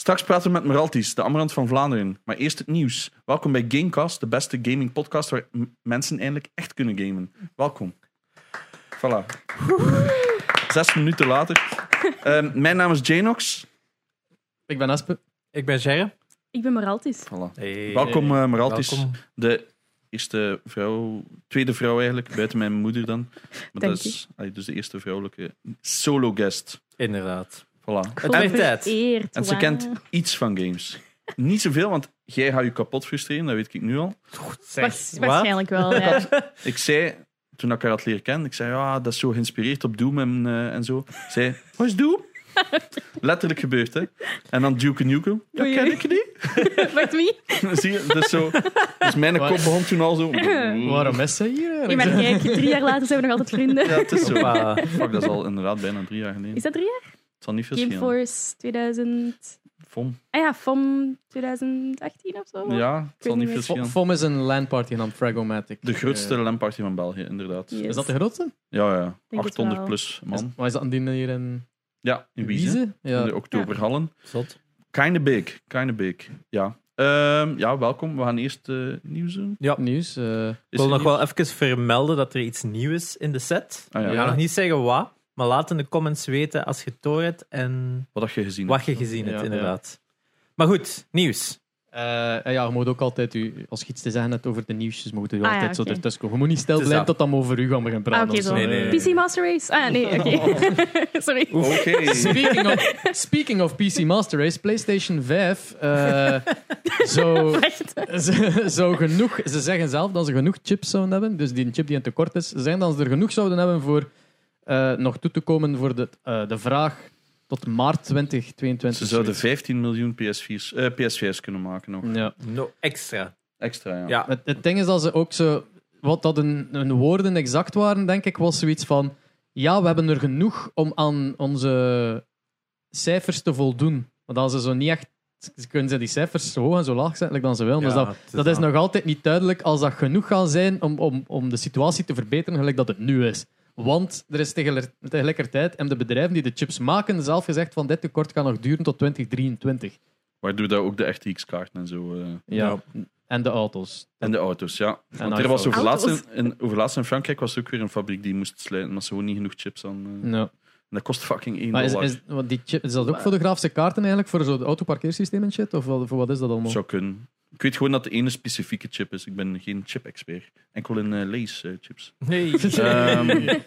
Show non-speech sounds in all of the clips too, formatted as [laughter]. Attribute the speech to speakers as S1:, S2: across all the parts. S1: Straks praten we met Meraltis, de Amarant van Vlaanderen. Maar eerst het nieuws. Welkom bij Gamecast, de beste gaming podcast waar m- mensen eindelijk echt kunnen gamen. Welkom. Voilà. Zes minuten later. Ehm, mijn naam is Janox.
S2: Ik ben Aspe.
S3: Ik ben Gerre.
S4: Ik ben Moraltis.
S1: Voilà. Welkom eh Meraltis,
S3: Welkom.
S1: de eerste vrouw, tweede vrouw eigenlijk, buiten mijn moeder dan. Maar
S4: Dank
S1: dat is allee, dus de eerste vrouwelijke solo guest.
S3: Inderdaad.
S1: Voilà.
S3: Het werd tijd.
S4: Vereerd,
S1: En ze
S4: wauw.
S1: kent iets van games. Niet zoveel, want jij gaat je kapot frustreren, dat weet ik nu al.
S4: Waars- waarschijnlijk wel,
S1: [laughs]
S4: ja.
S1: Ik zei, toen ik haar had leren kennen, ik zei, ja, dat is zo geïnspireerd op Doom en, eh, en zo. Ik zei, wat is
S4: [laughs]
S1: Doom? Letterlijk gebeurd, hè. En dan Duke Nukem. Dat
S4: Oei,
S1: ken
S4: oei.
S1: ik niet.
S4: Wacht, wie?
S1: Zie je, dus zo... Dus mijn
S2: Wat?
S1: kop begon toen al
S4: [laughs]
S1: zo...
S3: Mm.
S2: Waarom is ze hier?
S4: Je
S2: eigenlijk? [laughs]
S4: maar kijk, drie jaar later zijn we nog altijd vrienden.
S1: [laughs] Ja, het is zo.
S3: Hoppa.
S1: [laughs] Fuck, dat is al inderdaad bijna drie jaar geleden.
S4: Is dat drie jaar?
S1: Het zal niet veel schelen.
S4: Gameforce 2000...
S1: Vom.
S4: Ah ja, FOM 2018 of zo? Ah,
S1: Ja, het zal niet veel
S4: Fom-
S2: Fo-
S1: schelen.
S2: FOM is een landparty genaamd Fragomatic.
S1: De grootste
S2: Eh,
S1: lamparty van België, inderdaad.
S4: Yes.
S2: is dat de grootste?
S1: Ja, ja.
S4: Denk het
S1: 800
S4: wel.
S1: plus
S2: Is,
S1: man.
S2: maar is dat een die hier in
S1: Ja, in Wiezen.
S2: Wiezen?
S1: In
S2: Ja.
S1: de oktoberhallen.
S3: Zot.
S1: Kinda big, kinda big. Ja. Ehm, ja, welkom. We gaan eerst eh, nieuws doen.
S3: Ja.
S2: Nieuws. eh,
S3: Ik
S1: Is
S3: wil
S1: er
S3: nog wel even vermelden dat er iets nieuws is in de set.
S1: Ah, ja.
S3: Ik ga nog niet zeggen wat, maar laat in de comments weten als je het door hebt en
S1: Wat had je gezien?
S3: wat je gezien hebt,
S2: Ja,
S3: inderdaad. Maar goed, nieuws.
S2: eh, en ja, je moet ook altijd, u, als je iets te zeggen hebt over de nieuwsjes, moet je
S4: Ah, ja,
S2: altijd zo
S4: oké.
S2: ertussen komen. Je moet niet stil
S3: Het is
S2: blijven
S3: dat.
S2: tot dan over u gaan beginnen praten.
S4: Ah, oké,
S2: of
S4: zo.
S3: Nee, nee, nee. Oh.
S4: PC Master Race? Ah, nee, oké. [laughs] Sorry.
S1: Oké. [laughs]
S2: Speaking of, speaking of PC Master Race, PlayStation 5
S4: [laughs]
S2: eh, zo,
S4: Wacht.
S2: ze, zo genoeg, ze zeggen zelf dat ze genoeg chips zouden hebben, dus die chip die een tekort is, ze zeggen dat ze er genoeg zouden hebben voor eh, nog toe te komen voor de, eh, de vraag tot maart 2022.
S1: Ze zouden
S2: zoiets. Hm.
S1: 15 miljoen PS4's, eh, PS5's kunnen maken nog.
S2: Ja.
S3: No, extra.
S1: Extra, ja.
S3: Ja.
S2: Het, het ding is dat ze ook zo, wat dat hun, hun woorden exact waren, denk ik, was zoiets van, ja, we hebben er genoeg om aan onze cijfers te voldoen. Want als ze zo niet echt, ze kunnen ze die cijfers zo hoog en zo laag zetten like dan ze willen. dus dat, dat is nog altijd niet duidelijk als dat genoeg gaat zijn om, om, om de situatie te verbeteren, gelijk dat het nu is. Want er is tegelijk- tegelijkertijd, en de bedrijven die de chips maken, zelf gezegd van dit tekort kan nog duren tot 2023.
S1: Waardoor dat ook de RTX kaarten en zo. eh,
S2: Ja. En de auto's.
S1: en de auto's, ja. Want er
S2: iPhone.
S1: was overlaatst
S4: Auto's.
S1: in, in, overlaatst in Frankrijk was er ook weer een fabriek die moest sluiten, omdat ze gewoon niet genoeg chips aan. eh,
S2: Ja.
S1: en dat kost fucking 1
S2: Maar is,
S1: dollar.
S2: is, want die chip, is dat ook voor de grafische kaarten eigenlijk? Voor zo'n autoparkeersysteem en shit? Of wat- voor wat is dat allemaal?
S1: Zou kunnen. Ik weet gewoon dat de ene specifieke chip is. Ik ben geen chip-expert. Enkel in eh Lay's eh, chips.
S3: [laughs] Nee.
S1: Ehm,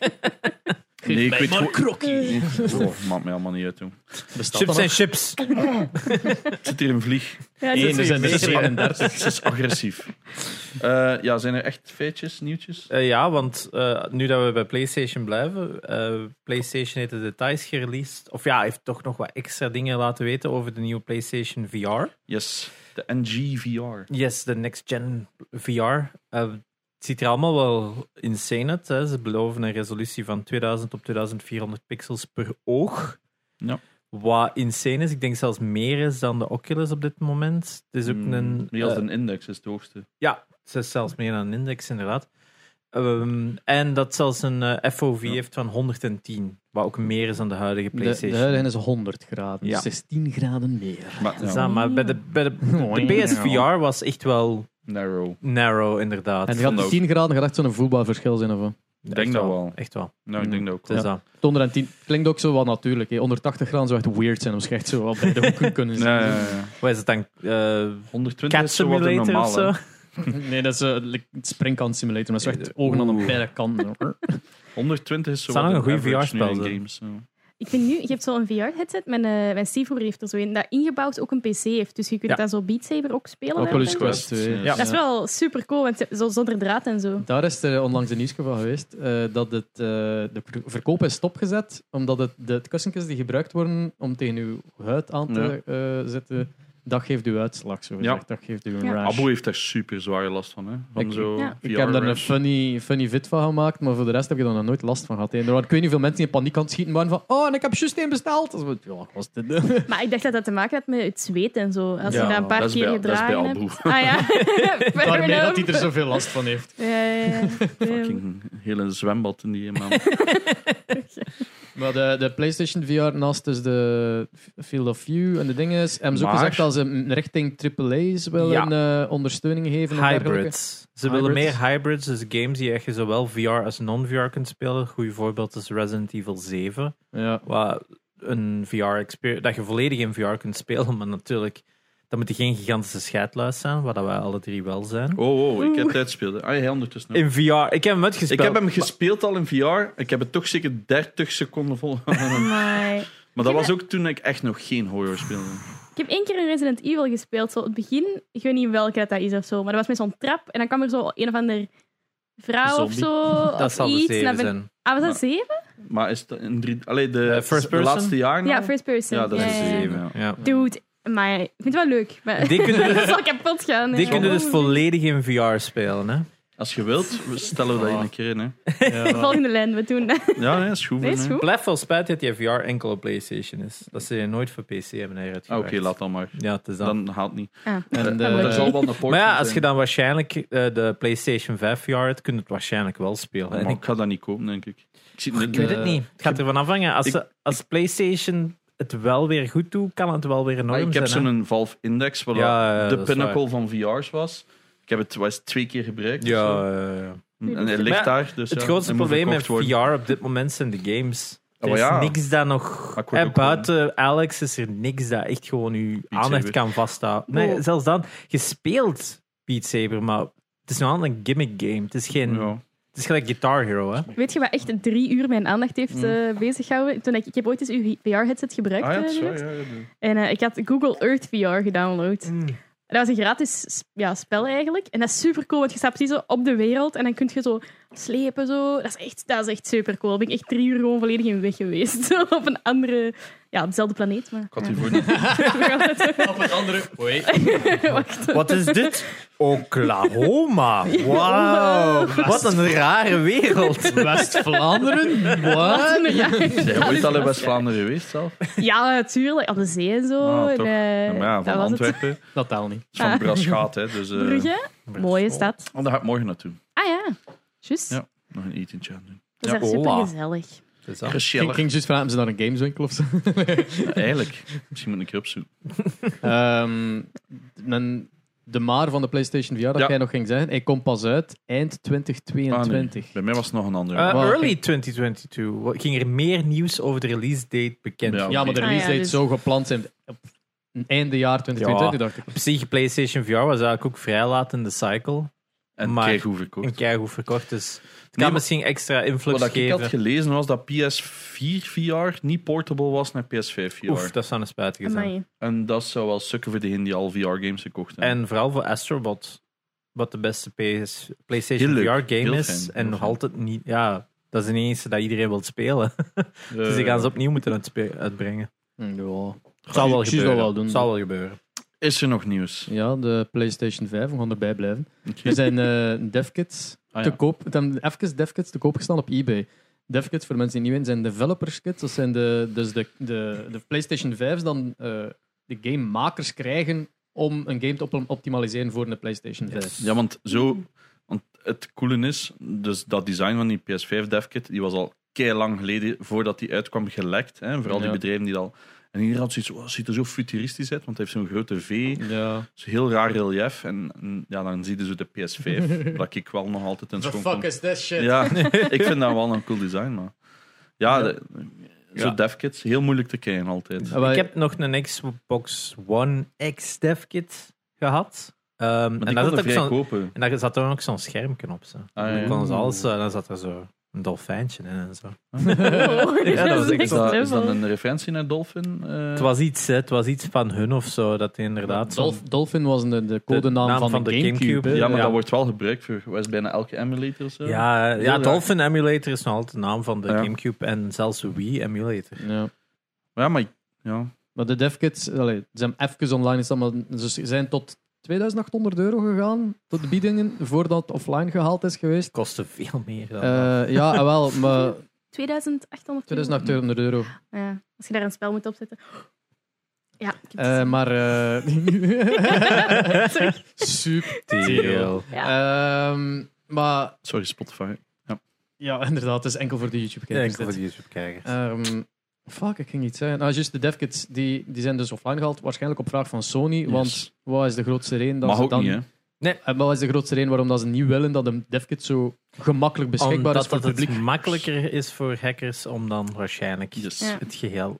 S1: nee, ik
S3: mij
S1: weet
S3: maar een
S1: gewoon... Oh, maakt mij allemaal niet uit, toen.
S2: Bestaat
S3: Chips
S2: dat
S3: zijn
S2: nog?
S3: chips.
S1: Zit hier een vlieg?
S4: Ja,
S2: Nee,
S4: dat
S2: er
S4: is
S2: zijn
S4: weer-
S2: er
S1: Ze dus is, ag- [laughs]
S2: 37.
S1: ze is agressief. Eh, ja, zijn er echt feitjes, nieuwtjes?
S3: Eh, ja, want eh, nu dat we bij PlayStation blijven, eh, PlayStation heeft de details gereleased. Of ja, heeft toch nog wat extra dingen laten weten over de nieuwe PlayStation VR.
S1: Yes, de NGVR.
S3: Yes, de next gen VR. Eh, het ziet er allemaal wel insane uit. Hè. Ze beloven een resolutie van 2000 op 2400 pixels per oog.
S1: Ja.
S3: Wat insane is. Ik denk zelfs meer is dan de Oculus op dit moment. Het is ook een...
S1: Die Hmm, als
S3: eh,
S1: een index is het hoogste.
S3: ja, ze is zelfs meer dan een index, inderdaad. Ehm, en dat zelfs een eh, FOV
S1: Ja.
S3: heeft van 110, wat ook meer is dan de huidige
S2: De, de
S3: PlayStation.
S2: huidige is 100 graden.
S3: Ja.
S2: 16 graden meer.
S1: Maar,
S3: Dus
S1: ja,
S3: dat, maar bij de, bij de, de PSVR was echt wel
S1: narrow.
S3: narrow, inderdaad.
S2: En gaat
S1: vond
S2: die
S1: ook.
S2: 10 graden gaat echt zo'n voelbaar verschil zijn. Of wat?
S3: Ik
S1: denk dat wel.
S3: Echt wel.
S1: Nou, ik denk dat ook.
S3: Het
S1: wel.
S3: is dat.
S2: Het 110 klinkt ook zo wel natuurlijk. Hè. 180 graden zou echt weird zijn om je echt zo wat bij de hoeken
S1: [laughs]
S2: kunnen zien.
S1: Nee, ja, ja, ja.
S3: Wat is het dan? eh
S1: 120
S3: cat
S1: is zo wat een
S3: Simulator of
S1: normaal.
S3: zo?
S1: hè.
S2: [laughs] Nee, dat is eh, like, het springkant simulator. Maar zo echt ogen aan de beide kanten.
S1: 120 is zo
S3: Zou
S1: wat
S3: nog
S1: een
S3: een goeie
S1: average nu in
S3: VR-spel zijn.
S1: games. ja.
S4: Ik vind nu, je hebt zo'n VR-headset. Mijn, eh mijn stiefbroer heeft er zo een. Dat ingebouwd ook een PC heeft. Dus je kunt
S3: Ja.
S4: daar zo Beat Saber ook spelen.
S2: Oculus
S4: eigenlijk.
S2: Quest 2.
S1: Ja.
S3: Ja.
S4: Dat is wel super cool, want ze- zo zonder draad en zo.
S2: Daar is er onlangs een nieuwsje van geweest eh, dat het, eh, de pro- verkoop is stopgezet omdat het, de kussentjes die gebruikt worden om tegen uw huid aan te eh, zetten, dat geeft u uitslag. Zo gezegd. Dat geeft u een
S4: Ja.
S2: rash.
S1: Abo heeft daar super zware last van. Hè? van
S2: Ik-
S1: zo
S4: ja.
S2: Ik heb daar een
S1: VR-rash.
S2: funny, funny vid van gemaakt, maar voor de rest heb ik er nog nooit last van gehad. hè. Er waren, ik weet niet veel mensen die in paniek aan het schieten waren van oh, en ik heb juist één besteld. Dat is wat- ja, wat was dit?
S4: Maar ik dacht dat dat te maken had met het zweet en zo. Als
S3: Ja,
S4: je dat een paar
S1: dat is
S4: keer
S1: bij- dat is bij
S4: gedragen
S1: Alboe.
S4: hebt. Ah
S2: [laughs]
S1: [laughs]
S4: ja. [laughs] Fair
S2: Daarmee dat
S4: enough.
S2: hij er zoveel last van heeft.
S4: Ja, ja, ja.
S1: Fucking hele zwembad in die man.
S2: Maar de, de PlayStation VR naast dus de Field of View en de dingen is. Hebben ze ook
S1: Maar-
S2: gezegd dat ze richting AAA's willen eh, ondersteuning geven? en dergelijke.
S3: Hybrids. Ze willen
S2: Hybrids.
S3: meer hybrids, dus games die echt je zowel VR als non-VR kunt spelen. Een goed voorbeeld is Resident Evil 7.
S2: Ja.
S3: Waar een VR-experience, dat je volledig in VR kunt spelen, maar natuurlijk, dan moet je geen gigantische scheidluis zijn, waar dat wij alle drie wel zijn.
S1: Oh, oh, ik heb het uitgespeeld. Ah, jij ondertussen nog.
S3: In VR, ik heb hem
S1: Ik
S3: uitgespeeld.
S1: heb hem gespeeld al in VR. Ik heb het toch zeker 30 seconden vol. [laughs]
S4: Maar...
S1: maar dat was ook toen ik echt nog geen horror speelde.
S4: Ik heb één keer een Resident Evil gespeeld. Zo, het begin, ik weet niet welke dat, dat is of zo, maar dat was met zo'n trap. En dan kwam er zo een of ander vrouw of
S1: Zombie.
S4: zo.
S3: [laughs] dat
S4: of
S3: zal de
S4: iets. en
S3: zeven
S4: dan ben-
S3: zijn.
S4: Ah, was dat zeven?
S1: Maar is dat in drie... Allee, de,
S3: Eh, first
S1: de laatste nou?
S3: person?
S1: jaren
S4: Ja,
S1: al?
S4: first person.
S1: Ja, dat is
S4: Ja, ja,
S1: de
S4: ja.
S1: zeven. ja.
S3: Ja.
S4: Dude, maar ik vind het wel leuk. Maar
S3: Die
S4: [laughs]
S3: kunnen-
S4: dat zal kapot gaan.
S3: Die
S4: ja.
S3: kunnen dus volledig in VR spelen. Hè?
S1: Als je wilt, we- stellen we dat in een keer in. Hè.
S4: Volgende lijn, we doen [laughs] dat.
S1: Ja, nee, is goed.
S4: Nee, is
S1: hè.
S4: goed.
S3: Blijf wel spijt dat die VR enkel op PlayStation is. Dat ze die nooit voor PC hebben
S1: Ah,
S3: uitgebracht.
S1: Oké, laat dan maar.
S3: Ja, het is dan. eh,
S1: Dan haalt niet.
S4: Ah.
S2: En eh, de,
S1: Er
S4: dat
S1: zal wel een port
S3: Maar ja,
S1: in
S3: als je
S1: zijn.
S3: dan waarschijnlijk eh, de PlayStation 5 VR hebt, kun je het waarschijnlijk wel spelen. En
S1: Maar
S3: ik,
S1: ik ga dat niet kopen, denk ik. Ik zie het
S3: ik
S1: niet.
S3: weet het niet. Het gaat ervan afhangen. Als,
S1: Ik-
S3: ze- als PlayStation het wel weer goed doet, kan het wel weer een
S1: Ah,
S3: norm
S1: ik heb
S3: zijn. hè?
S1: zo'n Valve Index, wat
S3: Ja, ja,
S1: de
S3: dat is
S1: pinnacle van VR's was. Ik heb het wel eens twee keer gebruikt. of zo.
S3: Ja, ja, ja.
S1: En hij
S3: Maar ja,
S1: ligt daar. Dus
S3: Het
S1: eh, ja,
S3: grootste
S1: hij moet
S3: probleem met
S1: verkocht worden.
S3: VR op dit moment zijn de games. Er
S1: Ah,
S3: is
S1: maar ja.
S3: niks dat nog...
S1: Maar ik word
S3: En
S1: ook
S3: buiten Alex is er niks dat echt gewoon uw aandacht
S1: Saber.
S3: kan vasthouden. Nee,
S4: Wow.
S3: zelfs dan. Je speelt Beat Saber, maar het is nog een gimmick game. Het is geen...
S1: Ja.
S3: Het is gelijk Guitar Hero, hè.
S4: Weet je wat echt drie uur mijn aandacht heeft eh, bezighouden? Toen ik, ik heb ooit eens uw VR-headset gebruikt.
S1: Mm. Ah ja,
S4: eh,
S1: dat is waar,
S4: Ruud.
S1: ja, ja, ja.
S4: En eh, ik had Google Earth VR gedownload.
S1: Mm.
S4: En Dat was een gratis sp- ja, spel eigenlijk. En dat is super cool, want je staat precies zo op de wereld en dan kun je zo slepen. Zo. Dat, is echt, dat is echt super cool. Daar ben ik echt drie uur gewoon volledig in weg geweest. [laughs] Zo op een andere, ja, dezelfde planeet. Maar, [laughs]
S1: Ik had
S4: ja.
S1: hiervoor niet.
S2: [laughs] op een andere.
S4: [laughs]
S2: Oei.
S3: Wat is dit? Oklahoma. Wauw. Wat een rare
S2: [laughs]
S3: wereld.
S2: West-Vlaanderen? What?
S4: [laughs]
S1: Zijn we ooit al in West-Vlaanderen geweest zelf?
S4: Ja, natuurlijk. Op de zee en zo.
S1: Ah,
S4: en,
S1: toch.
S4: eh,
S1: Ja, maar ja,
S4: dat
S1: van
S4: was het.
S1: Antwerpen. Het
S2: Dat taal niet.
S1: is van Braschaat, hè. Dus, eh,
S4: Brugge, mooie stad.
S1: want daar ga ik morgen naartoe.
S4: Ah ja, juist.
S1: Ja. Nog een etentje aan doen.
S4: Dat
S3: Ja,
S4: is echt
S3: hola.
S4: super gezellig.
S3: Dus dat-
S2: Ik
S1: Gezellig.
S2: ging juist vragen, hebben ze naar een gameswinkel of zo?
S1: Ja, eigenlijk. Misschien moet ik een keer
S3: [laughs]
S1: opzoeken.
S2: Ehm, men- de maar van de PlayStation VR, dat
S1: Ja.
S2: jij nog ging zeggen, hij komt pas uit eind 2022.
S1: Ah, nee. Bij mij was het nog een andere.
S3: Eh,
S2: Wow.
S3: early 2022. Wat- Ging er meer nieuws over de release date bekend?
S1: Ja.
S2: Ja, maar de
S4: Ah,
S2: release
S4: ja,
S2: date
S4: dus-
S2: zo gepland zijn op einde jaar 2022, dacht ik.
S3: Op zich, PlayStation VR was eigenlijk ook vrij laat in de cycle.
S1: en
S3: maar-
S1: kijk hoe
S3: En
S1: verkocht.
S3: keigoed verkocht, dus het kan
S1: maar-
S3: misschien extra influx
S1: Wat ik
S3: geven.
S1: had gelezen was dat PS4 VR niet portable was naar PS5 VR.
S3: Oef, dat zou een spijtige zijn.
S4: Amai.
S1: En dat zou wel sukken voor degenen die al VR-games gekocht hebben.
S3: En vooral voor Astrobot, wat de beste PS, PlayStation
S1: Heel leuk,
S3: VR-game
S1: heel
S3: is.
S1: fijn,
S3: en
S1: heel
S3: nog
S1: fijn.
S3: altijd niet... Ja, dat is de enige dat iedereen wil spelen. dus
S1: Eh,
S3: die gaan ze opnieuw moeten uitspe- uitbrengen.
S2: Hm, Ja.
S3: Het zal wel
S2: precies
S3: gebeuren.
S2: wel wel doen.
S3: Het zal wel gebeuren.
S1: Is er nog nieuws?
S2: ja, de PlayStation 5, we gaan erbij blijven.
S1: Oké.
S2: Er zijn eh devkits
S1: Ah,
S2: te
S1: ja.
S2: koop. Het hebben even devkits te koop gestaan op eBay. Devkits, voor mensen die nieuw in zijn, developers kits. Dat zijn de, dus de, de, de PlayStation 5's dan eh, de gamemakers krijgen om een game te op- optimaliseren voor een PlayStation 5.
S1: Ja, want zo. Want het coole is, dus dat design van die PS5 devkit, die was al kei lang geleden voordat die uitkwam gelekt. Hè? Vooral die
S2: Ja.
S1: bedrijven die dat al. En iedereen had zoiets, wow, ziet er zo futuristisch uit, want hij heeft zo'n grote V,
S2: Ja.
S1: zo'n heel raar relief. En, en ja, dan zie je zo de PS5, dat ik wel nog altijd in schoon vond.
S2: is this shit?
S1: Ja, ik vind dat wel een cool design, maar... Ja, de- zo
S3: Ja.
S1: devkits, heel moeilijk te krijgen altijd.
S2: Ah,
S3: Ik
S2: [laughs]
S3: heb nog een Xbox One X devkit gehad. Ehm,
S1: Maar
S3: en
S1: die
S3: daar zat
S1: konden
S3: ook
S1: vrij
S3: zo'n-
S1: kopen.
S3: en daar zat dan ook zo'n schermknop. Zo.
S1: Ah, ja.
S3: Dan kon ze alles, eh, en dan zat er zo een dolfijntje in en zo.
S4: Oh,
S3: Ja, dat was
S4: is
S3: echt
S1: Is
S4: next
S1: dat, is
S4: level.
S1: dat een referentie naar Dolphin? Eh,
S3: Het was iets, hè, het was iets van hun of zo, dat die inderdaad. zo'n-
S2: Dolf- Dolphin was de, de codenaam
S3: naam
S2: van, de Gamecube. hè.
S1: ja, maar
S3: ja.
S1: dat wordt wel gebruikt voor wat is bijna elke emulator of zo.
S3: ja, eh, ja,
S1: raar.
S3: Dolphin Emulator is nog altijd de naam van de
S1: Ja.
S3: Gamecube en zelfs de Wii Emulator.
S2: Ja.
S1: Ja, maar... Ja.
S2: Maar de devkits, allee, ze zijn even online gestaan, maar ze zijn tot 2800 euro gegaan, tot de biedingen, voordat het offline gehaald is geweest.
S3: Kostte veel meer dan.
S2: Eh, ja, eh, wel, maar
S4: 2800 euro.
S2: 2800 euro.
S4: [laughs] Ja, als je daar een spel moet opzetten. Ja, ik heb het
S2: Eh,
S4: gezien.
S2: maar... eh [laughs]
S4: Sorry.
S2: Subtiel.
S3: Deal.
S4: Ja.
S2: Ehm, maar
S1: Sorry, Spotify.
S2: Ja, inderdaad. Het is enkel voor de YouTube-kijkers.
S3: enkel voor
S2: dit.
S3: de YouTube-kijkers.
S2: Ehm, fuck, ik ging iets zeggen. Nou, juist de devkits die, die zijn dus offline gehaald. Waarschijnlijk op vraag van Sony. Want wat is de grootste reden dat
S1: Mag
S2: ze
S1: ook
S2: dan...
S1: niet, hè?
S2: En wat is de grootste reden waarom dat ze niet willen dat een devkit zo gemakkelijk beschikbaar
S3: Omdat
S2: is voor
S3: dat
S2: het
S3: het
S2: publiek?
S3: makkelijker is voor hackers om dan waarschijnlijk
S1: Yes.
S4: Ja.
S3: het geheel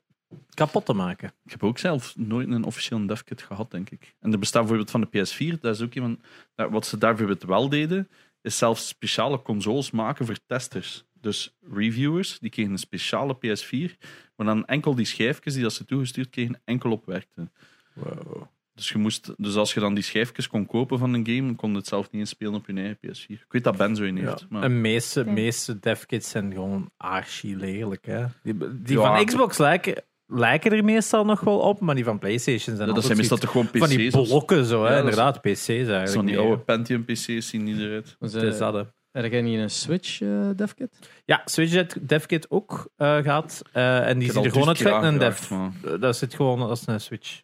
S3: kapot te maken.
S1: Ik heb ook zelf nooit een officiële devkit gehad, denk ik. En er bestaat bijvoorbeeld van de PS4, dat is ook iemand... nou, Wat ze daar bijvoorbeeld wel deden, is zelfs speciale consoles maken voor testers. Dus reviewers, die kregen een speciale PS4, maar dan enkel die schijfjes die dat ze toegestuurd kregen, enkel op werkten.
S3: Wow.
S1: Dus, je moest, dus als je dan die schijfjes kon kopen van een game, kon je het zelf niet eens spelen op je eigen PS4. Ik weet dat Ben zo in heeft. Maar...
S3: De meeste,
S4: Ja.
S3: meeste devkits zijn gewoon archi lelijk. Hè? Die, die
S1: Ja,
S3: van
S1: dat-
S3: Xbox lijken, lijken er meestal nog wel op, maar die van PlayStation zijn
S1: Ja, dat
S3: altijd
S1: zijn meestal
S3: zoiets
S1: toch gewoon PC's?
S3: van die
S1: of zo?
S3: blokken zo.
S1: Ja,
S3: Hè?
S1: dat
S3: Inderdaad, PC's eigenlijk.
S1: Zo'n die
S3: meer.
S1: oude Pentium-PC's zien niet eruit.
S2: Dus,
S3: Het is
S2: eh,
S3: dat, hè.
S2: heb jij niet een Switch eh devkit?
S3: Ja, Switch had DevKit ook eh, gehad. eh, en die
S1: Ik
S3: ziet
S1: heb al
S3: er gewoon uit
S1: duizend keer
S3: vet een dev.
S1: aangevraagd, maar-
S3: Eh, Dat zit gewoon als een Switch.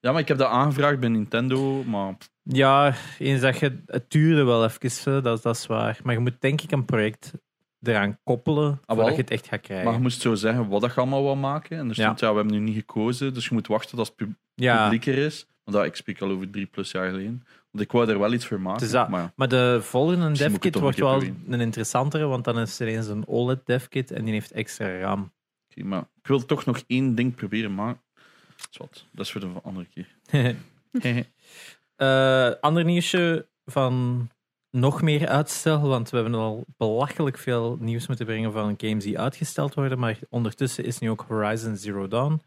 S1: Ja, maar ik heb dat aangevraagd bij Nintendo, maar
S3: Ja, eens dat je het duurde wel even, eh, dat, dat is waar. Maar je moet denk ik een project eraan koppelen
S1: Ah, wel.
S3: voordat je het echt gaat krijgen.
S1: Maar je moest zo zeggen wat dat je allemaal wil maken. En er stond, ja. we hebben nu niet gekozen, dus je moet wachten tot het pub-
S3: ja,
S1: publiek er is. Want ja, ik spreek al over drie plus jaar geleden. Want ik wou er wel iets voor maken.
S3: Dus dat-
S1: maar ja,
S3: maar de volgende
S1: Misschien moet ik
S3: devkit
S1: het
S3: wordt
S1: toch een
S3: wel
S1: keer
S3: een interessantere, want dan is er eens een OLED devkit en die heeft extra RAM.
S1: oké, maar ik wil toch nog één ding proberen maken. Dat is wat. Dat is voor de andere keer.
S3: [laughs] Eh, ander nieuwsje van nog meer uitstel, want we hebben al belachelijk veel nieuws moeten brengen van games die uitgesteld worden, maar ondertussen is nu ook Horizon Zero Dawn.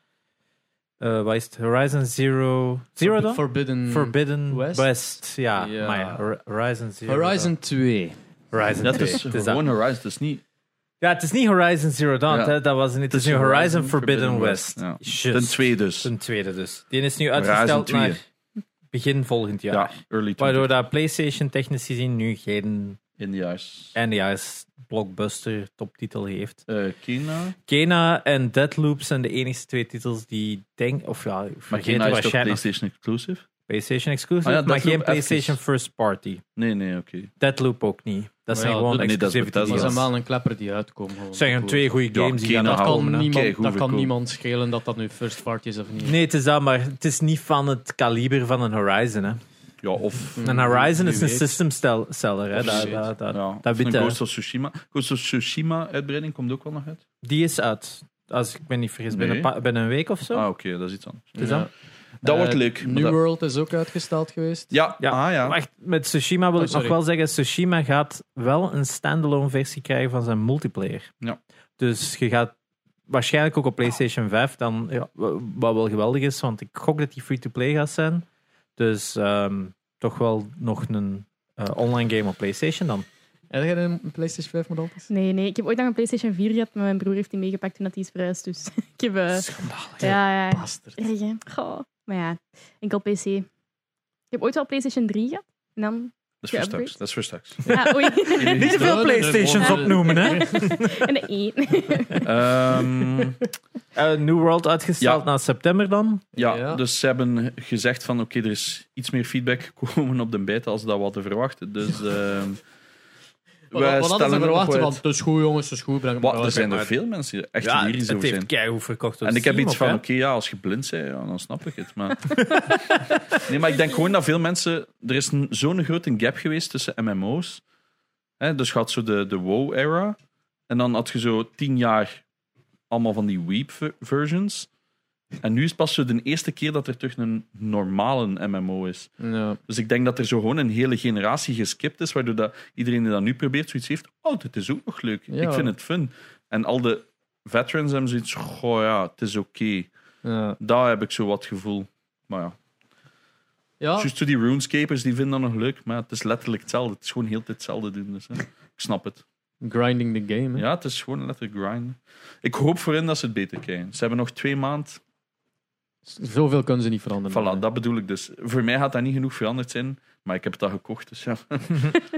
S3: Eh wat is het? Horizon Zero... Zero Dawn?
S2: Forbidden...
S3: Forbidden
S2: Hmm. West?
S3: West, ja.
S2: Ja.
S3: Maar ja, Hor- Horizon Zero.
S2: Horizon 2.
S3: Dawn. Horizon
S1: Dat
S3: 2.
S1: is
S3: Het is dat.
S1: gewoon Horizon. Het is niet...
S3: Ja, het is niet Horizon Zero Dawn.
S1: Ja.
S3: Hè? Dat was niet. Het is nu Horizon, Forbidden, West.
S1: Ja.
S3: Just.
S1: Ten twee dus.
S3: Ten tweede dus. Die is nu
S1: Horizon
S3: uitgesteld
S1: 2.
S3: naar begin volgend
S1: Ja,
S3: jaar.
S1: early 20
S3: Waardoor dat PlayStation technisch gezien nu geen
S1: in de juist.
S3: eindejaars blockbuster toptitel heeft.
S1: Eh, Kena.
S3: Kena en Deadloop zijn de enige twee titels die denk of ja,
S1: Maar
S3: vergeten
S1: Kena is toch
S3: waarschijnlijk nog
S1: PlayStation exclusive?
S3: PlayStation exclusive,
S1: Ah ja,
S3: maar
S1: Deathloop
S3: geen PlayStation first party.
S1: Nee, nee, oké.
S3: Deadloop ook niet. Dat zijn
S2: Ja,
S3: gewoon
S1: dat- nee, dat is
S3: exclusieve
S1: Bethesda.
S2: Dat
S3: titels.
S2: zijn
S1: Yes.
S2: wel een klepper die uitkomen. Gewoon.
S3: Het zijn gewoon
S2: Ik
S3: twee goede
S1: Ja,
S3: games die
S1: Kena
S3: gaan
S2: bedoel, Dat
S1: houden
S2: kan,
S1: we, hè.
S2: niemand,
S1: Keigoed
S2: dat kan
S1: verkopen.
S2: niemand schelen dat dat nu first party is of niet.
S3: Nee, het is dat, maar het is niet van het kaliber van een Horizon. Hè.
S1: Ja, of...
S3: Een Horizon
S2: wie
S3: is een
S2: Hmm, weet.
S3: system stel- seller. Hè.
S1: Of
S3: Dat,
S1: shit.
S3: dat, dat,
S1: Ja,
S3: dat
S1: of een
S3: weet je.
S1: Ghost of Tsushima. Ghost of Tsushima uitbreiding komt ook wel nog uit.
S3: Die is uit. Als ik me niet vergis,
S1: Nee.
S3: binnen, pa- binnen een week of zo.
S1: Ah, oké, dat is iets anders.
S3: Het is
S2: Ja.
S3: dat.
S1: Dat
S2: Eh,
S1: wordt leuk. maar
S2: New
S1: dat-
S2: World is ook uitgesteld geweest.
S1: Ja,
S3: Ja.
S1: Ah, ja.
S3: Wacht, met Tsushima wil
S2: Oh,
S3: ik nog
S2: sorry.
S3: wel zeggen: Tsushima gaat wel een standalone versie krijgen van zijn multiplayer.
S1: Ja.
S3: Dus je gaat waarschijnlijk ook op PlayStation 5 dan, ja, wa- wat wel geweldig is, want ik gok dat die free-to-play gaat zijn. Dus ehm, toch wel nog een eh, online game op PlayStation dan.
S2: Heb jij een PlayStation 5 model?
S4: Nee, nee. Ik heb ooit nog een PlayStation 4 gehad, maar mijn broer heeft die meegepakt toen dat die is verhuisd. Dus [laughs] ik heb... eh,
S2: Schandalig.
S4: ja, ja.
S2: Bastard.
S4: Erg, hè? Goh. Maar ja, enkel PC. Ik heb ooit wel PlayStation 3 gehad. En dan...
S1: Dat is voor straks.
S4: Ja, upgrade.
S1: Dat is voor straks.
S4: Ah, oei.
S1: Niet te veel
S3: PlayStations opnoemen, hè?
S4: en de 1.
S1: Ehm,
S3: [laughs] Eh, New World uitgesteld
S1: Ja.
S3: naar september dan.
S1: ja,
S2: Ja.
S1: dus ze hebben gezegd van oké, er is iets meer feedback [laughs] gekomen op de beta als dat we hadden verwacht. Dus ehm
S2: Wat, wat hadden ze
S1: er nog
S2: verwacht?
S1: uit.
S2: Van, het is goed, jongens, het is goed. Breng het maar
S1: Wat, er
S2: uit.
S1: zijn er veel mensen die echt
S3: Ja,
S1: lyrisch
S3: het
S1: over
S3: heeft
S1: zijn.
S3: keihard verkocht. op
S1: En ik heb
S3: Steam
S1: iets
S3: ook,
S1: van,
S3: hè?
S1: oké, ja, als je blind bent, ja, dan snap ik het. Maar... nee, maar [laughs] ik denk gewoon dat veel mensen... Er is een- zo'n grote gap geweest tussen MMO's. Hè, dus je had zo de, de WoW-era. En dan had je zo tien jaar allemaal van die Weep-versions. En nu is pas zo de eerste keer dat er terug een normale MMO is.
S2: Ja.
S1: Dus ik denk dat er zo gewoon een hele generatie geskipt is, waardoor dat iedereen die dat nu probeert zoiets heeft. Oh, dit is ook nog leuk.
S2: Ja.
S1: Ik vind het fun. En al de veterans hebben zoiets. Goh ja, het is oké.
S2: Ja.
S1: Daar heb ik zo wat gevoel. Maar ja,
S2: Ja,
S1: juist zo die RuneScapers die vinden dat nog leuk, maar het is letterlijk hetzelfde. Het is gewoon heel de tijd hetzelfde doen. Dus, hè. Ik snap het.
S2: grinding the game. hè.
S1: Ja, het is gewoon letterlijk grinden. Ik hoop voor hen dat ze het beter krijgen. Ze hebben nog twee maanden.
S2: Zoveel kunnen ze niet veranderen.
S1: Voilà, dat bedoel ik dus. Voor mij gaat dat niet genoeg veranderd zijn, maar ik heb het al gekocht. Dus ja,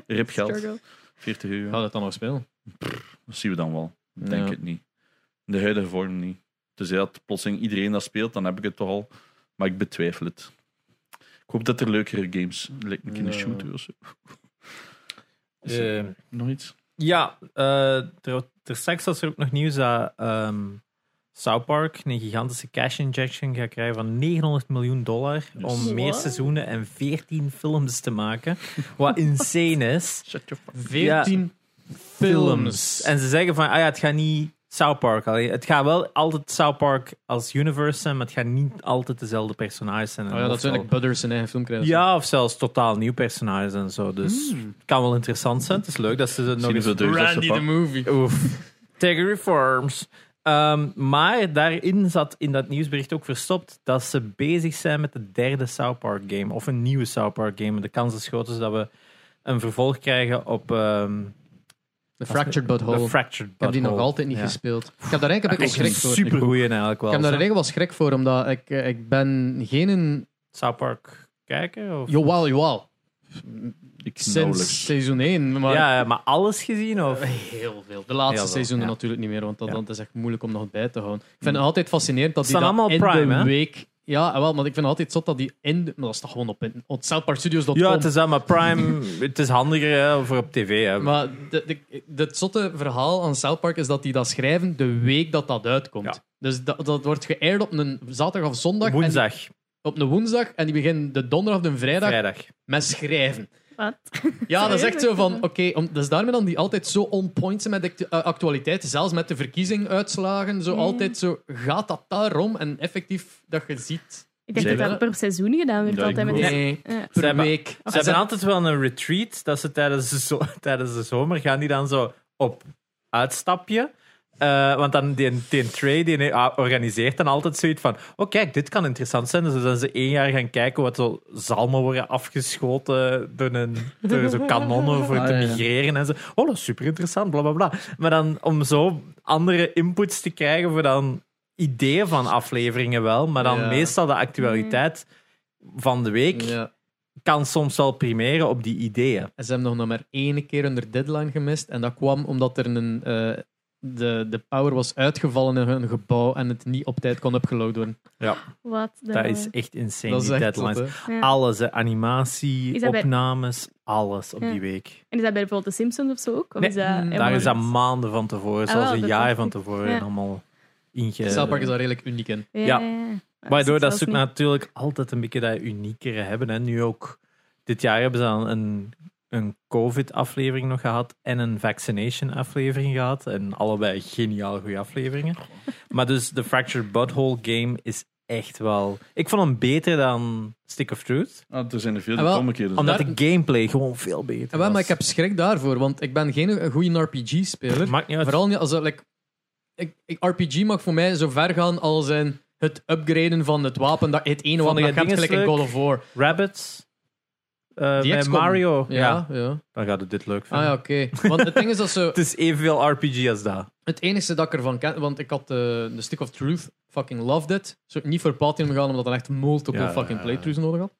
S1: rip geld.
S4: Struggle.
S1: 40 euro.
S2: Gaat het dan nog spelen?
S1: Dat zien we dan wel. Ik denk
S2: Ja.
S1: het niet. In de huidige vorm niet. Dus ja, dat plotseling iedereen dat speelt, dan heb ik het toch al. Maar ik betwijfel het. Ik hoop dat er leukere games. Lijkt me in de
S2: Ja.
S1: shooter of zo. Is er
S3: Eh,
S1: nog iets?
S3: Ja, eh er, er straks was er ook nog nieuws dat ehm South Park een gigantische cash injection gaat krijgen van 900 miljoen dollar om
S4: Yes.
S3: meer
S4: Wow.
S3: seizoenen en 14 films te maken. Wat [laughs] insane is.
S1: Shut your fuck.
S2: 14 films.
S3: En ze zeggen van, ah ja, het gaat niet South Park. Allee, Het gaat wel altijd South Park als universe zijn, maar het gaat niet altijd dezelfde personages zijn.
S2: Oh ja, dat
S3: Ofwel-
S2: zijn ik Butters zijn eigen film krijgen.
S3: Ja, of zelfs totaal nieuw personages en zo. Dus
S2: Hmm.
S3: het kan wel interessant zijn. Het is leuk dat ze het nog
S1: Zien
S3: eens...
S1: we dus dat ze
S2: Randy the
S1: pakken.
S2: Movie.
S3: Oef. Tag Reforms. Ehm, maar daarin zat in dat nieuwsbericht ook verstopt dat ze bezig zijn met de derde South Park game. Of een nieuwe South Park game. De kans is groot dus dat we een vervolg krijgen op ehm,
S2: The Fractured But Whole.
S3: The Fractured
S2: ik heb die nog
S3: Butthole.
S2: altijd niet
S3: Ja.
S2: gespeeld. Ik heb daar eigenlijk heb ik
S3: Dat
S2: wel
S3: is een
S2: schrik voor.
S3: super eigenlijk wel.
S2: Ik heb daar
S3: zo.
S2: eigenlijk wel schrik voor, omdat ik, eh, ik ben geen... een-
S3: South Park kijken? Of?
S2: Jawel, jawel.
S1: Ik
S2: Sinds
S1: nauwelijks.
S2: seizoen 1. Maar
S3: ja, ja, maar alles gezien?
S2: [laughs]
S3: Of?
S2: Heel veel. De laatste
S3: Heel veel,
S2: seizoenen
S3: ja.
S2: natuurlijk niet meer, want dat,
S3: Ja. Mm.
S2: dat is echt moeilijk om nog bij te houden. Ik vind het altijd fascinerend dat die
S3: Staan
S2: dat in
S3: allemaal Prime,
S2: de
S3: hè?
S2: week... Ja, wel, maar ik vind het altijd zot dat die in... de- Maar dat staat gewoon op, in- op zelfparkstudios.com.
S3: Ja, het is dat, maar Prime, het is handiger hè, voor op tv. Hè.
S2: Maar de, de, het zotte verhaal aan South Park is dat die dat schrijven de week dat dat uitkomt.
S3: Ja.
S2: Dus dat, dat wordt geëerd op een zaterdag of zondag. en die-
S3: Woensdag,
S2: op een woensdag. En die beginnen de donderdag of de vrijdag
S3: vrijdag.
S2: met schrijven.
S4: Wat?
S2: Ja, dat is echt zo van... Oké, om- dat is daarmee dan die altijd zo on point zijn met de actu- eh, actualiteit. Zelfs met de verkiezinguitslagen.
S4: Mm.
S2: Zo altijd zo... Gaat dat daarom? En effectief dat je ziet...
S4: Ik dacht
S1: Zeker.
S4: dat dat per seizoen gedaan werd
S1: Ja, ik
S4: altijd met die...
S2: Nee,
S4: Ja.
S2: per
S3: Ze hebben-
S2: week.
S3: Ze hebben altijd wel een retreat, dat ze tijdens de, zo- [laughs] tijdens de zomer gaan die dan zo op uitstapje. Eh, want dan die, die Trey die ah, organiseert dan altijd zoiets van oh kijk, dit kan interessant zijn. Dus dan zijn ze één jaar gaan kijken wat zo zalmen worden afgeschoten door, een, door zo kanonnen voor
S1: Ah,
S3: te
S1: ja, ja.
S3: migreren en zo. Oh, dat is super interessant, bla bla bla. Maar dan om zo andere inputs te krijgen voor dan ideeën van afleveringen wel, maar dan
S2: Ja.
S3: meestal de actualiteit van de week
S2: Ja.
S3: kan soms wel primeren op die ideeën.
S2: En ze hebben nog maar één keer hun deadline gemist. En dat kwam omdat er een... eh, de, de power was uitgevallen in hun gebouw en het niet op tijd kon opgeload worden.
S4: Wat? de-
S3: Dat is echt insane,
S2: dat is
S3: die
S2: echt
S3: deadlines.
S2: zot, hè.
S4: Ja.
S3: Alles, hè.
S4: Is
S3: animatie,
S4: dat bij-
S3: opnames, alles op
S4: Ja.
S3: die week.
S4: En is dat bij bijvoorbeeld de Simpsons of zo ook?
S3: Nee,
S4: Of
S3: mm,
S4: is dat
S2: daar
S3: Daar
S4: helemaal
S3: is dat
S4: niet?
S3: maanden van tevoren,
S4: Ah,
S3: zelfs
S4: wel,
S3: een
S4: dat
S3: jaar
S4: dacht
S3: van
S4: ik.
S3: tevoren
S4: Ja.
S3: allemaal inge...
S2: South Park is daar redelijk uniek in.
S4: Ja.
S3: Ja.
S4: ja, ja. Maar
S3: Waardoor
S4: dat
S3: dat
S4: is
S3: ze ook
S4: zelfs niet-
S3: natuurlijk altijd een beetje dat uniekere hebben. En nu ook, dit jaar hebben ze dan een, een COVID-aflevering nog gehad en een vaccination-aflevering gehad. En allebei geniaal goede afleveringen. Maar dus de Fractured Butthole game is echt wel... Ik vond hem beter dan Stick of Truth.
S1: Ah, er zijn er veel
S2: Ah,
S1: die
S2: wel,
S1: komen dus keren.
S3: Omdat
S2: Daar-
S3: de gameplay gewoon veel beter
S2: Ja,
S3: was.
S2: wel, maar ik heb schrik daarvoor, want ik ben geen goede RPG-speler.
S3: Maakt niet uit.
S2: Vooral niet als... dat, Like, ik, ik- RPG mag voor mij zo ver gaan als in het upgraden van het wapen. Dat, het ene
S3: Vond
S2: wapen
S3: je
S2: dat je hebt,
S3: dinges
S2: gelijk in
S3: leuk?
S2: God of War.
S3: Rabbits. eh,
S2: Die
S3: met
S2: XCOM.
S3: Mario. Ja.
S2: Ja, ja.
S3: Dan gaat het dit leuk
S2: Ah
S3: vinden.
S2: ja, oké. Want het ding is dat ze...
S3: [laughs] Het is evenveel RPG als dat.
S2: Het enige dat ik ervan ken... Want ik had eh, de Stick of Truth, fucking loved it. Zo, niet voor Platinum gaan, omdat dat echt multiple
S3: Ja,
S2: fucking
S3: ja, ja.
S2: playthroughs nodig had.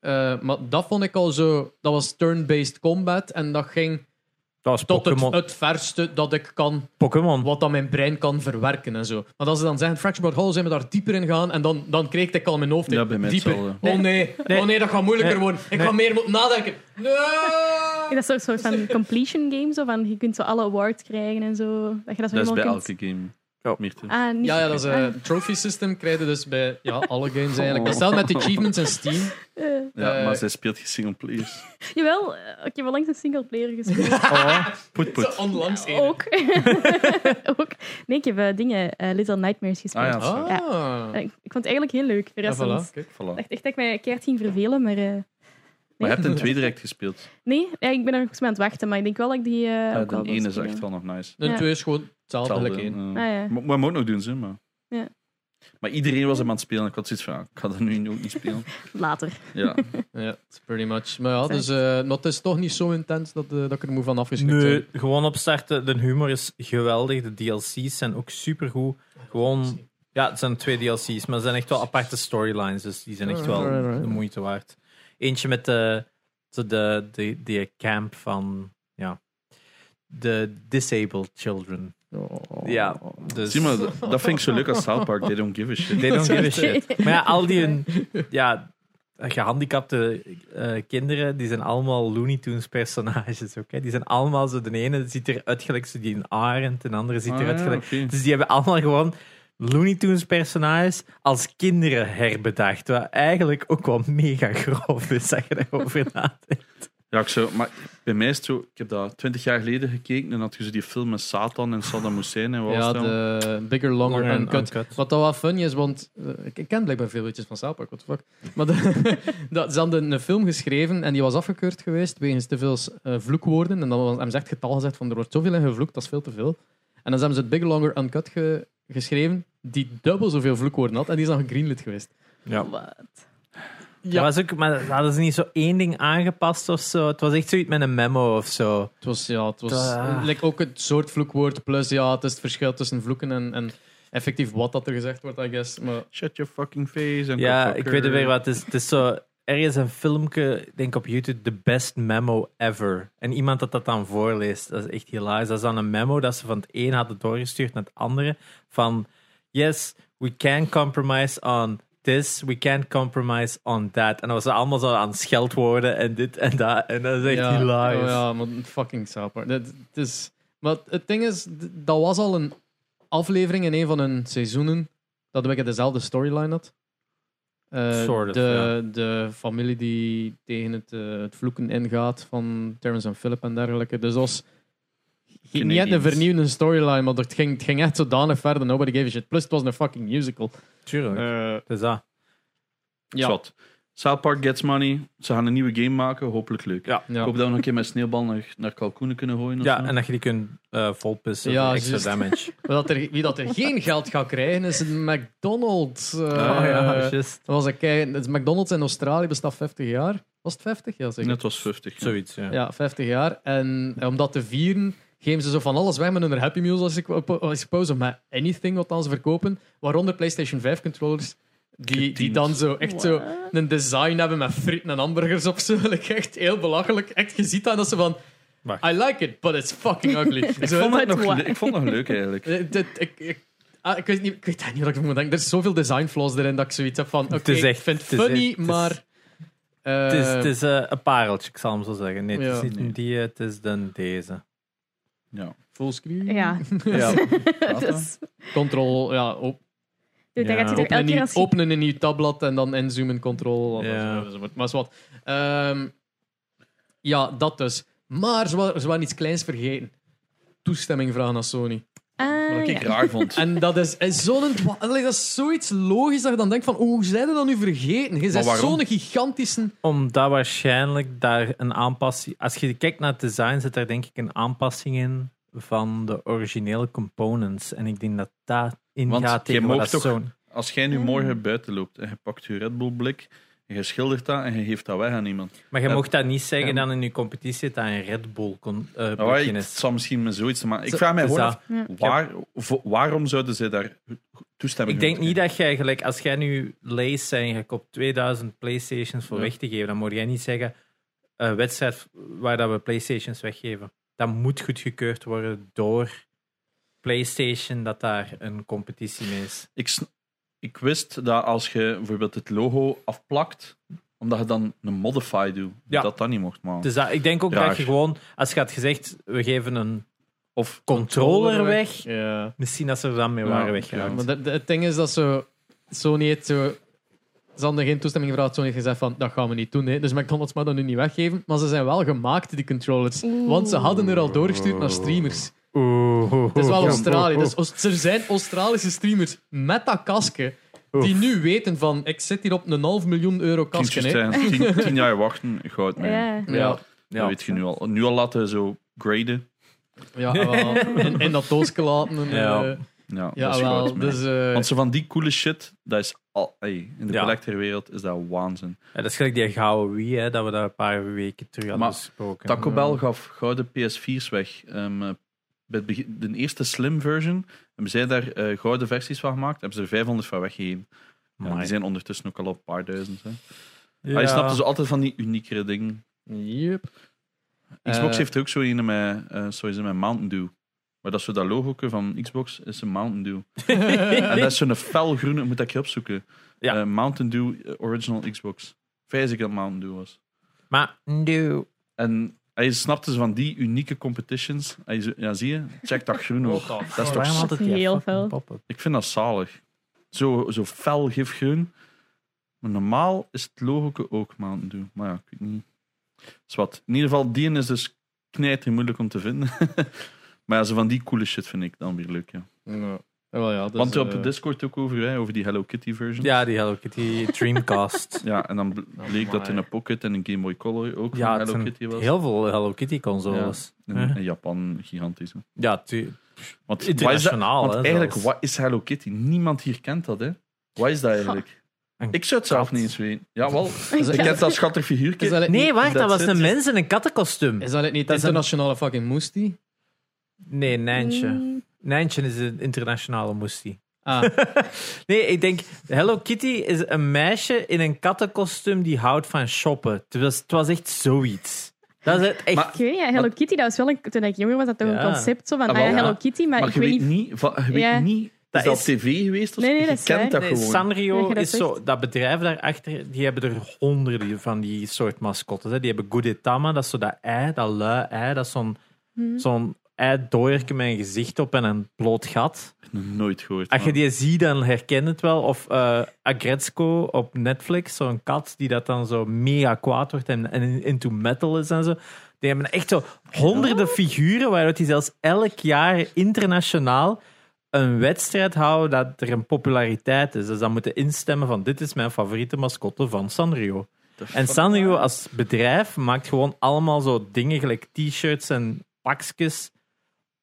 S2: Eh, maar dat vond ik al zo... Dat was turn-based combat en dat ging
S3: Dat was
S2: tot het,
S3: Pokémon.
S2: het verste dat ik kan
S3: Pokémon.
S2: wat dan mijn brein kan verwerken en zo. Maar als ze dan zeggen, Fracture Hall, zijn we daar dieper in gaan en dan, dan kreeg ik al in mijn hoofd.
S1: Ja, bij mij
S2: dieper.
S1: hetzelfde.
S2: Oh nee.
S3: Nee.
S2: oh nee, dat gaat moeilijker
S3: Nee.
S2: worden. Ik
S3: Nee.
S2: ga meer moeten nadenken.
S4: Ja,
S2: Nee!
S4: Dat is een soort van completion game, zo van je kunt zo alle awards krijgen en zo. Dat je dat zo
S1: Dat is bij
S4: helemaal
S1: elke game.
S3: Ja.
S1: Meer te-
S4: Ah, niet...
S2: Ja, ja, dat is
S4: Ah,
S2: een trophy system krijg je dus bij ja, alle games eigenlijk. Maar Stel met de achievements en
S1: [laughs]
S2: Steam.
S4: eh,
S1: Ja,
S2: Eh,
S1: maar zij speelt geen single players.
S4: jawel, eh, ik heb wel langs een
S3: [laughs]
S4: singleplayer gespeeld. Ah,
S3: Oh.
S1: Poet, poet.
S2: Zo onlangs één.
S4: Ook. [laughs] Ook. Nee, ik heb eh, dingen, eh, Little Nightmares gespeeld.
S1: Ah, ja.
S2: Ah.
S4: Eh, ik ik vond het eigenlijk heel leuk,
S2: Ja,
S4: verrassend.
S2: voilà. Kijk.
S1: Voilà.
S4: Ik dacht echt dat ik mij keert ging vervelen, maar... eh,
S1: Maar
S4: nee.
S1: je hebt
S4: [laughs]
S1: in twee direct gespeeld.
S4: Nee, ja, ik ben er volgens mij aan het wachten, maar ik denk wel dat ik die... eh,
S1: Ja,
S4: ook wel
S1: de
S4: wil
S1: ene is
S4: spelen.
S1: echt wel nog nice.
S2: Een
S4: Ja.
S2: twee is gewoon hetzelfde.
S1: Hetzelfde,
S2: gelijk één.
S1: eh,
S4: Ah, ja.
S1: Mo- Maar moet nog doen, ze. Maar.
S4: Ja.
S1: maar iedereen was hem aan het spelen. Ik had zoiets van, ah, ik ga dat nu ook niet spelen.
S4: Later.
S1: Ja.
S2: Ja, pretty much. Maar ja,
S4: Exact.
S2: dus, eh, dat is toch niet zo intens dat, eh, dat ik er moe van afgeschrikt
S3: Nee,
S2: ben.
S3: gewoon opstarten. De humor is geweldig. De DLC's zijn ook supergoed. Gewoon, ja, het zijn twee DLC's, maar het zijn echt wel aparte storylines. Dus die zijn echt wel
S2: Alright, alright.
S3: de moeite waard. Eentje met de, zo de, de, de camp van, ja, de disabled children. Ja, [laughs] dus...
S1: Zie maar, dat vind ik zo leuk als South Park. They don't give a shit.
S4: [laughs]
S3: They don't give a shit. Maar ja, al die... hun- Ja, gehandicapte eh, kinderen, die zijn allemaal Looney Tunes personages. oké? Die zijn allemaal zo, de ene ziet eruit gelijk zo die een arend, en de andere ziet
S1: Ah,
S3: eruit
S1: ja,
S3: gelijk...
S1: oké.
S3: Dus die hebben allemaal gewoon Looney Tunes personages als kinderen herbedacht. Wat eigenlijk ook wel mega grof is, als je daarover nadenkt.
S1: Ja, ik zou, maar bij mij is het zo, ik heb dat twintig jaar geleden gekeken en had je zo die film met Satan en Saddam Hussein en wat was
S2: Ja,
S1: dat?
S2: de Bigger, Longer,
S3: Longer
S2: Uncut.
S3: and Uncut.
S2: Wat dat wel funny is, want eh, ik, ik ken blijkbaar veel weetjes van South Park, what the fuck. Maar de, [laughs] dat, ze hadden een film geschreven en die was afgekeurd geweest wegens te veel eh, vloekwoorden. En dan was- hebben ze echt getal gezegd van er wordt zoveel in gevloekt, dat is veel te veel. En dan hebben ze het Bigger, Longer, Uncut ge- geschreven, die dubbel zoveel vloekwoorden had. En die is dan gegreenlit geweest.
S3: Ja.
S4: Wat?
S2: Ja.
S3: Dat was ook, maar hadden ze niet zo één ding aangepast of zo? Het was echt zoiets met een memo of zo.
S2: Het was, ja, het was
S3: Ah.
S2: like, ook het soort vloekwoord, plus ja, het is het verschil tussen vloeken en, en effectief wat dat er gezegd wordt, I guess. Maar
S1: Shut your fucking face. En
S3: Ja,
S1: cockfucker.
S3: ik weet er weer wat. Het is, het is zo. Er is een filmpje, ik denk op YouTube, The Best Memo Ever. En iemand dat dat dan voorleest, dat is echt hilarisch. Dat is dan een memo dat ze van het een hadden doorgestuurd naar het andere. Van, yes, we can compromise on this, we can't compromise on that. En dan was ze allemaal zo aan scheldwoorden en dit en dat. En dat is echt
S2: ja,
S3: hilarisch.
S2: oh ja, maar fucking South Park. Dat, het is, maar het ding is, d- dat was al een aflevering in een van hun seizoenen dat ik dezelfde storyline had. Eh,
S3: Sort of,
S2: de, de familie die tegen het, eh, het vloeken ingaat van Terrence en Philip en dergelijke. Dus dat was niet
S1: Canadians.
S2: net een vernieuwende storyline, maar het ging, het ging echt zodanig verder. Nobody gave a shit. Plus, het was een fucking musical.
S3: Tuurlijk.
S2: Eh,
S3: dat is dat.
S2: ja.
S1: Zwat. South Park gets money. Ze gaan een nieuwe game maken. Hopelijk leuk.
S3: Ja.
S1: Ik
S2: Ja.
S1: hoop dat we nog een keer met sneeuwbal naar, naar kalkoenen kunnen gooien. of
S3: Ja,
S1: zo.
S3: en dat je die kunt vol volpissen
S2: Ja,
S3: voor extra
S2: juist. [laughs]
S3: damage.
S2: Wie dat er, wie dat er geen geld gaat krijgen, is een McDonald's. eh,
S3: oh ja, juist.
S2: Dat was ik, kei- het McDonald's in Australië bestaat 50 jaar. Was het 50? Ja, zeker.
S1: Net was 50. ja.
S3: Zoiets, ja.
S2: Ja, 50 jaar. En om dat te vieren, geven ze zo van alles weg met hun Happy Meals, als ik als ik suppose, of met anything wat dan ze verkopen. Waaronder PlayStation 5 controllers, die, die
S1: Geteemd.
S2: dan zo echt zo een design hebben met frieten en hamburgers op zo. [laughs] Like, echt heel belachelijk. Echt, je ziet aan dat ze van...
S3: Wacht.
S2: I like it, but it's fucking ugly.
S1: Ik
S2: Zo,
S1: vond, het
S4: Wat
S1: nog,
S4: waar.
S1: le- ik vond het nog leuk
S2: [laughs]
S1: eigenlijk.
S2: eh, dit- ik, ik, ah, ik, weet niet, ik weet eigenlijk niet wat ik moet denken. Er is zoveel design flaws erin dat ik zoiets heb van... Oké,
S3: Het is
S2: ik
S3: echt-
S2: vind het
S3: het is
S2: funny,
S3: echt- het is-
S2: maar... eh,
S3: Het is, het is eh, een pareltje, ik zal hem zo zeggen. Nee, het
S2: Ja.
S3: is niet een die, het is dan deze.
S1: Ja.
S2: eh, Fullscreen.
S4: [laughs] Ja.
S3: [laughs] Ja.
S4: dus,
S2: Control, ja. op-
S4: dude,
S3: Ja.
S4: dan gaat hij
S2: openen,
S4: er elke
S2: een
S4: keer
S2: nieuw,
S4: als je-
S2: openen een nieuw tabblad en dan inzoomen, control.
S3: Ja.
S1: Eh,
S2: Ja. Maar is wat. Ehm, ja, dat dus. Maar ze waren, ze waren iets kleins vergeten. Toestemming vragen aan Sony.
S1: Wat
S4: Ah,
S1: ik
S4: ja.
S1: raar
S4: [laughs]
S1: vond.
S2: En dat is, is zo'n, dwa- allee, dat is zoiets logisch dat je dan denkt van, oh, hoe zijn ze dat nu vergeten? Je bent
S1: waarom?
S2: zo'n gigantische...
S3: Omdat waarschijnlijk daar een aanpassing... Als je kijkt naar het design, zit daar denk ik een aanpassing in van de originele components. En ik denk dat dat
S1: Want
S3: ingaat
S1: je
S3: tegen wat
S1: mag
S3: dat
S1: toch-
S3: zo'n...
S1: Als jij nu morgen buiten loopt en je pakt je Red Bull blik en je schildert dat en je geeft dat weg aan iemand.
S3: Maar je
S1: Ja.
S3: mocht dat niet zeggen
S1: Eh, Ja.
S3: dan in je competitie dat een Red Bull kon, eh,
S1: Nou,
S3: begin
S1: ik, het
S3: is.
S1: zal misschien met zoiets te maken. Ik
S3: Zo-
S1: vraag mij
S3: dus
S1: gewoon
S3: dat-
S1: af, waar, vo- waarom zouden zij daar toestemming
S3: Ik denk niet dat jij gelijk, als jij nu lees zijn, je koopt 2000 PlayStations voor
S1: Ja.
S3: weg te geven, dan moet jij niet zeggen: eh wedstrijd waar dat we PlayStations weggeven. Dat moet goedgekeurd worden door PlayStation, dat daar een competitie mee is.
S1: ik, sn- ik wist dat als je bijvoorbeeld het logo afplakt, omdat je dan een modify doet,
S3: Ja.
S1: dat dat niet mocht. Maar.
S3: Dus dat, ik denk ook
S1: Raar.
S3: dat je gewoon, als je had gezegd: we geven een
S1: of
S3: controller weg,
S2: Ja.
S3: misschien dat ze er dan mee
S1: Ja,
S3: waren
S1: ja.
S3: weggegaan.
S2: Maar dat- dat- het ding is dat zo, Sony heeft zo. Ze hadden geen toestemming gevraagd. Sony heeft gezegd van, dat gaan we niet doen. Hè. Dus McDonald's mag dat nu niet weggeven. Maar ze zijn wel gemaakt, die controllers. Want ze hadden er al doorgestuurd naar streamers. Het is wel Australië.
S1: Oh,
S2: Dus Aus- er zijn Australische streamers met dat kasken die nu weten van, ik zit hier op een half miljoen euro kasken.
S1: kindjes
S2: Hè.
S1: zijn. Tien,
S3: [laughs]
S1: tien jaar wachten, goud mee.
S4: Ja.
S2: Ja,
S1: Dat weet je nu al. Nu al laten zo graden.
S2: ja, wel. In, in dat doosje laten. En,
S3: Ja.
S2: eh,
S1: Ja,
S2: ja,
S1: dat is goud
S2: wel.
S1: mee.
S2: Dus, eh,
S1: Want zo van die coole shit, dat is al, ey, in de
S3: Ja.
S1: collectorwereld is dat waanzin.
S3: Ja, dat is gelijk die gouden Wii, hè, dat we daar een paar weken terug hadden
S1: Maar
S3: besproken.
S1: Taco Bell gaf gouden PS4's weg. Ehm, eh, bij het begin- de eerste slim version hebben zij daar eh, gouden versies van gemaakt. Hebben ze er 500 van weggegeven. Ja,
S3: Amai.
S1: die zijn ondertussen ook al op een paar duizend. Hè.
S3: Ja.
S1: Maar je snapt dus altijd van die uniekere dingen.
S2: yep.
S1: Xbox
S2: Eh,
S1: heeft er ook zo een met, eh sorry, ze met Mountain Dew. Maar dat is zo dat logo van Xbox, is een Mountain Dew.
S3: [laughs]
S1: en dat is zo'n felgroene, moet ik je opzoeken.
S3: Ja.
S1: Eh, Mountain Dew eh, Original Xbox. vrees ik dat Mountain Dew was.
S3: Maar, no.
S1: En hij snapte ze van die unieke competitions. Hij, zo- ja, zie je? Check dat groen ook.
S3: Dat
S1: toch
S3: Waarom altijd die
S4: heel
S3: fucking
S4: fel.
S3: pop-up?
S1: Ik vind dat zalig. Zo, zo fel gifgroen. Maar normaal is het logo ook Mountain Dew. Maar ja, ik weet niet. Is wat. In ieder geval, die is dus knijter moeilijk om te vinden. [laughs] maar ja, zo van die coole shit vind ik dan weer leuk, ja.
S2: Ja. Wel, ja, dus,
S1: Want op
S2: eh,
S1: Discord ook over, hè, over die Hello Kitty version.
S3: Ja, die Hello Kitty
S1: [laughs]
S3: Dreamcast.
S1: Ja, en dan bl-
S2: Oh
S1: bleek dat in
S2: my.
S1: een Pocket en een Game Boy Color ook
S3: ja,
S1: van
S3: het
S1: Hello
S3: zijn
S1: Kitty was.
S3: heel veel Hello Kitty consoles.
S1: In,
S3: Huh?
S1: in Japan gigantisch. hè.
S3: Ja, tu-
S1: Want, wat is dat-
S3: internationaal.
S1: want
S3: hè,
S1: eigenlijk,
S3: zelfs.
S1: wat is Hello Kitty? Niemand hier kent dat, hè? Wat is dat eigenlijk?
S3: Een
S1: Ik zou het zelf
S3: kat.
S1: niet eens weten.
S4: [laughs]
S1: Jawel,
S2: Is
S1: ik
S2: dat-
S1: ken dat schattig
S2: is
S1: figuurtje.
S2: dat niet-
S3: Nee, wacht, dat
S1: Dat
S3: was een
S1: zit-
S3: mens in een kattenkostuum.
S2: Is dat niet
S3: dat is een-
S2: internationale fucking moestie?
S3: Nee, Nijntje.
S4: Mm,
S3: Nijntje is een internationale moestie.
S2: Ah,
S3: [laughs] nee, ik denk Hello Kitty is een meisje in een kattenkostuum die houdt van shoppen. Het was, het was echt zoiets. Dat is het echt.
S1: Maar-
S4: Ik weet niet, Hello Kitty, dat was wel een, toen ik jonger was, dat toch
S3: Ja.
S4: een concept zo van
S1: Ah,
S4: ah, ja,
S1: wel,
S3: ja.
S4: Hello Kitty, maar,
S1: maar
S4: ik
S1: je
S4: weet
S1: weet
S4: niet.
S1: niet, va- je weet
S4: Ja.
S1: niet
S3: Dat
S1: is dat
S3: is-
S1: tv geweest? Of zo?
S4: Nee, nee,
S1: je
S4: dat is
S1: kent
S4: waar.
S1: dat
S3: Nee,
S1: gewoon.
S4: Nee,
S3: Sanrio
S4: dat
S3: is zo.
S4: zegt.
S3: Dat bedrijf daarachter, die hebben er honderden van die soort mascottes. Hè. Die hebben Gudetama, dat is zo dat ei, dat lui ei. Dat is zo'n
S4: Hm.
S3: zo'n eidooierke met een gezicht op en een bloot gat.
S1: Nog Nooit gehoord.
S3: Als je
S1: man.
S3: die ziet, dan herken je het wel. Of eh Agretzko op Netflix, zo'n kat die dat dan zo mega kwaad wordt en, en into metal is en zo. Die hebben echt zo honderden figuren, waaruit die zelfs elk jaar internationaal een wedstrijd houden dat er een populariteit is. Dus dan moeten instemmen van dit is mijn favoriete mascotte van Sanrio. En Sanrio als bedrijf maakt gewoon allemaal zo dingen gelijk t-shirts en pakjes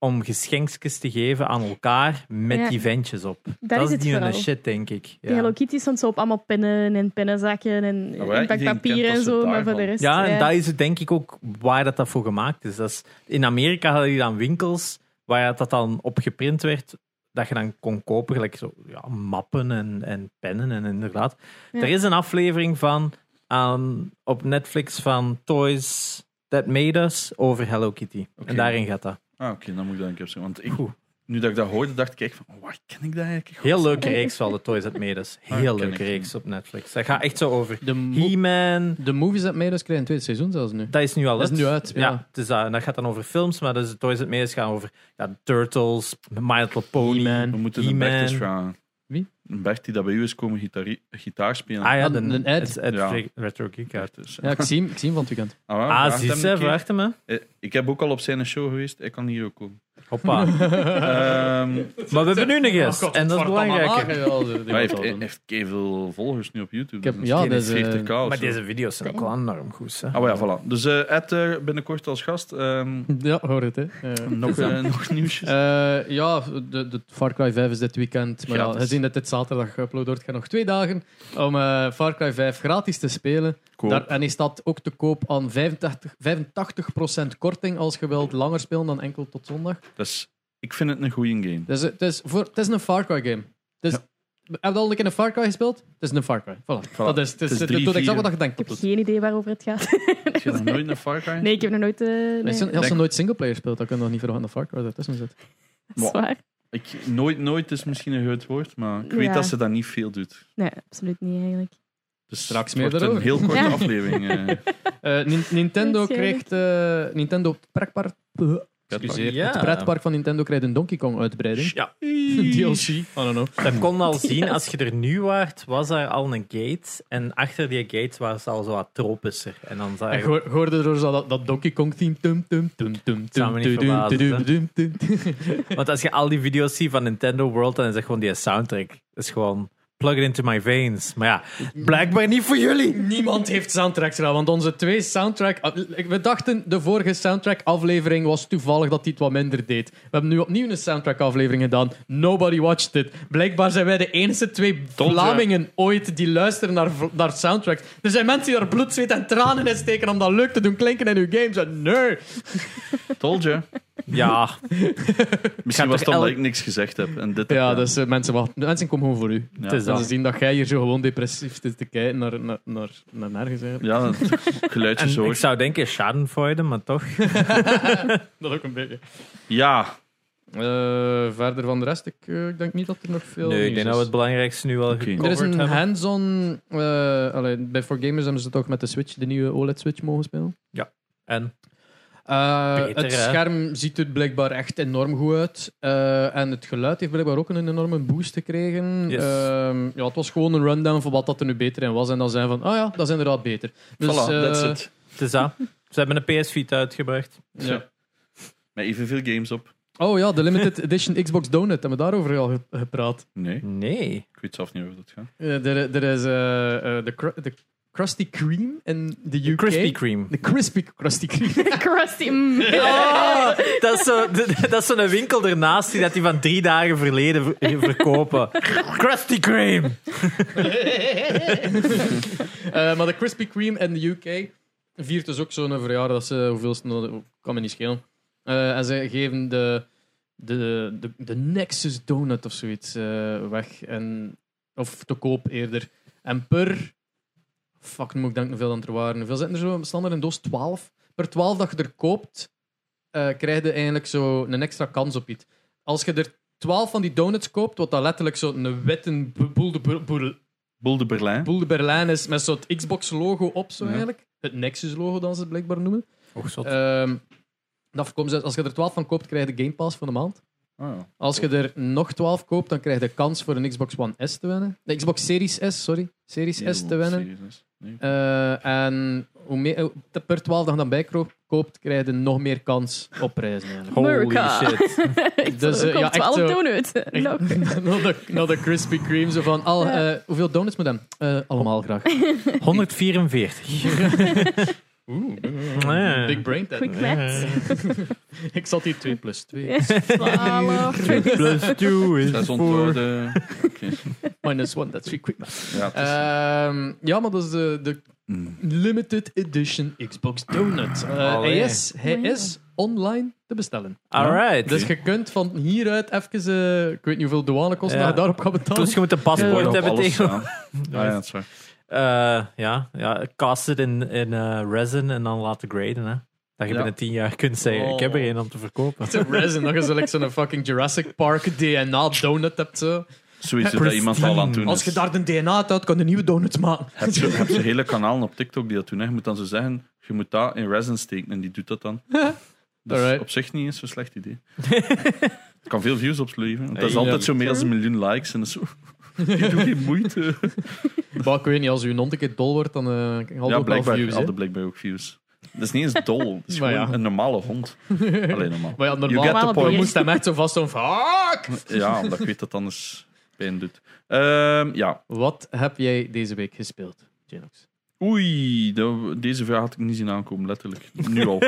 S3: om geschenkjes te geven aan elkaar met
S4: Ja.
S3: die ventjes op. Dat,
S4: is
S3: is
S4: het
S3: die een
S4: vooral.
S3: shit, denk ik.
S4: Die
S3: Ja,
S4: Hello Kitty stond zo op allemaal pinnen en pinnenzakken en
S1: ja, iedereen kent
S4: inpakpapier
S1: dat
S4: en
S1: ze
S4: zo, maar voor
S1: daarvan.
S4: de rest...
S3: ja en
S4: eh,
S3: dat is het denk ik ook waar dat, dat voor gemaakt is. Dat is. In Amerika hadden die dan winkels waar dat, dat dan op geprint werd, dat je dan kon kopen, gelijk zo, ja, mappen en, en pennen en inderdaad.
S4: Ja.
S3: Er is een aflevering van aan, op Netflix van Toys That Made Us over Hello Kitty.
S1: Oké.
S3: En daarin gaat dat.
S1: Ah, oké, dan moet ik dat een keer opzoeken. Want ik,
S3: Goed.
S1: nu dat ik dat hoorde, dacht ik echt van, oh, waar ken ik dat eigenlijk?
S3: Heel leuke reeks wel, de Toys That Made Us.
S1: Ah,
S3: Heel
S1: ken
S3: leuke
S1: ik.
S3: reeks op Netflix. Dat gaat echt zo over
S2: de, mo-
S3: He-Man.
S2: de movies dat mij dus krijgen een tweede seizoen zelfs nu.
S3: Dat is nu al
S2: Dat is nu uit, ja.
S3: het is dat. En dat gaat dan over films, maar dus de Toys That Made Us gaan over ja, Turtles, My Little Pony.
S2: He-Man.
S1: We moeten een
S3: He-Man.
S1: Bertjes gaan.
S2: Wie?
S1: Een Bert die dat bij u is komen gitarie- gitaar spelen.
S3: Ah ja,
S2: Ah,
S3: de,
S2: de
S3: Ed.
S2: Ed.
S3: het is Ed
S1: Ja.
S3: Retro Geek uit.
S1: Dus,
S2: Ja, ik zie, hem, ik zie hem van het weekend.
S1: Ah, wel,
S3: Ah,
S1: vraagt hem
S3: zie
S1: een
S3: je,
S1: keer.
S3: vraagt hem, hè.
S1: Eh, Ik heb ook al op zijn show geweest. Ik kan hier ook komen. [laughs]
S3: Hoppa. maar
S1: Ehm,
S3: we hebben nu een
S1: Oh,
S3: gast, en dat is belangrijker.
S1: hij heeft, hij heeft veel volgers nu op YouTube.
S2: Ik heb-
S1: dus
S2: ja,
S1: misschien
S2: dat is, eh,
S1: 40k of
S3: Maar
S1: zo.
S3: deze video's zijn ook wel enorm goed, hè.
S1: Ah, maar ja, voilà. Dus eh Ed eh, binnenkort als gast. ehm,
S2: Ja, hoor het, hè. Eh,
S1: nog,
S2: dus,
S1: eh,
S2: [laughs]
S1: nog nieuwsjes.
S2: eh, ja, de, de Far Cry 5 is dit weekend. Maar ja,
S1: Gratis.
S2: gezien dat dit zaterdag geüpload wordt, gaan nog twee dagen om eh, Far Cry 5 gratis te spelen.
S1: Cool.
S2: Daar, en is dat ook te koop aan 85, 85% korting als je wilt langer spelen dan enkel tot zondag.
S1: Dus, ik vind het een goede game.
S2: Dus het is, voor, het is een Far Cry game. Dus, Heb je al een keer een Far Cry gespeeld? Het is een Far Cry. Voilà. Dat is, het
S1: Het
S2: is,
S1: is
S2: het
S1: drie,
S2: doet exact
S1: vier.
S2: wat je denkt dat
S4: Ik heb
S2: het
S4: geen idee waarover het gaat.
S1: Heb je nog nooit een Far Cry?
S4: [laughs] Nee, ik heb nog nooit... eh nee,
S2: Maar Als
S4: [laughs]
S2: je,
S4: dat
S2: als je
S1: Denk-
S2: nooit singleplayer speelt, dan kun je nog niet verwachten dat Far Cry ertussen
S3: [laughs]
S2: zit.
S4: is waar.
S1: Ik, nooit, nooit is misschien een groot woord, maar ik weet
S4: Ja.
S1: dat ze dat niet veel doet.
S4: Nee, absoluut niet eigenlijk.
S1: Dus
S2: Straks
S1: het
S2: meer
S1: wordt een
S2: daarover.
S1: heel korte
S4: Ja.
S1: aflevering. eh.
S2: Eh, Nin- Nintendo
S4: Dat is eerlijk.
S2: kreeg eh, Nintendo pretpark. Excuseer.
S3: Ja.
S2: Het pretpark van Nintendo krijgt een Donkey Kong uitbreiding. [laughs]
S3: Ja,
S1: eh.
S2: DLC. I don't know.
S3: dat kon al zien. Als je er nu waart, was daar al een gate. En achter die gate was al zo wat tropischer. En dan zag
S2: En
S3: je...
S2: gehoor- hoorde er zo dat, dat Donkey Kong team. Tum, tum, tum, tum, tum,
S3: Zou me niet
S2: tum, tum,
S3: verbazen,
S2: tum,
S3: hè.
S2: tum, tum, tum.
S3: Want als je al die video's ziet van Nintendo World, dan is dat gewoon die soundtrack. Dat is gewoon... Plug it into my veins. Maar ja, blijkbaar niet voor jullie.
S2: Niemand heeft soundtracks gedaan, want onze twee soundtrack... Ah, We dachten, de vorige soundtrack-aflevering was toevallig dat die het wat minder deed. We hebben nu opnieuw een soundtrack-aflevering gedaan. Nobody watched it. Blijkbaar zijn wij de enige twee
S1: Tom,
S2: Vlamingen ooit die luisteren naar, v- naar soundtracks. Er zijn mensen die daar bloed, zweet en tranen in steken om dat leuk te doen klinken in hun games. En nee!
S1: Told you.
S3: Ja,
S1: Misschien
S3: Gaat
S1: was
S3: toch
S1: het omdat
S3: elk-
S1: ik niks gezegd heb. En dit heb
S2: Ja,
S1: ik-
S2: dus eh, mensen, wachten. mensen komen gewoon voor u.
S1: Ja.
S3: het is
S2: En
S3: dat.
S2: ze zien dat jij hier zo gewoon depressief zit te kijken naar, naar, naar, naar nergens [laughs] eigenlijk.
S1: Ja, dat geluidjes
S3: En ik
S1: hoor.
S3: zou denken Schadenfreude, maar toch.
S2: Dat ook een beetje.
S1: Ja,
S2: Eh, verder van de rest, ik, eh, ik denk niet dat er nog veel.
S3: nee, ik
S2: nieuws
S3: denk dat
S2: is.
S3: we het belangrijkste nu wel
S1: Oké. Er is
S2: Er is
S3: gecoverd
S2: een
S3: hebben.
S2: hands-on. eh, allee, bij 4Gamers hebben ze toch met de Switch, de nieuwe OLED-Switch, mogen spelen.
S3: En
S2: Eh,
S3: Beter,
S2: het
S3: hè?
S2: scherm ziet er blijkbaar echt enorm goed uit. Eh, en het geluid heeft blijkbaar ook een enorme boost gekregen.
S3: Yes.
S2: Ehm, ja, het was gewoon een rundown van wat dat er nu beter in was. En dan zijn van, ah ja, dat is inderdaad beter. Dus,
S1: voilà,
S2: eh,
S1: that's it.
S3: het is dat. Ze hebben een PS Vita uitgebracht.
S2: ja.
S1: Met evenveel games op.
S2: Oh ja, de Limited [laughs] Edition Xbox Donut. Hebben we daarover al ge- gepraat?
S1: Nee,
S3: Nee.
S1: ik weet zelf niet over dat gaat.
S2: Eh, er, er is eh, eh, de, cru- de Krusty Kreme in de UK.
S3: Krispy Kreme.
S2: De Crispy Krusty Kreme.
S4: [laughs] Krusty. [laughs]
S3: [laughs]
S4: mm.
S3: Oh, dat is zo- d- dat is zo'n winkel ernaast die dat die van drie dagen verleden ver- eh, verkopen. Krusty Kreme.
S2: Eh, maar de Krispy Kreme in de UK viert dus ook zo'n verjaardag. Dat ze hoeveelste, nou, kan me niet schelen. Eh, en ze geven de, de, de, de Nexus Donut of zoiets eh, weg. En, of te koop eerder. En per. Fuck, nu moet ik denken hoeveel dan er waren. Hoeveel zitten er zo? Standaard in doos 12. Per 12 dat je er koopt, eh, krijg je eigenlijk zo een extra kans op iets. Als je er 12 van die donuts koopt, wat dat letterlijk zo'n witte boel de boel- boel-
S1: Boel de Berlijn.
S2: Boel de Berlijn is met zo'n Xbox-logo op, zo
S1: Ja.
S2: eigenlijk. Het Nexus-logo, dan ze het blijkbaar noemen.
S3: Och, zot.
S2: Ehm, dat voorkomt ze- als je er 12 van koopt, krijg je de Game Pass van de maand.
S1: Oh, ja.
S2: Als je er nog 12 koopt, dan krijg je de kans voor een Xbox One S te winnen. De Xbox Series S, sorry. Series S te winnen.
S1: Series S. Nee.
S2: Eh, en hoe meer, eh, te- per 12 dat je dan bij kro- koopt, krijg je nog meer kans op prijzen. Eigenlijk.
S4: America.
S3: Holy shit. [laughs]
S4: Ik
S2: Dus,
S4: dus,
S2: eh, ja, echt
S4: alle
S2: zo-
S4: donuts. Leuk.
S2: [laughs] Naar de- Naar de Krispy Kreme, zo van, al,
S4: Ja.
S2: eh, hoeveel donuts moet hem? Eh, allemaal graag.
S3: 144. Ja.
S2: Big brain then.
S4: Quick maths.
S2: [laughs] Ik zat hier 2 plus 2.
S4: 12.
S3: Plus 2
S1: Dat is
S3: is voor...
S1: ontwoorden. Oké.
S2: Minus one, that's three quick.
S1: Ja, het is-
S2: Eh, Ehm, ja, maar dat is de, de
S1: Mm.
S2: limited edition Xbox Donut. Eh, hij
S3: Allee.
S2: is, hij
S4: Wauw.
S2: is online te bestellen.
S3: Alright.
S2: Dus je kunt van hieruit even, eh, ik weet niet hoeveel douanekosten
S3: Ja.
S2: dat je daarop gaat betalen. [laughs]
S3: Dus je moet een paspoort
S1: Woorden op
S3: hebben
S1: alles
S3: tegen...
S1: staan. Ah, ja, dat is waar.
S3: Eh, ja, ja, cast het in, in eh, resin en dan laten graden. Hè. Dat
S1: Ja.
S3: je
S1: Oh.
S3: binnen tien jaar kunt zeggen, ik heb er één om te verkopen.
S2: Het is een resin, dat je zo like zo'n fucking Jurassic Park DNA donut hebt. zo.
S1: Zoiets dat iemand al aan het doen is.
S2: Als je daar de DNA uit houdt, kan je nieuwe donuts maken.
S1: Heb je hebt zo'n hele kanaal op TikTok die dat doen. Hè. Je moet dan zo zeggen, je moet dat in resin steken en die doet dat dan. Dat is
S2: Alright.
S1: op zich niet eens zo'n slecht idee. Het kan veel views opsleuven. want Dat is
S3: Hey,
S1: altijd
S3: ja.
S1: zo meer dan een miljoen likes. En dat is zo... [laughs] Ik doe geen moeite.
S2: [laughs] Maar ik weet niet, als je hond een keer dol wordt, dan eh haal je
S1: Ja,
S2: ook wel
S1: blijkbaar
S2: views. hè.
S1: hadden blijkbaar ook views. Dat is niet eens dol. Dat is
S2: [laughs] Maar
S1: gewoon
S2: ja.
S1: een normale hond. Alleen normaal.
S2: [laughs] Maar ja,
S1: You get
S2: normaal
S1: the
S4: Normale
S1: point.
S4: beer.
S2: moest hem echt zo vast zo'n fuck.
S1: Ja, omdat ik weet dat het anders pijn doet. Ehm, ja.
S2: Wat heb jij deze week gespeeld, Genox?
S1: Oei, de- deze vraag had ik niet zien aankomen, letterlijk. Nu
S2: [laughs]
S1: al.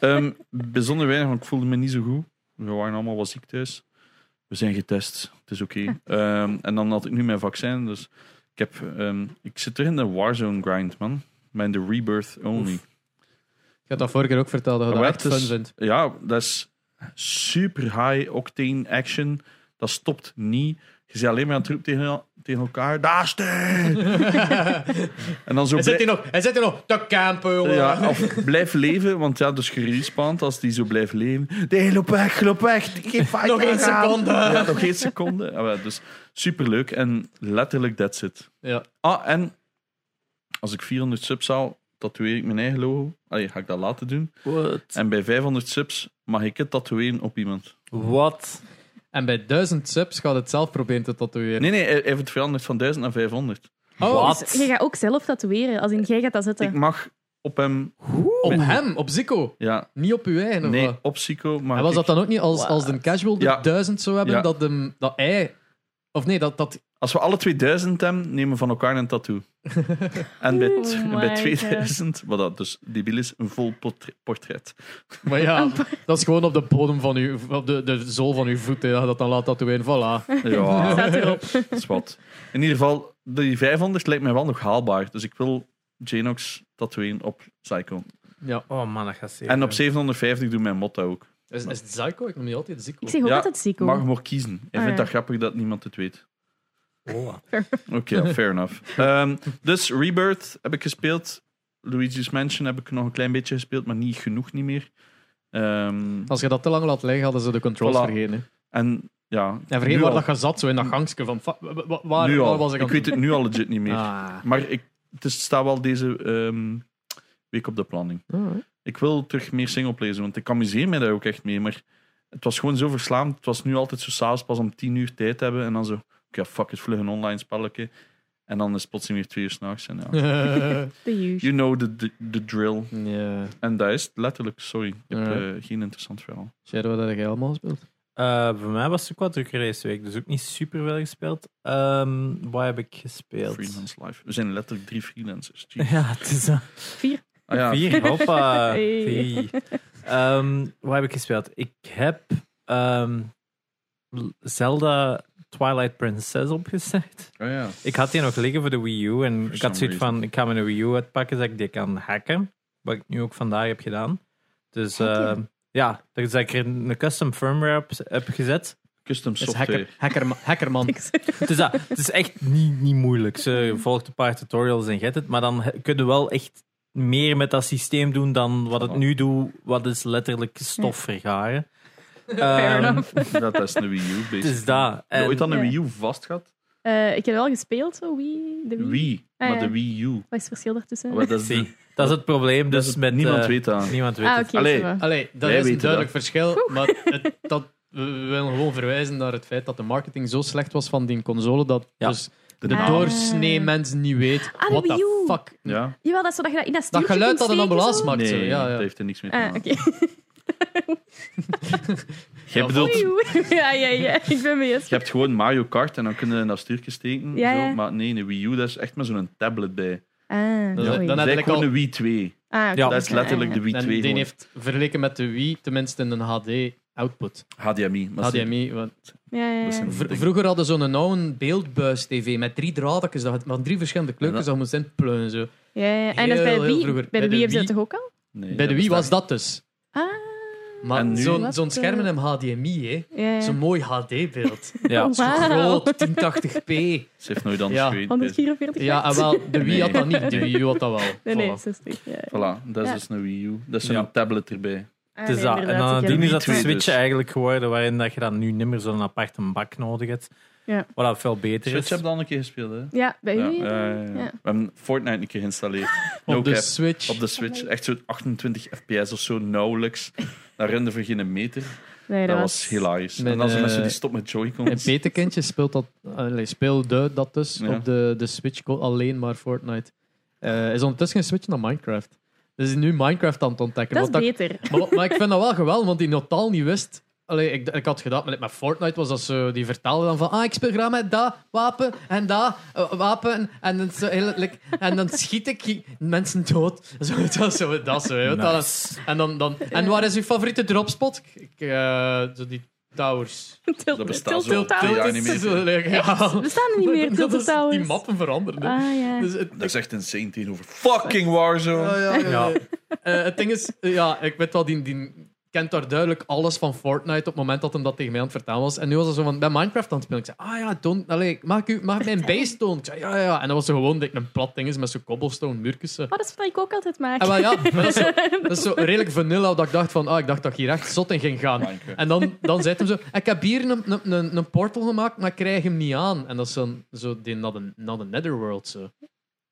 S1: Ehm, bijzonder weinig, want ik voelde me niet zo goed. We waren allemaal wel ziek thuis. We zijn getest, het is oké.
S2: [laughs]
S1: Ehm, en dan had ik nu mijn vaccin, dus ik, heb, ehm, ik zit terug in de Warzone grind, man. Maar in de Rebirth only.
S2: Ik had dat vorige keer ook verteld, dat je
S1: Maar
S2: dat
S1: wel,
S2: echt
S1: het
S2: fun
S1: is-
S2: vindt.
S1: dus Ja, dat is super high octane action. Dat stopt niet. Je ziet alleen maar een troep tegen, el- tegen elkaar. Daar staan!
S2: [laughs]
S1: en dan zo blij-
S2: Hij zit hier nog, hij zit hier nog te campen, jongen.
S1: ja, of blijf leven, want ja, dus je respawnt als die zo blijft leven. Nee, loop weg, loop weg. Geen fight
S2: Nog één
S1: aangaan.
S2: seconde.
S1: Ja, nog één seconde. Ah, wel, dus superleuk en letterlijk that's it.
S2: Ja.
S1: Ah, en als ik 400 subs haal, tatoeëer ik mijn eigen logo. Allee, ga ik dat laten doen.
S3: Wat?
S1: En bij 500 subs mag ik het tatoeëren op iemand.
S3: Wat?
S2: En bij 1000 subs gaat het zelf proberen te tatoeëren.
S1: Nee, nee, hij hij heeft het veranderd van 1000 naar 500.
S2: oh,
S3: Wat?
S4: Dus jij gaat ook zelf tatoeëren, als in jij gaat dat
S1: Ik
S4: zetten.
S1: mag op hem...
S2: op hem, op Zico.
S1: Ja,
S2: Niet op uw eigen, of
S1: nee,
S2: wat?
S1: op Psycho
S2: En
S1: maar
S2: was dat dan ook niet als, als de casual de
S1: Ja.
S2: 1000 zou hebben,
S1: Ja.
S2: dat, hem, dat hij... Of nee, dat... dat
S1: Als we alle 2000 hebben, nemen we van elkaar een
S2: [laughs]
S1: tattoo. en bij, t-
S4: Oh my
S1: bij 2000, wat dat dus debiel is, een vol portre-
S4: [laughs]
S1: portret.
S2: maar ja, dat is gewoon op de bodem van uw... Op de, de zool van uw voet, hè, dat je dat dan laat tatoeëren. Voilà.
S1: Ja,
S4: Staat erop.
S1: dat is wat. In ieder geval, die 500 lijkt mij wel nog haalbaar. Dus ik wil Janox tatoeëren op Psycho.
S2: Ja.
S3: Oh man, dat gaat zeker.
S1: En op 750 doe mijn motto ook.
S2: Is, is het Zico? Ik noem die altijd Zico.
S4: Ik zeg ook
S1: Ja,
S4: altijd ziek,
S1: Mag
S4: hoor.
S1: hem ook kiezen. Hij
S4: Ah,
S1: vindt
S4: ja.
S1: dat grappig dat niemand het weet.
S3: Oh.
S1: Oké, ja, fair enough. Ehm, dus Rebirth heb ik gespeeld. Luigi's Mansion heb ik nog een klein beetje gespeeld, maar niet genoeg niet meer. Ehm,
S2: Als je dat te lang laat liggen, hadden ze de controls
S1: Voilà.
S2: vergeten. hè.
S1: en ja,
S2: En vergeet
S1: nu
S2: waar
S1: al-
S2: dat je zat, zo in dat gangstje van... fa- wa- wa- Waar,
S1: nu
S2: waar
S1: al.
S2: was ik
S1: Ik,
S2: aan
S1: weet het nu al legit niet meer. [laughs]
S2: Ah.
S1: Maar ik, het is, staat wel deze ehm, week op de planning. Ik wil terug meer singleplay doen, want ik amuseer me daar ook echt mee. Maar het was gewoon zo verslaand. Het was nu altijd zo s'avonds pas om tien uur tijd hebben. En dan zo, oké, fuck it, vlug een online spelletje. En dan is het plotseling weer twee uur s'nachts. En ja,
S4: The usual. [laughs]
S1: you know the, the, the drill.
S2: ja.
S1: En dat is het letterlijk, sorry. Ik heb
S2: Ja.
S1: eh, geen interessant verhaal.
S2: Shadow, dat jij allemaal speelt.
S3: Eh, voor mij was het ook wat drukker deze week, dus ook niet super veel gespeeld. Ehm wat heb ik gespeeld?
S1: Freelance life. We zijn letterlijk drie freelancers. Jeez.
S3: [laughs] Ja, het is dat.
S4: Vier.
S1: Ah, ja.
S3: Vier,
S1: [laughs]
S3: hoppa.
S4: Hey.
S3: Vier. Ehm, wat heb ik gespeeld? Ik heb ehm, Zelda Twilight Princess opgezet.
S1: Ah, ja.
S3: Ik had die nog liggen voor de Wii U. En
S1: For
S3: ik had
S1: some
S3: zoiets van, ik ga mijn Wii U uitpakken zodat ik die kan hacken. Wat ik nu ook vandaag heb gedaan. Dus
S4: Hacken?
S3: ehm, ja, dus dat ik er een custom firmware op heb gezet.
S1: Custom
S2: Dat is
S1: software.
S2: hacker, hackerma- hackerman.
S3: Dus dat, het is echt niet, niet moeilijk. Ze volgt een paar tutorials en get het. Maar dan he- kun je wel echt meer met dat systeem doen dan wat het
S1: Oh.
S3: nu doet. Wat is letterlijk stof vergaren.
S4: [laughs] Fair
S3: Ehm,
S4: enough.
S1: [laughs] Dat is een Wii U.
S3: [laughs] Het
S1: basically.
S3: is dat.
S1: Heb je ooit
S3: En,
S1: aan een
S4: Ja.
S1: Wii U vast gehad?
S4: Eh, ik heb wel gespeeld, zo. Wii. De Wii.
S1: Wii,
S4: Ah,
S1: maar
S4: ja.
S1: de Wii
S4: [laughs]
S1: U.
S4: Wat is het verschil daartussen?
S1: Maar dat is
S3: zie,
S1: de-
S3: dat is het probleem. Dus met,
S1: niemand
S3: eh,
S1: weet dat.
S3: Niemand weet
S4: ah,
S3: het.
S4: oké.
S1: Allee.
S4: zo.
S2: Allee, dat
S1: Wij
S2: is een
S1: weten
S2: duidelijk verschil, maar het, dat, we willen gewoon verwijzen naar het feit dat de marketing zo slecht was van die console, dat
S3: Ja.
S2: dus
S1: de
S2: de
S1: naam.
S2: doorsnee mens niet weet
S4: Ah, de
S2: wat
S4: Wii
S2: de
S4: U.
S2: fuck...
S1: Ja.
S4: Jawel, dat is zodat je dat in dat
S2: Dat
S4: stuurtje
S2: geluid dat
S4: kunt
S2: een
S4: steken,
S2: ambulance
S4: zo.
S2: maakt.
S1: Nee,
S2: zo. Ja,
S1: dat
S2: ja.
S1: heeft er niks mee te
S4: Ah,
S1: maken.
S4: oké.
S1: Jij bedoelt,
S4: Oei,
S1: je
S4: oei. [laughs] Ja, ja, ja. Ik ben mee eens.
S1: hebt gewoon Mario Kart en dan kunnen we in dat stuurtje steken.
S4: Ja,
S1: zo.
S4: ja.
S1: Maar nee, een Wii U, dat is echt met zo'n tablet bij.
S4: Ah,
S2: Dat is-
S1: Dat is
S2: dan
S4: oei.
S2: heb ik
S1: eigenlijk gewoon
S2: al-
S1: een Wii 2.
S4: Ah, oké.
S3: Ja.
S1: Dat is letterlijk de Wii
S2: En
S1: 2.
S2: die
S1: gewoon.
S2: heeft vergeleken met de Wii, tenminste een HD-output.
S1: HDMI. maar ze-
S2: HDMI. want
S4: Ja, ja,
S1: Dat
S4: ja.
S1: zijn-
S2: vr- vroeger hadden ze zo'n oude beeldbuis-tv met drie draadjes, dat het- van drie verschillende kleuren,
S1: Ja.
S2: dat moest inpleunen. Zo.
S4: ja, ja. En dat
S2: Heel,
S4: is bij de
S2: heel
S4: Wii.
S2: vroeger.
S4: Bij de Wii hebben ze dat
S2: Wii-
S4: toch ook al?
S1: Nee,
S2: Bij de Wii was
S1: bestaat
S2: dat dus.
S4: Ah.
S2: Maar
S1: En nu-
S2: zo'n
S4: Wat,
S2: zo'n scherm in
S4: eh,
S2: een HDMI, hè.
S4: Ja, ja. [laughs]
S2: Zo'n mooi HD-beeld.
S3: Ja.
S4: Oh,
S2: Zo
S4: wauw.
S2: groot, 1080p.
S1: niet. Ze heeft nooit anders
S2: Ja.
S1: geweten. Dus-
S4: 144 [laughs]
S2: Ja, en
S4: hertz.
S2: wel, de Wii had dat niet, de
S1: Nee.
S2: Wii U had dat wel.
S4: [laughs] Nee, nee,
S2: Voilà.
S4: 60. Ja.
S1: Voilà, dat is
S4: Ja.
S1: dus een Wii U. Dat is zo'n
S3: Ja.
S1: tablet erbij.
S4: Ah,
S3: Het is
S4: nee,
S3: dat. En
S4: inderdaad,
S3: dan
S4: ik
S3: die
S4: heb-
S1: Wii
S3: is dat de
S1: twee
S3: Switch
S1: dus.
S3: eigenlijk geworden, waarin dat je dan nu niet meer zo'n aparte bak nodig hebt.
S4: Ja.
S3: Wat dat veel beter
S1: Switch
S3: is.
S1: heb je al een keer gespeeld, hè?
S4: Ja, bij
S1: Ja,
S4: u.
S1: ja, ja, ja.
S4: Ja.
S1: We hebben Fortnite een keer geïnstalleerd. No
S2: Op de
S1: cap.
S2: Switch.
S1: Op de Switch, echt zo'n 28 fps of zo, nauwelijks. Daar rende voor geen meter.
S4: Nee,
S1: dat was hilarisch.
S2: Mijn,
S1: en dan zijn
S2: eh,
S1: mensen die stop met
S2: En
S1: Joy-Cons.
S2: Peterkindje speelt dat, allee, speelde dat dus
S1: Ja.
S2: op de, de Switch co- alleen maar Fortnite. Eh, is ondertussen geswitcht naar Minecraft. Dus is nu Minecraft aan het ontdekken.
S4: Dat is
S2: wat dat-
S4: [laughs] beter.
S2: maar, wat- maar ik vind dat wel geweldig, want die totaal niet wist. Allee, ik, ik had gedaan, met, met Fortnite was dat zo, die vertaalde dan van, ah, ik speel graag met dat wapen en dat eh, wapen en dan, zo, heel- like, en dan schiet ik i- mensen dood. Zo, [laughs] dat zo, dat zo. hè. Dat is-
S3: Nice.
S2: en, dan, dan, en waar is uw favoriete dropspot? Ik, eh, zo die towers.
S1: Dat bestaat zo
S4: Tilted
S1: al twee
S4: Towers.
S1: jaar niet meer.
S2: Ja.
S4: We staan er
S2: [laughs]
S4: niet meer,
S2: Dat
S4: Tilted
S2: is-
S4: Towers.
S2: Die mappen veranderen. hè.
S4: Ah, ja.
S2: Dus het,
S1: Dat is echt insane tegenover fucking Warzone.
S2: ja, ja, ja,
S3: Ja.
S2: Eh, het ding is, eh, ja, ik weet wel, die, die kent daar duidelijk alles van Fortnite op het moment dat hem dat tegen mij aan het vertellen was. En nu was hij zo van, bij Minecraft aan het spelen. Ik zei, ah ja, don't, allee, mag, ik u, mag ik mijn base tonen? Ik zei, ja, ja, ja. En dat was zo gewoon dat ik een plat ding is met zo'n cobblestone muurkussen.
S4: Oh, dat is wat ik ook altijd maak.
S2: En wel, ja, Ah, maar dat, is zo, dat is zo redelijk vanilla dat ik dacht van, ah, ik dacht dat ik hier echt zot in ging gaan.
S1: Minecraft.
S2: En dan, dan zei hij zo, ik heb hier een, een, een, een portal gemaakt, maar ik krijg hem niet aan. En dat is dan zo die naar de, naar de netherworld zo.
S4: [laughs]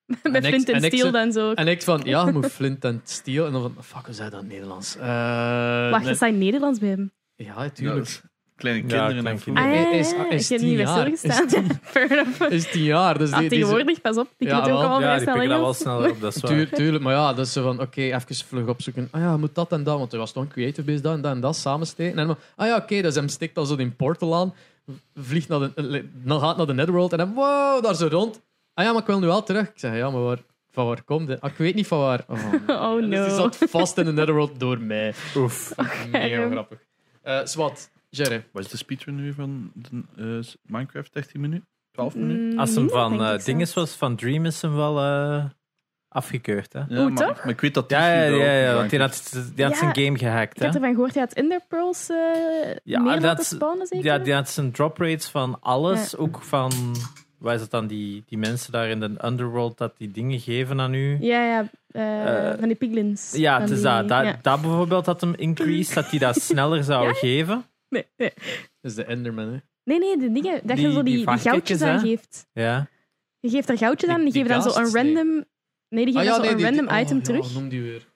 S4: Met
S2: en ik-
S4: Flint en
S2: en ik
S4: Steel
S2: ze-
S4: dan zo.
S2: En ik van, ja, je moet flint en steel. En dan van, fuck, hoe zei dat in het Nederlands? Eh,
S4: Wacht,
S2: nee.
S4: dat staat in Nederlands bij hem.
S2: Ja,
S1: Ja, dat
S2: tuurlijk.
S1: is kleine
S3: Ja,
S1: kinderen
S3: klein
S1: en
S3: kind.
S1: voetbal.
S4: Ah, ja, ja,
S2: is-
S4: ja.
S2: is
S4: Ik heb
S2: tien
S4: niet bij
S2: jaar.
S4: stilgestaan.
S2: Is tien-
S4: Fair enough.
S2: is tien jaar, dus
S4: [laughs] Ah,
S2: die, die is-
S4: tegenwoordig, pas op. Die
S2: Ja,
S4: kunnen het ook
S2: wel.
S3: Ja,
S4: allemaal vrij
S3: die
S4: snel
S3: pikken dat wel sneller
S4: Engels.
S3: op, dat
S4: [laughs]
S3: is waar.
S2: Tuur- tuurlijk, maar ja, dat is zo van, oké, even vlug opzoeken. Ah ja, moet dat en dat, want er was toch een creative base, dat en dat en dat samensteken. En dan, ah ja, oké, dus hem stikt dan zo die portal aan, vliegt naar de, dan gaat naar de netherworld en dan, wow, daar zo rond. Ah ja, maar ik wil nu wel terug. Ik zeg, ja, maar waar, van waar komt dit? Ah, ik weet niet van waar. Oh,
S4: Oh [laughs] no.
S2: Dus die zat vast in de netherworld door mij.
S3: Oef.
S2: Mega
S4: Germ.
S2: grappig. Eh Swat, Jerry.
S1: Wat is de speedrun nu van de, eh, Minecraft? 13 minuten? 12 minuten?
S4: Mm,
S3: Als hem
S4: nee,
S3: van
S4: denk ik
S3: eh,
S4: zelfs.
S3: dinges was, van Dream is hem wel eh, afgekeurd, hè?
S1: Ja,
S4: Oeh,
S1: maar,
S4: toch?
S1: maar ik weet dat die
S3: Ja, ja,
S1: video
S3: ja,
S1: ook
S3: ja,
S1: belangrijk
S3: want die
S1: is.
S3: had, die had
S4: Ja,
S3: zijn game gehackt,
S4: Ik heb
S3: hè?
S4: ervan gehoord, hij had Enderpearls eh
S3: Ja,
S4: meer
S3: dat-
S4: laten spawnen, zeker?
S3: Ja, die had zijn drop rates van alles, ook van Waar is het dan die, die mensen daar in de underworld dat die dingen geven aan u?
S4: Ja, ja. eh,
S3: Eh,
S4: van die piglins.
S3: Ja,
S4: Van
S3: het is
S4: die-
S3: dat. Dat,
S4: ja.
S3: dat bijvoorbeeld had hem increased, dat
S4: [laughs]
S3: hij dat sneller zou
S4: Ja?
S3: geven.
S4: Nee, nee.
S2: Dat is de Enderman, hè?
S4: nee, nee, de dingen. Dat
S3: Die-
S4: je zo
S3: die
S4: die, die
S3: varkentjes,
S4: goudjes
S3: hè?
S4: aan geeft.
S3: Ja.
S4: Je geeft er goudjes aan en die
S2: Die-
S4: geven
S2: die Ah,
S4: dan zo een
S2: casts, nee.
S4: random... Ah Nee, die oh, geven dan zo een random item terug.
S2: oh, noem die weer.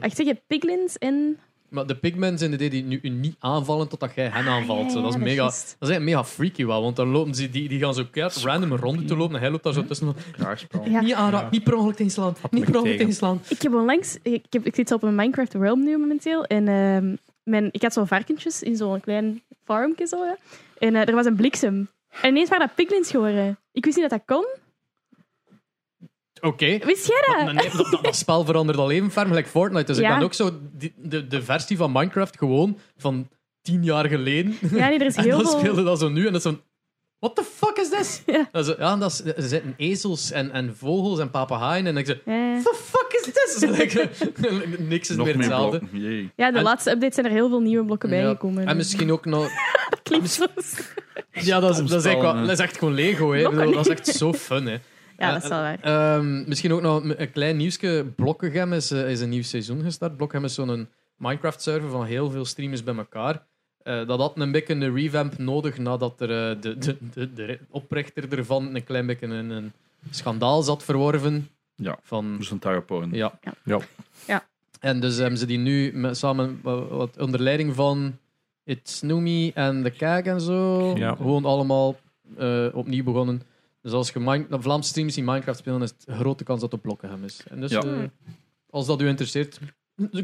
S4: Ik zeg je piglins en...
S2: Maar de pigmen zijn de die nu u niet aanvallen totdat jij hen aanvalt.
S4: Ah, ja,
S2: zo. Dat is
S4: ja,
S2: mega...
S4: dat is-
S2: Dat is echt mega freaky wel, want dan lopen ze, die, die gaan zo keihard random een ronde te lopen en hij loopt daar zo tussen.
S1: Kaarspel.
S4: Ja.
S2: Niet aanraken, niet per ongeluk inslaan, niet per ongeluk
S3: tegen.
S2: inslaan.
S4: Ik heb onlangs... Ik, heb, ik zit op een Minecraft realm nu momenteel. En ehm, mijn, ik had zo'n varkentjes in zo'n klein farmje zo. hè. En eh, er was een bliksem. En ineens waren dat piglins geworden. Ik wist niet dat dat kon.
S2: Oké.
S4: Wist jij dat?
S2: Maar nee, dat, dat- dat spel verandert al even ferm, gelijk Fortnite. Dus
S4: Ja.
S2: ik ben ook zo die- de, de versie van Minecraft gewoon van tien jaar geleden.
S4: Ja, nee, er is
S2: [laughs] en
S4: heel
S2: dan
S4: veel...
S2: speelde dat zo nu en dat is zo'n... What the fuck is this?
S4: Ja.
S2: En zo, ja, en dat is, er zitten ezels en, en vogels en papegaaien en ik zeg...
S4: Ja, ja.
S2: What the fuck is this? [laughs] Zo, like, niks is
S1: Nog
S2: meer
S1: meer
S2: hetzelfde.
S1: blokken. Jee.
S4: Ja, de
S2: En-
S4: laatste updates zijn er heel veel nieuwe blokken
S2: Ja.
S4: bijgekomen.
S2: En
S4: [laughs]
S2: misschien ook nog...
S4: Klinkt zo-
S2: Ja, dat is, dat is, echt, wel-
S1: hè.
S2: dat is echt gewoon Lego. Hè. Ik bedoel, Dat is echt zo fun. Hè.
S4: Ja, dat is wel waar.
S2: Ehm, misschien ook nog een klein nieuwsje. Blokkegem is, eh, is een nieuw seizoen gestart. Blokkegem is zo'n Minecraft-server van heel veel streamers bij elkaar. Eh, dat had een beetje een revamp nodig nadat er, eh, de, de, de, de oprichter ervan een klein beetje een, een schandaal zat verworven.
S1: Ja.
S2: Van,
S1: Dus een tarpaulin.
S2: ja.
S4: Ja.
S1: Ja.
S4: Ja.
S2: En dus hebben ze die nu met, samen eh, wat onder leiding van It's Numi en de Kaag en zo.
S3: Ja.
S2: Gewoon allemaal eh, opnieuw begonnen. Dus als je Mine- de Vlaamse streams die Minecraft spelen, is het grote kans dat het Blokkenham is. En dus
S1: Ja.
S2: eh, als dat u interesseert,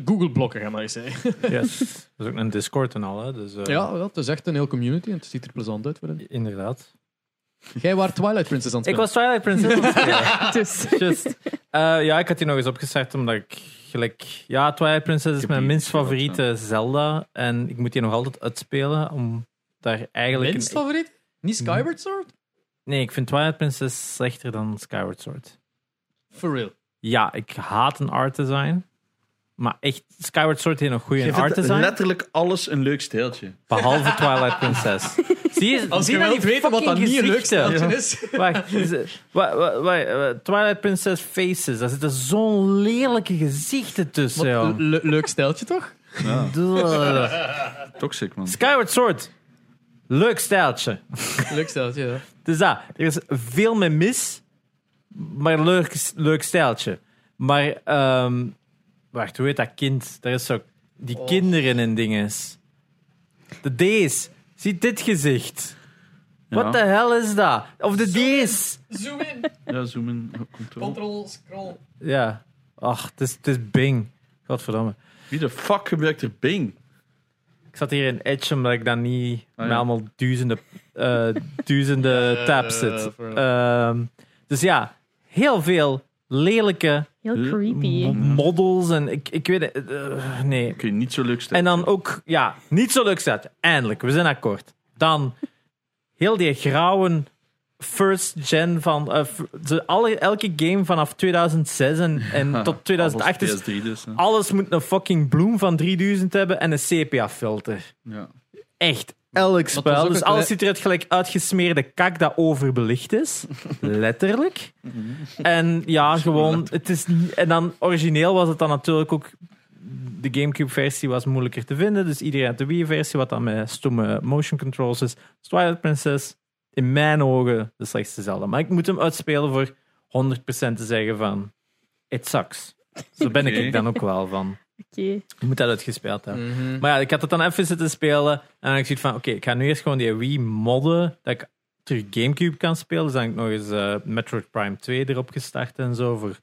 S2: Google Blokkenham, mag je zeggen.
S3: Yes. Dat is ook een Discord en al, hè. Dus, eh,
S2: [laughs] Ja, dat is echt een heel community en het ziet er plezant uit voor hen.
S3: Inderdaad.
S2: Jij was Twilight Princess aan het
S3: Ik
S2: spelen.
S3: was Twilight Princess. [laughs] aan het spelen.
S4: Dus...
S3: Just. Eh, ja, ik had die nog eens opgestart omdat ik gelijk. Ja, Twilight Princess is
S1: heb
S3: mijn
S1: die
S3: minst
S1: gespeeld,
S3: favoriete Zelda. En ik moet die nog altijd uitspelen om daar eigenlijk.
S2: Minst
S3: een-
S2: favoriet? Niet Skyward Sword?
S3: nee, ik vind Twilight Princess slechter dan Skyward Sword.
S2: For real.
S3: Ja, ik haat een art design. Maar echt, Skyward Sword heeft nog goede
S1: Je
S3: art
S1: vindt
S3: design.
S1: letterlijk alles een leuk steeltje.
S3: Behalve Twilight
S2: [laughs]
S3: Princess. Zie je,
S2: Als
S3: zie
S2: je
S3: nou
S2: wilt
S3: die
S2: weten wat dat
S3: fucking
S2: niet een leuk
S3: gezichten.
S2: steltje is.
S3: Wacht, is het- wa- wa- wa- wa- uh, Twilight Princess Faces, daar zitten zo'n lelijke gezichten tussen.
S2: [laughs] Wat,
S3: joh.
S2: le- leuk steltje toch?
S1: Ja,
S3: Duh.
S1: toxic man.
S3: Skyward Sword. Leuk stijltje.
S2: Leuk steltje, ja.
S3: Dus dat, er is veel mee mis, maar leuk, leuk stijltje. Maar, ehm, wacht, hoe heet dat kind? Daar is zo die kinderen en dinges. De D's. Zie dit gezicht.
S1: Ja.
S3: What the hell is dat? Of de D's.
S2: Zoom in.
S1: Ja, zoomen. Control.
S2: Control, scroll.
S3: Ja. Ach, het is, het is Bing. Godverdomme.
S1: Wie de fuck gebruikt er Bing?
S3: Ik zat hier in Edge omdat ik dan niet
S1: ja.
S3: met allemaal duizenden, eh, duizenden
S2: Eh,
S3: tabs zit.
S2: voor-
S3: Ehm, dus ja, heel veel lelijke
S4: Heel creepy.
S3: mo- models en ik, ik weet het. eh, nee.
S1: Oké, niet zo leuk steeltje.
S3: En dan ook, ja, niet zo leuk staat. Eindelijk, we zijn akkoord. Dan heel die grauwe first gen van eh, f- ze- alle, elke game vanaf 2006 en,
S1: [laughs]
S3: en tot 2008
S1: Alles
S3: is. Ah.
S1: PS3 dus. hè.
S3: Alles moet een fucking bloem van 3000 hebben en een sepia-filter.
S1: Ja.
S3: Echt. Elk
S2: dat is
S3: spel.
S2: ook eh,
S3: Dus
S2: een
S3: alles
S2: klei-
S3: ziet eruit gelijk uitgesmeerde kak dat overbelicht is. Letterlijk. En ja, gewoon. Het is niet, en dan origineel was het dan natuurlijk ook. De Gamecube-versie was moeilijker te vinden. Dus iedereen had de Wii-versie, wat dan met stomme motion controls is. Dus Twilight Princess, in mijn ogen, de slechtste Zelda. Maar ik moet hem uitspelen voor 100% te zeggen van. It sucks. Zo ben
S1: Oké.
S3: ik dan ook wel van.
S4: Oké.
S3: Je moet dat uitgespeeld hebben.
S2: Mhm.
S3: Maar ja, ik had het dan even zitten spelen. En ik zoiets van, oké, ik ga nu eerst gewoon die Wii modden. Dat ik terug Gamecube kan spelen. Dus dan heb ik nog eens eh, Metroid Prime 2 erop gestart en zo. Voor, want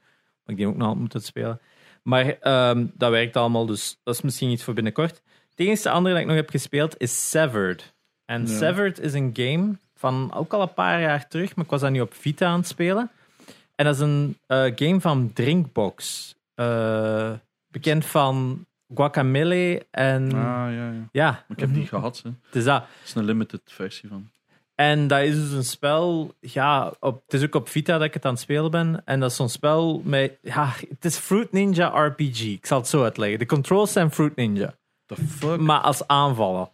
S3: ik die ook nog altijd moet spelen. Maar ehm, dat werkt allemaal, dus dat is misschien iets voor binnenkort. Het enige andere dat ik nog heb gespeeld is Severed. En Severed is een game van ook al een paar jaar terug. Maar ik was dat nu op Vita aan het spelen. En dat is een eh, game van Drinkbox. Eh, bekend van Guacamele en...
S1: Ah, ja, ja.
S3: Ja,
S1: Ik heb die gehad. hè. Het
S3: het is dat.
S1: is een limited versie van.
S3: En dat is dus een spel. Ja, op, het is ook op Vita dat ik het aan het spelen ben. En dat is zo'n spel met. Ja, het is Fruit Ninja RPG. Ik zal het zo uitleggen. De controls zijn Fruit Ninja,
S1: The fuck?
S3: maar als aanvallen.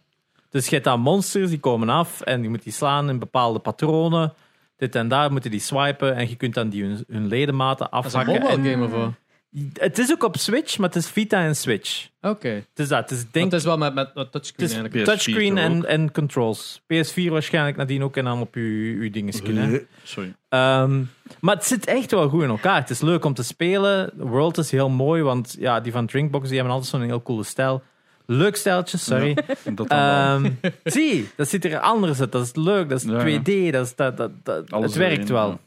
S3: Dus je hebt dan monsters die komen af en je moet die slaan in bepaalde patronen. dit en daar moeten die swipen en je kunt dan die hun, hun ledematen
S2: Dat is een
S3: afhakken. en-
S2: mobile game of wat?
S3: het is ook op Switch, maar het is Vita en Switch.
S2: Oké.
S3: Het is dat. Het is,
S2: Want
S3: denk,
S2: het is wel met, met met touchscreen
S3: het is
S1: PS4
S2: eigenlijk.
S3: touchscreen
S1: toch
S3: en,
S1: ook?
S3: en controls. PS4 waarschijnlijk nadien ook en dan op je, je dingen kunnen.
S1: Sorry.
S3: Ehm, maar het zit echt wel goed in elkaar. Het is leuk om te spelen. De world is heel mooi, want ja, die van Drinkbox die hebben altijd zo'n heel coole stijl. Leuk stijltje, sorry.
S1: Dat dan wel.
S3: Ehm, zie, dat ziet er anders uit. Dat is leuk, dat is
S1: Ja, ja.
S3: 2D, dat is, dat, dat, dat,
S1: Alles
S3: het werkt
S1: erin,
S3: wel.
S1: ja.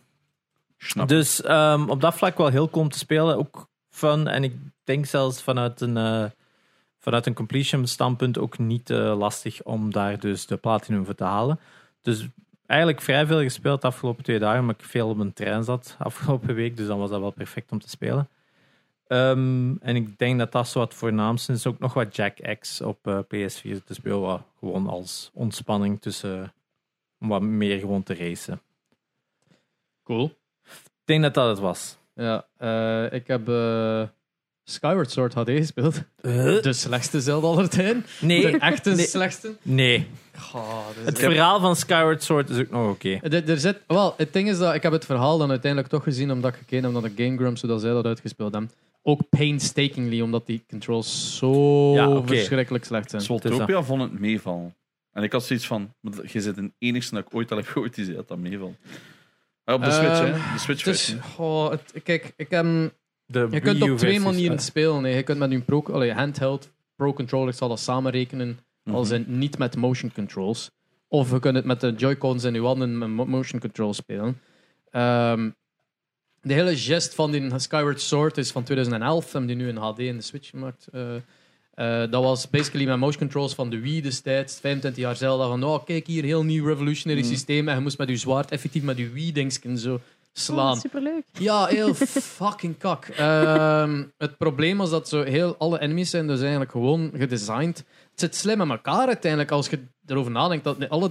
S1: Snap.
S3: Dus ehm, op dat vlak wel heel cool om te spelen. Ook fun. En ik denk zelfs vanuit een, eh, vanuit een completion standpunt ook niet eh, lastig om daar dus de platinum voor te halen. Dus eigenlijk vrij veel gespeeld de afgelopen twee dagen, maar ik veel op een trein zat [laughs] afgelopen week. Dus dan was dat wel perfect om te spelen. Ehm, en ik denk dat dat zo wat voornaamste is. Ook nog wat Jack X op eh, PS4 te spelen. Wat gewoon als ontspanning tussen. Om wat meer gewoon te racen.
S2: Cool.
S3: Ik denk dat dat het was.
S2: Ja, eh, ik heb eh, Skyward Sword HD gespeeld. De slechtste Zelda aller tijden.
S3: Nee,
S2: De echte
S3: Nee.
S2: slechtste.
S3: nee.
S2: Goh, dit is
S3: Het
S2: echt-
S3: verhaal van Skyward Sword is ook nog oké.
S2: Er, er zit, wel, het ding is dat ik heb het verhaal dan uiteindelijk toch gezien omdat ik gekeken heb naar de Game Grumps, zodat zij dat uitgespeeld hebben. Ook painstakingly, omdat die controls zo
S3: Ja, oké.
S2: verschrikkelijk slecht zijn.
S3: Het is
S1: Zoltopia vond het meeval. En ik had zoiets van, maar dat- je zit de enigste dat ik ooit al heb gehoord die zei dat dat meeval. Ah, op de
S3: Eh,
S2: Ehm,
S1: Switch, hè. De Switch
S2: Dus,
S1: versie.
S2: goh, het- kijk, ik heb,
S3: De eh.
S2: je kunt op twee manieren spelen. hè. Je kunt met een pro, allee, handheld pro controller, ik zal dat samenrekenen, al zijn het niet met motion controls. Of je kunt het met de Joy-Cons en uw handen met mo- motion controls spelen. Ehm, de hele gest van die Skyward Sword is van 2011. Hebben die nu in HD in de Switch gemaakt. Eh, eh, dat was basically mijn motion controls van de Wii destijds. 25 jaar Zelda. Van, oh, kijk hier, heel nieuw revolutionary systeem. En je moest met je zwaard effectief met je Wii-dingsken zo slaan.
S4: superleuk.
S2: Ja, heel fucking kak. Ehm, het probleem was dat zo heel alle enemies zijn dus eigenlijk gewoon gedesigned. Het zit slim in elkaar uiteindelijk als je erover nadenkt dat alle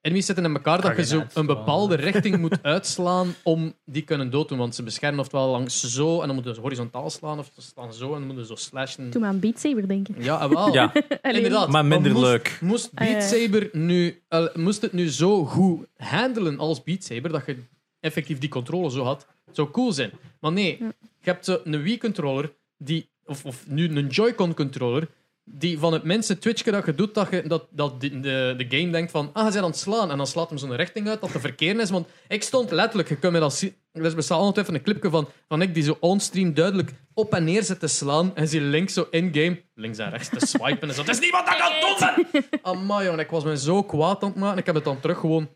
S2: enemies zitten in elkaar dat je zo een bepaalde richting moet uitslaan om die kunnen dooddoen. Want ze beschermen oftewel langs zo en dan moeten ze horizontaal slaan of ze slaan zo en dan moeten ze zo slashen.
S4: Toen maar aan Beat Saber denken. [laughs]
S2: Ja, en wel.
S3: Ja,
S4: Allee.
S2: Inderdaad.
S3: maar minder
S2: moest-
S3: leuk.
S2: Moest Beat
S4: Eh.
S2: Saber nu, eh, moest het nu zo goed handelen als Beat Saber, dat je effectief die controle zo had, zou cool zijn. Maar nee,
S4: Ja.
S2: je hebt zo een Wii-controller, die- of, of nu een Joy-Con-controller, die van het minste twitchje dat je doet, dat, je, dat, dat de, de, de game denkt van, ah, ze zijn aan het slaan. En dan slaat hem zo'n richting uit dat de verkeer is. Want ik stond letterlijk, je kunt me dat zien, er bestaat ongetwijfeld een clipje van, van ik die zo onstream duidelijk op en neer zit te slaan. En zie links zo in-game, links en rechts te swipen. En zo, er is niemand dat kan doen! Amai, jongen, ik was me zo kwaad aan het maken. Ik heb het dan terug gewoon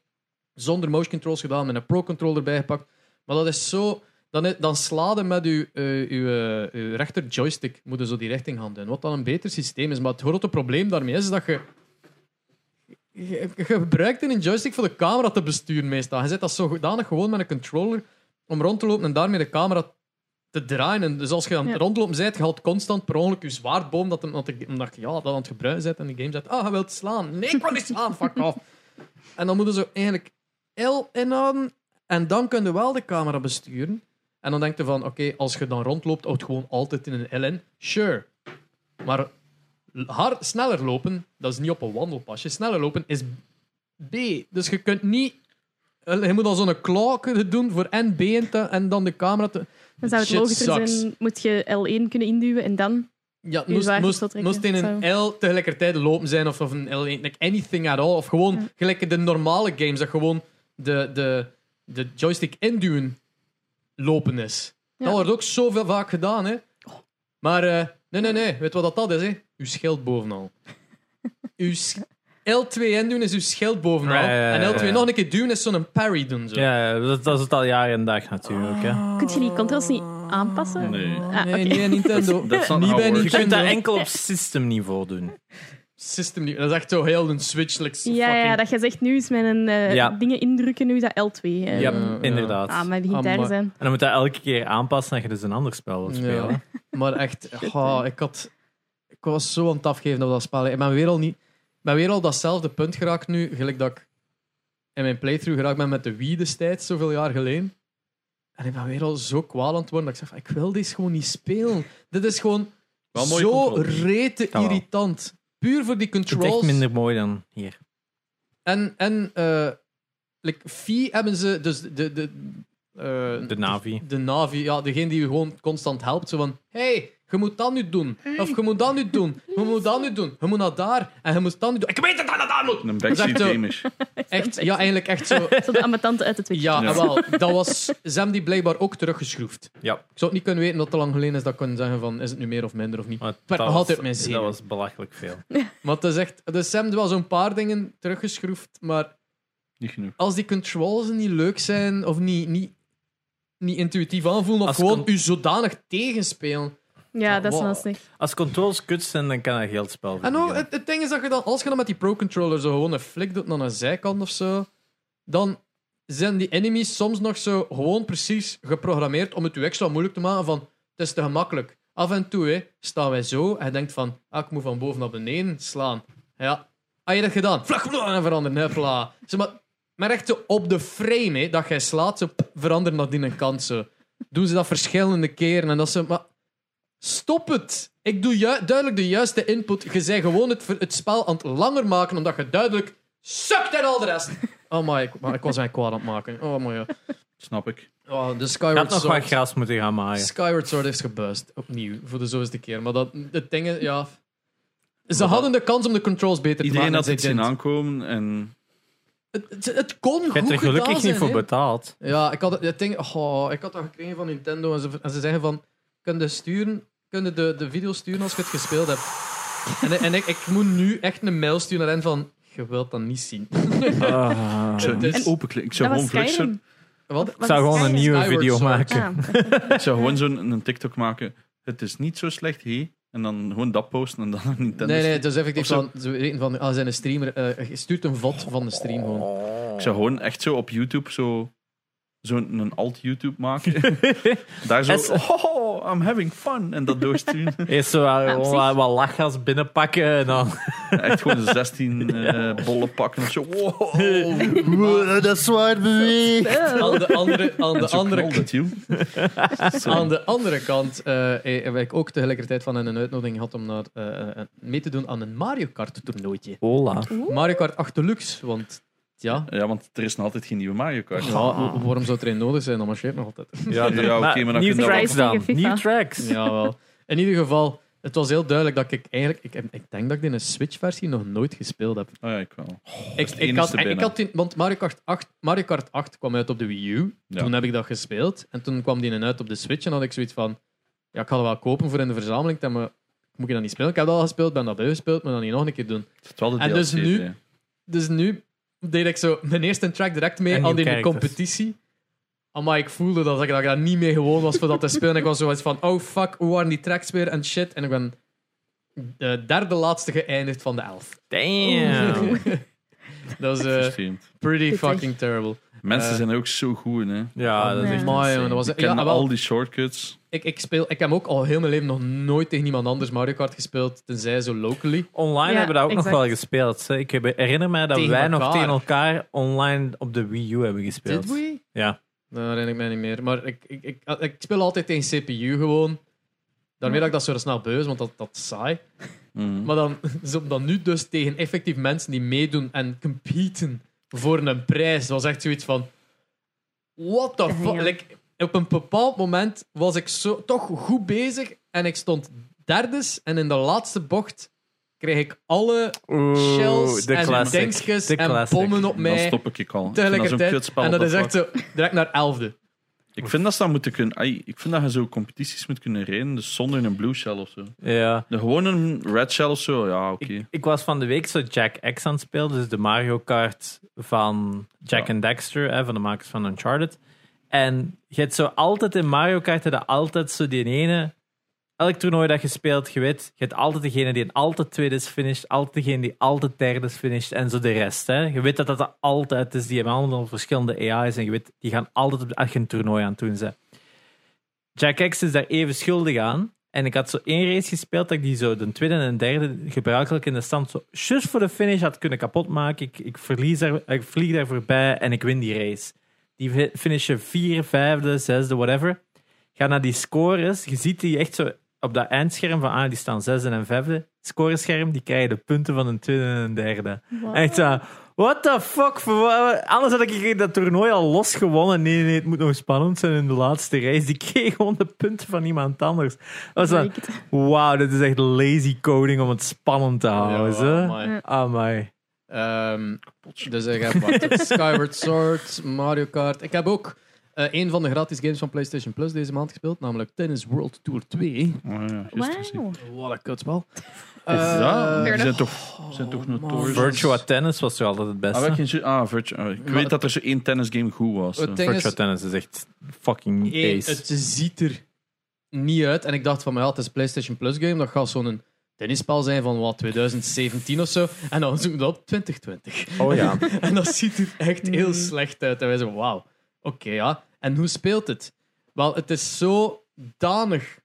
S2: zonder motion controls gedaan, met een pro-controller erbij gepakt. Maar dat is zo... Dan, is- dan sladen met uw, eh, uw, eh, uw rechter joystick, moet je zo die richting gaan doen. Wat dan een beter systeem is. Maar het grote probleem daarmee is dat je... Je, je gebruikt een joystick voor de camera te besturen meestal. Je zet dat zodanig gewoon met een controller om rond te lopen en daarmee de camera te draaien. En dus als je aan het
S4: Ja.
S2: rondlopen bent, je haalt constant per ongeluk je zwaardboom dat, hem- dat, ik- omdat je ja, dat aan het gebruiken bent en de game zegt, ah, hij wil slaan. Nee, ik wil niet slaan, fuck off. En dan moeten ze eigenlijk L inhouden en dan kun je wel de camera besturen. En dan denk je van, oké, als je dan rondloopt, houdt gewoon altijd in een L in. Sure. Maar hard, sneller lopen, dat is niet op een wandelpasje. Sneller lopen is B. Dus je kunt niet... eh, Je moet dan zo'n klok doen voor en B en, te- en dan de camera te...
S4: Dan zou het
S2: Shit
S4: logischer
S2: sucks.
S4: zijn, moet je L1 kunnen induwen en dan...
S2: Ja,
S4: Nu
S2: moest,
S4: zwaar
S2: moest,
S4: tot trekken,
S2: moest in een L tegelijkertijd lopen zijn of, of een L1, like anything at all. Of gewoon
S4: Ja.
S2: gelijk in de normale games, dat gewoon de, de, de joystick induwen lopen is.
S4: Ja. Oh.
S2: Dat wordt ook zoveel vaak gedaan, hè. Maar eh, nee, nee, nee, weet wat dat, dat is, hè? Uw schild bovenal.
S4: [laughs]
S2: Uw sch- L2 induwen is uw schild bovenal.
S3: Ja, ja, ja, ja,
S2: En L2
S3: ja.
S2: nog een keer duwen is zo'n parry doen. Zo.
S3: Ja, dat, dat is het al jaar en dag natuurlijk. Hè.
S4: Kun je die controls niet aanpassen?
S1: Nee.
S2: Nee,
S4: Ah,
S2: Oh. nee,
S4: oké.
S2: niet aan
S3: [laughs]
S2: Nintendo.
S1: That's not
S2: niet
S1: how
S2: bij
S1: it works.
S3: Je kunt
S2: Nintendo.
S3: dat enkel op systemniveau doen.
S2: System, niet- dat is echt zo heel een Switch. Like,
S4: [laughs] Ja, ja,
S2: fucking-
S4: dat je zegt nu is mijn eh,
S3: Ja.
S4: dingen indrukken, nu is dat L2.
S3: Ja,
S4: eh.
S2: ja.
S3: inderdaad.
S4: Ah, maar het begint
S2: Amai.
S4: daar zijn.
S3: En dan moet je dat elke keer aanpassen dat je dus een ander spel wilt spelen.
S2: Ja, maar echt, goh, ik, had, ik was zo aan het afgeven op dat spel. Ik ben weer al, niet, ik ben weer al datzelfde punt geraakt nu, gelijk dat ik in mijn playthrough geraakt ben met de Wii destijds, zoveel jaar geleden. En ik ben weer al zo kwaal aan het worden dat ik zeg, van, ik wil deze gewoon niet spelen. Dit is gewoon
S1: Wel mooie
S2: zo
S1: controles.
S2: rete
S3: wel.
S2: irritant. Puur voor die
S3: Het is echt
S2: controls.
S3: minder mooi dan hier.
S2: En, en eh, like, Fi hebben ze dus de. de eh,
S3: De Navi.
S2: de Navi, ja, degene die je gewoon constant helpt. Zo van, hey, je moet dat nu doen. Of je moet dat nu doen. Je moet dat nu doen. Je moet naar daar. En je moet dat nu doen. Ik weet dat dat naar daar moet.
S1: Een
S2: Zegt
S1: backseat
S2: zo-
S1: game is.
S2: Echt, ja, eigenlijk echt zo.
S4: Zo de ambetante uit het wit.
S2: Ja,
S1: Ja.
S2: en wel. Dat was, ze hebben die blijkbaar ook teruggeschroefd.
S3: Ja.
S2: Ik zou het niet kunnen weten dat het te lang geleden is dat ik kon zeggen van, is het nu meer of minder of niet.
S3: Maar
S2: werd
S3: dat
S2: nog
S3: was-
S2: altijd mijn zenuw.
S3: Dat was belachelijk veel.
S2: Maar het is echt, dus ze hebben wel zo'n paar dingen teruggeschroefd, maar
S1: Niet genoeg.
S2: als die controls niet leuk zijn of niet, niet, niet intuïtief aanvoelen of
S3: Als
S2: gewoon
S3: con-
S2: u zodanig tegenspelen.
S4: Ja, dat is
S2: Wow.
S4: wel slecht.
S3: Als controls kut zijn, dan kan dat heel het spel
S2: En ook,
S3: verliezen.
S2: Ah, nou, het, het ding is dat je dan, als je dan met die pro-controller zo gewoon een flik doet naar een zijkant of zo, dan zijn die enemies soms nog zo gewoon precies geprogrammeerd om het u extra moeilijk te maken van het is te gemakkelijk. Af en toe hè, staan wij zo en je denkt van, ah, ik moet van boven naar beneden slaan. Ja, had je dat gedaan? Vlug, vlug, en veranderen, hupla. Zeg maar, maar echt zo op de frame hè, dat jij slaat, zo pff, veranderen naar die kant zo. Doen ze dat verschillende keren en dat ze... Maar Stop het! Ik doe ju- duidelijk de juiste input. Je zei gewoon het, ver- het spel aan het langer maken, omdat je duidelijk sukt en al de rest. [laughs] Oh my, ik, maar ik was eigenlijk kwaad aan het maken. Oh my, ja.
S1: Snap ik.
S2: Oh, de
S3: Je had
S2: Skyward
S3: nog wat
S2: Sword.
S3: gras moeten gaan maaien.
S2: Skyward Sword heeft gebuist. Opnieuw, voor de zoveelste keer. Maar dat, het ding is, ja... Ze
S1: dat-
S2: hadden de kans om de controls beter te
S1: Iedereen
S2: maken.
S1: had
S2: en
S1: het
S2: ze
S1: zien
S2: didn't.
S1: aankomen en
S2: Het, het, het kon
S3: Je hebt
S2: goed
S3: er
S2: gedaan
S3: gelukkig
S2: zijn,
S3: niet voor
S2: hè.
S3: betaald.
S2: Ja, ik had, het- het ding, oh, ik had dat gekregen van Nintendo. En ze, en ze zeggen van, kun je, sturen, kun je de, de video sturen als je het gespeeld hebt. En, en ik, ik moet nu echt een mail sturen naar hen van, je wilt dat niet zien. Ah.
S1: ik zou het
S2: het
S1: niet
S2: is-
S1: openklikken. Ik zou
S4: dat
S1: gewoon vlug
S4: was
S1: zo-
S4: Skyrim.
S2: Wat?
S3: Ik zou gewoon een nieuwe
S2: Skyward
S3: video
S2: Sword.
S3: maken.
S4: Ah,
S3: [laughs]
S1: Ik [laughs] zou gewoon zo'n een TikTok maken. Het is niet zo slecht, hé. En dan gewoon dat posten en dan [laughs] aan Nintendo.
S2: Nee, nee,
S1: sturen.
S2: dus effectief
S1: Of zo.
S2: van, ze weten van, ah, ze zijn een streamer, eh, je stuurt een vod van de stream gewoon.
S1: Ik zou gewoon echt zo op YouTube zo, zo een een alt-YouTube
S2: [laughs]
S1: maken. Daar
S3: Es-
S1: zo, oh, I'm having fun. En dat doorsturen.
S2: [laughs]
S3: Eerst zo wat,
S4: op zich.
S3: wat, wat lachgas binnenpakken en dan...
S1: echt gewoon 16 eh, bollen pakken of zo.
S2: Oh.
S3: [laughs]
S1: Wow.
S3: dat zwaard beweegt.
S2: Aan de andere, aan
S1: En
S2: de
S1: zo
S2: andere
S1: knalde het, joh. Sorry.
S2: [laughs] Aan de andere kant eh, eh, heb ik ook tegelijkertijd van hen een uitnodiging gehad om naar, eh, eh, mee te doen aan een Mario Kart toernooitje.
S3: Hola.
S2: Mario Kart 8 Deluxe, want ja,
S1: Ja, want er is nog altijd geen nieuwe Mario Kart. Oh
S2: ja wa- waarom zou het er een nodig zijn? Dan marcheert nog altijd.
S3: Ja,
S1: oké, maar dan
S3: nieuw
S1: kun je
S3: tracks
S4: wel-
S3: dan.
S4: Tegen FIFA.
S3: Nieuw tracks.
S2: Jawel. In ieder geval, het was heel duidelijk dat ik eigenlijk... Ik, ik denk dat ik die Switch-versie nog nooit gespeeld heb.
S1: Oh ja, ik wel.
S2: ik,
S1: het
S2: ik,
S1: enige
S2: had, ik
S1: binnen.
S2: had die, want Mario Kart, 8, Mario Kart 8 kwam uit op de Wii U.
S1: Ja.
S2: Toen heb ik dat gespeeld. En toen kwam die een uit op de Switch. En had ik zoiets van... Ja, ik ga dat wel kopen voor in de verzameling. Dan moet ik dat niet spelen. Ik heb dat al gespeeld, ben dat bijgespeeld. Maar dan niet nog een keer doen.
S1: Het is wel de
S2: En
S1: DLC,
S2: dus nu-
S1: hè.
S2: Dus nu deed ik zo mijn eerste track direct
S3: En
S2: mee aan
S3: nieuw
S2: die
S3: characters.
S2: competitie. Maar ik voelde dat ik, dat ik daar niet mee gewoon was voor dat te spelen. Ik was zoiets van, oh fuck, hoe waren die tracks weer en shit. En ik ben de derde laatste geëindigd van de elf.
S3: Damn.
S2: [laughs] dat was eh,
S1: Versteend.
S2: pretty
S4: Pittig.
S2: fucking terrible.
S1: Mensen
S2: eh,
S1: zijn ook zo goed, hè. Ik
S3: Ja, Ah, dus dat is echt...
S4: Ja.
S2: Maar jongen, dat was...
S1: ken
S2: Ja,
S1: al
S2: wel,
S1: die shortcuts.
S2: ik, ik, speel, ik heb ook al heel mijn leven nog nooit tegen iemand anders Mario Kart gespeeld, tenzij zo locally.
S3: Online
S4: Ja,
S3: hebben we dat ook nog
S4: exact.
S3: wel gespeeld. hè. Ik heb- herinner mij dat
S2: Tegen
S3: wij nog
S2: elkaar.
S3: tegen elkaar online op de Wii U hebben gespeeld.
S2: Did we?
S3: Ja.
S2: Dat herinner ik mij niet meer. Maar ik, ik, ik, eh, ik speel altijd tegen CPU gewoon. Daarmee dat ik dat zo snel beu is, want dat, dat is saai.
S1: Mhm.
S2: Maar dan, [laughs] zo- dan nu dus tegen effectief mensen die meedoen en competen voor een prijs, was echt zoiets van... What the fuck?
S4: Damn.
S2: Like, op een bepaald moment was ik zo, toch goed bezig en ik stond derdes en in de laatste bocht kreeg ik alle
S3: Oeh,
S2: shells
S3: de
S2: en
S3: classic.
S2: dingetjes
S3: De
S2: en
S3: classic.
S2: bommen op
S1: Dan
S2: mij
S1: stop ik ik al. Ik vind dat zo'n
S2: tegelijkertijd.
S1: kutspel
S2: en dat
S1: op
S2: is echt
S1: vlak.
S2: zo direct naar elfde.
S1: Ik vind dat ze dat moeten kunnen... ai, ik vind dat je zo competities moet kunnen rijden, dus zonder een blue shell of zo.
S3: Ja.
S1: De- Gewoon een red shell of zo, ja, oké.
S3: Ik, ik was van de week zo Jack X aan het spelen, dus de Mario Kart van Jack
S1: Ja.
S3: and Dexter, hè, van de makers van Uncharted. En je hebt zo altijd in Mario Kart, heb je altijd zo die ene, elk toernooi dat je speelt, je weet, je hebt altijd degene die altijd tweede is finished, altijd degene die altijd derde is finished, en zo de rest. Hè. Je weet dat dat er altijd is, die hebben allemaal verschillende AI's, en je weet, die gaan altijd op als je een toernooi aan het doen zijn. Jack X is daar even schuldig aan. En ik had zo één race gespeeld dat ik die zo de tweede en derde gebruikelijk in de stand zo just voor de finish had kunnen kapotmaken. Ik, ik, verlies daar, ik vlieg daar voorbij en ik win die race. Die fi- finishen vier, vijfde, zesde, whatever. Ga naar die scores. Je ziet die echt zo op dat eindscherm van ah, die staan zesde en vijfde. Scorescherm, die krijgen de punten van een tweede en een derde.
S4: Wow.
S3: Echt zo, What the fuck? Voor wat- Anders had ik dat toernooi al los gewonnen. Nee, nee, het moet nog spannend zijn in de laatste race. Die kreeg gewoon de punten van iemand anders. Dat was
S4: Ja,
S3: van,
S4: ik het.
S3: wauw, dit is echt lazy coding om het spannend te houden.
S2: Ja,
S3: ze.
S2: amai.
S3: Amai.
S2: Ehm, dus ik heb [laughs] wat, Skyward Sword, Mario Kart. Ik heb ook eh, een van de gratis games van PlayStation Plus deze maand gespeeld, namelijk Tennis World Tour 2.
S1: Oh, ja, gisteren.
S4: Wauw.
S2: Wat een kutspel. Eh,
S1: Ja,
S4: Fair
S1: die zijn
S4: enough.
S1: toch, zijn toch
S2: Oh, man.
S1: notorisch.
S3: Virtua Tennis was toch altijd het
S1: Ah,
S3: beste?
S1: welke is- ah, Virtua- ah, ik
S2: Maar
S1: weet
S2: het-
S1: dat er zo één tennisgame goed was. eh.
S2: Het
S1: zo.
S2: ding
S3: Virtua
S2: is,
S3: Tennis is echt fucking
S2: één,
S3: ace.
S2: het ziet er niet uit. En ik dacht van, ja, het is een PlayStation Plus game, dat gaat zo'n tennisspel zijn van wat, 2017 of zo. En dan zoeken we dat op 2020.
S3: Oh ja.
S2: [laughs] En dat ziet er echt heel slecht uit. En wij zeggen, wauw, oké ja. En hoe speelt het? Wel, het is zo danig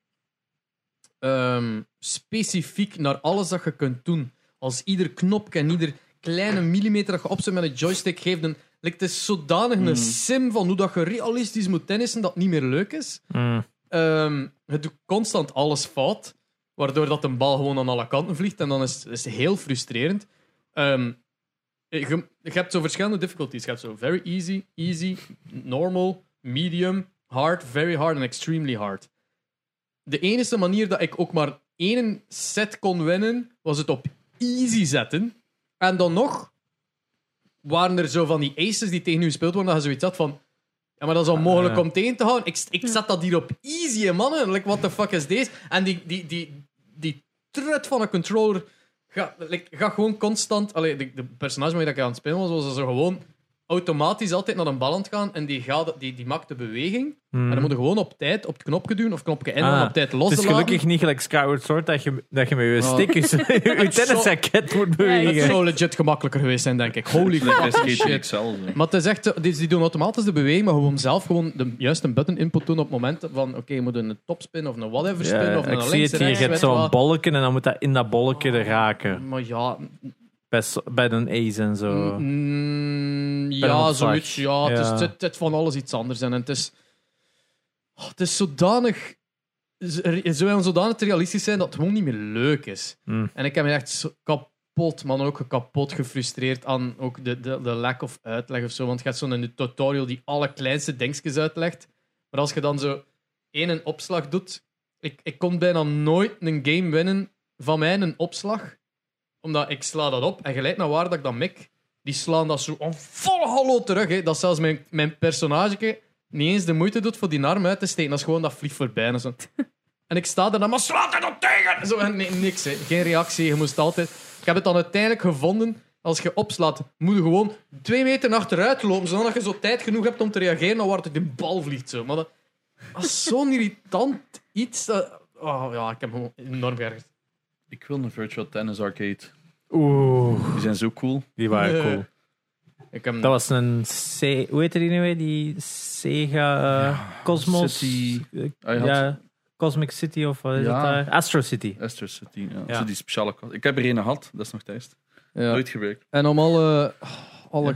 S2: ehm, specifiek naar alles dat je kunt doen. Als ieder knopje en ieder kleine millimeter dat je opzet met een joystick geeft, een, like, het is zodanig een sim van hoe dat je realistisch moet tennissen dat het niet meer leuk is.
S3: Mm.
S2: Ehm, het doet constant alles fout, waardoor dat een bal gewoon aan alle kanten vliegt en dan is het is het heel frustrerend. Ehm, je, je hebt zo verschillende difficulties. Je hebt zo very easy, easy, normal, medium, hard, very hard en extremely hard. De enige manier dat ik ook maar één set kon winnen, was het op easy zetten. En dan nog waren er zo van die aces die tegen u gespeeld worden, dat je zoiets had van... Ja, maar dat is onmogelijk
S3: Ah, ja.
S2: om tegen te houden. Ik, ik zet dat hier op easy, hè, mannen. Like, what the fuck is deze? En die, die, die, die trut van een controller ga, like, ga gewoon constant... Allee, de, de personage waarmee ik aan het spelen was, was zo gewoon automatisch altijd naar een bal aan het gaan en die, gaat, die, die maakt de beweging. En dan moet je gewoon op tijd op het knopje doen of knopje in en
S3: Hmm. Ah,
S2: op tijd
S3: Het is
S2: loslaten.
S3: gelukkig niet gelijk Skyward Sword dat je, dat je met je
S2: Oh.
S3: [laughs] stickers je
S2: [laughs] Het zou-
S3: tennisraket moet
S4: Ja,
S2: Dat
S3: bewegen.
S2: zou legit gemakkelijker geweest zijn, denk ik. Holy
S1: Like bij
S2: fucking
S1: Skate
S2: shit.
S1: XL. zo.
S2: Maar het is echt, zo- die, die doen automatisch de beweging, maar gewoon zelf gewoon de juiste button input doen op momenten van, oké, je moet een topspin of een whatever spin
S3: Ja,
S2: of een
S3: ik
S2: naar
S3: zie
S2: links,
S3: het hier. Je
S2: rechts,
S3: hebt
S2: weet
S3: zo'n
S2: wat.
S3: bolletje en dan moet dat in dat bolletje er raken.
S2: Maar ja,
S3: Bij, so- bij een ace en zo.
S2: mm,
S3: een
S2: ja
S3: opslag.
S2: zoiets. Ja, Het, is,
S3: Ja.
S2: het, het van alles iets anders. En het is, oh, het is zodanig... z- er- Zo zodanig te realistisch zijn dat het gewoon niet meer leuk is.
S3: Mm.
S2: En ik heb me echt zo kapot, man, ook kapot gefrustreerd aan ook de, de, de lack of uitleg of zo. Want je hebt zo'n tutorial die alle kleinste dingetjes uitlegt. Maar als je dan zo één een opslag doet... Ik, ik kon bijna nooit een game winnen van mij een opslag. Omdat ik sla dat op en gelijk naar waar dat ik dat mik, die slaan dat zo een volle hallo terug. Hè, dat zelfs mijn, mijn personage niet eens de moeite doet voor die arm uit te steken. Dat is gewoon dat vliegt voorbij. En zo. En ik sta er dan, maar slaat er dan tegen! Zo, en nee, niks, hè. geen reactie. Je moest altijd. Ik heb het dan uiteindelijk gevonden. Als je opslaat, moet je gewoon twee meter achteruit lopen. Zodat je zo tijd genoeg hebt om te reageren naar waar het de bal vliegt. Zo. Maar dat, dat is zo'n irritant iets. dat- oh, ja, ik heb me gewoon enorm geërgerd.
S1: Ik wil een Virtual Tennis Arcade.
S3: Oeh,
S1: Die zijn zo cool.
S3: die waren
S2: Nee.
S3: cool.
S2: Ik heb
S3: Dat was een C... Hoe heette die nu weer? Die Sega eh, Cosmos...
S1: City.
S3: eh,
S1: Hij had
S3: ja, Cosmic City of wat is
S1: Ja.
S3: het daar? Astro City.
S1: Esther City. Ja.
S3: Ja.
S1: Zo die speciale kast. Ik heb er een gehad, dat is nog thuis.
S2: Ja.
S1: Nooit gebruikt.
S2: En om alle, alle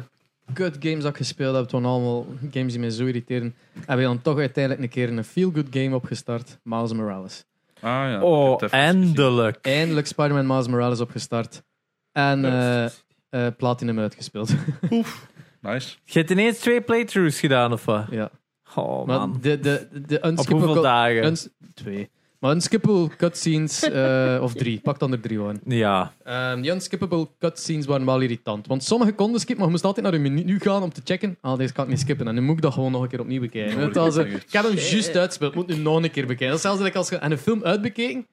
S2: kut games dat ik gespeeld heb, het waren allemaal games die mij zo irriteren, hebben we dan toch uiteindelijk een keer een feel-good game opgestart, Miles Morales.
S1: Ah ja. ik
S3: Oh,
S1: heb het even gezien.
S3: eindelijk.
S2: Eindelijk Spider-Man Miles Morales opgestart. En eh,
S1: Nice.
S2: eh, Platinum uitgespeeld. [laughs]
S1: Nice.
S3: Je hebt ineens twee playthroughs gedaan, of wat?
S2: ja.
S3: Oh,
S2: Maar
S3: man.
S2: de, de, de
S3: Op hoeveel
S2: unskippable...
S3: dagen?
S2: uns- twee. Maar unskippable
S3: [laughs]
S2: cutscenes, eh, of drie. Pak dan er drie gewoon.
S3: Ja.
S2: Ehm die unskippable cutscenes waren wel irritant. Want sommige konden skippen, maar je moest altijd naar je menu gaan om te checken. Ah, deze kan ik niet skippen. En nu moet ik dat gewoon nog een keer opnieuw bekijken.
S1: Ja,
S2: Het was,
S1: dat
S2: eh,
S1: is echt-
S2: ik heb hem juist uitgespeeld, moet nu nog een keer bekijken. Dat is zelfs dat ik als je aan een film uitbekeken,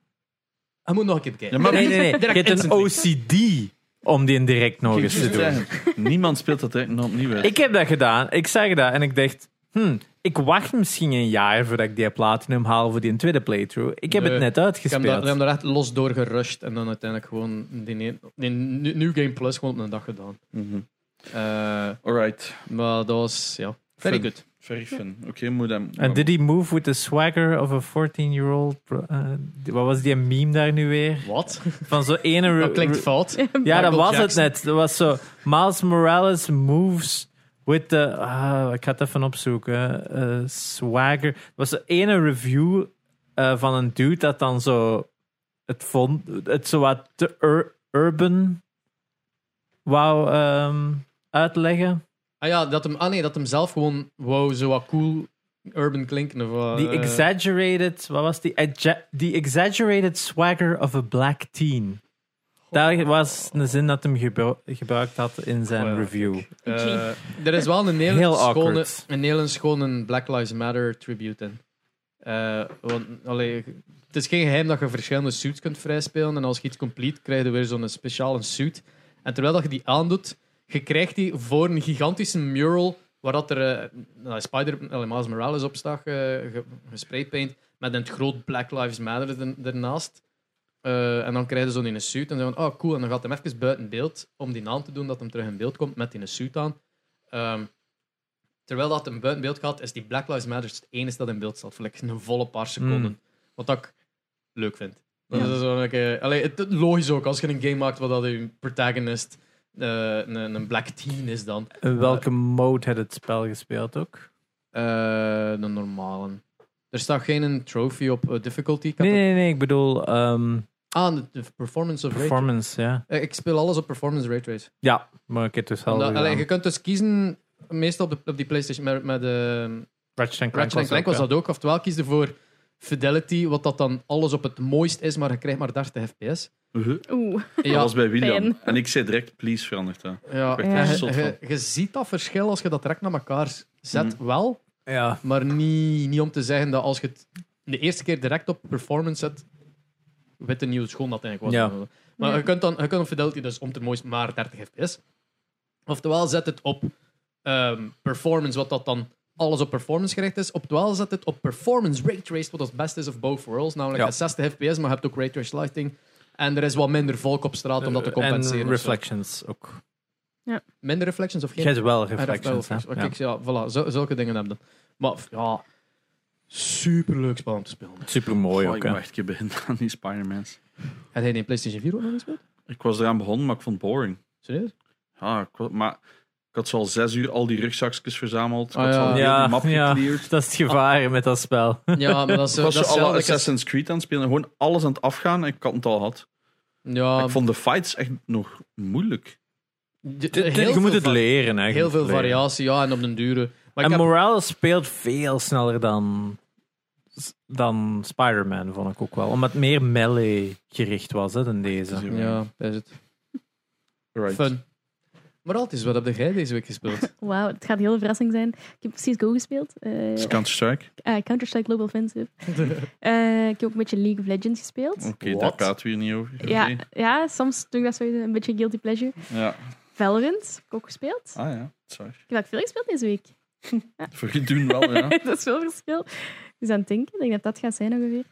S2: hij moet nog een keer bekijken.
S1: Ja, maar-
S3: Nee, nee, nee. Je
S2: Direct
S3: hebt een
S2: instantly.
S3: OCD om die in direct nog eens te
S1: Ik
S3: doen.
S1: wou zeggen, Niemand speelt dat eigenlijk nog opnieuw uit.
S3: Ik heb dat gedaan. Ik zag dat en ik dacht... hm, ik wacht misschien een jaar voordat ik die platinum haal voor die tweede playthrough. Ik heb
S2: Nee,
S3: het net
S2: Ik heb
S3: uitgespeeld.
S2: daar- ik heb daar echt los door gerusht en dan uiteindelijk gewoon die, ne- die New- New Game Plus gewoon op een dag gedaan.
S1: Mhm.
S2: Eh,
S1: Alright.
S2: maar dat was, ja, very
S1: Fun.
S2: good.
S1: Very fun. Oké, moet hem.
S3: En did he move with the swagger of a 14-year-old? pro- eh, wat was die meme daar nu weer?
S2: Wat?
S3: Van zo'n ene... ru-
S2: Dat klinkt [laughs] fout.
S3: Ja, dat
S2: Michael
S3: was het
S2: Jackson.
S3: net. Dat was zo. Miles Morales moves with the. ah, ik ga het even opzoeken. Eh, swagger. Er was de ene review eh, van een dude dat dan zo. Het vond. Het zo wat te ur- urban. Wauw. ehm, uitleggen.
S2: Ah ja, dat hem, ah nee, dat hem zelf gewoon wou zo wat cool urban klinken. Of, wat,
S3: The
S2: eh,
S3: exaggerated, wat was die? Exa- The exaggerated swagger of a black teen. Daar was een zin dat hem gebru- gebruikt had in zijn
S2: Oh ja.
S3: review.
S2: eh, er is wel een hele,
S3: Heel
S2: schone,
S3: awkward.
S2: een hele schone Black Lives Matter tribute in. Eh, want, allee, het is geen geheim dat je verschillende suits kunt vrijspelen. En als je iets complete, krijg je weer zo'n speciale suit. En terwijl dat je die aandoet, je krijgt die voor een gigantische mural waar dat er eh, nou, Spider, allee, Miles Morales op staat, eh, ge- gespraypaint met een groot Black Lives Matter er- ernaast. Eh, en dan krijg je zo'n in een suit. En dan van, oh cool. En dan gaat hem even buiten beeld om die naam te doen, dat hem terug in beeld komt met die een suit aan. Ehm, terwijl dat hem buiten beeld gaat, is die Black Lives Matter het enige dat in beeld staat. Voor like, een volle paar seconden.
S3: Mm.
S2: Wat dat ik leuk vind. Hmm. Dat is zo like, eh, allee, het, het logisch ook, als je een game maakt waar dat je protagonist eh, een, een black teen is dan.
S3: In welke mode had het spel gespeeld ook?
S2: Eh, de normale. Er staat geen trofee op eh, difficulty. Ik had
S3: Nee, nee, nee, ik bedoel ehm,
S2: het- Ah, de, de performance of rate.
S3: performance, ja.
S2: Eh, ik speel alles op performance rate race.
S3: Ja, maar ik heb het dus al
S2: Omdat- allee,
S3: gedaan.
S2: je kunt dus kiezen, meestal op, de, op die PlayStation met, met de
S3: Ratchet en Clank
S2: Ratchet Clank was
S3: ook,
S2: dat ook. Oftewel kies je voor Fidelity, wat dat dan alles op het mooist is, maar je krijgt maar 30 fps.
S1: Uh-huh.
S4: Oeh.
S1: dat
S2: Ja,
S1: was bij William.
S4: Pijn.
S1: En ik zei direct, please, veranderd. Hè.
S2: ja.
S1: werd er
S2: En
S1: zot
S2: je, je- je ziet dat verschil als je dat direct naar elkaar zet, wel,
S3: hè. Ja,
S2: maar niet, niet om te zeggen dat als je het de eerste keer direct op performance zet, witte nieuw schoon dat eigenlijk was.
S3: Ja.
S2: Maar
S4: Ja.
S2: je kunt dan je kunt op Fidelity dus om te mooist maar 30 fps. Oftewel zet het op ehm, performance, wat dat dan alles op performance gericht is. Oftewel zet het op performance ray traced, wat het beste is of both worlds. Namelijk
S3: Ja.
S2: dat 60 fps, maar je hebt ook ray traced lighting. En er is wat minder volk op straat om dat te compenseren.
S3: En
S2: of zo.
S3: reflections ook.
S2: Minder reflections of geen
S3: Jij hebt wel
S2: Ah,
S3: reflections,
S2: Reflections.
S3: hè?
S2: Ah, Kijk, ja, voilà, zo- zulke dingen hebben. Maar f- ja, superleuk spel om te spelen.
S3: Super mooi
S1: Goh,
S3: ook,
S1: ik
S3: hè?
S1: moet echt een keer beginnen aan die Spider-Mans.
S2: Heb jij die in PlayStation 4 ook nog gespeeld?
S1: Ik was eraan begonnen, maar ik vond het boring.
S2: Serieus?
S1: Ja, ik wa- maar ik had zo al zes uur al die rugzakjes verzameld. Ik
S2: Ah,
S1: had zo
S2: ja.
S1: al heel
S3: Ja,
S1: die map
S3: ja.
S1: gecleared.
S3: [laughs] Dat is het gevaar met dat spel.
S2: [laughs] Ja, maar dat is,
S1: Ik was
S2: dat is
S1: zo alle
S2: hetzelfde als-
S1: Assassin's Creed aan het spelen. Gewoon alles aan het afgaan en ik had het al gehad.
S2: Ja,
S1: ik vond de fights echt nog moeilijk.
S2: d- [laughs] heel
S3: Je
S2: veel
S3: moet het
S2: va-
S3: leren, eigenlijk.
S2: Heel veel variatie, ja, en op den dure. Maar ik
S3: en
S2: heb-
S3: Morales speelt veel sneller dan, dan Spider-Man, vond ik ook wel. Omdat het meer melee gericht was hè, dan deze.
S2: ja, dat is het.
S1: Right.
S2: Fun. Maar altijd, wat heb jij deze week
S4: [laughs]
S2: gespeeld?
S4: Wauw, het gaat een hele verrassing zijn. Ik heb precies Go gespeeld. Eh,
S1: Dat is Counter-Strike.
S4: eh, Counter-Strike Global Offensive. Eh, ik heb ook een beetje League of Legends gespeeld.
S1: Oké,
S2: Wat?
S1: daar praten we hier niet over. Oh, Oké.
S4: Ja, ja, soms doe ik dat zo een beetje guilty pleasure.
S1: ja.
S4: Valorant heb ik ook gespeeld.
S1: Ah ja, sorry.
S4: Ik heb eigenlijk veel gespeeld deze week.
S1: Voor je doen wel, Oh, [laughs] ja. Oké.
S4: [laughs] dat is veel verschil. Dus aan het denken, ik denk dat dat gaat zijn ongeveer.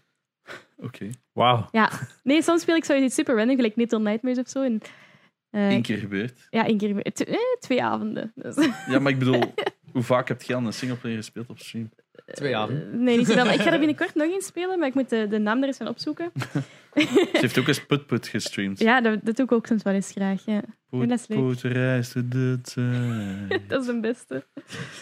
S3: Wauw.
S4: Ja, nee, soms speel ik zoiets super random, gelijk Little Nightmares of zo. En, eh,
S1: Eén keer gebeurd.
S4: Ja, één keer. tw- eh, twee avonden. Dus,
S1: Ja, maar ik
S4: [laughs]
S1: bedoel, hoe vaak heb je al een singleplayer gespeeld op stream?
S2: Twee avonden.
S4: [laughs] nee, niet zoveel. Ik
S1: [laughs]
S4: ga er binnenkort nog in spelen, maar ik moet de, de naam er eens van opzoeken.
S1: Ze heeft ook eens Put-Put gestreamd.
S4: Ja, dat, dat doe ik ook soms wel eens graag. Ja.
S1: Put,
S4: dat is leuk.
S1: Put reist door de tijd.
S4: Dat is de beste.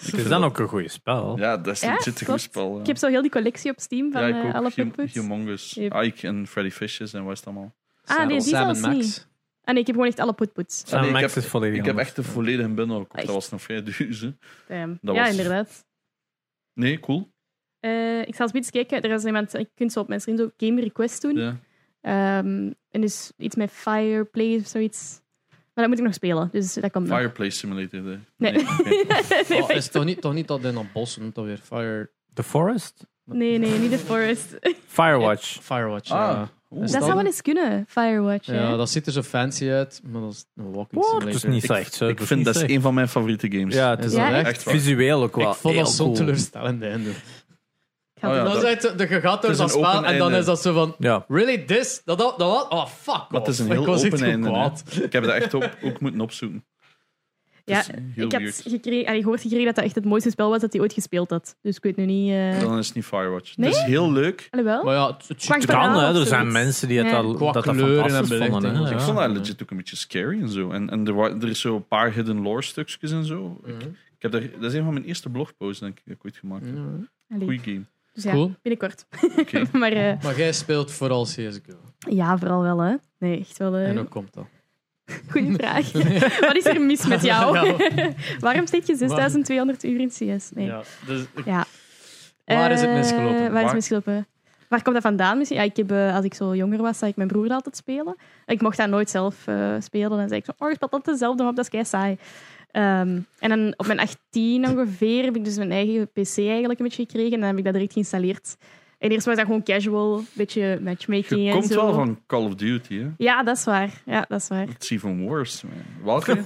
S3: Het is dan ook een goeie spel.
S1: Ja, dat is
S4: Ja,
S1: legit een
S4: klopt.
S1: goed spel. Ja.
S4: Ik heb zo heel die collectie op Steam van
S1: ja,
S4: eh,
S1: ik ook.
S4: alle
S1: Hum-
S4: putputs.
S1: Humongous,
S4: Yep.
S1: Ike en Freddy Fishes en wat is het allemaal.
S4: Ah, nee, die
S2: Samen
S4: zelfs
S2: Max.
S4: niet. Ah nee, ik heb gewoon echt alle putputs.
S1: Ah, nee,
S3: Sam
S1: ik
S3: Max
S1: heb-
S3: is volledig
S1: Ik heb
S3: anders.
S1: echt de volledige bundel gekocht.
S4: Echt?
S1: Dat was nog vrij duur. hè.
S4: Damn.
S1: Dat
S4: Ehm, ja,
S1: was-
S4: inderdaad.
S1: Nee, cool.
S4: Eh, ik zal eens iets kijken. Er is iemand, ik kunt zo op mijn stream zo game request doen.
S1: Ja.
S4: Ehm, en dus iets met Fireplace of zoiets. Maar dat moet ik nog spelen, dus dat komt nog.
S1: Fireplace Simulator. hè.
S4: [laughs] Nee.
S1: oké.
S4: nee,
S2: Oh, is het toch niet, toch niet dat in dat bos noemt dat weer Fire,
S3: The Forest?
S4: nee, nee, niet de Forest.
S3: Firewatch.
S2: Firewatch.
S1: Ah, oeh.
S2: Is
S4: dat zou wel eens kunnen, Firewatch.
S2: ja.
S4: hè.
S2: ja, dat ziet er zo fancy uit, maar dat is een walking
S3: Wow,
S2: simulator.
S3: dat is niet slecht. hè.
S1: Ik
S3: is
S1: vind
S3: niet
S1: dat is
S3: slecht.
S1: een van mijn favoriete games.
S3: Ja, het
S2: Is
S3: is
S4: Ja,
S2: dat
S4: echt?
S2: echt?
S1: echt waar.
S3: visueel ook wel.
S2: Ik vond dat
S3: heel
S2: zo'n
S3: cool.
S2: teleurstellende einde.
S4: Ik ga
S1: Oh ja,
S4: het
S2: dat
S4: doen.
S2: is echt, zo- de- je gaat door
S1: Het is
S2: dat
S1: een
S2: spel
S1: open
S2: en dan
S1: einde.
S2: is dat zo van...
S3: [laughs] Ja.
S2: Really? This? Dat, dat, dat wat? Oh, fuck
S1: Maar het is een
S2: off.
S1: heel
S2: Ik was echt
S1: open
S2: goed
S1: einde, hè.
S2: kwaad.
S1: Ik heb dat echt op, ook moeten opzoeken.
S4: Ja,
S1: Dat is heel
S4: ik had
S1: weird.
S4: gekregen, allee, gehoord gekregen dat dat echt het mooiste spel was dat hij ooit gespeeld had. Dus ik weet nu niet... eh,
S1: Dan is het niet Firewatch.
S4: Nee?
S1: Het is heel leuk.
S4: Alhoewel.
S2: Maar ja, het, het ziet
S4: Wacht,
S2: er-
S3: Het kan,
S4: verhaal
S3: hè. Er
S4: of
S3: zijn
S4: zoiets.
S3: mensen die het
S4: Ja.
S3: al
S2: Qua
S3: dat dat
S2: kleuren en
S3: fantastisch vonden.
S2: belichting.
S3: hè.
S1: ik
S2: Ja,
S1: vond dat
S3: Ja.
S1: legit ook een beetje scary en zo. En, en er, wa- er is zo'n paar hidden lore stukjes en zo. Ik, ik heb daar, dat is een van mijn eerste blogposts, denk ik, dat ik ooit gemaakt heb.
S4: allee.
S1: Goeie game.
S4: Dus ja,
S2: Cool.
S4: binnenkort. [laughs]
S1: Oké.
S4: maar eh,
S2: Maar jij speelt vooral CSGO.
S4: ja, vooral wel, hè. Nee, echt wel... eh,
S2: En hoe komt dat?
S4: Goeie vraag. Wat is er mis met jou?
S2: Ja.
S4: Waarom steek je 6200 uur in CS? Nee.
S2: Ja, dus ik-
S4: Ja.
S2: Waar is het
S4: Eh,
S2: misgelopen?
S4: Waar is het
S1: Waar-
S4: misgelopen? Waar komt dat vandaan? Misschien, ja, ik heb, eh, als ik zo jonger was, zag ik mijn broer altijd spelen. Ik mocht dat nooit zelf eh, spelen. Dan zei ik zo, oh, je speelt altijd dezelfde map, dat is kei saai. Ehm, en dan op mijn 18 ongeveer heb ik dus mijn eigen PC eigenlijk een beetje gekregen. En dan heb ik dat direct geïnstalleerd. En eerst was dat gewoon casual, een beetje matchmaking
S1: Je
S4: en
S1: komt
S4: zo.
S1: wel van Call of Duty, hè?
S4: Ja, dat is waar. Ja, dat is waar.
S1: It's even worse. man.
S4: [laughs]
S1: Welke?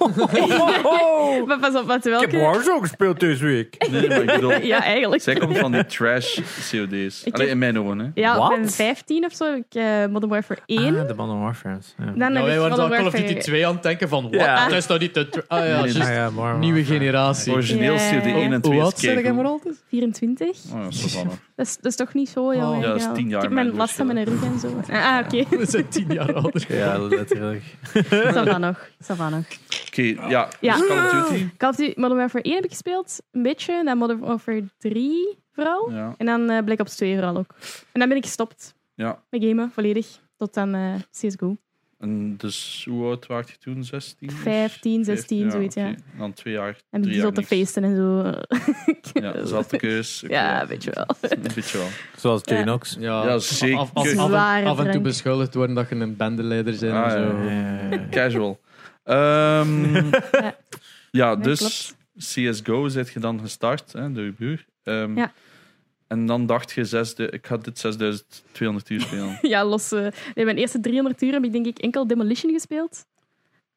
S4: Maar pas op, wat
S3: Ik heb
S4: welke...
S3: Warzone gespeeld deze week.
S1: Nee, maar ik bedoel...
S4: Ja, eigenlijk.
S1: Zij komt van die trash COD's.
S4: heb-
S1: Alleen in mijn ogen, hè?
S4: Ja, op
S3: Wat?
S4: mijn 15 of zo heb ik eh, Modern Warfare 1.
S3: Ah, de Modern Warfare. Ja.
S4: dan
S2: Ja,
S4: heb
S2: wij
S4: ik
S2: waren
S4: Modern
S2: al Call of
S4: Warfare-
S2: Duty 2 aan het denken van, wat?
S3: Ja.
S2: Dat is nou niet de... tra- Ah ja,
S1: Nee, nee,
S2: juist
S1: nee.
S3: ja, Modern
S2: nieuwe
S3: Warfare.
S2: generatie.
S1: Origineel
S4: Ja.
S1: COD 1 en 2
S2: Hoe
S1: is
S2: oud zijn jij maar
S1: keigoed.
S2: altijd?
S4: 24.
S1: Oh, ja, Savannah.
S4: Dat is, dat is toch niet zo, joh.
S2: Oh.
S1: Ja, dat is tien jaar
S4: Ik heb mijn
S1: mijn
S4: last aan mijn rug en
S1: [laughs]
S4: zo. Ah, oké.
S2: We zijn
S4: [laughs]
S2: tien jaar ouder.
S3: Ja, letterlijk.
S4: Ça va nog. Ça va nog. [laughs]
S1: Oké, ja.
S4: Ja.
S1: Dus Call of
S4: [laughs]
S1: Duty.
S4: Call of Duty Modern Warfare 1 heb ik gespeeld. Een beetje. Dan Modern Warfare 3 vooral.
S1: Ja.
S4: En dan eh, Black Ops 2 vooral ook. En dan ben ik gestopt
S1: ja.
S4: met gamen, volledig. Tot aan eh, CSGO.
S1: En dus hoe oud was je toen? 16?
S4: 15, 16, zoiets, ja.
S1: oké. En dan twee jaar.
S4: En
S1: drie jaar
S4: die zo te
S1: niks.
S4: feesten en zo.
S1: Ja,
S4: [laughs]
S1: zat de keus. Oké,
S4: Ja, weet je wel.
S1: Een beetje wel.
S3: Zoals
S4: Ja.
S3: Janox.
S2: Ja,
S1: Ja, zeker.
S2: Af, af- af-
S4: Zware
S2: af en toe
S4: drank.
S2: beschuldigd worden dat je een bendeleider bent.
S1: Ah,
S2: en zo.
S1: ja.
S3: Eh,
S1: Casual. Ehm,
S4: [laughs] Ja.
S1: ja.
S4: Nee,
S1: dus
S4: klopt.
S1: CSGO zit je dan gestart, hè, door je buur. Ehm,
S4: Ja.
S1: En dan dacht je, zesde, ik ga dit 6200 uur spelen. ik
S4: [laughs] Ja, los. eh, nee, mijn eerste 300 uur heb ik denk ik enkel Demolition gespeeld.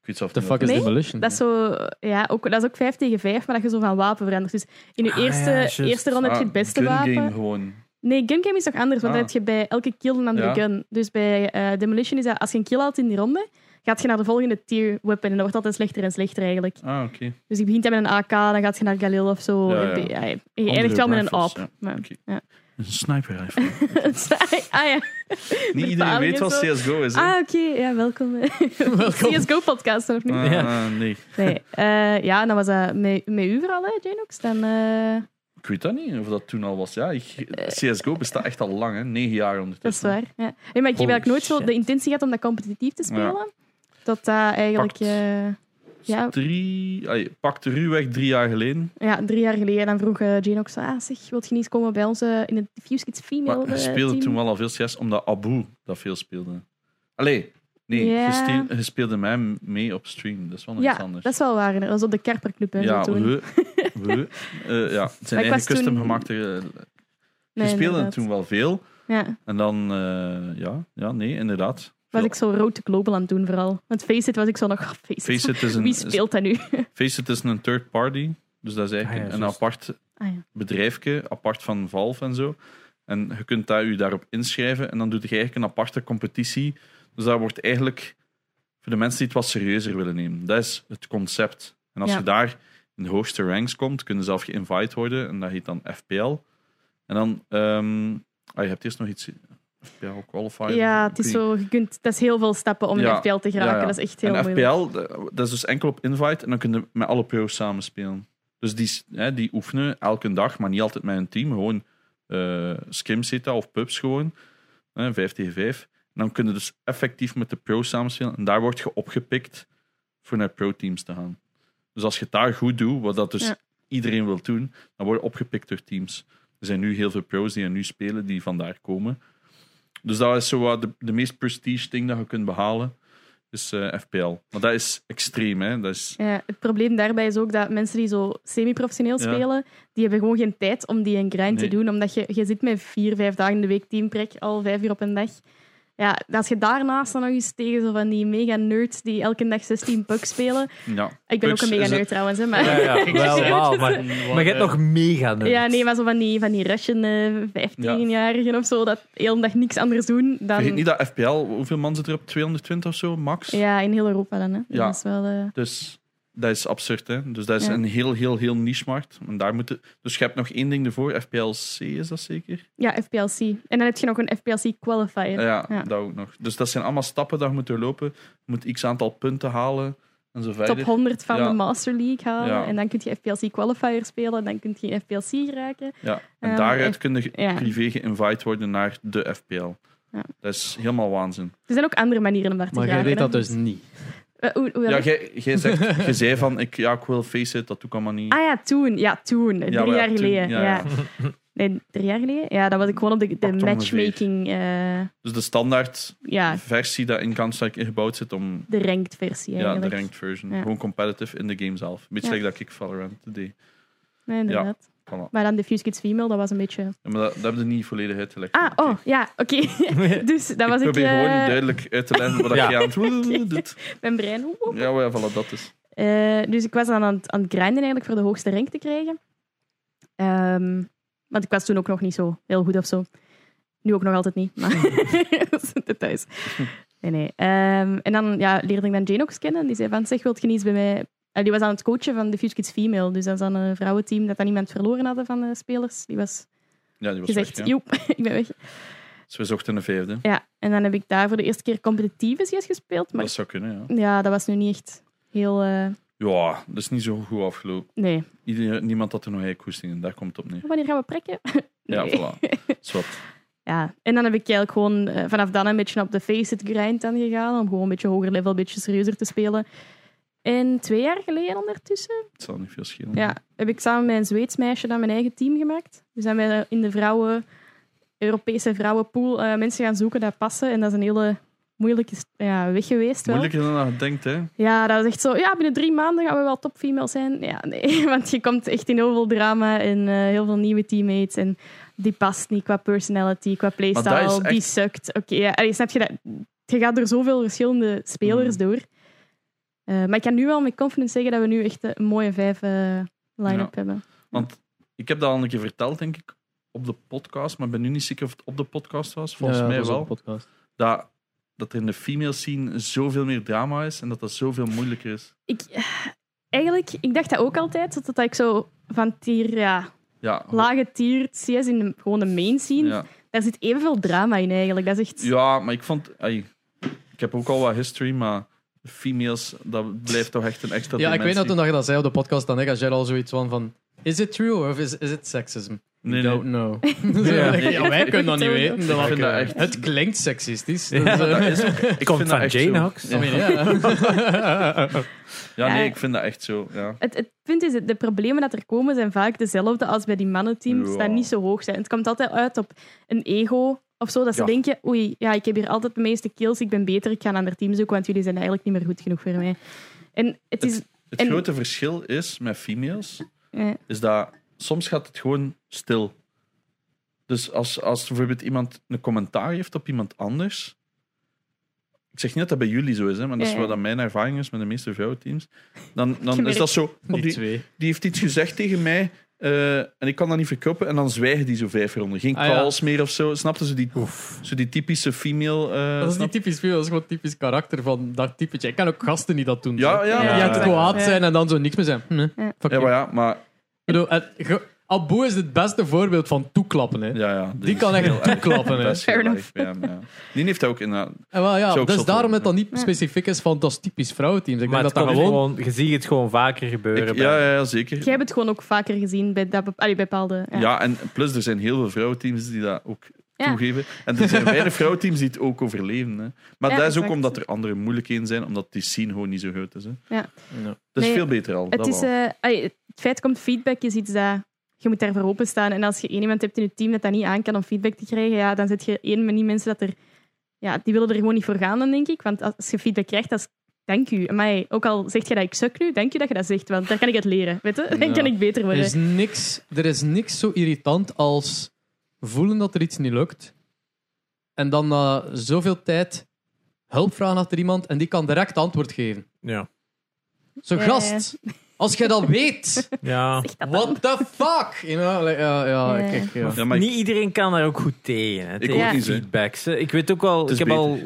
S1: weet zelf
S2: The
S1: niet
S2: fuck is
S1: wat-
S4: Nee,
S2: Demolition?
S4: Dat is, zo, ja, ook, dat is ook 5 tegen 5, maar dat je zo van wapen verandert. Dus in je
S3: Ah,
S4: eerste,
S3: ja, juist.
S4: eerste ronde heb je het
S1: Ah,
S4: beste
S1: gun
S4: wapen.
S1: game gewoon.
S4: Nee, gun game is toch anders, want
S1: Ah.
S4: dan heb je bij elke kill een andere
S1: Ja.
S4: gun. Dus bij eh, Demolition is dat, als je een kill haalt in die ronde, gaat je naar de volgende tier weapon. En dat wordt altijd slechter en slechter eigenlijk.
S1: Ah, oké.
S4: Dus je begint dan met een AK, dan gaat je naar Galil of zo.
S1: Ja,
S4: En die-
S1: ja.
S4: ja, je eindigt wel met een
S1: rifles,
S4: AWP.
S1: ja.
S4: Maar-
S1: Oké.
S4: ja.
S1: Een sniper
S4: [laughs]
S1: rifle.
S4: ah ja,
S1: Niet iedereen weet wat
S4: Vertalingen
S1: CSGO is, hè?
S4: ah, oké. Ja, welkom. [laughs]
S2: Welkom.
S4: CSGO-podcast, of niet?
S1: Ah,
S3: Ja.
S1: ah, nee.
S4: Nee. eh, ja, dan was dat met, met u vooral, hè, Janox. Dan, eh,
S1: Ik weet dat niet, of dat toen al was. Ja, ik- CSGO bestaat echt al lang, hè. Negen jaar
S4: Dat is
S1: ondertussen.
S4: waar. Ja. Nee, maar ik heb
S3: Holy
S4: eigenlijk nooit zo
S3: shit.
S4: de intentie gehad om dat competitief te spelen. Dat dat eigenlijk
S1: Pakt.
S4: eh, ja,
S1: Drie... Allee, pakte ruwweg drie jaar geleden.
S4: ja, drie jaar geleden dan vroeg eh, Jane ook zo, ah, zeg, wilt je niet eens komen bij ons eh, in het Fuse Kids Female
S1: Maar hij
S4: eh,
S1: speelde
S4: team?
S1: toen wel al veel CS, omdat Abu dat veel speelde. Allee, nee,
S4: Ja.
S1: je, stie- je speelde mij mee op stream. Dat is wel
S4: Ja,
S1: iets anders.
S4: dat is wel waar. Dat was op de Kerperclub. Hè,
S1: ja,
S4: zo toen. [laughs]
S1: we, we, eh, ja, het zijn
S4: Maar ik was
S1: eigen custom
S4: toen-
S1: gemaakte... eh, je
S4: Nee,
S1: speelde
S4: inderdaad.
S1: toen wel veel.
S4: Ja,
S1: En dan, eh, ja, ja, nee, inderdaad.
S4: was
S1: Veel-
S4: ik zo rood te global aan het doen vooral. Want Faceit was ik zo nog... oh, Faceit.
S1: Faceit is een,
S4: [laughs] Wie
S1: is-
S4: speelt dat nu?
S1: Faceit is een third party. Dus dat is eigenlijk
S3: Ah ja,
S1: een
S3: juist.
S1: apart
S4: ah, ja.
S1: bedrijfje, apart van Valve en zo. En je kunt daar, je daarop inschrijven en dan doet je eigenlijk een aparte competitie. Dus daar wordt eigenlijk voor de mensen die het wat serieuzer willen nemen. Dat is het concept. En als
S4: Ja.
S1: je daar in de hoogste ranks komt, kunnen zelf geïnvite worden en dat heet dan FPL. En dan, ehm ah, je hebt eerst nog iets, FPL qualifier.
S4: ja,
S1: Ik
S4: het is
S1: weet
S4: zo... Je kunt, dat is heel veel stappen om
S1: Ja,
S4: in FPL te
S1: ja,
S4: geraken.
S1: ja.
S4: Dat is echt heel
S1: en
S4: moeilijk.
S1: FPL, de- dat is dus enkel op invite. En dan kun je met alle pro's samenspelen. Dus die, s- hè, die oefenen elke dag, maar niet altijd met een team. Gewoon eh scrims heet dat, of pubs gewoon. Hè, 5 tegen 5. En dan kun je dus effectief met de pro's samenspelen. En daar word je opgepikt voor naar pro-teams te gaan. Dus als je het daar goed doet, wat dat dus
S4: Ja.
S1: iedereen wil doen, dan word je opgepikt door teams. Er zijn nu heel veel pro's die er nu spelen, die vandaar komen. Dus dat is zo wat de, de meest prestige ding dat je kunt behalen is eh, FPL. Maar dat is extreem, hè? Dat is,
S4: Ja, Eh, het probleem daarbij is ook dat mensen die zo semi-professioneel
S1: Ja.
S4: spelen, die hebben gewoon geen tijd om die een grind
S1: Nee.
S4: te doen, omdat je, je zit met vier, vijf dagen in de week teamprek, al vijf uur op een dag. Ja, als je daarnaast dan nog eens tegen zo van die mega nerds die elke dag 16 pucks spelen.
S1: ja.
S4: Ik ben
S1: Pucks
S4: ook een mega
S1: is
S4: nerd
S1: het-
S4: trouwens, hè,
S3: Ja,
S4: maar... [laughs]
S3: ja, wel, wauw, maar,
S2: Wat,
S3: maar je hebt
S2: eh,
S3: nog mega nerds.
S4: Ja, nee, maar zo van die, van die Russian eh, 15-jarigen of zo, dat heel de dag niks anders doen dan...
S1: Vergeet niet dat FPL, hoeveel man zit er op? 220 of zo, max?
S4: Ja, in heel Europa dan, hè.
S1: Ja.
S4: Dat is wel... eh,
S1: Dus dat is absurd, hè? Dus dat is
S4: Ja.
S1: een heel, heel, heel niche markt. En daar moet het- dus je hebt nog één ding ervoor, FPLC is dat zeker?
S4: ja, FPLC. En dan heb je nog een FPLC qualifier.
S1: Ja,
S4: Ja.
S1: dat ook nog. Dus dat zijn allemaal stappen dat je moet doorlopen. Je moet x aantal punten halen en zo verder.
S4: top 100 van
S1: Ja.
S4: de Master League halen.
S1: Ja.
S4: En dan kun je FPLC qualifier spelen. En dan kun je in FPLC geraken.
S1: Ja. En
S4: Ehm,
S1: daaruit
S4: F-
S1: kun je
S4: ja.
S1: privé geïnvite worden naar de FPL.
S4: Ja.
S1: Dat is helemaal waanzin.
S4: Er zijn ook andere manieren om daar te
S2: Maar jij
S4: geraken.
S2: deed dat
S4: hè.
S2: dus niet.
S4: Eh, hoe- hoe-
S1: Ja, jij jij zegt-
S4: [laughs]
S1: jij zei van, ik, ja, ik wil face it, dat doe ik allemaal niet.
S4: Ah ja, toen. Ja, toen. Drie
S1: maar ja,
S4: jaar
S1: toen.
S4: geleden.
S1: Ja, ja.
S4: Ja, [laughs] Nee, drie jaar geleden? Ja, dat was ik gewoon op de, de
S1: Pakt ongeveer.
S4: matchmaking... eh,
S1: Dus de standaard
S4: ja,
S1: versie dat in Counter-Strike ingebouwd zit om
S4: de ranked versie
S1: ja,
S4: eigenlijk.
S1: de ranked version.
S4: Ja.
S1: Gewoon competitive in de game zelf. Beetje
S4: Ja.
S1: like dat ik Valorant deed.
S4: Nee, inderdaad.
S1: Voilà.
S4: Maar dan Diffuse Kids Female, dat was een beetje...
S1: Ja, maar dat, dat hebben we niet volledig uitgelegd.
S4: Ah, oh, ja, oké. [laughs] dus dat was
S1: ik
S4: ik...
S1: probeer
S4: eh,
S1: gewoon niet duidelijk uit te leggen
S4: [laughs]
S1: wat
S3: Ja.
S1: je aan het doet.
S4: Mijn brein... oep, oep.
S1: Ja, maar ja, voilà, dat is.
S4: Eh, dus ik was dan aan het, aan het grinden eigenlijk voor de hoogste rank te krijgen. Ehm, want ik was toen ook nog niet zo heel goed of zo. Nu ook nog altijd niet, maar [laughs] dat is een details. Nee, nee. Ehm, en dan ja, leerde ik dan Jane ook kennen. Die zei van, zeg, wilt je niet eens bij mij... Eh, die was aan het coachen van de Fuse Kids Female. Dus dat is dan een vrouwenteam dat dan iemand verloren hadden van de spelers. Die was
S1: Ja, die was
S4: gezegd,
S1: weg. Ja.
S4: joep, [laughs] ik ben weg.
S1: Dus we zochten een vijfde.
S4: Ja, en dan heb ik daar voor de eerste keer competitieve CS gespeeld. Maar
S1: Dat zou kunnen, ja.
S4: ja, dat was nu niet echt heel... eh,
S1: Ja, dat is niet zo goed afgelopen.
S4: nee.
S1: Ieder, niemand had er nog eigen koesting in, daar komt het op neer.
S4: Wanneer gaan we [laughs] prikken?
S1: Ja,
S4: Nee.
S1: voilà.
S4: [laughs]
S1: Zwat.
S4: Ja, en dan heb ik eigenlijk gewoon eh, vanaf dan een beetje op de face-it grind dan gegaan. Om gewoon een beetje hoger level, een beetje serieuzer te spelen. En twee jaar geleden ondertussen
S1: Het zal niet veel schelen.
S4: ja, heb ik samen met een Zweeds meisje dan mijn eigen team gemaakt. Dus zijn we in de vrouwen, Europese vrouwenpool eh, mensen gaan zoeken dat passen. En dat is een hele moeilijke ja, weg geweest wel.
S1: Moeilijker dan dat je denkt, hè?
S4: Ja, dat is echt zo. Ja, binnen drie maanden gaan we wel top female zijn. Ja, nee, [laughs] want je komt echt in heel veel drama en eh, heel veel nieuwe teammates. En die past niet qua personality, qua
S1: Maar dat
S4: playstyle.
S1: is
S4: Die
S1: echt-
S4: sukt. Oké, ja, allee, snap je dat? Je gaat door zoveel verschillende spelers
S1: Mm.
S4: door. Eh, maar ik kan nu wel met confidence zeggen dat we nu echt een mooie vijf eh, line-up
S1: Ja.
S4: hebben.
S1: Want ik heb dat al een keer verteld, denk ik, op de podcast, maar ik ben nu niet zeker of het op de podcast was. Volgens
S2: Ja,
S1: mij
S2: dat is ook
S1: wel.
S2: een podcast.
S1: Dat, dat er in de female scene zoveel meer drama is en dat dat zoveel moeilijker is.
S4: Ik, eh, eigenlijk, ik dacht dat ook altijd. Dat, dat ik zo van tier, ja,
S1: Ja, ho-
S4: lage tier CS in de, gewoon de main scene.
S1: Oh. ja.
S4: Daar zit evenveel drama in eigenlijk. Dat is echt...
S1: ja maar ik vond. ai, ik heb ook al wat history, maar females, dat blijft toch echt een extra
S2: Ja, ik weet dat
S1: dimensie.
S2: toen dat je dat zei op de podcast, dan hè, had jij al zoiets van, van... Is it true of is, is it sexism?
S1: Nee, nee.
S2: Don't know. Zo,
S3: Ja.
S2: like, [laughs] ja, wij kunnen dat niet
S4: Ik
S2: weten. Dat [laughs]
S1: vind
S2: ik,
S1: dat
S2: eh,
S1: echt-
S2: Het klinkt seksistisch.
S3: Ja,
S2: dus, eh,
S1: Dat
S2: [laughs]
S1: is ook- ik
S3: Komt
S1: vind dat
S3: van
S1: echt
S3: Jane
S1: zo.
S3: Hawks.
S2: I mean, [laughs] ja.
S1: Ja, nee,
S4: Ja.
S1: ik vind dat echt zo. Ja.
S4: Het, het punt is, de problemen dat er komen zijn vaak dezelfde als bij die mannenteams,
S1: Ja.
S4: dat niet zo hoog zijn. Het komt altijd uit op een ego of zo, dat ze
S1: Ja.
S4: denken, oei, ja, ik heb hier altijd de meeste kills, ik ben beter, ik ga een ander team zoeken, want jullie zijn eigenlijk niet meer goed genoeg voor mij. En het is...
S1: Het
S4: En-
S1: grote verschil is met females,
S4: eh,
S1: is dat soms gaat het gewoon stil. Dus als, als bijvoorbeeld iemand een commentaar heeft op iemand anders. Ik zeg niet dat dat bij jullie zo is, hè, maar dat is
S4: Ja,
S1: wel
S4: ja.
S1: dat mijn ervaring is met de meeste vrouwenteams. Dan, dan is
S4: Gemerkt.
S1: dat zo. oh,
S2: Die [laughs]
S1: die,
S2: twee.
S1: die heeft iets gezegd tegen mij eh, en ik kan dat niet verkopen. En dan zwijgen die zo vijf ronden. Geen
S2: Ah, ja.
S1: calls meer of zo. Snapten ze die, zo die typische female. eh,
S2: Dat is
S1: snap-
S2: niet typisch veel, dat is gewoon typisch karakter van dat typetje. Ik ken ook gasten die dat doen.
S1: Ja,
S2: zo.
S1: ja,
S4: Ja,
S2: Die
S1: ja.
S2: aan
S1: ja.
S2: het kwaad zijn en dan zo niks meer zijn. Hm,
S4: Ja.
S2: fuck
S1: Ja,
S2: you.
S1: maar ja, maar.
S2: Ik bedoel, het- ge- Abu is het beste voorbeeld van toeklappen. Hè.
S1: Ja, ja, dit
S2: Die
S1: is
S2: kan echt
S1: heel erg.
S2: [laughs] toeklappen,
S1: [laughs]
S2: hè.
S1: Dat is heel
S4: Fair
S1: erg bij hem, ja. Die heeft dat ook
S2: [laughs]
S1: inderdaad.
S2: En wel,
S1: Is
S2: ja,
S1: ook
S2: dus
S1: zot,
S2: daarom
S1: hoor.
S2: dat dat niet
S4: Ja.
S2: specifiek is van dat is typisch vrouwenteams. Ik
S3: Maar
S2: denk
S3: het
S2: dat dat
S3: komt
S2: gewoon...
S3: gewoon, je ziet het gewoon vaker gebeuren.
S1: Ik-
S3: bij-
S1: ja, ja, ja, zeker.
S4: jij hebt het gewoon ook vaker gezien bij, dat, bep- allee, bij bepaalde...
S1: Ja. en plus er zijn heel veel vrouwenteams die dat ook
S4: Ja.
S1: toegeven. En er zijn weinig vrouwenteams die het ook overleven. Hè. Maar
S4: Ja,
S1: dat is ook
S4: exact.
S1: omdat er andere moeilijkheden zijn, omdat die scene gewoon niet zo groot is. Hè.
S2: Ja.
S1: Dat is
S4: Nee,
S1: veel beter al.
S4: Het,
S1: dat
S4: is,
S1: wel.
S4: eh, allee, het feit komt feedback is iets dat je moet daarvoor openstaan. En als je één iemand hebt in je team dat dat niet aan kan om feedback te krijgen, ja, dan zit je één met die mensen dat er... Ja, die willen er gewoon niet voor gaan, dan denk ik. Want als je feedback krijgt, dat is... Dank u. Maar ook al zeg je dat ik suk nu, dank u dat je dat zegt. Want daar kan ik het leren, weet je? Dan
S2: Ja.
S4: kan ik beter
S2: Er
S4: worden.
S1: Dus-
S2: is, niks, er is niks zo irritant als voelen dat er iets niet lukt. En dan na zoveel tijd hulp vragen achter iemand en die kan direct antwoord geven.
S3: Ja.
S2: Zo,
S4: Ja,
S2: gast, als jij dat weet,
S3: Ja.
S4: Zeg [laughs] dat dan.
S2: what the fuck? You know, like, ja, ja,
S4: Ja.
S2: ik- ik- ja.
S1: ja, maar ik-
S3: Niet iedereen kan daar ook goed tegen. Hè, tegen
S4: ook
S1: niet, hè.
S3: feedbacks. hè. Ik weet ook wel,
S1: is
S3: ik heb
S1: beter.
S3: al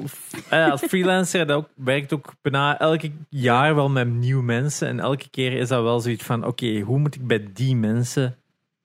S3: eh, als freelancer, dat ook, werkt ook bijna elke jaar wel met nieuwe mensen. En elke keer is dat wel zoiets van: oké, hoe moet ik bij die mensen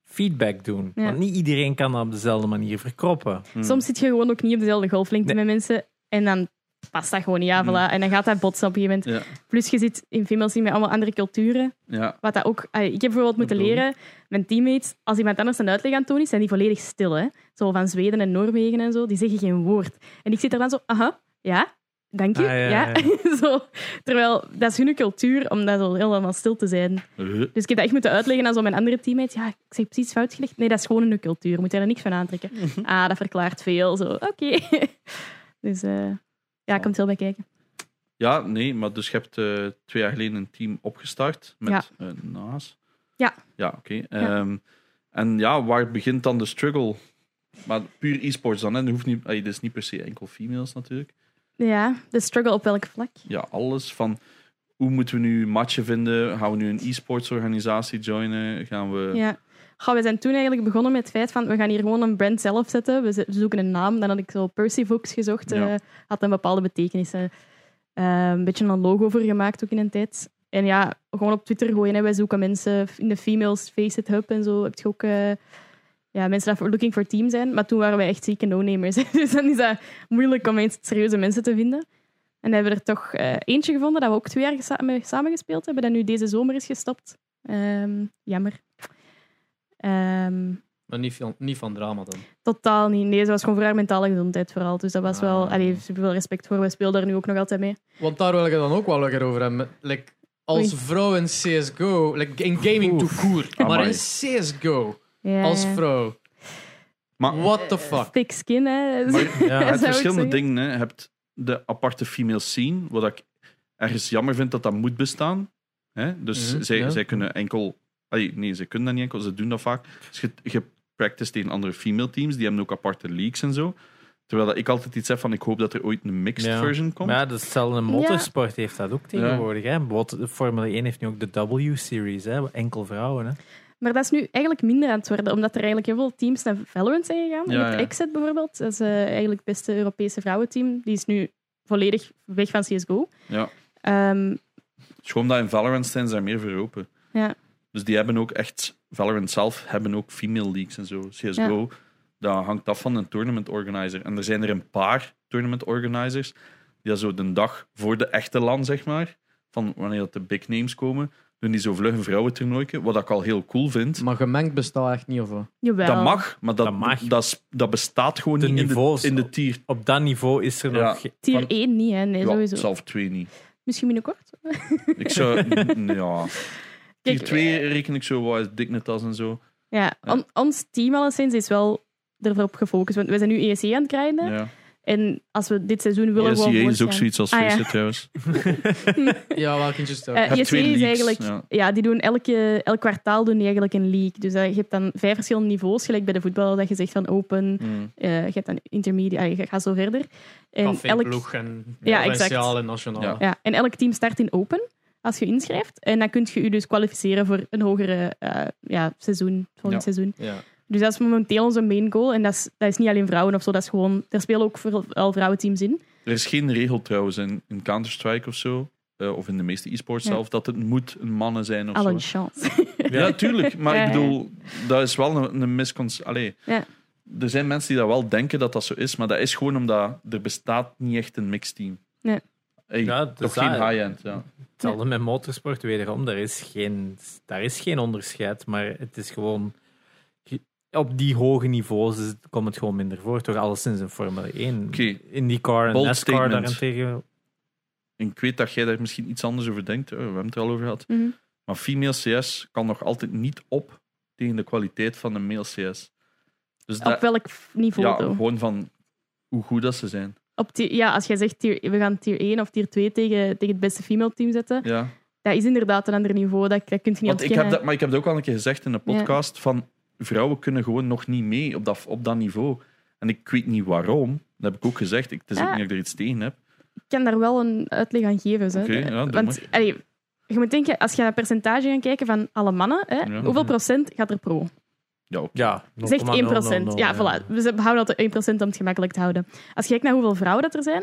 S3: feedback doen?
S4: Ja.
S3: Want niet iedereen kan dat op dezelfde manier verkroppen.
S1: hm.
S4: Soms zit je gewoon ook niet op dezelfde golflengte
S3: Nee.
S4: met mensen. En dan past dat gewoon niet. Ja, voilà. En dan gaat dat botsen op een gegeven moment.
S1: Hmm. Ja.
S4: Plus je zit in female team met allemaal andere culturen.
S1: ja.
S4: Wat dat ook, allee, ik heb bijvoorbeeld moeten
S1: bedoel je?
S4: leren, mijn teammates, als iemand anders een uitleg aan het doen is, zijn die volledig stil. Hè? Zo van Zweden en Noorwegen en zo, die zeggen geen woord. En ik zit daar dan zo, aha, ja, Dank je.
S3: Ah, ja,
S4: ja,
S3: ja,
S4: [laughs] zo. Terwijl, dat is hun cultuur om dat zo helemaal stil te zijn.
S1: Eh,
S4: Dus ik heb dat echt moeten uitleggen aan zo mijn andere teammates. Ja, ik zeg precies fout gelegd. Nee, dat is gewoon een cultuur. Je moet daar niks van aantrekken. Ah, dat verklaart veel. Zo, oké. [laughs] dus eh, ja, komt heel bij kijken.
S1: Ja, nee, maar dus je hebt eh, twee jaar geleden een team opgestart met eh Naas.
S4: Ja.
S1: Ja, oké. Ehm, En ja, waar begint dan de struggle? Maar puur e-sports dan, hè? Dat hoeft niet, ey, dat is niet per se enkel females natuurlijk.
S4: Ja, de struggle op welk vlak?
S1: Ja, alles van hoe moeten we nu matchen vinden? Gaan we nu een e-sports organisatie joinen? Gaan we...
S4: Ja. Goh, we zijn toen eigenlijk begonnen met het feit van we gaan hier gewoon een brand zelf zetten. We z- we zoeken een naam. Dan had ik zo Percy Fox gezocht.
S1: Ja.
S4: eh, had een bepaalde betekenis. eh. Eh, een beetje een logo voor gemaakt ook in een tijd. En ja, gewoon op Twitter gooien. Hè. Wij zoeken mensen in de females, Face It Hub en zo. Heb je ook eh, ja, mensen die voor looking for team zijn. Maar toen waren wij echt zieke no-namers. [laughs] dus dan is dat moeilijk om eens serieuze mensen te vinden. En dan hebben we er toch eh, eentje gevonden dat we ook twee jaar gesa- mee samengespeeld hebben. Dat nu deze zomer is gestopt. Ehm, jammer. Ehm,
S2: Maar niet van, niet van drama dan.
S4: totaal niet. Nee, ze was gewoon voor haar mentale gezondheid vooral. Dus dat was wel...
S2: Ah.
S4: Allee, superveel respect voor. We spelen daar nu ook nog altijd mee.
S2: Want daar wil ik het dan ook wel lekker over hebben. Like, als
S4: Oei.
S2: vrouw in CSGO, like in gaming to court, maar
S1: Amai.
S2: in CSGO
S4: Ja,
S2: als
S4: ja.
S2: vrouw.
S1: Maar
S2: What the fuck?
S4: Thick skin, hè.
S1: Maar-
S4: [laughs]
S3: Ja,
S1: Ja, het
S4: zou ik
S1: verschillende
S4: zeggen.
S1: dingen. Hè. Je hebt de aparte female scene, wat ik ergens jammer vind dat dat moet bestaan. Hè? Dus
S2: Mhm,
S1: zij,
S2: ja.
S1: zij kunnen enkel... ai, nee, zij kunnen dat niet enkel, ze doen dat vaak. Dus je, je practice tegen andere female teams, die hebben ook aparte leagues en zo. Terwijl dat ik altijd iets heb van, ik hoop dat er ooit een mixed
S3: Ja.
S1: version komt.
S3: Maar ja, dat is hetzelfde in motorsport heeft dat ook tegenwoordig. Hè? Bijvoorbeeld, de Formule 1 heeft nu ook de W-series, hè? enkel vrouwen. Hè?
S4: Maar dat is nu eigenlijk minder aan het worden, omdat er eigenlijk heel veel teams naar Valorant zijn gegaan.
S1: Ja,
S4: Met
S1: ja.
S4: Exit bijvoorbeeld, dat is eh, eigenlijk het beste Europese vrouwenteam. Die is nu volledig weg van CSGO.
S1: Ja.
S4: Ehm,
S1: Het is gewoon dat in Valorant zijn ze daar meer voor open.
S4: Ja.
S1: Dus die hebben ook echt... Valorant zelf hebben ook female leagues en zo. CSGO, dat hangt af van een tournament organizer. En er zijn er een paar tournament organizers die dat zo de dag voor de echte LAN, zeg maar, van wanneer dat de big names komen, doen die zo vlug een vrouwentoernooitje, wat ik al heel cool vind.
S2: Maar gemengd bestaat echt niet, of wat?
S4: jawel.
S1: dat mag, maar dat,
S3: Dat mag.
S1: dat, is- dat bestaat gewoon
S3: De
S1: niet in de,
S3: niveaus.
S1: in de tier.
S3: Op dat niveau is er
S1: Ja.
S3: nog... ge-
S4: Tier
S1: van-
S4: 1 niet, hè. Nee,
S1: Ja,
S4: sowieso.
S1: zelf twee niet.
S4: Misschien binnenkort.
S1: Ik
S4: [laughs]
S1: zou... n- ja.
S4: Kijk,
S1: Tier
S4: eh,
S1: 2 reken ik zo wat is Dignitas en zo.
S4: Ja,
S1: Ja.
S4: on- ons team alleszins is wel ervoor op gefocust. Want we zijn nu ESC aan het krijgen.
S1: Ja.
S4: En als we dit seizoen willen
S1: ESEA
S4: gewoon
S1: is ook
S4: voortgaan.
S1: zoiets als
S4: Ah, ja.
S1: Faceit trouwens.
S4: [laughs]
S2: Ja, wel kindjes toch?
S4: Eh,
S1: hebt
S4: ESC
S1: twee
S4: is
S1: leagues,
S4: eigenlijk...
S1: ja.
S4: Ja. die doen elke, elk kwartaal doen die eigenlijk een league. Dus eh, je hebt dan vijf verschillende niveaus. Gelijk bij de voetbal, dat je zegt van open. eh, je hebt dan intermediate. ah, je gaat zo verder. En elk,
S2: Caféploeg en
S4: Ja,
S2: provinciaal en nationaal.
S1: Ja.
S4: ja, en elk team start in open als je inschrijft. En dan kun je je dus kwalificeren voor een hogere eh, ja, seizoen, het volgende
S1: Ja.
S4: seizoen.
S2: Ja.
S4: Dus dat is momenteel onze main goal. En dat is, dat is niet alleen vrouwen of zo. Dat is gewoon, er spelen ook vooral vrouwenteams in.
S1: Er is geen regel trouwens in, in Counter-Strike of zo, eh, of in de meeste e-sports
S4: Ja.
S1: zelf, dat het moet een mannen zijn of
S4: Al
S1: zo.
S4: een
S1: [laughs]
S4: chance.
S1: Ja,
S4: [laughs]
S1: tuurlijk. Maar
S4: Ja,
S1: ik
S4: ja.
S1: bedoel, dat is wel een, een misconceptie. Allee,
S4: Ja.
S1: Er zijn mensen die dat wel denken dat dat zo is, maar dat is gewoon omdat er bestaat niet echt een mixteam.
S4: Nee.
S1: Hey,
S3: Ja, dat
S1: toch
S3: is
S1: geen
S3: dat.
S1: high-end. Ja.
S3: Hetzelfde met motorsport wederom. Daar is, geen, daar is geen onderscheid, maar het is gewoon... je- Op die hoge niveaus is het- komt het gewoon minder voor. Toch alleszins in Formule 1.
S1: Oké.
S3: In die car en
S1: Bold
S3: NASCAR
S1: statement.
S3: daarentegen.
S1: En ik weet dat jij daar misschien iets anders over denkt. eh, we hebben het er al over gehad.
S4: Mhm.
S1: Maar female CS kan nog altijd niet op tegen de kwaliteit van een male CS. Dus dat,
S4: Op welk niveau?
S1: ja,
S4: though?
S1: gewoon van hoe goed dat ze zijn.
S4: Op tier- ja, als jij zegt tier, we gaan tier 1 of tier 2 tegen, tegen het beste female team zetten,
S1: Ja.
S4: dat is inderdaad een ander niveau. Dat, dat kun je niet
S1: Want ik
S4: ontkennen.
S1: heb dat, maar ik heb dat ook al een keer gezegd in een
S4: Ja.
S1: podcast: van vrouwen kunnen gewoon nog niet mee op dat, op dat niveau. En ik weet niet waarom. Dat heb ik ook gezegd. Ik, het is ook
S4: Ja.
S1: niet dat ik er iets tegen heb.
S4: Ik kan daar wel een uitleg aan geven. Zo.
S1: Oké, ja, doe
S4: Want
S1: maar.
S4: allee, je moet denken, als je naar het percentage gaat kijken van alle mannen, hè,
S1: Ja.
S4: hoeveel procent gaat er pro?
S1: Ja, oké.
S3: Ja,
S4: Zegt 1 procent. ja, voilà. Dus we houden dat 1 procent om het gemakkelijk te houden. Als je kijkt naar hoeveel vrouwen dat er zijn,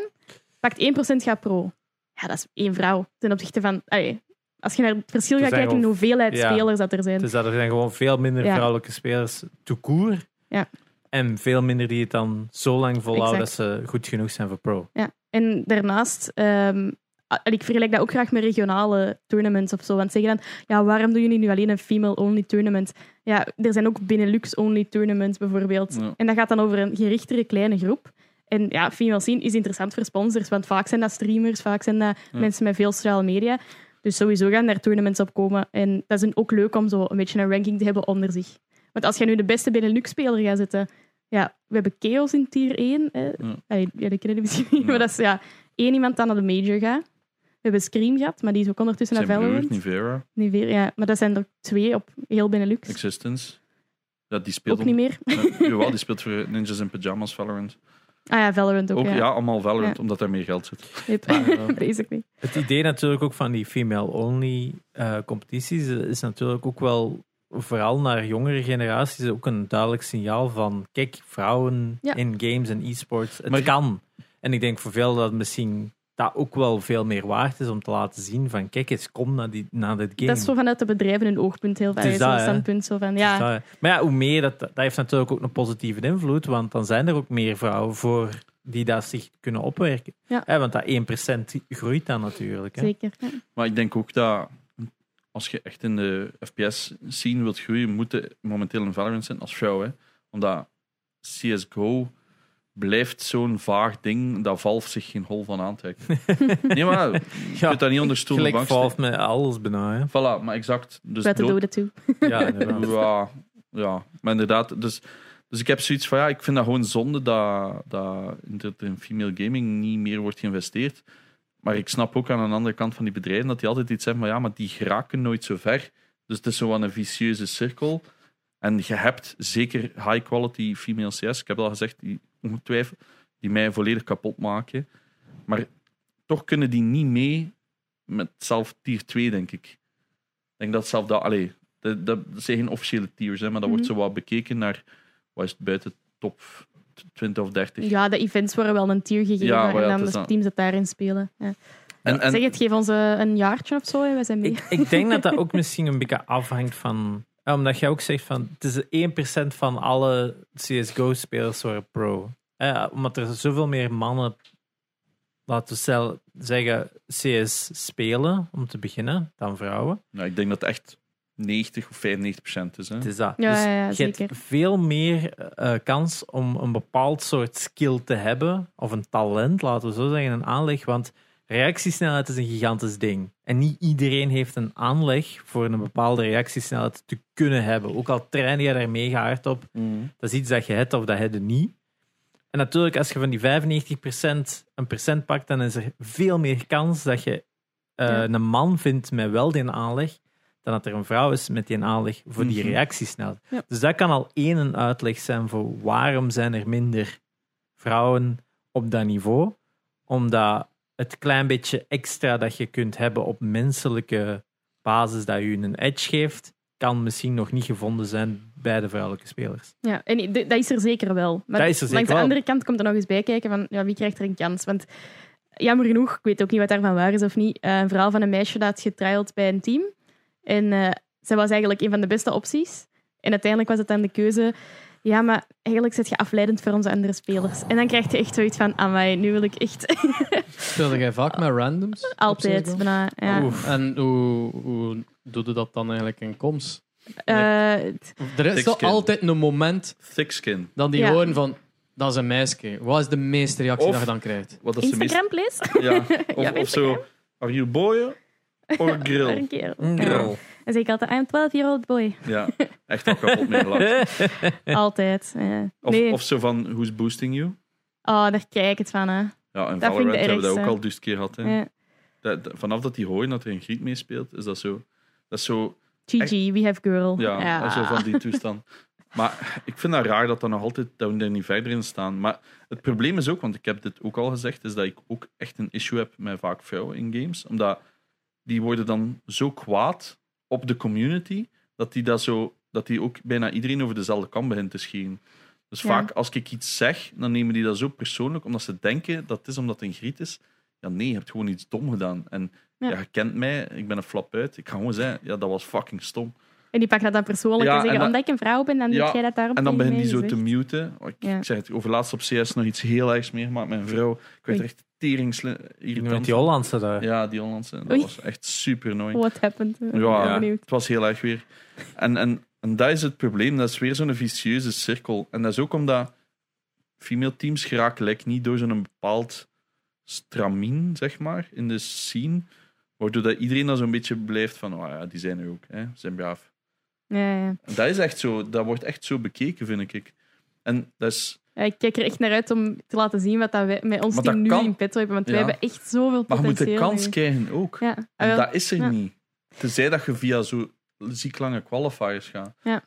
S4: pakt 1 procent gaat pro. Ja, dat is één vrouw ten opzichte van... allee, als je naar het verschil
S3: Er
S4: gaat
S3: zijn
S4: kijken in de
S3: wel-
S4: hoeveelheid
S3: ja.
S4: spelers dat er zijn.
S3: Dus dat er zijn gewoon veel minder
S4: Ja.
S3: vrouwelijke spelers to court.
S4: Ja.
S3: En veel minder die het dan zo lang volhouden dat ze goed genoeg zijn voor pro.
S4: Ja, en daarnaast, ehm, a- en ik vergelijk dat ook graag met regionale tournaments of zo. Want zeggen dan, ja, waarom doen jullie nu alleen een female-only tournament? Ja, er zijn ook Benelux-only tournaments bijvoorbeeld.
S1: Ja.
S4: En dat gaat dan over een gerichtere kleine groep. En ja, female scene is interessant voor sponsors, want vaak zijn dat streamers, vaak zijn dat
S1: Ja.
S4: mensen met veel sociale media. Dus sowieso gaan daar tournaments op komen. En dat is ook leuk om zo een beetje een ranking te hebben onder zich. Want als je nu de beste Benelux-speler gaat zetten... Ja, we hebben Chaos in tier 1. Hè. Allee, ja, dat kennen die misschien niet.
S1: Ja.
S4: Maar dat is ja, één iemand dan naar de major gaat. We hebben Scream gehad, maar die is ook ondertussen
S1: Zijn
S4: naar
S1: broer,
S4: Valorant.
S1: Nivera,
S4: Niet weer, ja. Maar dat zijn er twee op heel Benelux.
S1: Existence. Dat die speelt
S4: ook niet meer.
S1: Ja, jawel, die speelt voor Ninjas in Pyjamas Valorant.
S4: [laughs] Ah ja, Valorant ook,
S1: Ook, ja.
S4: ja.
S1: allemaal Valorant,
S4: Ja.
S1: omdat daar meer geld zit.
S4: Yep.
S3: Maar, eh,
S4: [laughs] Basically.
S3: Het idee natuurlijk ook van die female-only eh, competities is natuurlijk ook wel, vooral naar jongere generaties, ook een duidelijk signaal van, kijk, vrouwen
S4: Ja.
S3: in games en e-sports, het
S1: Maar-
S3: kan. En ik denk voor veel dat misschien dat ook wel veel meer waard is om te laten zien van, kijk eens, kom naar, die, naar dit game.
S4: Dat is zo vanuit de bedrijven een oogpunt heel vaak.
S3: Het
S4: Zo'n
S3: is dat, hè.
S4: standpunt zo van, ja,
S3: Dus dat- maar ja, hoe meer, dat, dat heeft natuurlijk ook een positieve invloed, want dan zijn er ook meer vrouwen voor die dat zich kunnen opwerken.
S4: Ja.
S3: Hè, want dat 1% groeit dan natuurlijk. Hè.
S4: zeker. Ja.
S1: Maar ik denk ook dat als je echt in de FPS-scene wilt groeien, moet je momenteel in Valorant zijn als vrouw. Hè? Omdat CSGO blijft zo'n vaag ding dat Valve zich geen hol van aantrekt.
S3: [laughs]
S1: nee, maar je
S3: Ja,
S1: kunt dat niet onder stoel en
S3: Gelijk
S1: bank steken.
S3: Valve met alles bijna. Hè.
S1: Voilà, maar exact. Dus
S4: Buiten
S1: dood-
S4: doden
S3: [laughs]
S4: toe.
S1: [laughs]
S3: Ja, inderdaad.
S1: Ja, ja, maar inderdaad. Dus, dus ik heb zoiets van, ja, ik vind dat gewoon zonde dat, dat dat er in female gaming niet meer wordt geïnvesteerd. Maar ik snap ook aan de andere kant van die bedrijven dat die altijd iets zeggen van, ja, maar die geraken nooit zo ver. Dus het is zo'n een vicieuze cirkel. En je hebt zeker high-quality female CS, ik heb al gezegd, die ongetwijfeld, die mij volledig kapot maken. Maar toch kunnen die niet mee met zelf tier 2, denk ik. Ik denk dat zelf dat... Allee, dat, dat zijn geen officiële tiers, hè, maar dat
S4: Mhm.
S1: wordt zo wat bekeken naar... Wat is het, buiten top 20 of 30?
S4: Ja, de events worden wel een tier gegeven
S1: Ja, maar ja,
S4: en
S1: het
S4: dan
S1: is
S4: de
S1: dat.
S4: teams dat daarin spelen. Ja.
S1: En, en,
S4: zeg het, geef ons eh, een jaartje of zo en wij zijn mee.
S3: Ik, ik denk dat dat ook misschien een beetje afhangt van... ja, Omdat jij ook zegt van... Het is 1% van alle CSGO-spelers worden pro. Eh, omdat er zoveel meer mannen... Laten we stel- zeggen, CS spelen, om te beginnen, dan vrouwen.
S1: nou, ik denk dat het echt 90 of 95 procent is. Hè.
S3: Het is dat.
S4: Ja,
S3: dus
S4: ja, ja,
S3: je
S4: zeker.
S3: hebt veel meer eh, kans om een bepaald soort skill te hebben, of een talent, laten we zo zeggen, een aanleg. Want reactiesnelheid is een gigantisch ding. En niet iedereen heeft een aanleg voor een bepaalde reactiesnelheid te kunnen hebben. Ook al train je daar mega hard op, dat is iets dat je hebt of dat heb je niet. En natuurlijk, als je van die 95% een procent pakt, dan is er veel meer kans dat je eh,
S4: Ja.
S3: een man vindt met wel die aanleg, dan dat er een vrouw is met die aanleg voor die
S1: Mhm.
S3: reactiesnelheid.
S4: Ja.
S3: Dus dat kan al één een uitleg zijn voor waarom zijn er minder vrouwen op dat niveau. Omdat het klein beetje extra dat je kunt hebben op menselijke basis dat je een edge geeft, kan misschien nog niet gevonden zijn bij de vrouwelijke spelers.
S4: Ja, en i- d- dat is er zeker wel. Maar
S3: Dat is er zeker
S4: langs de
S3: wel.
S4: andere kant komt er nog eens bij kijken van ja, wie krijgt er een kans? Want jammer genoeg, ik weet ook niet wat daarvan waar is of niet, eh, een verhaal van een meisje dat had getriald bij een team. En eh, zij was eigenlijk een van de beste opties. En uiteindelijk was het dan de keuze, ja, maar eigenlijk zit je afleidend voor onze andere spelers. En dan krijg je echt zoiets van, amai, nu wil ik echt [laughs]
S2: Speelde jij vaak met randoms? op
S4: altijd.
S2: CS:GO?
S4: bijna, ja.
S3: Oef.
S2: En hoe, hoe doe je dat dan eigenlijk in komst?
S4: Eh, het-
S2: Er is toch
S1: Thick skin.
S2: altijd een moment
S1: Thick skin.
S2: dat die
S4: Ja.
S2: horen van... Dat is een meisje. Wat is de meeste reactie
S1: Of-
S2: dat je dan krijgt?
S1: Wat is de meest...
S4: Instagram, please. [laughs]
S1: Ja. Of,
S4: Ja,
S1: of zo, are you boy or
S4: Maar [laughs]
S1: grill?
S4: een keer.
S1: Grill.
S4: Dan zeg ik altijd, I'm 12-year-old boy.
S1: Ja, echt al kapot mee gelachen.
S4: [laughs] Altijd. ja.
S1: Of,
S4: nee.
S1: of zo van, who's boosting you?
S4: Oh, daar kijk ik het van, hè.
S1: Ja, in
S4: Dat vind ik
S1: Valorant
S4: de
S1: hebben we dat ook
S4: ergste.
S1: al dus keer gehad. Hè.
S4: Ja.
S1: Dat- dat- vanaf dat die hooi dat er een griet meespeelt, is dat zo... Dat is zo
S4: GG, we have girl.
S1: Ja, also van die
S4: [laughs]
S1: toestand. Maar ik vind dat raar dat, dat, nog altijd, dat we er niet verder in staan. Maar het probleem is ook, want ik heb dit ook al gezegd, is dat ik ook echt een issue heb met vaak vrouwen in games. Omdat die worden dan zo kwaad op de community, dat die, dat zo, dat die ook bijna iedereen over dezelfde kam begint te scheren. Dus
S4: Ja.
S1: vaak als ik iets zeg, dan nemen die dat zo persoonlijk, omdat ze denken dat het is omdat het een griet is. Ja, nee, je hebt gewoon iets dom gedaan. En ja.
S4: Ja.
S1: je kent mij, ik ben een flap uit. Ik ga gewoon zeggen, ja, dat was fucking stom.
S4: En die pakt dat dan persoonlijk
S1: Ja,
S4: en zeggen,
S1: en dan-
S4: omdat ik een vrouw ben, dan
S1: Ja,
S4: doet jij dat daarom
S1: En dan
S4: tegen
S1: begint die
S4: mij,
S1: zo te
S4: zegt.
S1: muten. Oh, ik,
S4: Ja.
S1: ik zeg het, overlaatst op CS nog iets heel ergs meegemaakt met een vrouw. Ik werd er echt tering
S3: Met
S1: irritant.
S3: die Hollandse daar.
S1: Ja, die Hollandse. Dat
S4: Oei.
S1: was echt super annoying.
S4: What happened? Ja.
S1: Ja,
S4: ben benieuwd.
S1: het was heel erg weer. En, en, en dat is het probleem. Dat is weer zo'n vicieuze cirkel. En dat is ook omdat female teams geraken like, niet door zo'n bepaald stramien, zeg maar, in de scene. Waardoor dat iedereen dan zo'n beetje blijft van, oh ja, die zijn er ook, hè, ze zijn braaf.
S4: Ja, ja.
S1: En dat is echt zo, dat wordt echt zo bekeken, vind ik. En dat is,
S4: Ja, Ik kijk er echt naar uit om te laten zien wat dat wij, met ons
S1: Maar
S4: team
S1: dat
S4: nu
S1: kan.
S4: in petto hebben. Want wij
S1: Ja.
S4: hebben echt zoveel
S1: maar je moet de
S4: potentieel.
S1: kans krijgen ook.
S4: Ja, ah,
S1: En
S4: wel.
S1: dat is er
S4: Ja.
S1: niet. Tenzij dat je via zo ziek lange qualifiers gaat.
S4: Ja.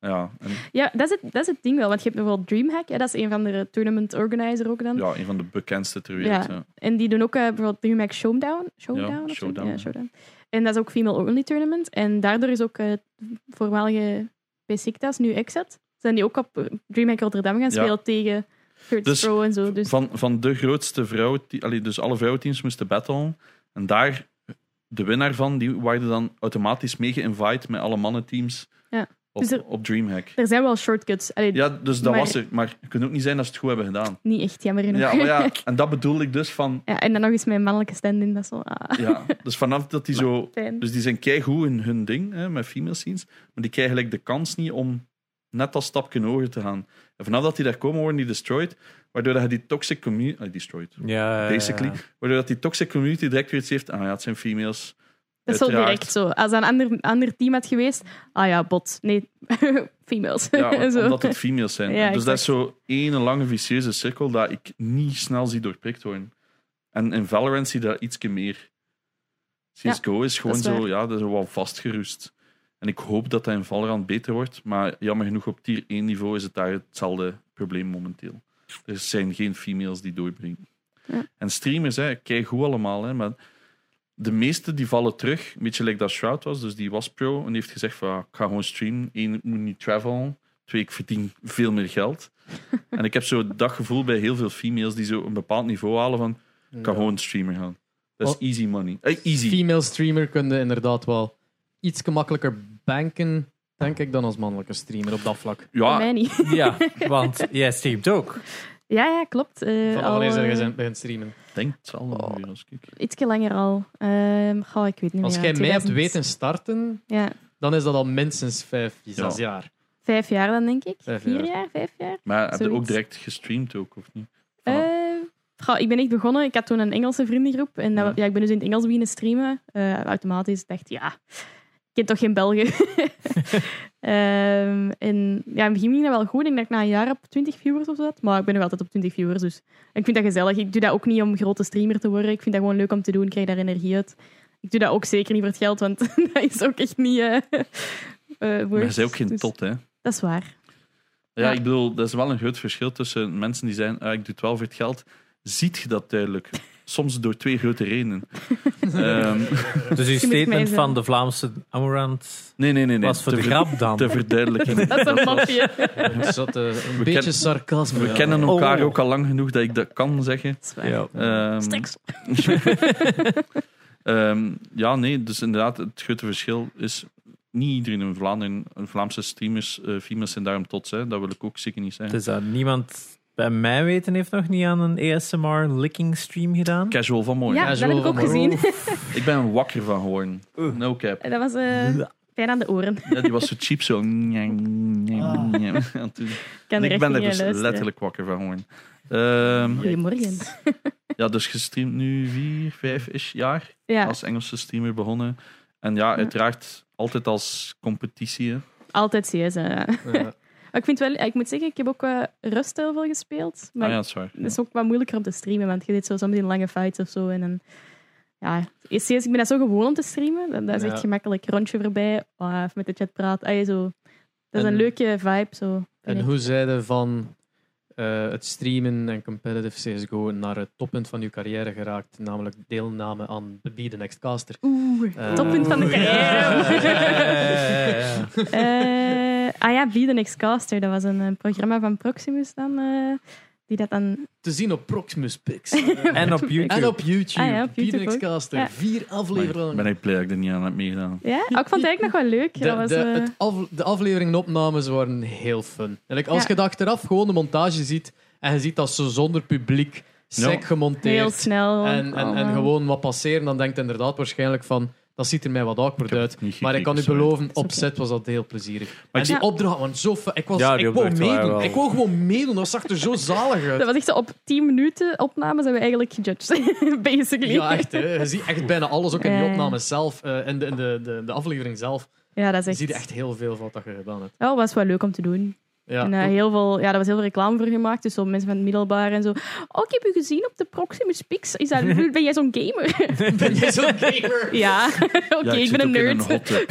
S1: Ja, en,
S4: ja dat, is het, dat is het ding wel. Want je hebt nog wel Dreamhack. Hè, dat is een van de tournament organizer ook dan.
S1: ja, een van de bekendste ter wereld.
S4: Ja.
S1: ja.
S4: En die doen ook eh, bijvoorbeeld Dreamhack Showdown. Showdown, of zo?
S1: Showdown,
S4: Ja,
S1: ja.
S4: Showdown. En dat is ook Female Only Tournament. En daardoor is ook eh, het voormalige Besiktas, nu Exit. Zijn die ook op eh, Dreamhack Rotterdam
S1: Ja.
S4: gaan spelen tegen Curtis
S1: Dus
S4: Pro en zo. Dus
S1: Van, van de grootste vrouwen, allee, dus alle vrouwenteams moesten battlen. En daar, de winnaar van, die waren dan automatisch mee geïnvite met alle mannenteams
S4: Ja.
S1: op,
S4: Dus er-
S1: op Dreamhack.
S4: er zijn wel shortcuts. Allee,
S1: Ja, dus dat
S4: Maar-
S1: was er. Maar het kan ook niet zijn dat ze het goed hebben gedaan.
S4: Niet echt, jammer genoeg.
S1: Ja, maar ja, en dat bedoel ik dus van...
S4: [laughs] Ja, en dan nog eens mijn mannelijke stand-in. Dat is wel ah,
S1: Ja, dus vanaf dat die zo...
S4: fijn.
S1: Dus die zijn keigoed in hun ding, hè, met female scenes. Maar die krijgen gelijk de kans niet om net dat stapje hoger te gaan. En vanaf dat die daar komen, worden die destroyed. Waardoor dat je die toxic community... destroyed.
S3: Ja,
S1: basically. Waardoor dat die toxic community direct weer iets heeft. Ah ja, het zijn females.
S4: Dat is wel
S1: Uiteraard.
S4: direct zo. Als dat een ander, ander team had geweest, ah ja, bot. Nee, [laughs] females.
S1: [laughs] Ja,
S4: En
S1: want-
S4: [laughs] zo.
S1: omdat het females zijn.
S4: Ja,
S1: dus dat
S4: exact.
S1: is zo ene lange vicieuze cirkel dat ik niet snel zie doorprikt worden. En in Valorant zie je dat ietsje meer.
S4: Ja,
S1: CSGO is gewoon
S4: is
S1: zo,
S4: waar.
S1: ja, dat is wel vastgerust. En ik hoop dat dat in Valorant beter wordt, maar jammer genoeg op tier 1 niveau is het daar hetzelfde probleem momenteel. Er zijn geen females die doorbrengen.
S4: Ja.
S1: En streamers, hè, kijk hoe allemaal, hè, maar de meeste die vallen terug, een beetje like dat Shroud was, dus die was pro en die heeft gezegd van, ah, ik ga gewoon streamen. Eén, ik moet niet travelen. Twee, ik verdien veel meer
S4: [laughs]
S1: geld. en ik heb zo dat gevoel bij heel veel females die zo een bepaald niveau halen van, ik kan gewoon streamer gaan. Dat is
S4: Oh.
S2: Wat-
S1: easy money. Eh, easy.
S2: Female streamer kunde inderdaad wel iets gemakkelijker banken, denk ik, dan als mannelijke streamer op dat vlak.
S4: Voor
S1: ja,
S4: mij niet.
S3: Ja, want jij streamt ook.
S4: [laughs] Ja, ja, klopt. Eh,
S2: Van
S4: al,
S2: wanneer zijn
S4: eh,
S2: jij begint streamen?
S1: ik denk het zal wel
S4: Oh.
S1: weer als ik.
S4: Ietsje langer al. Ehm goh, ik weet niet
S2: Als
S4: meer.
S2: jij mij hebt
S4: 2000.
S2: weten starten,
S4: Ja,
S2: dan is dat al minstens vijf, zes jaar.
S4: vijf jaar dan, denk ik.
S2: Vijf
S4: Vier
S2: jaar.
S4: jaar, vijf jaar.
S1: Maar heb je ook
S4: zoiets.
S1: direct gestreamd ook, of niet? Van-
S4: Eh, goh, ik ben echt begonnen. Ik had toen een Engelse vriendengroep. En dat-
S1: Ja.
S4: ja. ik ben dus in het Engels beginnen streamen. Eh, automatisch Ik dacht ja, ik ken toch geen Belgen.
S1: [laughs]
S4: Ehm, en ja, in het begin ging dat wel goed. Ik dacht na een jaar op 20 viewers of zo. zat. Maar ik ben nog altijd op 20 viewers. Dus ik vind dat gezellig. Ik doe dat ook niet om grote streamer te worden. Ik vind dat gewoon leuk om te doen. Ik krijg daar energie uit. Ik doe dat ook zeker niet voor het geld, want [laughs] dat is ook echt niet. eh eh,
S1: Maar je
S4: worth.
S1: bent ook geen
S4: Dus
S1: tot, hè?
S4: Dat is
S1: [laughs]
S4: waar.
S1: Ja,
S4: Ja.
S1: ik bedoel, dat is wel een groot verschil tussen mensen die zijn, ah, ik doe het wel voor het geld. Ziet je dat duidelijk? Soms door twee grote
S4: [laughs]
S1: redenen. Ehm,
S3: Dus uw
S4: moet mij
S3: statement
S4: zijn.
S3: van de Vlaamse Amorant
S1: nee, nee, nee. nee.
S3: was voor de
S1: Ter
S3: grap dan.
S1: ter verduidelijking.
S4: [laughs] Dat is een
S1: Dat was-
S4: mopje.
S2: Een soort, eh, een
S1: We
S2: beetje
S1: ken-
S2: sarcasme.
S1: We
S2: Ja.
S1: kennen elkaar
S3: Oh.
S1: ook al lang genoeg dat ik dat kan zeggen.
S4: Dat is waar.
S1: Ehm,
S4: Stiksel.
S1: ehm, ja, nee, dus inderdaad, het grote verschil is niet iedereen in Vlaanderen, Vlaamse streamers, eh females zijn daarom tot, hè. dat wil ik ook zeker niet zeggen.
S3: Dus dat niemand bij mij weten heeft nog niet aan een ASMR licking stream gedaan.
S1: Casual van mooi.
S4: Ja,
S2: is
S4: dat heb
S2: wel
S4: ik ook
S2: van
S4: gezien.
S1: Ik ben er wakker van geworden. No cap.
S4: En Dat was eh pijn aan de oren. Ik
S1: Ja, die was zo cheap, zo. Nyang, nyang, nyang, aan het doen.
S4: kan er
S1: ik ben er
S4: echt niet aan
S1: dus
S4: luisteren.
S1: letterlijk wakker van geworden. Ehm,
S4: Goedemorgen.
S1: ja, dus gestreamd nu vier, vijf is jaar
S4: Ja,
S1: als Engelse streamer begonnen. En ja, uiteraard altijd als competitie. hè.
S4: altijd CS. hè. Maar [laughs]
S2: Ja.
S4: ik, vind wel, ik moet zeggen, ik heb ook eh Rust heel veel gespeeld. Maar
S1: Ah ja, dat is waar.
S4: het is ook wat moeilijker om te streamen, want je deed zo soms in lange fights of zo. En dan, ja, CS, ik ben dat zo gewoon om te streamen. Dat, dat is
S2: Ja.
S4: echt gemakkelijk. Rondje voorbij, ah, even met de chat praten. Ah, zo. Dat is
S2: En-
S4: een leuke vibe. Zo, vind
S2: En
S4: ik.
S2: hoe zeiden van eh, het streamen en competitive CSGO naar het toppunt van uw carrière geraakt, namelijk deelname aan de Be The Next Caster?
S4: Oeh,
S2: Eh,
S4: toppunt van de
S2: oeh, ja.
S4: carrière.
S3: Ja.
S4: Eh, ah ja, Be The Next Caster. Dat was een, eh, programma van Proximus dan. eh, die dat dan...
S2: [laughs] Te zien op Proximus
S4: [laughs]
S2: Pix.
S3: En op YouTube.
S2: en op YouTube.
S4: Ah ja, op
S2: Be The
S4: YouTube
S2: Next
S4: ook.
S2: Caster.
S4: Ja.
S2: Vier
S1: Maar ik
S2: afleveringen.
S1: ben ik blij dat ik er niet aan heb meegedaan.
S4: Ja, Ah, ik vond het eigenlijk nog wel leuk.
S2: De,
S4: dat was,
S2: de,
S4: eh,
S2: het af- de afleveringen en opnames waren heel fun. En like, als
S4: Ja.
S2: je dat achteraf gewoon de montage ziet en je ziet dat ze zonder publiek sec
S1: Ja.
S2: gemonteerd
S4: Heel snel. Ah.
S2: en, en, en
S4: allemaal.
S2: gewoon wat passeren, dan denkt inderdaad waarschijnlijk van Dat ziet er mij wat awkward
S1: heb
S2: uit.
S1: het niet
S2: Maar ik kan u
S1: gekeken, sorry.
S2: beloven, op set was dat heel plezierig.
S1: Maar
S2: en
S1: ik-
S2: die
S4: Ja.
S2: opdracht, want zo... fa- Ik, was,
S3: Ja, die
S2: ik wou
S3: opdracht waren
S2: meedoen.
S3: wel-
S2: Ik wou gewoon meedoen. Dat zag er zo zalig uit.
S4: [laughs] Dat was echt zo op 10 minuten opname zijn we eigenlijk gejudged, [laughs] basically.
S2: Ja, echt. Hè. Je ziet echt bijna alles, ook in die
S4: Ja.
S2: opnames zelf eh, en de, en de, de, de aflevering zelf.
S4: Ja, dat
S2: Je
S4: is
S2: ziet
S4: echt...
S2: echt heel veel van wat je gedaan hebt.
S4: Ja, was wel leuk om te doen.
S2: Ja.
S4: En, eh, heel veel, ja, er was heel veel reclame voor gemaakt. Dus zo mensen van het middelbaar en zo. Oh, ik heb u gezien op de Proximus Pix. Is dat, ben jij zo'n gamer?
S2: [laughs] Ben jij zo'n gamer?
S4: ja, [laughs]
S1: Ja,
S4: oké, ik
S1: zit
S4: ben een
S1: ook in
S4: nerd.
S1: hot tub.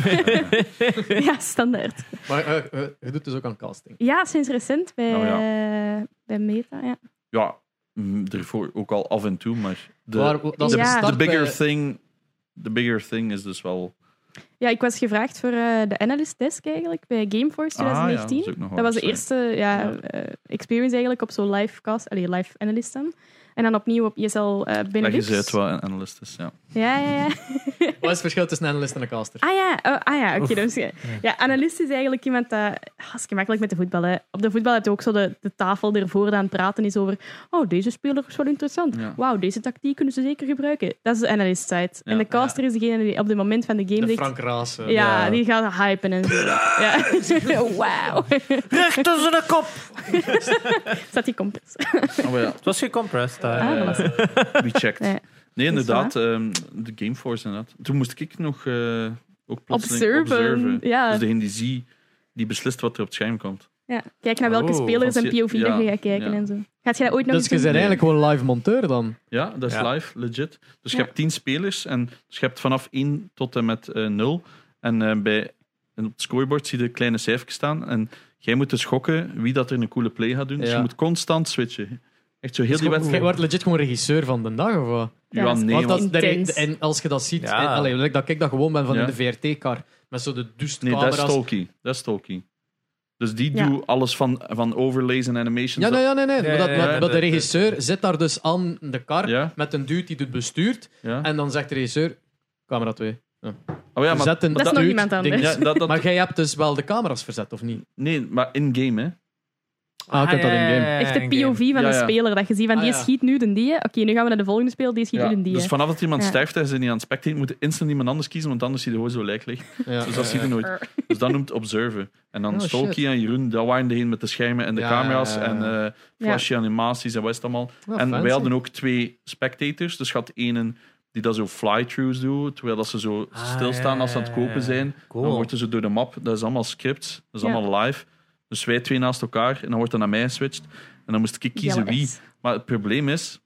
S1: Ja.
S4: [laughs] ja, standaard.
S2: Maar eh, eh, je doet dus ook aan casting.
S4: Ja, sinds recent bij,
S1: Nou
S4: eh, bij Meta. Ja.
S1: ja, mm, daarvoor ook al af en toe, maar de,
S2: Maar dat is
S1: de,
S2: de
S4: Ja.
S2: start eh,
S1: the bigger
S2: bij-
S1: thing, the bigger thing is dus wel.
S4: ja, ik was gevraagd voor eh, de analyst desk eigenlijk bij Gameforce
S1: Ah, ja,
S4: 2019.
S1: ook nog wel
S4: Dat was de
S1: interessant.
S4: eerste ja,
S1: Ja.
S4: eh, experience eigenlijk op zo'n live cast, allee, live analyst dan. En dan opnieuw op ISL eh
S1: Leg eens
S4: Benelux.
S1: uit wat een analyst is.
S4: [laughs]
S1: Ja.
S4: Ja, ja, ja.
S2: Wat is het verschil tussen een analist en een caster?
S4: Ah ja, oh, ah, ja oké. dat is- ja, analist is eigenlijk iemand dat... ah, Dat is gemakkelijk met de voetbal. Hè. Op de voetbal heb je ook zo de, de tafel ervoor aan het praten is over... Oh, deze speler is wel interessant.
S1: Ja.
S4: Wauw, deze tactiek kunnen ze zeker gebruiken. Dat is de analyst side.
S1: Ja,
S4: en de caster is degene die op het moment van de game
S2: De
S4: denkt...
S2: Frank Raas. eh,
S4: ja,
S3: ja.
S4: die gaat hypen en zo. Ja. [laughs] Wauw.
S1: [laughs]
S3: Recht tussen de kop!
S4: Staat die compass.
S1: Oh, maar ja.
S3: Het was gecompressed. daar.
S4: Ah,
S2: eh, [laughs]
S4: dat was het.
S1: We
S4: [laughs]
S1: checked.
S4: Nee.
S1: Nee, inderdaad. ehm, de Gameforce, inderdaad. Toen moest ik nog eh ook plotseling
S4: Observen,
S1: observen.
S4: ja.
S1: Dus degene die zie, die beslist wat er op het scherm komt.
S4: Ja. Kijk naar welke
S3: Oh,
S4: spelers en
S1: want je-
S4: POV dat je
S1: ja,
S4: gaat kijken
S1: ja.
S4: en zo. Gaat jij dat ooit nog
S2: Dus je
S4: eens
S2: bent
S4: doen?
S2: eigenlijk gewoon live monteur dan?
S1: Ja, dat is
S3: Ja.
S1: live, legit. Dus je
S4: Ja.
S1: hebt tien spelers en dus je hebt vanaf 1 tot en met eh 0. En, eh, bij, en op het scoreboard zie je de kleine cijfertjes staan. En jij moet dus gokken wie dat er een coole play gaat doen. Dus
S2: Ja. Dus
S1: je moet constant switchen. Echt zo heel die
S2: Je
S1: wedstrijd.
S2: wordt legit gewoon regisseur van de dag of wat?
S4: Ja,
S1: Ja,
S4: dat is-
S1: nee,
S2: Want
S1: want-
S2: dat, daar-
S4: Intens.
S2: en als je dat ziet,
S3: Ja.
S2: eh, allee, like dat ik dat gewoon ben van
S1: Ja.
S2: in de VRT-kar. Met zo de duist
S1: nee, dat
S2: camera's.
S1: is talkie. Dat is talkie. Dus die
S4: Ja.
S1: doet alles van, van overlays en animations.
S2: Ja, nee, ja, nee, nee.
S3: Ja,
S2: maar dat,
S3: ja, ja,
S2: maar- maar de
S3: dat-
S2: regisseur zit daar dus aan de kar
S1: Ja.
S2: met een dude die het bestuurt.
S1: Ja.
S2: En dan zegt de regisseur, camera 2.
S1: Oh ja, maar,
S2: Verzet een
S4: Dat is nog
S2: dude,
S4: iemand anders.
S2: ding.
S1: ja, dat, dat,
S2: [laughs] Maar jij hebt dus wel de camera's verzet, of niet?
S1: nee, maar in-game, hè.
S2: Ah, je kunt dat in-game.
S4: Echt de
S3: in-game.
S4: POV van
S1: Ja,
S4: de
S1: ja.
S4: speler. Dat je ziet van
S2: Ah,
S4: die
S2: ja.
S4: schiet nu de die. Oké, nu gaan we naar de volgende speler. Die schiet
S1: Ja,
S4: nu de die.
S1: dus vanaf dat iemand
S4: Ja.
S1: sterft en ze niet aan het spectaten, moet je instant iemand anders kiezen, want anders zie je gewoon zo lijk liggen.
S2: Ja,
S1: Dus dat
S2: ja,
S1: zie je
S2: ja.
S1: nooit. Dus dat noemt observen. En dan
S2: Oh, shit.
S1: Stalky en Jeroen, dat waren degene met de schermen en de
S2: Ja,
S1: camera's
S2: ja, ja.
S1: en eh, flashy animaties en wat is het allemaal.
S2: Ah,
S1: en
S2: fancy.
S1: wij hadden ook twee spectators. Dus je had ene die dat zo fly-throughs doet, terwijl dat ze zo
S3: Ah,
S1: stilstaan
S3: ja,
S1: als ze aan het
S3: ja, ja,
S1: kopen
S3: ja.
S1: zijn.
S3: Cool.
S1: Dan worden ze door de map, dat is allemaal scripts, dat is
S4: Ja.
S1: allemaal live. Dus wij twee naast elkaar en dan wordt dat naar mij geswitcht. En dan moest ik kiezen
S4: Jealous.
S1: wie. Maar het probleem is,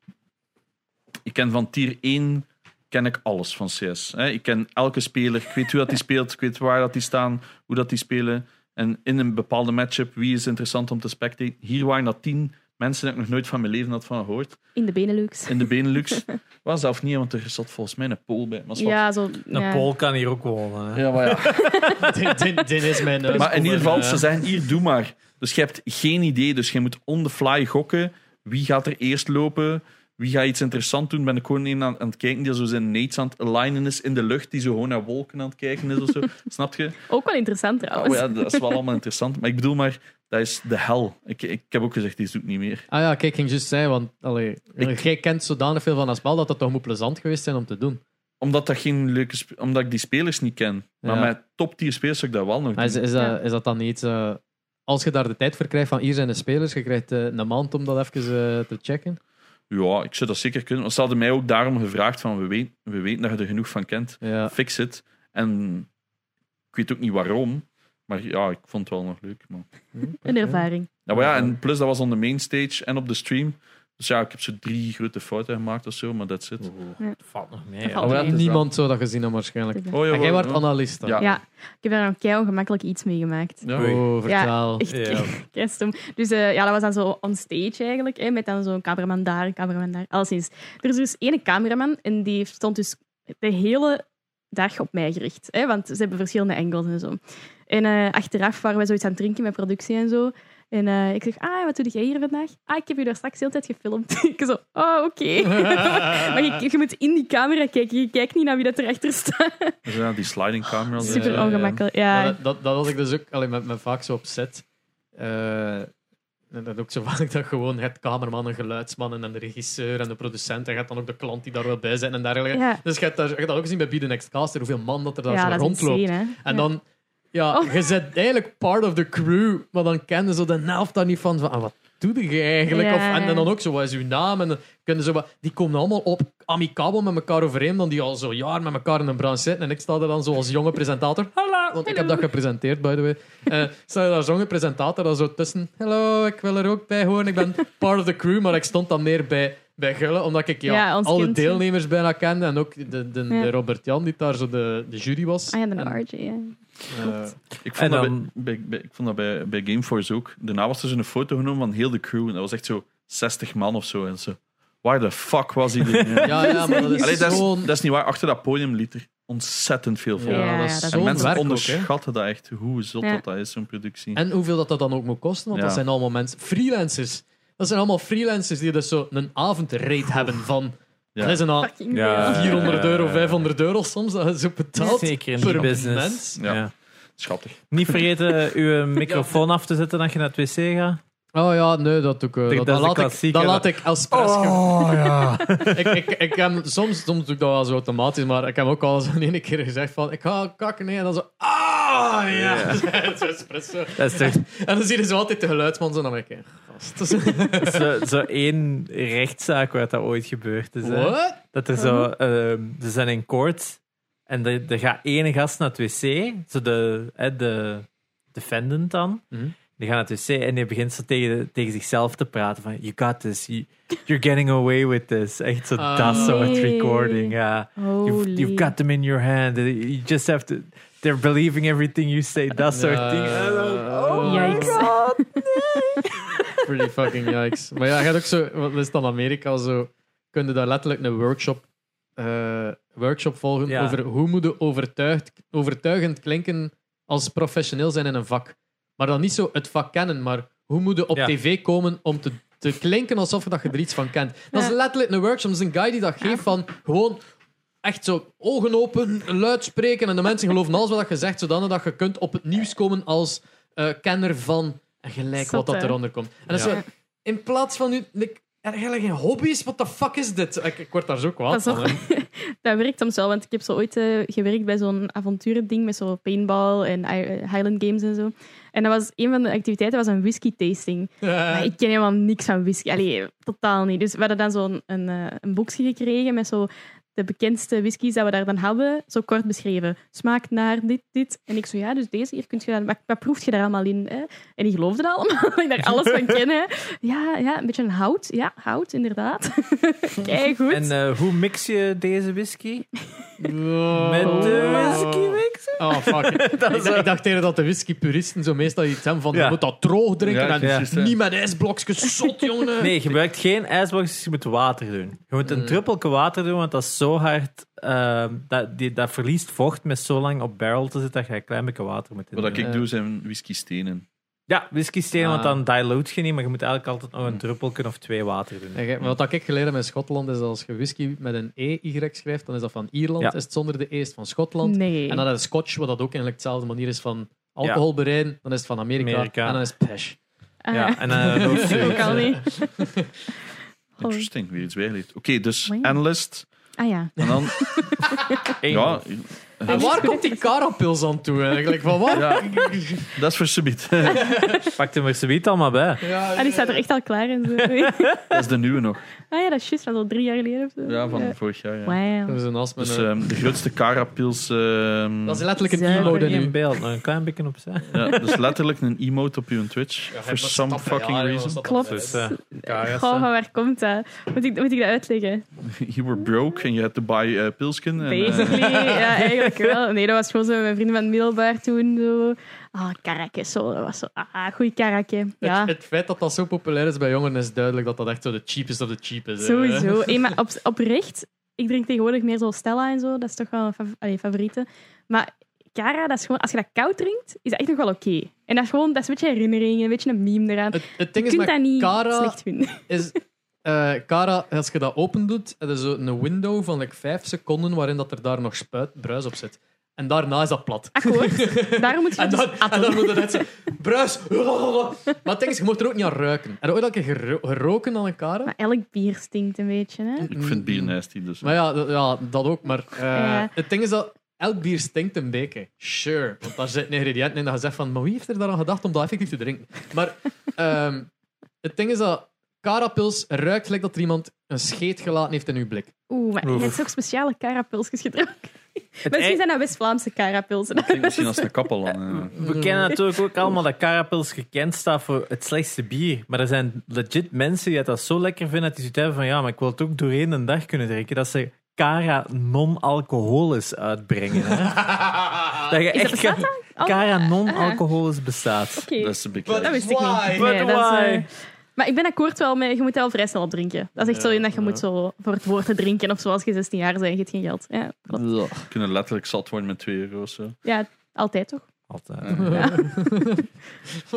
S1: ik ken van tier 1 ken ik alles van CS. Hè? Ik ken elke speler, ik weet hoe dat die speelt, ik weet waar dat die staan, hoe dat die spelen. En in een bepaalde matchup, wie is interessant om te spectaten. Hier waren dat tien mensen die ik nog nooit van mijn leven had van gehoord.
S4: In de Benelux.
S1: In de Benelux. Was zelf niet, want er zat volgens mij een pool bij. Maar, zwart.
S4: Ja, zo.
S3: Een
S4: ja.
S3: Pool kan hier ook wonen. hè.
S1: Ja, maar, ja.
S2: [laughs] Dit- dit- dit is mijn neus.
S1: maar in ieder geval,
S2: Eh,
S1: ze zeggen hier, doe maar. Dus je hebt geen idee, dus je moet on the fly gokken. Wie gaat er eerst lopen? Wie gaat iets interessant doen? Ben ik gewoon een aan, aan het kijken die zo zijn nates aan het alignen is in de lucht, die zo gewoon naar wolken aan het kijken is of
S2: [laughs]
S1: zo. Snap je?
S4: Ook wel interessant
S1: Oh
S4: trouwens.
S1: ja, dat is wel allemaal interessant. Maar ik bedoel maar, dat is de hel. Ik, ik heb ook gezegd, die zoek niet meer.
S2: Ah ja, kijk, ik ging juist zeggen, want allee, eh,
S1: Ik-
S2: jij kent zodanig veel van dat spel dat dat toch moet plezant geweest zijn om te doen.
S1: Omdat, dat geen leuke sp- omdat ik die spelers niet ken. Maar
S2: Ja.
S1: met top tier spelers zou ik dat wel nog
S2: Maar
S1: doen.
S2: is, is,
S4: Ja.
S2: dat, is dat dan niet... eh, als je daar de tijd voor krijgt van hier zijn de spelers, je krijgt eh, een maand om dat even eh, te checken.
S1: Ja, ik zou dat zeker kunnen. Want ze hadden mij ook daarom gevraagd van, we, weet, we weten dat je er genoeg van kent.
S2: Ja.
S1: Fix het. En ik weet ook niet waarom. Maar ja, ik vond het wel nog leuk. Maar...
S4: Een ervaring.
S1: Ja, maar ja, en plus dat was on de main stage en op de stream. Dus ja, ik heb zo drie grote fouten gemaakt of zo, maar that's it.
S3: Oeh,
S4: Ja.
S3: dat valt nog mee.
S4: Dat
S3: hè.
S4: valt
S1: Oh, ja,
S4: mee.
S1: het is
S2: Niemand zou dat gezien hebben waarschijnlijk.
S1: Oh, ja,
S2: En jij
S1: wel,
S2: wordt
S1: ja.
S2: analist dan?
S1: Ja.
S4: Ja, ik heb daar een kei ongemakkelijk iets mee gemaakt.
S1: Ja.
S3: Oei.
S2: Oh, vertel.
S4: [laughs] Echt
S3: Ja.
S4: kei stom. Dus eh, ja, dat was dan zo on stage eigenlijk, hè, met dan zo'n cameraman daar, een cameraman daar, alleszins. Er is dus één cameraman en die stond dus de hele dag op mij gericht. Hè, want ze hebben verschillende angles en zo. En eh, achteraf waren we zoiets aan het drinken met productie en zo. En eh, ik zeg, ah, wat doe jij hier vandaag? Ah, ik heb je daar straks de hele tijd gefilmd. [laughs] ik zo, oh, oké. [laughs] maar je, je moet in die camera kijken. Je kijkt niet naar wie dat erachter staat.
S1: Dus ja, die sliding camera.
S2: Ja,
S4: Super
S2: ja.
S4: ongemakkelijk.
S2: Maar
S4: Ja,
S2: dat, dat, dat had ik dus ook allee, met, met vaak zo op set. Eh, En dat is ook zo [laughs] vaak dat gewoon je hebt kamermannen, geluidsmannen en de regisseur en de producent. En je hebt dan ook de klant die daar wel bij zijn en dergelijke.
S4: Ja.
S2: Dus je hebt, daar, je hebt dat ook gezien bij Be The Next Caster, hoeveel man dat er daar
S4: ja,
S2: zo
S4: dat is
S2: rondloopt.
S4: insane, hè.
S2: En
S4: Ja.
S2: dan, ja,
S4: Oh.
S2: je bent eigenlijk part of the crew, maar dan kennen ze de helft daar niet van. van ah, wat doe je eigenlijk?
S4: Ja.
S2: Of, en, en dan ook zo, wat is uw naam? En dan kunnen ze, wat- die komen allemaal op amicabel met elkaar overeen, dan die al zo jaar met elkaar in een branche zitten. En ik sta er dan zo als jonge presentator, hallo, want ik heb
S4: Hallo.
S2: dat gepresenteerd, by the way. Eh, sta je daar als jonge presentator dan zo tussen, hallo, ik wil er ook bij horen, ik ben part of the crew, maar ik stond dan meer bij... Bij Gullen, omdat ik ja,
S4: Ja, ons
S2: alle
S4: kind.
S2: deelnemers bijna kende. En ook de, de, de
S4: Ja.
S2: Robert-Jan, die daar zo de, de jury was.
S4: Ah ja, de
S2: En-
S4: RJ. ja.
S2: eh,
S1: Ik
S3: En
S1: vond,
S3: dan-
S1: dat bij, bij, bij- ik vond dat bij, bij Gameforce ook. Daarna was er zo'n foto genomen van heel de crew. En dat was echt zo 60 man of zo. En zo, waar de fuck was
S2: [laughs]
S1: iedereen? ja.
S2: ja, ja, maar dat is
S1: Allee, dat, is,
S2: zo'n...
S1: dat is niet waar. Achter dat podium liet er ontzettend veel
S2: Ja,
S1: voor.
S4: Ja,
S2: dat
S4: ja,
S2: is
S4: dat
S1: en
S2: zo'n
S1: mensen
S2: werk ook, hè.
S1: onderschatten dat echt, hoe zot
S4: Ja.
S1: dat, dat is, zo'n productie.
S2: En hoeveel dat, dat dan ook moet kosten, want dat
S1: Ja.
S2: zijn allemaal mensen... Freelancers. Dat zijn allemaal freelancers die dus zo een avondrate hebben van...
S1: Ja. Eh,
S2: Dat is een a-
S4: Fucking
S3: Ja.
S4: veel.
S2: 400 euro, 500 euro soms, dat is zo betaald
S3: Zeker in die
S2: per
S3: business.
S2: mens.
S1: Ja.
S3: Ja.
S1: Schattig.
S3: Niet vergeten uw microfoon af te zetten als je naar het wc gaat.
S2: Oh ja, nee, dat doe ik... eh,
S3: Dat
S2: dat,
S3: is
S2: dat
S3: de
S2: laat ik,
S3: klassieker,
S2: dat
S3: hè.
S2: laat ik als pers...
S3: Oh ja.
S2: [laughs] ik, ik, ik heb, soms, soms doe ik dat wel zo automatisch, maar ik heb ook al eens [laughs] een ene keer gezegd van... Ik ga kakken, nee, en dan zo... Ah, ja. [laughs] zo espresso.
S3: Dat is toch
S2: [laughs] En dan zie je zo altijd de geluidsman zo naar mij kijken. Gast. [laughs]
S3: zo, zo één rechtszaak waar dat ooit gebeurd is. hè.
S2: What?
S3: Dat er zo,
S2: Mhm.
S3: ehm, ze zijn in koord en er er gaat één gast naar het wc, zo de, hè, de defendant dan.
S2: Mhm.
S3: Die gaat naar het wc en die begint zo tegen, tegen zichzelf te praten van you got this, you, you're getting away with this. Echt zo
S2: Ah.
S3: dat soort
S4: Nee.
S3: recording, ja. You've,
S4: Holy.
S3: you've got them in your hand. You just have to... They're believing everything you say.
S2: [laughs]
S3: Dat soort
S2: Ja.
S3: dingen. En dan-
S2: Oh
S4: my Yikes. God,
S2: Pretty fucking yikes. Maar ja, je hebt ook zo, wat is dan Amerika zo, kun je daar letterlijk een workshop, eh, workshop volgen
S3: Ja.
S2: over hoe moet je overtuigd, overtuigend klinken als professioneel zijn in een vak. Maar dan niet zo het vak kennen, maar hoe moet je op
S3: Ja.
S2: tv komen om te, te klinken alsof je dat je er iets van kent. Dat is
S4: Ja.
S2: letterlijk een workshop. Dat is een guy die dat geeft van gewoon echt zo ogen open, luid spreken. En de mensen geloven alles wat je zegt, zodanig dat je kunt op het nieuws komen als eh, kenner van en gelijk
S4: Zot,
S2: wat dat
S4: hè?
S2: eronder komt. En dat is
S4: Ja.
S2: zo, in plaats van nu... Ik, er eigenlijk geen hobby's, what the fuck is dit? Ik, ik word daar zo kwaad
S4: Dat is
S2: van. hè.
S4: [laughs] Dat werkt soms wel, want ik heb zo ooit eh, gewerkt bij zo'n avonturending met zo'n paintball en i- eh, Highland Games en zo. En dat was een van de activiteiten was een whisky
S2: [laughs]
S4: tasting.
S2: Eh,
S4: Maar ik ken helemaal niks van whisky. Allee, totaal niet. Dus we hadden dan zo'n een, eh, een boekje gekregen met zo de bekendste whiskies dat we daar dan hadden, zo kort beschreven. Smaakt naar dit, dit. En ik zo, ja, dus deze hier kun je dan... Wat, wat proef je daar allemaal in? Hè? En die geloofde dat allemaal, [laughs] dat ik daar alles van ken. Hè? Ja, ja, een beetje een hout. Ja, hout, inderdaad. [laughs] Kijk goed.
S3: En eh, hoe mix je deze whisky? Met de
S2: Oh.
S3: whisky mixer?
S2: Oh,
S3: [laughs]
S2: fuck. ik, ik dacht eerder dat de whiskypuristen zo meestal iets hebben van
S3: Ja.
S2: je moet dat droog drinken
S1: Ja,
S2: en
S1: precies, hè.
S2: niet met ijsblokjes zot, [laughs] jongen.
S3: Nee, je gebruikt geen ijsblokjes, je moet water doen. Je moet een druppelke water doen, want dat is zo hard. ehm, dat, die, dat verliest vocht met zo lang op barrel te zitten dat je een klein beetje water moet in.
S1: Wat
S3: doen.
S1: ik doe, zijn whisky stenen.
S3: Ja, whisky steen,
S2: Ah.
S3: want dan dilute je niet, maar je moet eigenlijk altijd nog een druppelke of twee water doen.
S2: Ja, gij- maar wat ik geleerd heb in Schotland is dat als je whisky met een E-Y schrijft, dan is dat van Ierland.
S3: Ja.
S2: Is het zonder de E is het van Schotland.
S4: Nee.
S2: En dan is Scotch, wat dat ook eigenlijk dezelfde manier is van alcohol bereiden. Dan is het van Amerika.
S3: Amerika.
S2: En dan is het Pesh.
S4: Ah,
S3: ja, en eh, dan
S4: dat is ook al niet. Oh.
S1: Interesting, weer iets bijgeleerd. Oké, dus
S4: Wow.
S1: analyst.
S4: Ah ja.
S1: En
S2: [laughs]
S1: dan, ja,
S2: En waar komt die karapils aan toe eigenlijk? Van waar?
S1: ja, [laughs] dat is voor subiet.
S3: Pak hem er zoiets allemaal bij.
S2: Ja,
S4: En Ah, die staat er echt al klaar in. Zo.
S1: Dat is de nieuwe nog.
S4: Ah ja, dat is juist van al drie jaar geleden of zo.
S1: Ja, van vorig jaar. Ja.
S2: Dat
S4: Wauw.
S2: is een as met
S1: Dus
S2: een-
S1: ehm, de grootste carapils. ehm,
S2: Dat is letterlijk een
S4: Zuiver
S2: e-mode
S3: Nog niet in
S2: nu.
S3: beeld, nog een klein beetje opzij.
S1: ja, dus letterlijk een emote op je Twitch. for some fucking reason.
S4: Klopt.
S3: Dus, eh, ja,
S4: Goh,
S3: yes,
S4: van
S3: eh.
S4: waar komt dat? Moet ik, moet ik dat uitleggen?
S1: [laughs] You were broke and you had to buy eh, pilsken. En, eh,
S4: Basically,
S2: [laughs]
S4: ja, eigenlijk wel. Nee, dat was gewoon zo. Mijn vrienden van het middelbaar toen zo. Ah, karakjes, zo. Dat was zo. Ah, goeie karakje. Ja.
S2: Het, het feit dat dat zo populair is bij jongeren is duidelijk dat dat echt zo de cheapest of the cheapest is. hè.
S4: Sowieso. Hey, maar op, oprecht, ik drink tegenwoordig meer zo Stella en zo. Dat is toch wel een fav- allee, favoriete. Maar Cara, dat is gewoon, als je dat koud drinkt, is dat echt nog wel oké. En dat is gewoon dat is een beetje herinnering, een beetje een meme eraan.
S2: Het, het
S4: Je
S2: ding is
S4: kunt
S2: met
S4: dat niet
S2: Cara
S4: slecht vinden.
S2: is. eh Cara, als je dat opendoet, heb je zo een window van like, 5 seconden waarin dat er daar nog spuit, bruis op zit. En daarna is dat plat. [laughs]
S4: Akkoord. Daarom moet je
S2: En
S4: het
S2: dan,
S4: dus
S2: en dan
S4: atten.
S2: moet het net zo... Bruis! Maar het ding is, je moet er ook niet aan ruiken. Heb je ooit al een keer gero- geroken aan elkaar?
S4: Maar elk bier stinkt een beetje, hè?
S1: Ik vind
S2: Mm.
S1: bier nasty, dus...
S2: Maar ja, dat, ja, dat ook. Maar eh,
S4: Ja.
S2: het ding is dat elk bier stinkt een beetje. Sure. Want daar zitten ingrediënten in dat je zegt van, maar wie heeft er daar aan gedacht om dat effectief te drinken? Maar ehm, het ding is dat karapils ruikt gelijk dat er iemand een scheet gelaten heeft in uw blik.
S4: Oeh, maar je
S3: Oef.
S4: hebt ook speciale karapilsjes gedronken.
S3: [laughs] Het ei-
S4: Mensen zijn dat West-Vlaamse karapilsen.
S1: Klinkt misschien als een kappel dan.
S3: We kennen natuurlijk
S4: [laughs]
S3: ook allemaal dat Carapils gekend staat voor het slechtste bier. Maar er zijn legit mensen die dat zo lekker vinden dat die zoiets hebben van ja, maar ik wil het ook doorheen een dag kunnen drinken. Dat ze Cara non-alcoholisch uitbrengen.
S4: [laughs]
S3: Hè? Dat je
S4: Is dat
S3: echt
S4: bestaat dat? Al-
S3: Cara non-alcoholisch bestaat.
S4: Oké,
S1: Dat is een
S2: Wat-
S4: dat
S1: beetje...
S4: wist ik
S2: Why?
S4: niet.
S3: But
S4: dat is,
S3: why?
S4: eh, maar ik ben akkoord wel met, je moet dat wel vrij snel opdrinken. Dat is echt zo in dat je moet zo voor het woord te drinken of zoals je 16 jaar bent, je hebt geen geld. Ja, klopt.
S1: We kunnen letterlijk zat worden met 2 euro of zo.
S4: ja altijd toch?
S3: Altijd.
S1: Ah,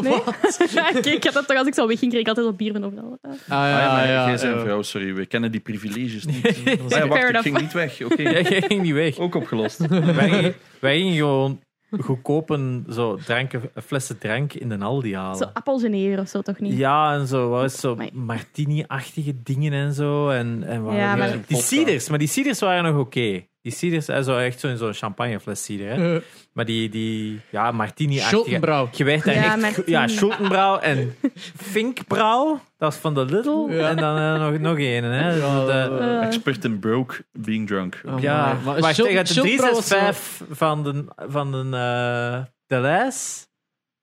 S4: Nee? [laughs] Kijk, ik had dat toch als ik zo wegging, kreeg ik altijd al bier van overal. Ja.
S2: Ah,
S1: Ah, ja,
S2: ja, ja,
S1: jij zijn
S2: ja.
S1: vrouw, sorry. We kennen die privileges
S4: [laughs]
S1: niet. Ah ja, wacht,
S4: Fair
S1: ik
S4: enough.
S1: ging niet weg. Oké,
S3: Ja, jij ging niet weg.
S1: ook opgelost.
S3: Wij, gingen- wij gingen gewoon goedkope zo dranken, flessen drank in de Aldi halen.
S4: Zo appelgeneer of zo toch niet?
S3: Ja, en zo, wat is zo
S4: Amai.
S3: martini-achtige dingen en zo. En, en wat-
S4: Ja, maar-
S3: Die ciders, maar die ciders waren nog oké. Die ciders, eh, zo echt zo in zo'n champagnefles cider. Hè?
S2: Eh,
S3: Maar die, die ja, martini-achtige...
S2: Schottenbrouw.
S3: Je werd daar
S4: Ja,
S3: echt...
S4: martini.
S3: Ja, Schottenbrouw en Finkbrouw. Dat is van de Lidl.
S2: Ja.
S3: En dan eh, nog, nog één. Hè?
S2: Ja,
S3: Dus dat-
S2: eh,
S4: Eh,
S1: Expert in broke, being drunk. Ah,
S2: Oh,
S3: ja,
S2: maar- maar
S3: wacht,
S2: Schult-
S3: ik had de
S2: Schultbrouw was zo-
S3: 365 van de, van de eh de Les,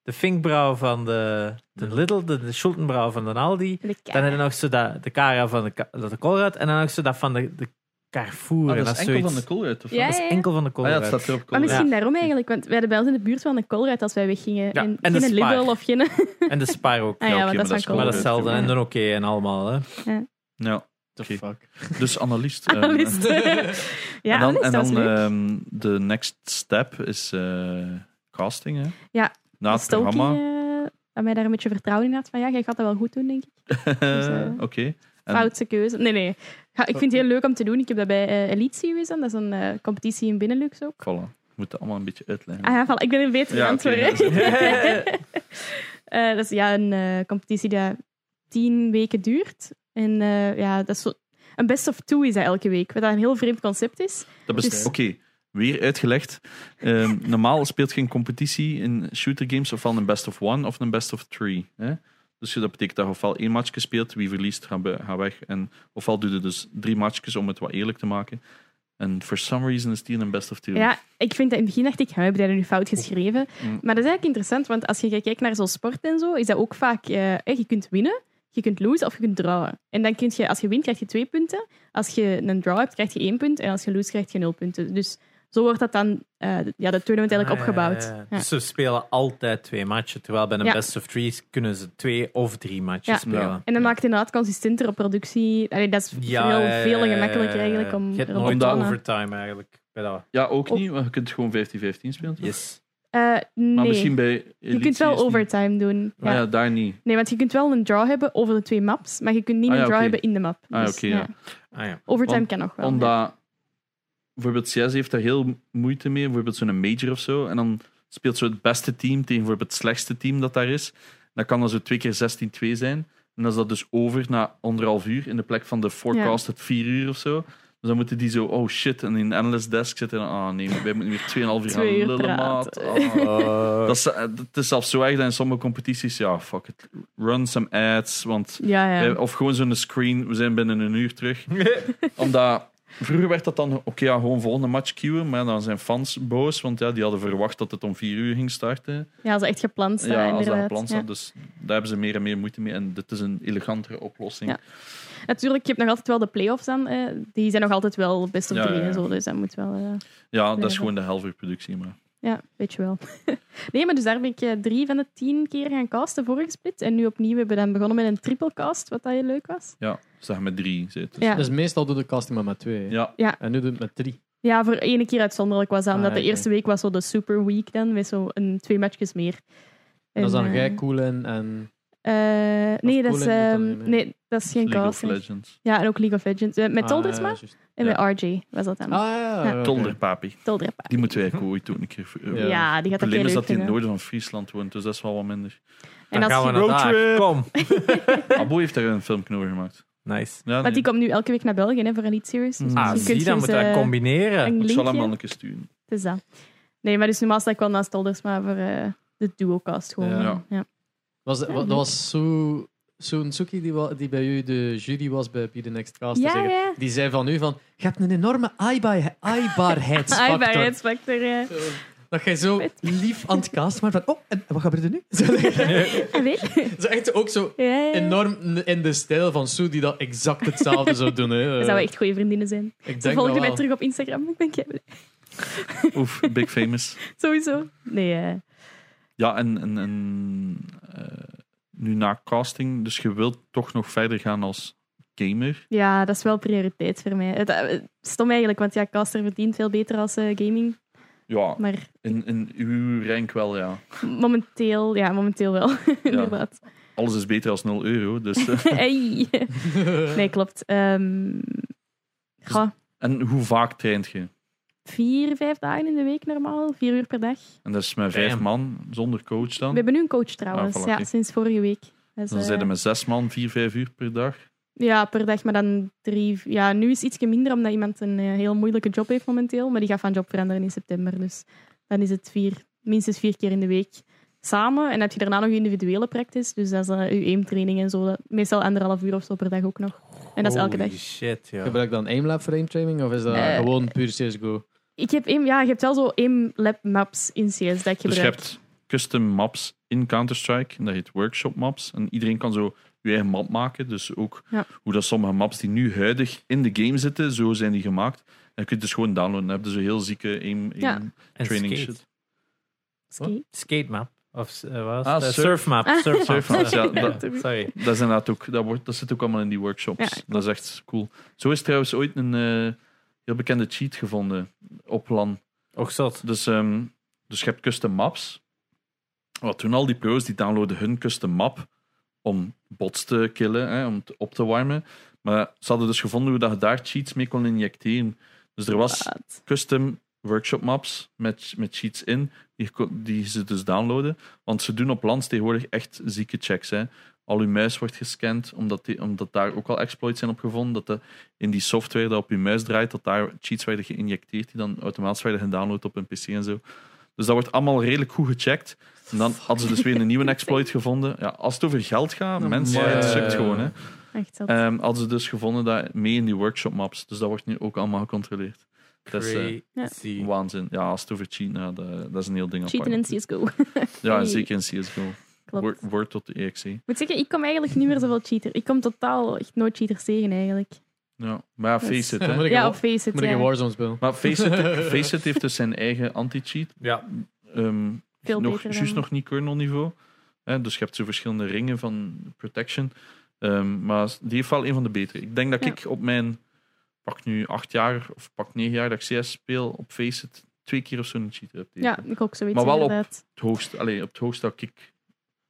S3: de Finkbrouw van de, de Lidl, de, de Schultenbrouw van de Aldi.
S4: de
S3: Dan
S4: kei-
S3: heb je nog zo dat, de Cara van de, Ka- dat de Colruyt en dan nog zo dat van de, de Carrefour.
S1: Ah,
S3: en
S1: dat is
S3: dat
S1: enkel van
S3: zoiets.
S1: de Colruyt, of
S4: Ja,
S1: wat?
S3: Dat
S4: ja,
S3: is
S4: ja.
S3: enkel van de
S1: Ah ja,
S3: Colruyt.
S1: het staat erop
S4: Maar
S1: Colruyt.
S4: misschien daarom eigenlijk, want we hadden bij ons in de buurt wel een Colruyt als wij weggingen.
S3: Ja,
S4: en
S3: en de
S4: geen
S3: Spar.
S4: Lidl of geen...
S3: En de Spar
S4: [laughs]
S3: ook.
S4: Ah ja,
S1: oké, maar
S4: want dat
S1: dat
S4: zijn
S1: is
S3: Maar
S1: Colruyt.
S3: dat
S4: Colruyt.
S3: is hetzelfde. En dan oké en allemaal. Hè.
S1: Ja,
S2: The fuck.
S1: dus analist. eh,
S4: [laughs] Analist.
S2: [laughs]
S1: [laughs]
S4: ja,
S1: en dan,
S4: analist,
S1: en
S4: dat was
S1: dan
S4: leuk.
S1: ehm, de next step is eh, casting, hè?
S4: Ja,
S1: Na het
S4: Stalking,
S1: programma.
S4: eh, dat mij daar een beetje vertrouwen in had. Van ja, jij gaat dat wel goed doen, denk ik.
S1: [laughs]
S4: eh,
S1: Oké. En-
S4: Foutse keuze. Nee, nee. Ga- ik vind het heel leuk om te doen. Ik heb dat bij eh, Elite Series aan. Dat is een eh, competitie in Benelux ook.
S1: Voilà. Ik moet dat allemaal een beetje uitleggen.
S4: Ah ja, voilà. ik ben een betere
S1: Ja, oké,
S4: antwoord.
S1: ja, dat is
S4: hè. [laughs] Eh, dat is ja, een eh, competitie die tien weken duurt. En eh, ja, dat is zo... Een best of two is dat elke week. Wat dat een heel vreemd concept is.
S1: Dat best-
S4: Dus-
S1: Oké, weer uitgelegd. Ehm, normaal speelt geen competitie in shooter games ofwel een best of one of een best of three. Hè? Dus dat betekent dat je ofwel één matchje speelt, wie verliest, gaat be- gaat weg. En ofwel doe je dus drie matchjes om het wat eerlijk te maken. En for some reason is die een best of two.
S4: Ja, ik vind dat in het begin dacht ik, "Huh, heb je dat nu fout geschreven?
S3: Oh, mm.
S4: Maar dat is eigenlijk interessant, want als je kijkt naar zo'n sport en zo, is dat ook vaak, eh, eh, je kunt winnen, je kunt losen of je kunt drawen. En dan kun je, als je wint, krijg je twee punten. Als je een draw hebt, krijg je één punt. En als je lose, krijg je nul punten. Dus zo wordt dat dan, eh, ja, dat toernooi eigenlijk
S3: Ah,
S4: opgebouwd.
S3: ja, ja, ja.
S4: Ja.
S3: Dus ze spelen altijd twee matchen. Terwijl bij een
S4: Ja.
S3: best of three kunnen ze twee of drie matchen
S4: Ja.
S3: spelen.
S4: En dat maakt het inderdaad consistentere productie. Allee, dat is
S3: Ja,
S4: heel
S3: eh,
S4: veel en gemakkelijk eigenlijk om
S3: Je hebt
S4: erop te
S3: nooit
S4: plannen.
S3: overtime eigenlijk. Bij dat.
S1: Ja, ook
S4: Op-
S1: niet, want je kunt gewoon 15-15 spelen. toch?
S3: Yes.
S4: Eh,
S1: Maar
S4: nee,
S1: misschien bij.
S4: je kunt wel
S1: over.
S4: overtime doen.
S1: Ah,
S4: Ja.
S1: ja, daar niet.
S4: Nee, want je kunt wel een draw hebben over de twee maps, maar je kunt niet
S1: Ah, ja,
S4: een draw
S1: oké.
S4: hebben in de map.
S1: Ah,
S4: Dus,
S1: oké, ja.
S3: Ah, ja.
S4: Overtime
S1: Want-
S4: kan nog wel. ja.
S1: Omdat bijvoorbeeld CS heeft daar heel moeite mee, bijvoorbeeld zo'n major of zo. En dan speelt zo het beste team tegen bijvoorbeeld het slechtste team dat daar is. Dan kan dat zo twee keer 16-2 zijn. En dan is dat dus over na anderhalf uur in de plek van de forecast het vier uur of zo. Dus dan moeten die zo, oh shit, en in analyst desk zitten. en dan, Ah nee, wij moeten weer 2,5 uur gaan
S4: Twee uur
S1: lullen, maat.
S4: praten.
S1: Ah. Dat is, eh, dat is zelfs zo erg dat in sommige competities, ja, fuck it. Run some ads, want
S4: Ja, ja.
S1: eh, Of gewoon zo'n screen, we zijn binnen een uur
S4: [laughs]
S1: terug. Omdat vroeger werd dat dan, oké, ja, gewoon volgende match queuen. Maar dan zijn fans boos, want ja, die hadden verwacht dat het om vier uur ging starten.
S4: ja, als dat echt gepland staat,
S1: ja, als dat
S4: inderdaad.
S1: gepland
S4: Ja.
S1: staat. Dus daar hebben ze meer en meer moeite mee. En dit is een elegantere oplossing.
S4: Ja. Natuurlijk, je hebt nog altijd wel de play-offs dan. eh, die zijn nog altijd wel best op
S1: Ja,
S4: drie
S1: ja, ja.
S4: en zo, dus dat moet wel... eh,
S1: Ja, dat is
S4: Ja.
S1: gewoon de helft productie. Maar
S4: ja, weet je wel. [laughs] nee, maar dus daar ben ik eh, drie van de tien keer gaan casten, voorgesplit. En nu opnieuw hebben we dan begonnen met een triple cast, wat dat heel leuk was.
S1: ja, zeg met drie. Zit. Dus,
S4: Ja.
S2: Dus meestal doe de casting maar met twee. hè.
S1: ja.
S2: En nu doet het met drie.
S4: Ja, voor ene keer uitzonderlijk was dat,
S2: Ah,
S4: omdat de
S2: oké.
S4: eerste week was zo de super week dan, met zo een, twee matchjes meer.
S2: En dat is dan
S4: eh,
S2: jij cool en... en...
S4: Eh, nee, dat is,
S2: Colin doet dat
S4: ehm,
S2: niet mee.
S4: nee, dat is geen
S1: League of
S4: casting.
S1: Legends.
S4: Ja, en ook League of Legends. Eh, met Toldersma
S2: Ah, juist.
S4: en met RJ was dat dan.
S2: Ah, ja, ja,
S4: Ja.
S2: oké.
S1: Tolderpapi.
S4: Tolderpa.
S1: Die moeten wij ook ooit ook een keer... eh,
S2: Ja.
S4: Ja. die gaat
S1: Het
S4: dat heel
S1: probleem is dat hij
S4: leuk
S1: in het
S4: vinden.
S1: noorden van Friesland woont, dus dat is wel wat minder.
S3: Dan
S4: En als
S3: gaan we
S4: je-
S3: naar daar.
S1: Roadtrip.
S3: Kom.
S1: Abo heeft daar een filmpje over gemaakt.
S3: Nice.
S1: Ja,
S4: Maar die komt nu elke week naar België hè, voor een series. Dus
S1: Mm.
S3: Ah,
S4: misschien
S3: zie,
S4: kunt je
S3: dan
S4: eens,
S3: moet dat
S4: eh,
S3: combineren.
S4: een
S1: Ik zal hem
S4: linkje.
S1: mannetje sturen.
S4: Het is dat. Nee, maar dus normaal sta ik wel naast Toldersma voor eh, de duocast gewoon.
S1: Ja.
S4: Ja.
S2: Was, dat- wa- dat was zo, zo'n Suki die, wa- die bij u de jury was bij Be The Next Cast. te
S4: Ja,
S2: zeggen.
S4: ja.
S2: Die zei van u van, je hebt een enorme aaibaar- aaibaarheidsfactor.
S4: [laughs] Aaibaarheidsfactor, ja.
S2: Zo, Dat jij zo
S4: Vet.
S2: lief aan het casten maar van, oh, en wat gebeurt er nu? [laughs] Zo,
S4: [laughs] Ah, weet-
S2: zo echt ook zo
S4: Ja, ja.
S2: enorm in de stijl van Sue die dat exact hetzelfde zou doen. Hè.
S4: Dan zouden we echt goede vriendinnen zijn.
S2: Ik
S4: Ze
S2: denk dat
S4: volgen mij
S2: wel.
S4: terug op Instagram. Ik denk, ja,
S1: Oef, big famous.
S4: sowieso. Nee, eh,
S1: Ja, en, en, en eh, nu na casting, dus je wilt toch nog verder gaan als gamer.
S4: ja, dat is wel prioriteit voor mij. Het, eh, stom eigenlijk, want ja, Caster verdient veel beter als eh, gaming.
S1: Ja,
S4: Maar
S1: in, in uw rank wel, ja.
S4: momenteel, ja, momenteel wel. [laughs] Inderdaad.
S1: Alles is beter als 0 euro. Dus,
S4: [laughs]
S1: eh. [laughs]
S4: Hey. Nee, klopt. Ehm, goh,
S1: En hoe vaak traint je?
S4: vier, vijf dagen in de week normaal. Vier uur per dag.
S1: En dat is met vijf
S3: Damn.
S1: man, zonder coach dan.
S4: We hebben nu een coach trouwens,
S1: Ah, voilà,
S4: ja,
S1: kijk.
S4: sinds vorige week. Dus,
S1: Dan
S4: eh,
S1: zijn er met zes man, vier, vijf uur per dag.
S4: Ja, per dag, maar dan drie. Ja, nu is het ietsje minder omdat iemand een eh, heel moeilijke job heeft momenteel. Maar die gaat van job veranderen in september. Dus dan is het vier, minstens vier keer in de week samen. En dan heb je daarna nog je individuele practice. Dus dat is eh, je aimtraining en zo. Dat, meestal anderhalf uur of zo per dag ook nog. En dat is elke dag.
S3: Holy shit, ja.
S2: Gebruik dan aimlab voor aimtraining of is dat
S4: Eh.
S2: gewoon puur CSGO?
S4: Ik heb aim, ja, je hebt wel zo aim lab maps in CS dat ik gebruik.
S1: Dus je hebt custom maps in Counter-Strike, en dat heet workshop maps. En iedereen kan zo je eigen map maken. Dus ook
S4: Ja.
S1: hoe dat sommige maps die nu huidig in de game zitten, zo zijn die gemaakt. En je kunt het dus gewoon downloaden. Dan heb je zo heel zieke aim,
S4: Ja.
S1: aim
S3: En
S1: training
S3: skate.
S1: shit.
S4: Ski.
S3: Skate map. Of eh, wat was
S1: Ah,
S3: het? Eh,
S1: surf.
S3: surfmap. Surfmap.
S1: Surfmap, ja,
S3: Sorry.
S1: dat-
S3: Sorry.
S1: Dat, is inderdaad ook, dat, wordt, dat zit ook allemaal in die
S4: Ja,
S1: workshops. dat
S4: klopt.
S1: is echt cool. Zo is trouwens ooit een eh, heel bekende cheat gevonden op LAN.
S3: Ook zot.
S1: Dus, ehm, dus je hebt custom maps. Wat toen al die pro's die downloaden hun custom map om bots te killen, hè, om te- op te warmen. Maar ze hadden dus gevonden hoe dat je daar cheats mee kon injecteren. Dus er was
S4: Wat?
S1: custom workshop maps met, met cheats in, die, je kon- die ze dus downloaden. Want ze doen op lands tegenwoordig echt zieke checks. Hè. Al uw muis wordt gescand, omdat, die, omdat daar ook al exploits zijn op gevonden. Dat de, in die software dat op je muis draait, dat daar cheats werden geïnjecteerd, die dan automatisch werden gedownload op een PC en zo. Dus dat wordt allemaal redelijk goed gecheckt. En dan hadden ze dus weer een nieuwe exploit gevonden. Ja, als het over geld gaat, mensen,
S2: man.
S1: het sukt gewoon. Hè.
S4: Echt zot.
S1: Ehm, hadden ze dus gevonden dat mee in die workshop maps. Dus dat wordt nu ook allemaal gecontroleerd. Dat is, eh,
S3: Crazy.
S1: Waanzin. Ja, als het over cheaten gaat, eh, dat is een heel ding
S4: Cheaten in
S1: apart.
S4: CSGO.
S1: Ja,
S4: Hey.
S1: zeker in CSGO.
S4: [laughs] Klopt.
S1: Word, word tot E de EXE.
S4: Ik moet zeggen, ik kom eigenlijk niet meer zoveel cheater. Ik kom totaal echt nooit cheaters tegen eigenlijk.
S1: Ja. Maar ja,
S4: Dat is-
S1: Faceit, hè.
S2: Moet ik
S4: Ja,
S2: een-
S4: op Faceit.
S2: Moet ik
S4: ja.
S2: een Warzone spelen?
S1: Maar [laughs] Faceit, Faceit heeft dus zijn eigen anti-cheat.
S3: Ja.
S1: Ehm,
S4: Veel
S1: nog,
S4: beter dan-
S1: Juist nog niet kernel-niveau. Hè, dus je hebt zo verschillende ringen van protection. Ehm, maar die heeft wel een van de betere. Ik denk dat
S4: Ja.
S1: ik op mijn, pak nu acht jaar of pak negen jaar dat ik CS speel, op Faceit twee keer of zo een cheat heb.
S4: Ja,
S1: tegen.
S4: ik ook zoiets.
S1: Maar wel op-
S4: inderdaad.
S1: Het hoogste, allee, op het hoogste dat ik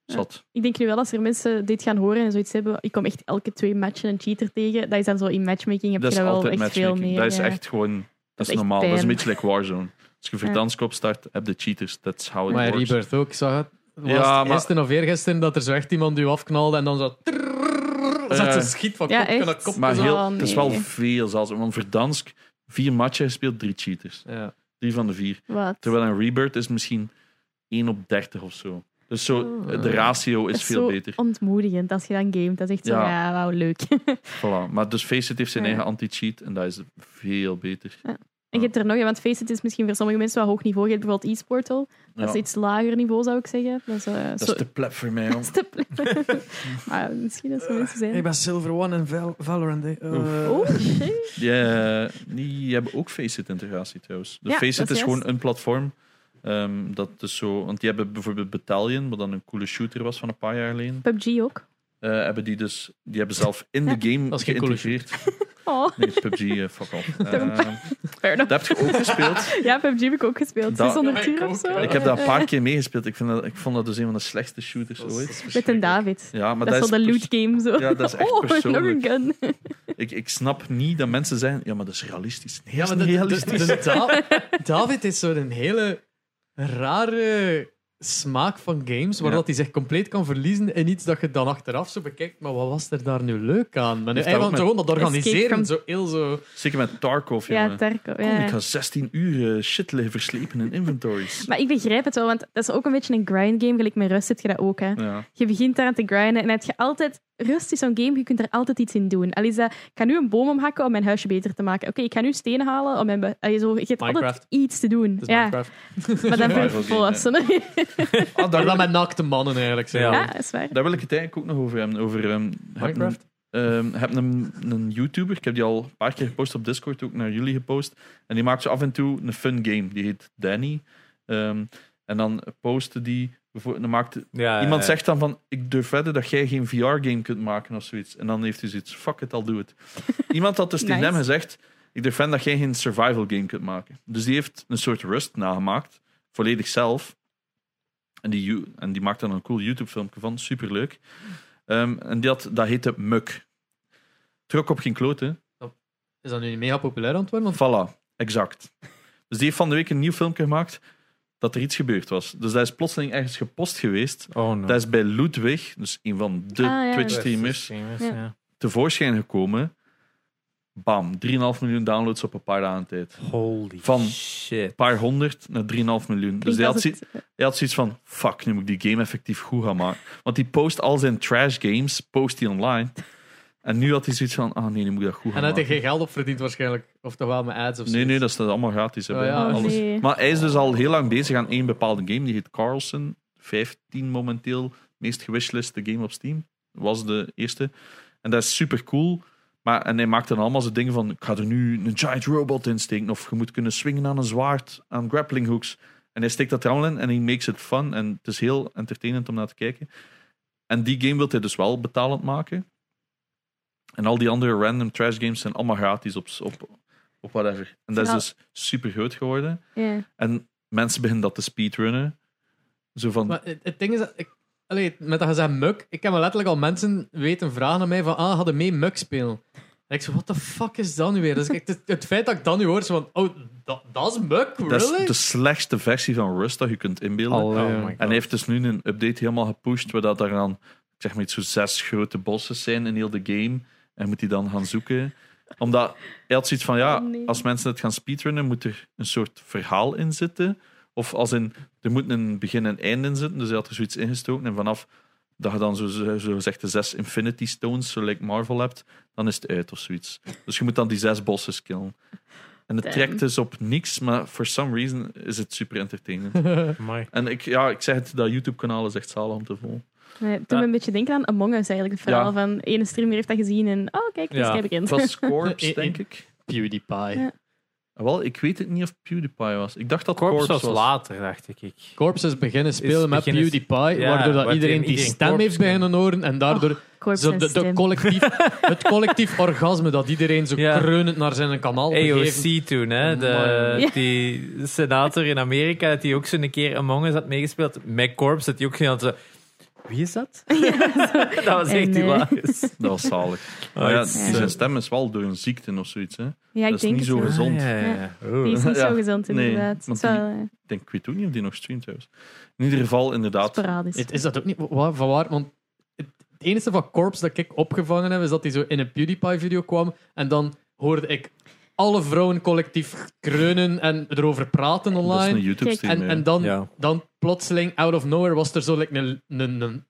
S4: Ja.
S1: zat.
S4: Ik denk nu wel, als er mensen dit gaan horen en zoiets hebben, ik kom echt elke twee matchen een cheater tegen, dat is dan zo in matchmaking heb
S1: dat
S4: je
S1: is
S4: daar wel
S1: altijd
S4: echt veel
S1: matchmaking.
S4: mee.
S1: dat is
S4: ja.
S1: echt gewoon... Dat, is
S4: Dat is echt
S1: normaal. Dat is een
S4: pijn.
S1: beetje like Warzone. Als je Verdansk opstart, heb je cheaters. That's how it
S2: Maar
S1: works.
S2: Rebirth ook, ik zag het. Was
S1: Ja,
S2: het
S1: maar-
S2: gisteren of eergisteren dat er zo echt iemand u afknalde en dan zo... trrrrrrr, Zat ze
S1: Eh.
S2: schiet van
S4: Ja,
S2: kop
S4: echt.
S2: naar kop.
S1: Maar
S4: Dus
S1: heel,
S4: al-
S1: het is wel
S4: nee.
S1: veel zelfs. Want Verdansk, vier matchen gespeeld, drie cheaters.
S2: Ja.
S1: Drie van de vier.
S4: Wat?
S1: Terwijl een Rebirth is misschien 1 op 30 of zo. Dus zo,
S2: Oh.
S1: de ratio is,
S4: Ah. Dat is
S1: veel
S4: zo
S1: beter.
S4: ontmoedigend als je dan gamet. Dat is echt zo,
S1: Ja.
S4: ja, wauw, leuk. [laughs]
S1: Voilà. Maar dus Faceit heeft zijn
S4: Ja.
S1: eigen anti-cheat en dat is veel beter.
S4: en je hebt er nog, ja, want Faceit is misschien voor sommige mensen wel hoog niveau. Je hebt bijvoorbeeld e-sportal,
S1: Ja,
S4: dat is iets lager niveau, zou ik zeggen. Dat is, eh,
S1: dat
S4: zo- [laughs]
S1: is te plek voor mij. [laughs] Hoor.
S4: dat is te plek. [laughs] maar misschien dat er mensen zijn.
S2: ben Silver One en Valorant.
S4: Oh, shit.
S1: Die, eh, die hebben ook Faceit-integratie trouwens. De
S4: Ja,
S1: Faceit
S4: dat
S1: is
S4: is
S1: gewoon
S4: juist.
S1: een platform. ehm, dat is zo, want die hebben bijvoorbeeld Battalion, wat dan een coole shooter was van een paar jaar geleden.
S4: PUBG ook.
S1: eh, hebben die dus die hebben zelf in de game
S2: Dat is geen coole
S1: geïntegreerd.
S4: Oh, [laughs]
S1: Nee, PUBG, eh, fuck off.
S4: Daarom.
S1: Ehm,
S4: [laughs] fair enough.
S1: dat heb je ook gespeeld.
S4: Ja, PUBG heb ik ook gespeeld.
S1: Dat-
S4: 600 uur of zo. Eh,
S1: Ik heb dat een paar keer meegespeeld. Ik, vind dat, ik vond dat dus een van de slechtste shooters
S3: Dat is- dat
S1: ooit.
S3: is
S4: Met een
S3: verschrikkelijk.
S4: David.
S1: Ja, maar
S4: Dat is
S1: dat,
S4: wel de
S1: is
S4: loot game zo.
S1: Ja, dat is echt
S4: [laughs] oh, nog
S1: persoonlijk.
S4: een gun.
S1: Ik, ik snap niet dat mensen zeggen, ja, maar dat is realistisch. Nee, dat is
S2: maar
S1: niet
S2: de- de-
S1: realistisch. [laughs]
S2: de- Da- David is zo'n hele rare smaak van games, waar
S1: Ja.
S2: dat hij zich compleet kan verliezen in iets dat je dan achteraf zo bekijkt. Maar wat was er daar nu leuk aan? Maar nu,
S1: Heeft
S2: hij
S1: dat
S2: wil
S1: ook met-
S2: gewoon dat organiseren,
S4: Escape from-
S2: zo heel zo...
S1: Zeker met Tarkov,
S4: Ja,
S1: jongen.
S4: Terko.
S1: Kom,
S4: Ja.
S1: Oh, ik ga 16 uur eh, shit liggen verslepen in inventories.
S4: Maar ik begrijp het wel, want dat is ook een beetje een grind game. Gelijk met Rust heb je dat ook. Hè.
S1: Ja.
S4: Je begint daar aan te grinden en heb je altijd... Rust is zo'n game, je kunt er altijd iets in doen. Al is dat, ik ga nu een boom omhakken om mijn huisje beter te maken. Oké, ik ga nu stenen halen om mijn... bu- Allee, zo, je hebt altijd
S2: Minecraft.
S4: iets te doen.
S2: Het is
S4: Ja,
S2: Minecraft.
S4: maar dan voor
S1: Survival game,
S4: volwassenen.
S1: Ah,
S2: Daar
S1: daar,
S2: dan
S1: wil ik,
S2: met naakte mannen eigenlijk. Zo.
S3: Ja.
S4: [laughs] Ja, dat is waar.
S1: [laughs] daar wil ik het eigenlijk ook nog over hebben. Over, ehm, heb een-
S2: Minecraft?
S1: ehm, heb een, een YouTuber, ik heb die al een paar keer gepost op Discord, ook naar jullie gepost. En die maakt zo af en toe een fun game. Die heet Danny. Ehm, en dan postte die... bijvoorbeeld- Dan maakt,
S3: Ja,
S1: Iemand
S3: eh,
S1: zegt dan van, ik durf wedden dat jij geen VR-game kunt maken of zoiets. En dan heeft hij zoiets, fuck it, al doe het. Iemand had dus tegen
S4: Nice.
S1: hem gezegd, ik durf wedden dat jij geen survival game kunt maken. Dus die heeft een soort rust nagemaakt, volledig zelf. En die, you- en die maakt dan een cool YouTube-filmpje van, superleuk. Ehm, en die had, dat heette Muk. Trok op geen kloten.
S2: Is dat nu niet mega populair aan het worden? Want
S1: Voilà, exact. Dus die heeft van de week een nieuw filmpje gemaakt dat er iets gebeurd was. Dus dat is plotseling ergens gepost geweest.
S3: Oh no.
S1: Dat is bij Ludwig, dus een van de
S4: Ah, ja.
S1: Twitch-streamers,
S3: streamers,
S4: Ja.
S3: ja.
S1: tevoorschijn gekomen. Bam, 3,5 miljoen downloads op een paar dagen tijd.
S3: Holy
S1: Van-
S3: shit.
S1: Een paar honderd naar 3,5 miljoen. Dus hij had,
S4: Klinkt als
S1: zi-
S4: het-
S1: hij had zoiets van, fuck, nu moet ik die game effectief goed gaan maken. Want die post al zijn trash games, post die online. En nu had hij zoiets van, ah nee, nu moet ik dat goed
S2: en
S1: gaan
S2: hij had er
S1: maken.
S2: geen geld op verdiend waarschijnlijk. Of toch wel met ads of zo.
S1: Nee, nee, dat is allemaal gratis. hè,
S2: Oh,
S1: bijna,
S2: ja.
S4: Oh,
S1: alles.
S4: nee.
S1: Maar hij is dus al heel lang bezig aan één bepaalde game. Die heet Carlson. 15 momenteel. Meest gewishliste game op Steam. Was de eerste. En dat is super cool. Maar, en hij maakt dan allemaal zo dingen van... Ik ga er nu een giant robot in steken. Of je moet kunnen swingen aan een zwaard. Aan grappling hooks. En hij steekt dat er allemaal in. En hij makes it fun. En het is heel entertainend om naar te kijken. En die game wil hij dus wel betalend maken. En al die andere random trash games zijn allemaal gratis op, op, op whatever. En dat is
S4: Ja.
S1: dus super groot geworden.
S4: Ja.
S1: En mensen beginnen dat te speedrunnen. Zo van,
S2: Maar het, het ding is dat ik, allee, met dat gezegd muk, ik heb me letterlijk al mensen weten vragen aan mij van, ah, hadden mee muk spelen. En ik zo, what the fuck is dat nu weer? Dus ik, [laughs] het, het feit dat ik dan nu hoor, zo van, oh, dat, dat is muk,
S1: dat
S2: really?
S1: is de slechtste versie van Rust dat je kunt inbeelden.
S2: ja.
S3: Oh my
S1: en
S3: god.
S1: hij heeft dus nu een update helemaal gepusht, waar dat er dan ik zeg maar iets zo zes grote bossen zijn in heel de game. En moet hij dan gaan zoeken. Omdat hij had zoiets van, ja,
S4: Oh, nee.
S1: als mensen het gaan speedrunnen, moet er een soort verhaal in zitten. Of als in, er moet een begin en einde in zitten. Dus hij had er zoiets ingestoken. En vanaf dat je dan zo, zo, zo gezegd de zes Infinity Stones, zo like Marvel hebt, dan is het uit of zoiets. Dus je moet dan die zes bosses killen. En het
S4: Damn.
S1: trekt dus op niks, maar for some reason is het super entertainend.
S3: Amai.
S1: en ik, ja, ik zeg het, dat YouTube-kanaal is echt zalig om te volgen.
S4: Nee, het doet me een beetje denken aan Among Us eigenlijk. Het verhaal
S1: Ja.
S4: van ene streamer heeft dat gezien en oh kijk, dus
S3: Ja.
S4: heb ik in.
S1: Het was Corps,
S2: Eh, eh,
S1: denk ik.
S2: PewDiePie.
S4: Ja.
S1: Ah, Wel, ik weet het niet of PewDiePie was. Ik dacht dat
S3: Corps
S1: Corps was.
S3: was later, dacht ik. ik.
S2: Corps is beginnen spelen met
S3: beginnen-
S2: PewDiePie,
S3: Ja,
S2: waardoor dat
S3: waardoor
S2: iedereen die
S3: iedereen
S2: stem
S3: Corps
S2: heeft beginnen horen en daardoor
S4: [laughs] Corpse
S2: zo
S4: en
S2: de, de
S4: stem. [laughs]
S2: collectief, het collectief orgasme dat iedereen zo
S3: Ja.
S2: kreunend naar zijn kanaal begeeft.
S3: AOC toen, hè? De,
S2: Amai.
S4: Ja.
S3: Die senator in Amerika, die ook zo'n keer Among Us had meegespeeld. Mac Corps, dat die ook ging zo... Wie is dat? [laughs] dat was echt
S4: En, eh, [laughs]
S3: hilarisch.
S1: Dat was zalig. Maar ja, zijn stem is wel door een ziekte of zoiets. Hè.
S4: Ja, ik
S1: dat is
S4: denk
S1: niet
S4: het
S1: zo
S4: wel.
S1: gezond.
S3: Ja, ja, ja. Oh.
S4: Die is
S1: [laughs]
S4: niet
S1: Ja.
S4: zo gezond
S1: Nee,
S4: inderdaad.
S1: want
S4: Het is wel, eh,
S1: Ik, denk, ik weet ook niet of die nog streamt trouwens. In ieder geval, inderdaad.
S4: sporadisch.
S2: Het is dat ook niet wa- van waar, want het, het enige van Corps dat ik opgevangen heb, is dat hij zo in een PewDiePie-video kwam en dan hoorde ik alle vrouwen collectief kreunen en erover praten
S1: Dat is een
S2: online.
S1: YouTube-stream.
S2: En,
S1: ja.
S2: en dan,
S3: Ja.
S2: dan plotseling, out of nowhere, was er zo like een, een, een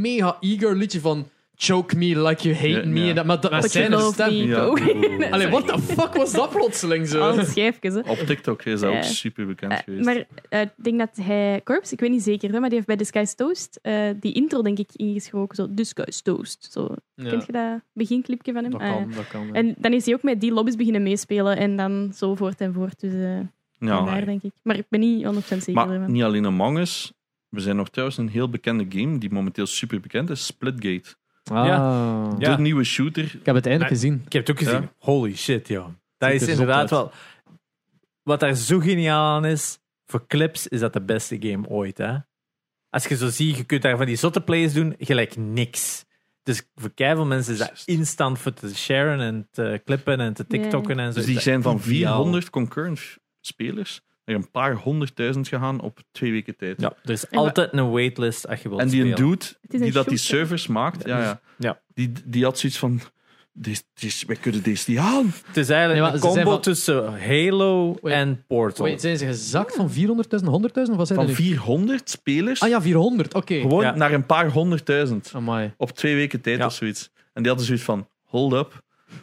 S2: mega eager liedje van Choke me like you hate
S1: Ja,
S2: me.
S1: ja.
S2: En dat, maar dat met
S4: But you
S2: zijn
S4: love
S2: stem.
S4: me.
S1: Ja.
S4: Ook. [laughs]
S3: Oeh.
S2: Allee, what the fuck was dat plotseling zo?
S4: Al schijfjes, hè.
S1: Op TikTok is dat
S4: Ja.
S1: ook super bekend
S4: Eh,
S1: geweest.
S4: maar eh, ik denk dat hij, Corps, ik weet niet zeker, hè, maar die heeft bij The Sky's Toast eh, die intro, denk ik, ingesproken. Zo, The Sky's Toast. Zo.
S2: Ja,
S4: Kent je dat beginclipje van hem?
S2: dat
S4: Ah, ja.
S2: kan, dat kan. ja.
S4: En dan is hij ook met die lobby's beginnen meespelen en dan zo voort en voort. Dus eh
S1: ja.
S4: vandaar, denk ik. Maar ik ben niet 100% zeker
S1: maar
S4: ervan.
S1: niet alleen Among Us. We zijn nog trouwens een heel bekende game die momenteel super bekend is: Splitgate.
S2: Ah.
S3: Ja.
S1: De nieuwe shooter.
S2: Ik heb het eindelijk
S3: Nee.
S2: gezien.
S3: Ik heb het ook gezien.
S1: Ja.
S3: Holy shit, joh. Dat
S2: Ziet
S3: is
S2: er zot
S3: inderdaad
S2: uit.
S3: wel... Wat daar zo geniaal aan is, voor clips is dat de beste game ooit, hè. Als je zo ziet, je kunt daar van die zotte plays doen, gelijk niks. Dus voor keiveel mensen is dat instant voor te sharen en te clippen en te
S4: Ja.
S3: tiktokken en
S1: Dus
S3: zo. Is
S1: die
S3: dat
S1: zijn van
S3: ideaal.
S1: 400 concurrent spelers naar een paar honderdduizend gegaan op twee weken tijd.
S3: Ja, er is
S4: En wa-
S3: altijd een waitlist als je wilt
S1: En die
S3: spelen.
S1: dude
S4: een
S1: die dat die
S4: shooter.
S1: servers maakt, ja, ja,
S3: Ja.
S1: Die, die had zoiets van: "Dit- dit- wij kunnen deze niet halen.
S3: Het is eigenlijk
S2: Nee, maar
S3: een
S2: ze zijn
S3: combo
S2: van-
S3: tussen Halo
S2: Wait.
S3: en Portal.
S2: Wait, zijn ze gezakt van 400.000 of 100.000? Of wat zijn
S1: Van
S2: dat nu?
S1: 400 spelers
S2: Ah ja, 400. Oké.
S1: gewoon
S3: Ja.
S1: naar een paar honderdduizend
S2: Amai.
S1: op twee weken tijd
S3: Ja.
S1: of zoiets. En die hadden zoiets van: hold up.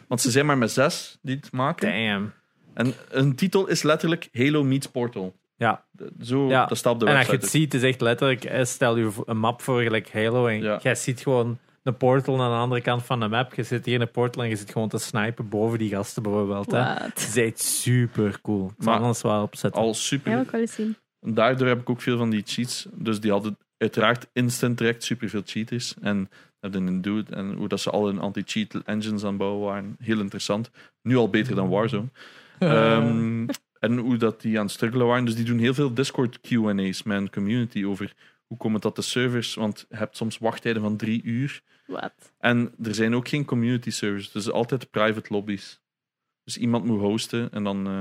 S1: Want ze zijn maar met zes die het maken.
S3: Damn.
S1: En een titel is letterlijk Halo meets Portal.
S3: Ja.
S1: De- Zo,
S3: Ja.
S1: dat staat op de
S3: en als je
S1: website. dus.
S3: het ziet, het is echt letterlijk, eh, stel je een map voor, gelijk Halo, en
S1: Ja.
S3: jij ziet gewoon een portal aan de andere kant van de map. Je zit hier in een portal en je zit gewoon te snipen boven die gasten bijvoorbeeld. hè.
S4: Wat?
S3: Het is echt super cool. Ik zal
S1: Maar-
S3: alles wel opzetten.
S1: Al
S4: Ja,
S1: super.
S4: wil ik wel eens zien.
S1: En Daardoor heb ik ook veel van die cheats. Dus die hadden uiteraard instant direct superveel cheaters. En hebben een dude en hoe dat ze al hun anti-cheat engines aan het bouwen waren. Heel interessant. Nu al beter dan Warzone. Ehm, en hoe dat die aan het struggelen waren. Dus die doen heel veel Discord Q&A's met een community over hoe komt het dat de servers... Want je hebt soms wachttijden van drie uur.
S4: Wat?
S1: En er zijn ook geen community servers. Dus altijd private lobby's. Dus iemand moet hosten en dan... eh,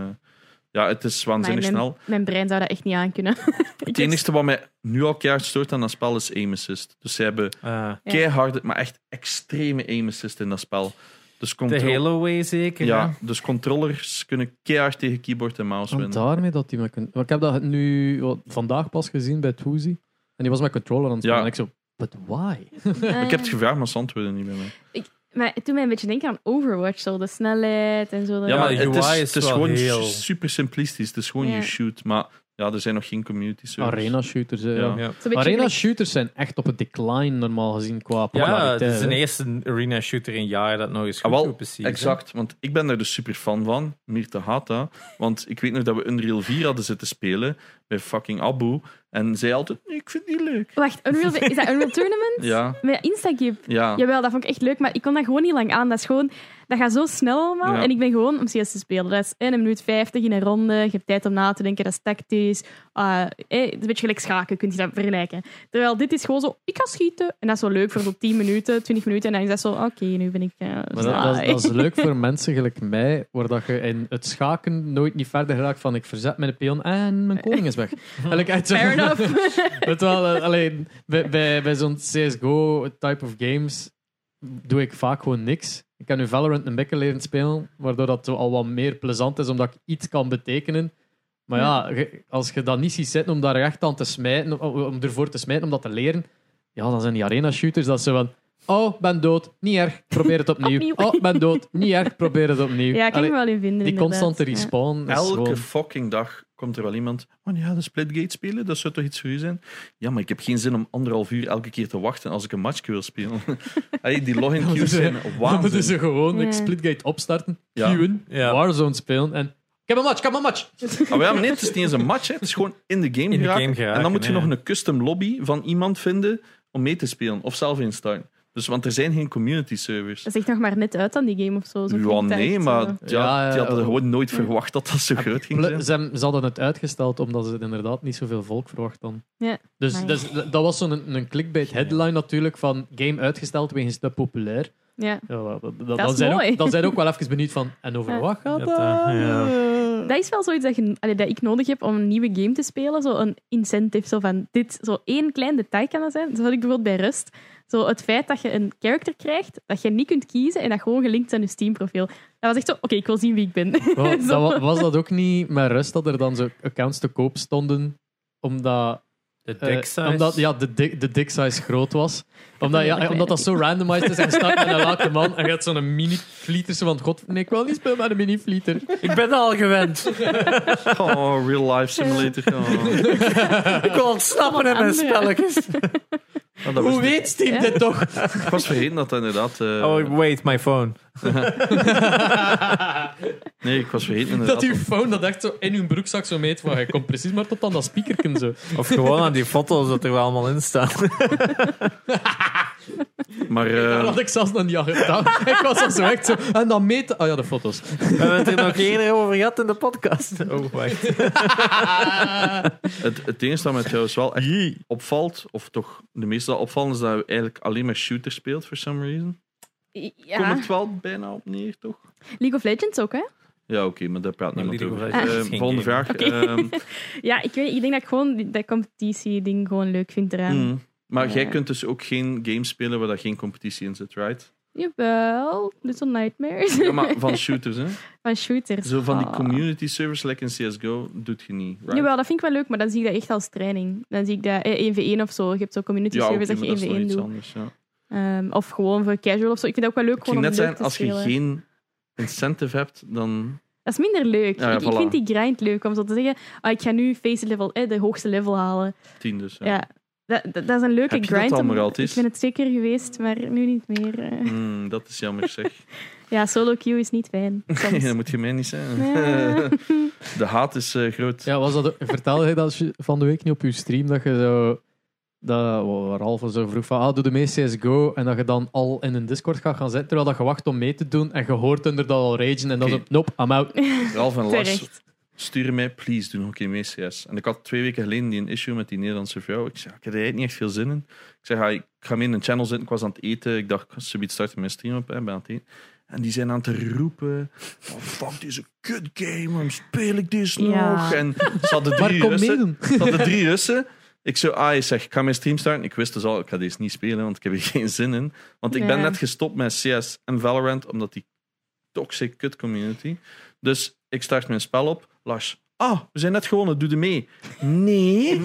S1: ja, het is waanzinnig
S4: Mijn-
S1: snel.
S4: Mijn brein zou dat echt niet aankunnen. [laughs]
S1: Het enige wat mij nu al keihard stoort aan dat spel is aim assist. Dus ze hebben
S3: Eh,
S4: Ja.
S1: keihard, maar echt extreme aim assist in dat spel. Dus,
S3: de
S1: contro-
S3: Halo way zeker. hè?
S1: ja, dus controllers kunnen keihard tegen keyboard en mouse
S2: En
S1: winnen.
S2: daarmee dat die me kunt. Maar ik heb dat nu wat, vandaag pas gezien bij Toozy. En die was met controller aan het spelen.
S1: Ja.
S2: En ik zo, but why?
S4: Ah,
S1: Ik heb het gevraagd, maar ze antwoorden niet meer.
S4: Maar het doet mij een beetje denken aan Overwatch, zo de snelheid en zo. dat-
S1: Ja, maar
S3: de
S1: het
S3: UI
S1: is,
S3: is
S1: het is
S3: wel
S1: gewoon
S3: heel-
S1: su- super simplistisch. Het is gewoon
S4: Ja.
S1: je shoot. Maar ja, er zijn nog geen community servers.
S2: Arena shooters. hè, ja.
S1: Ja.
S3: Ja.
S4: Zo'n beetje
S2: Arena
S4: gelijk-
S2: shooters zijn echt op het decline normaal gezien qua
S3: Ja,
S2: populariteit.
S3: het is een
S2: hè.
S3: eerste arena shooter in jaren dat nog eens goed
S1: eh, Ah, wel,
S3: doet, precies. hè.
S1: Exact, want ik ben daar dus super fan van. Mirta haat dat. Want ik weet nog dat we Unreal 4 hadden zitten spelen bij fucking Abu. En zij altijd, "Nee, ik vind het niet leuk.
S4: Wacht, Unreal, is
S2: [laughs]
S4: dat Unreal Tournament?
S1: Ja,
S4: Met Instagip.
S1: ja.
S4: Jawel, dat vond ik echt leuk, maar ik kon dat gewoon niet lang aan. Dat is gewoon, dat gaat zo snel allemaal.
S1: Ja.
S4: En ik ben gewoon om CS te spelen. Dat is in een minuut 50 in een ronde. Je hebt tijd om na te denken, dat is tactisch. Eh, eh, het is een beetje gelijk schaken, kun je dat vergelijken. Terwijl dit is gewoon zo, ik ga schieten. En dat is zo leuk voor zo'n 10 minuten, 20 minuten. En dan is dat zo, oké, nu ben ik. eh,
S2: Maar dat, dat, is-
S4: saai.
S2: dat is leuk voor mensen gelijk mij, waar dat je in het schaken nooit niet verder raakt van ik verzet mijn pion en mijn koning is weg. En ik echt zo-
S4: [laughs]
S2: [laughs]
S4: Fair enough.
S2: Weet je wel, eh, alleen bij, bij, bij zo'n CSGO type of games doe ik vaak gewoon niks. Ik kan nu Valorant een beetje leren spelen, waardoor dat zo al wat meer plezant is, omdat ik iets kan betekenen. Maar ja, ge- als je dat niet ziet zitten om daar echt aan te smijten, om- om ervoor te smijten, om dat te leren, ja, dan zijn die arena shooters dat ze van. Oh, ben dood, niet erg, probeer
S4: [laughs]
S2: het opnieuw.
S4: Opnieuw.
S2: Oh, ben dood, niet erg, probeer het opnieuw.
S4: Ja, ik kan
S2: Allee,
S4: me wel in vinden.
S2: die
S4: inderdaad.
S2: constante
S4: Ja.
S2: respawn. is
S1: Elke
S2: gewoon-
S1: fucking dag komt er wel iemand. Oh ja, de Splitgate spelen, dat zou toch iets voor u zijn? Ja, maar ik heb geen zin om anderhalf uur elke keer te wachten als ik een match wil spelen. [laughs] hey, die login
S2: moeten
S1: queues
S2: ze-
S1: zijn
S2: Dan moeten ze
S1: waanzin.
S2: gewoon
S4: Ja.
S2: like, Splitgate opstarten,
S1: Ja.
S2: queuen,
S3: Ja.
S2: Warzone spelen en... Ik heb een match, ik heb een match!
S1: Ah, maar ja, maar nee, het is niet eens een match, hè. het is gewoon in de game
S3: In de
S1: geraken.
S3: game geraken,
S1: En dan moet je
S3: ja.
S1: nog een custom lobby van iemand vinden om mee te spelen of zelf instarten. Dus, want er zijn geen community servers.
S4: Dat zegt nog maar net uit aan die game of zo. zo
S1: Ja,
S4: klinkt dat
S1: nee,
S4: echt,
S1: maar
S4: zo.
S1: ja,
S2: Ja, ja,
S1: die hadden
S2: ja.
S1: gewoon nooit verwacht dat dat zo groot ging
S2: Ple-
S1: zijn.
S2: Ze, hebben- ze hadden het uitgesteld omdat ze het inderdaad niet zoveel volk verwacht dan.
S4: Ja.
S2: Dus,
S4: Maar ja.
S2: dus dat dat was zo'n een, een clickbait headline natuurlijk van game uitgesteld wegens te populair.
S4: Ja.
S2: Ja, wel, dat, dat,
S4: is
S2: dan zijn
S4: mooi.
S2: Ook, dan zijn ook wel even benieuwd van, en over
S4: Ja.
S2: wat gaat
S3: Ja,
S2: dat?
S3: dat, ja.
S4: Dat is wel zoiets dat, je, allee, dat ik nodig heb om een nieuwe game te spelen. Zo een incentive zo van dit. Zo één klein detail kan dat zijn. Zo had ik bijvoorbeeld bij Rust. Zo het feit dat je een character krijgt dat je niet kunt kiezen en dat gewoon gelinkt is aan je Steam-profiel. Dat was echt zo, oké, ik wil zien wie ik ben.
S2: Wel,
S4: [laughs] Zo.
S2: dat wa- was dat ook niet met rust dat er dan zo accounts te koop stonden omdat
S3: De
S2: Eh,
S3: dick size.
S2: Omdat ja, de, dik- de dick size groot was. Omdat, ja,
S4: weinig.
S2: omdat dat zo randomized is. En je start met een late man en je hebt zo'n mini-flieter. Zo van, god, nee, ik wil niet spelen met een mini-flieter.
S3: Ik ben al
S2: [laughs]
S3: gewend.
S1: Oh, real life simulator. Oh.
S3: ik wil ontsnappen aan mijn
S4: Andere.
S1: [laughs]
S3: spelletjes.
S1: Ah, dat
S2: Hoe
S1: was,
S2: weet Steam
S4: Ja.
S2: dit toch?
S1: ik was vergeten dat dat inderdaad... eh,
S3: Oh, wait, my phone.
S1: Nee, ik was vergeten inderdaad.
S2: dat uw phone dat echt zo in uw broekzak zo meet. Van, je komt precies maar tot aan dat speakerken zo.
S3: Of gewoon aan die foto's dat er allemaal in staan.
S2: [laughs]
S1: Maar
S2: Dat
S1: eh,
S2: had ik zelfs nog niet al gedaan. [laughs] ik was al zo echt zo. En dan meten. Ah ja, de foto's.
S3: We hebben het er nog eerder over gehad in de podcast. Oh, wacht.
S1: het, het enige dat mij trouwens wel echt opvalt, of toch de meeste dat opvallen, is dat je eigenlijk alleen maar shooter speelt, for some reason. Komt
S4: Ja.
S1: het wel bijna op neer, toch?
S4: League of Legends ook, hè?
S1: Ja, oké, maar daar praat niemand
S3: League of
S1: over.
S3: Legends
S1: Eh,
S3: is geen
S1: volgende
S3: game.
S1: vraag.
S4: Oké. [laughs]
S1: ehm,
S4: Ja, ik, weet, ik denk dat ik gewoon die- dat competitie-ding gewoon leuk vind eraan.
S1: mm, maar jij
S4: Ja.
S1: kunt dus ook geen game spelen waar daar geen competitie in zit, right? [laughs]
S4: Jawel, Little Nightmares.
S1: Ja, maar van shooters, hè?
S4: [laughs] van shooters.
S1: Zo van die
S4: Ah.
S1: community servers, like in CSGO, doet je niet, right?
S4: Jawel, dat vind ik wel leuk, maar dan zie ik dat echt als training. Dan zie ik dat eh, 1v1 of zo. Je hebt zo'n community
S1: ja, oké,
S4: service
S1: maar dat
S4: dat
S1: is
S4: je
S1: nog
S4: 1v1
S1: iets
S4: doet.
S1: anders, ja.
S4: Ehm, of gewoon voor casual of zo. Ik vind het ook wel leuk
S1: Ik ging
S4: gewoon om
S1: net
S4: leuk
S1: zijn,
S4: te
S1: als je
S4: spelen.
S1: geen incentive hebt, dan...
S4: Dat is minder leuk.
S1: Ja, ja,
S4: ik, ik
S1: voilà.
S4: vind die grind leuk om zo te zeggen. ah, ik ga nu face level, eh, de hoogste level halen.
S1: 10 dus, ja.
S4: Ja. Dat, dat, dat is een leuke
S1: Heb je dat
S4: grind.
S1: al,
S4: om-
S1: Moraltis?
S4: ik ben het zeker geweest, maar nu niet meer. eh.
S1: Mm, dat is jammer,
S4: [laughs]
S1: zeg. [laughs]
S4: Ja, solo queue is niet fijn. soms.
S1: dat moet je mij niet zijn.
S4: Ja.
S1: [laughs] De haat is eh, groot.
S2: Ja, was dat, vertelde je dat je van de week niet op je stream dat je zo. Dat, waar Ralf zo vroeg van, ah, doe de meeste CSGO en dat je dan al in een Discord gaat gaan zitten terwijl dat je wacht om mee te doen en je hoort inderdaad al ragen en dan
S1: Oké.
S2: zo, nope, I'm out.
S1: [laughs] Ralf en Lars
S4: Terecht.
S1: sturen mij, please, doe nog een keer mee CS. En ik had twee weken geleden die een issue met die Nederlandse vrouw. Ik zei, ik heb er eigenlijk niet echt veel zin in. Ik zeg, ah, ik ga mee in een channel zitten. Ik was aan het eten. Ik dacht, ik ga zoiets starten mijn stream op. Hè, Ik ben aan het eten. En die zijn aan het roepen. Oh, fuck, deze kut game. Waarom speel ik deze
S4: Ja.
S1: nog? En ze
S4: [laughs]
S1: hadden
S2: Maar
S1: drie
S2: kom
S1: Russen.
S2: meedoen.
S1: Ze hadden drie Russen. Ik zo, ah, ik zeg, ik ga mijn stream starten. Ik wist dus al, ik ga deze niet spelen, want ik heb hier [laughs] geen zin in. Want ik ben
S4: Ja.
S1: net gestopt met CS en Valorant, omdat die toxic kut community. Dus ik start mijn spel op. Lars, ah, we zijn net gewonnen, doe er mee. Nee,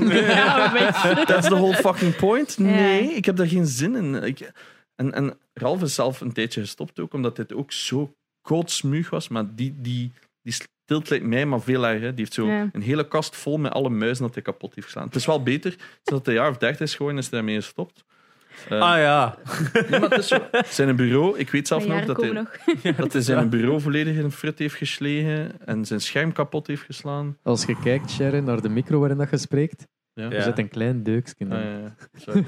S1: [laughs]
S4: Ja, weg.
S1: that's the whole fucking point. Nee,
S4: [laughs] Ja.
S1: ik heb daar geen zin in. Ik, en, en Ralf is zelf een tijdje gestopt ook, omdat dit ook zo kootsmuug was. Maar die, die, die stilt lijkt mij, maar veel erger. Die heeft zo
S4: Ja.
S1: een hele kast vol met alle muizen dat hij kapot heeft geslaan. Het is wel beter, zodat hij een jaar of dertig is geworden, is hij daarmee gestopt. Eh,
S3: Ah ja.
S1: nee, maar het is zo. Zijn bureau, ik weet zelf
S4: Mijn
S1: nog
S4: jaren
S1: dat hij,
S4: komen nog.
S1: dat hij zijn bureau volledig in een frit heeft geslegen en zijn scherm kapot heeft geslaan.
S2: Als je kijkt, Sharon, naar de micro waarin dat je spreekt,
S1: Ja. Dus,
S2: er zit een klein deukje in.
S1: Ah, ja, ja. Sorry.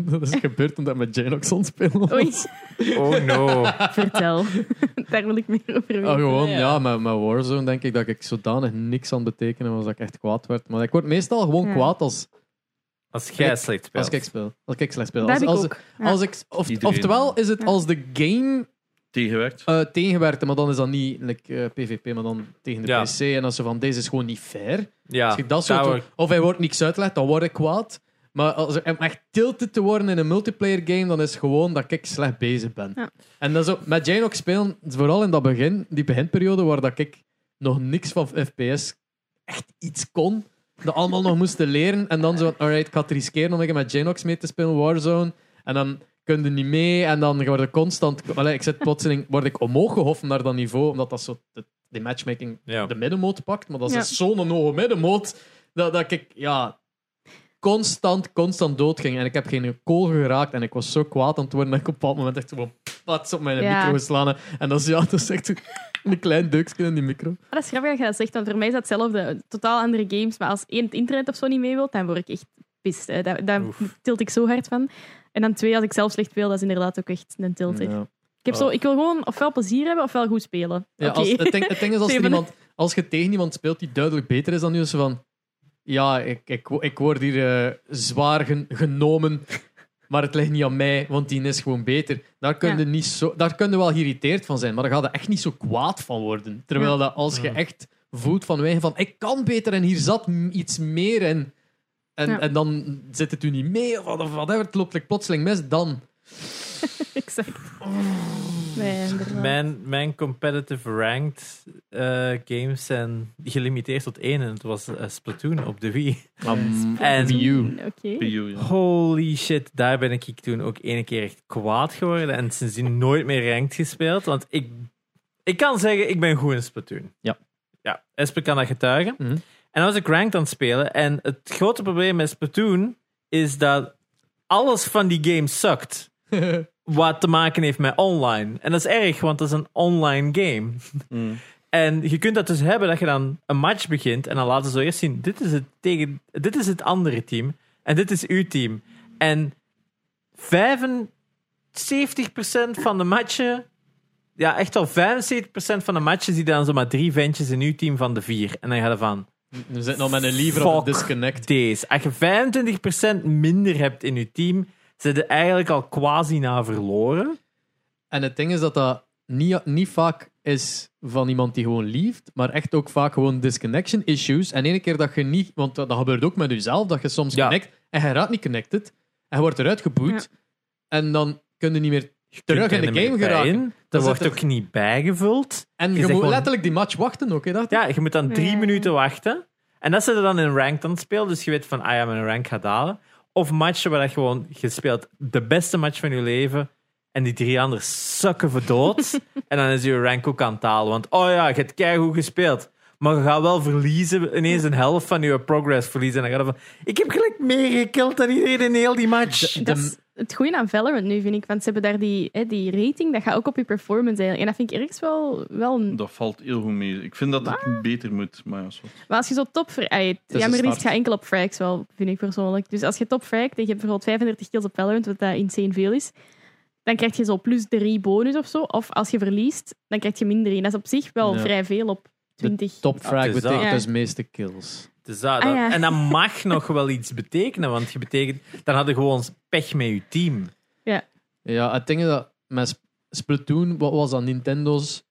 S2: [laughs] dat is gebeurd omdat we Janoxon spelen.
S4: Oei,
S3: Oh no.
S4: vertel. [laughs] Daar wil ik meer over weten.
S2: Ah, gewoon,
S3: Ja.
S2: ja, met, met Warzone denk ik dat ik zodanig niks aan het betekenen was dat ik echt kwaad werd. Maar ik word meestal gewoon
S4: Ja.
S2: kwaad als,
S3: Als jij slecht speelt.
S2: als ik speel. Als ik slecht speel.
S4: Dat
S2: Als,
S4: heb ik
S2: als,
S4: ook. Ja.
S2: als ik, of,
S1: Iedereen.
S2: oftewel is het
S4: Ja.
S2: als de game
S1: Tegenwerkt.
S2: eh tegenwerkte, maar dan is dat niet like, eh, PvP, maar dan tegen de
S3: Ja.
S2: PC. En als ze van deze is gewoon niet fair.
S3: Ja,
S2: Als ik dat soort-
S3: daar word ik-
S2: Of hij wordt niks uitgelegd, dan word ik kwaad. Maar als er, om echt tilted te worden in een multiplayer game, dan is het gewoon dat ik slecht bezig ben.
S4: Ja.
S2: En dat is ook, met Janox spelen, vooral in dat begin, die beginperiode waar dat ik nog niks van FPS echt iets kon, dat allemaal nog moesten leren. En dan zo, van, alright, ik ga het riskeren om een keer met Janox mee te spelen, Warzone. En dan kun je niet mee en dan word ik constant... Allee, ik zit plotseling, word ik omhoog gehoffen naar dat niveau, omdat dat zo... De, die matchmaking
S3: Ja.
S2: de middenmoot pakt. Maar dat is
S4: Ja.
S2: dus zo'n hoge middenmoot dat, dat ik ja, constant, constant doodging. En ik heb geen kool geraakt. En ik was zo kwaad aan het worden dat ik op een bepaald moment echt gewoon pats op mijn
S4: Ja.
S2: micro geslaan. En dat is, ja, dat is echt een klein deukje in die micro.
S4: Maar dat is grappig dat je dat zegt, want voor mij is dat hetzelfde. Totaal andere games, maar als één het internet of zo niet mee wilt, dan word ik echt pist. Hè. Daar, daar
S3: Oef.
S4: tilt ik zo hard van. En dan twee, als ik zelf slecht speel, dat is inderdaad ook echt een tilter.
S2: Ja. Ah.
S4: Ik, heb zo, ik wil gewoon ofwel plezier hebben, ofwel goed spelen.
S2: Ja,
S4: Oké.
S2: als, het, ding, het ding is, als, er
S4: Steven.
S2: iemand, als je tegen iemand speelt die duidelijk beter is dan je, is ze van... Ja, ik, ik, wo- ik word hier eh, zwaar gen- genomen, maar het ligt niet aan mij, want die is gewoon beter. Daar kun,
S4: Ja.
S2: je niet zo, daar kun je wel geïrriteerd van zijn, maar daar gaat er echt niet zo kwaad van worden. Terwijl
S4: Ja.
S2: dat als je
S3: Ja.
S2: echt voelt van, wij, van ik kan beter en hier zat m- iets meer en, en,
S4: Ja.
S2: en dan zit het u niet mee of wat- of whatever, het loopt like, plotseling mis, dan...
S4: [laughs] Exact. Nee, inderdaad.
S3: Mijn, mijn competitive ranked eh, games zijn gelimiteerd tot één. En het was eh, Splatoon op de Wii. En-
S2: you. [laughs]
S4: Oké.
S1: Bij jou, ja.
S3: Holy shit, daar ben ik toen ook ene keer echt kwaad geworden. En sindsdien nooit meer ranked gespeeld. Want ik, ik kan zeggen, ik ben goed in Splatoon.
S2: Ja.
S3: Ja, Esper kan dat getuigen.
S2: Mhm.
S3: En dan was ik ranked aan het spelen. En het grote probleem met Splatoon is dat alles van die game sukt. Wat te maken heeft met online. En dat is erg, want dat is een online game.
S1: Mm.
S3: [laughs] En je kunt dat dus hebben dat je dan een match begint en dan laten ze zo eerst zien: dit is het, tegen, dit is het andere team en dit is uw team. En 95% 70% van de matchen. Ja, echt al 75% van de matchen zie je dan zomaar drie ventjes in uw team van de vier. En dan gaat er van
S2: We zitten al met een liever op
S3: Fuck.
S2: een disconnect.
S3: deze. Als je 25% minder hebt in je team, zit je eigenlijk al quasi na verloren.
S2: En het ding is dat dat niet, niet vaak is van iemand die gewoon lieft, maar echt ook vaak gewoon disconnection issues. En ene keer dat je niet, want dat, dat gebeurt ook met jezelf, dat je soms
S3: Ja.
S2: connect en je raakt niet connected en je wordt eruit geboet. En dan kun je niet meer terug in de game geraken.
S3: geraakt.
S2: Dan
S3: Dat
S2: zit
S3: wordt
S2: er-
S3: ook niet bijgevuld.
S2: En je,
S3: zegt
S2: moet
S3: gewoon-
S2: letterlijk die match wachten ook, hè, dacht ik.
S3: Ja, je moet dan drie
S4: Ja.
S3: minuten wachten. En dat ze er dan in ranked aan het spelen. Dus je weet van, ah ja, mijn rank gaat dalen. Of matchen waar dat gewoon, je speelt de beste match van je leven. En die drie anderen sukken verdood. en dan is je rank ook aan het dalen. Want, oh ja, je hebt keigoed gespeeld. Maar je gaat wel verliezen, ineens een helft van je progress verliezen. En dan gaat het van, ik heb gelijk meer gekild dan iedereen in heel die match.
S4: Dat is het goede aan Valorant nu, vind ik. Want ze hebben daar die, hè, die rating, dat gaat ook op je performance eigenlijk. En dat vind ik ergens wel... wel een-
S1: Dat valt heel goed mee. Ik vind dat het beter moet. Maar ja, zo.
S4: Maar als je zo top... ver- ai,
S2: is
S4: Jammer
S2: een
S4: is,
S2: start.
S4: het gaat enkel op frags wel, vind ik persoonlijk. Dus als je top fragt en je hebt bijvoorbeeld 35 kills op Valorant, wat dat insane veel is, dan krijg je zo plus 3 bonus of zo. Of als je verliest, dan krijg je minder 1. Dat is op zich wel
S2: Ja.
S4: vrij veel op 20.
S2: De top frag
S3: het is dat.
S2: betekent
S4: Ja.
S2: dus meeste kills.
S3: Dus dat,
S4: Ah, ja.
S3: En dat mag [laughs] nog wel iets betekenen. Want je betekent, dan hadden gewoon pech met je team.
S2: Ja, het ding is dat met Sp- Splatoon, wat was dat, Nintendo's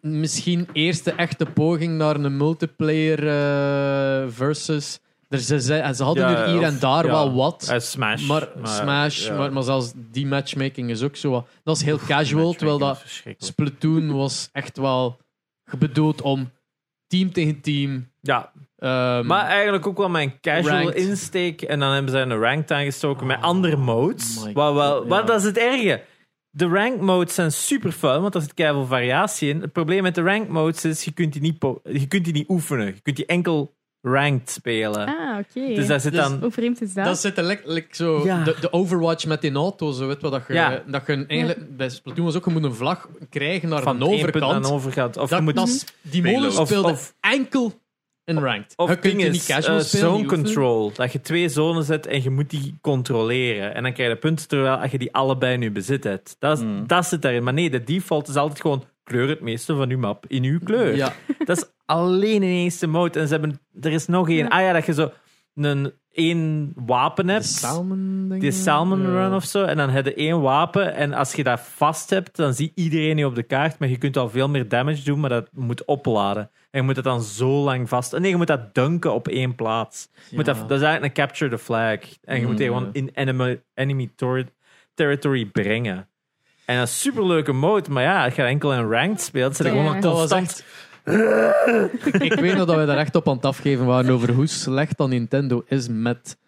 S2: misschien eerste echte poging naar een multiplayer eh, versus... Er, ze, ze, en ze hadden
S3: Ja,
S2: er hier
S3: of-
S2: en daar
S3: ja.
S2: wel wat,
S3: Uit Eh, Smash.
S2: maar Smash,
S3: ja.
S2: maar, maar zelfs die matchmaking is ook zo wat... Dat is heel casual,
S3: Matchmaking
S2: terwijl
S3: is
S2: dat
S3: verschrikkelijk.
S2: Splatoon was echt wel bedoeld om team tegen team...
S3: Ja,
S2: ehm,
S3: maar eigenlijk ook wel mijn casual
S2: Ranked. Oh
S3: insteek. En dan hebben ze een ranked aangestoken met andere modes.
S2: my
S3: Wat wel,
S2: God,
S3: wat
S2: ja.
S3: dat is het erge. De ranked modes zijn super fun, want daar zit keihard variatie in. Het probleem met de ranked modes is, je kunt die niet, po- je kunt die niet oefenen. Je kunt die enkel ranked spelen.
S4: Ah, oké.
S3: Dus daar zit
S2: Dus-
S3: dan...
S4: Hoe vreemd is dat?
S2: Dat zit eigenlijk zo.
S3: Ja.
S2: De, de Overwatch met die auto, zo weet wat dat je.
S3: Ja.
S2: Dat je eigenlijk, Bij Splatoon was ook, je moet een vlag krijgen naar
S3: van
S2: de
S3: het ene punt naar
S2: overkant.
S3: de overkant. Of
S2: dat,
S3: je moet
S2: dat is- die molen
S1: Payload.
S3: Of-
S2: speelde
S3: of-
S2: enkel in ranked.
S3: Of
S2: je kunt
S3: ding
S2: die
S3: is,
S2: niet casual
S3: eh,
S2: spelen.
S3: zone
S2: die oefenen.
S3: control. Dat je twee zones zet en je moet die controleren. En dan krijg je punten terwijl als je die allebei nu bezit hebt. Dat, is,
S2: Hmm.
S3: dat zit daarin. Maar nee, de default is altijd gewoon kleur het meeste van uw map in uw kleur.
S2: Ja.
S3: [laughs] Dat is alleen in eerste mode. En ze hebben, er is nog één. Ah ja, dat je zo een één wapen
S2: De
S3: hebt.
S2: Salmon, denk
S3: Die
S2: ik.
S3: Salmon
S2: Ja.
S3: Run of zo. En dan heb je één wapen. En als je dat vast hebt, dan ziet iedereen je op de kaart. Maar je kunt al veel meer damage doen, maar dat moet opladen. En je moet dat dan zo lang vast... Nee, je moet dat dunken op één plaats. Je moet dat,
S2: Ja.
S3: dat is eigenlijk een capture the flag. En je moet die gewoon in enemy, enemy tor- territory brengen. En dat is super leuke mode, maar ja, als je enkel in ranked speelt, zit er
S4: Ja.
S3: gewoon een
S4: Dat
S2: was
S3: constant
S2: ik weet nog dat wij daar echt op aan het afgeven waren over hoe slecht dan Nintendo is met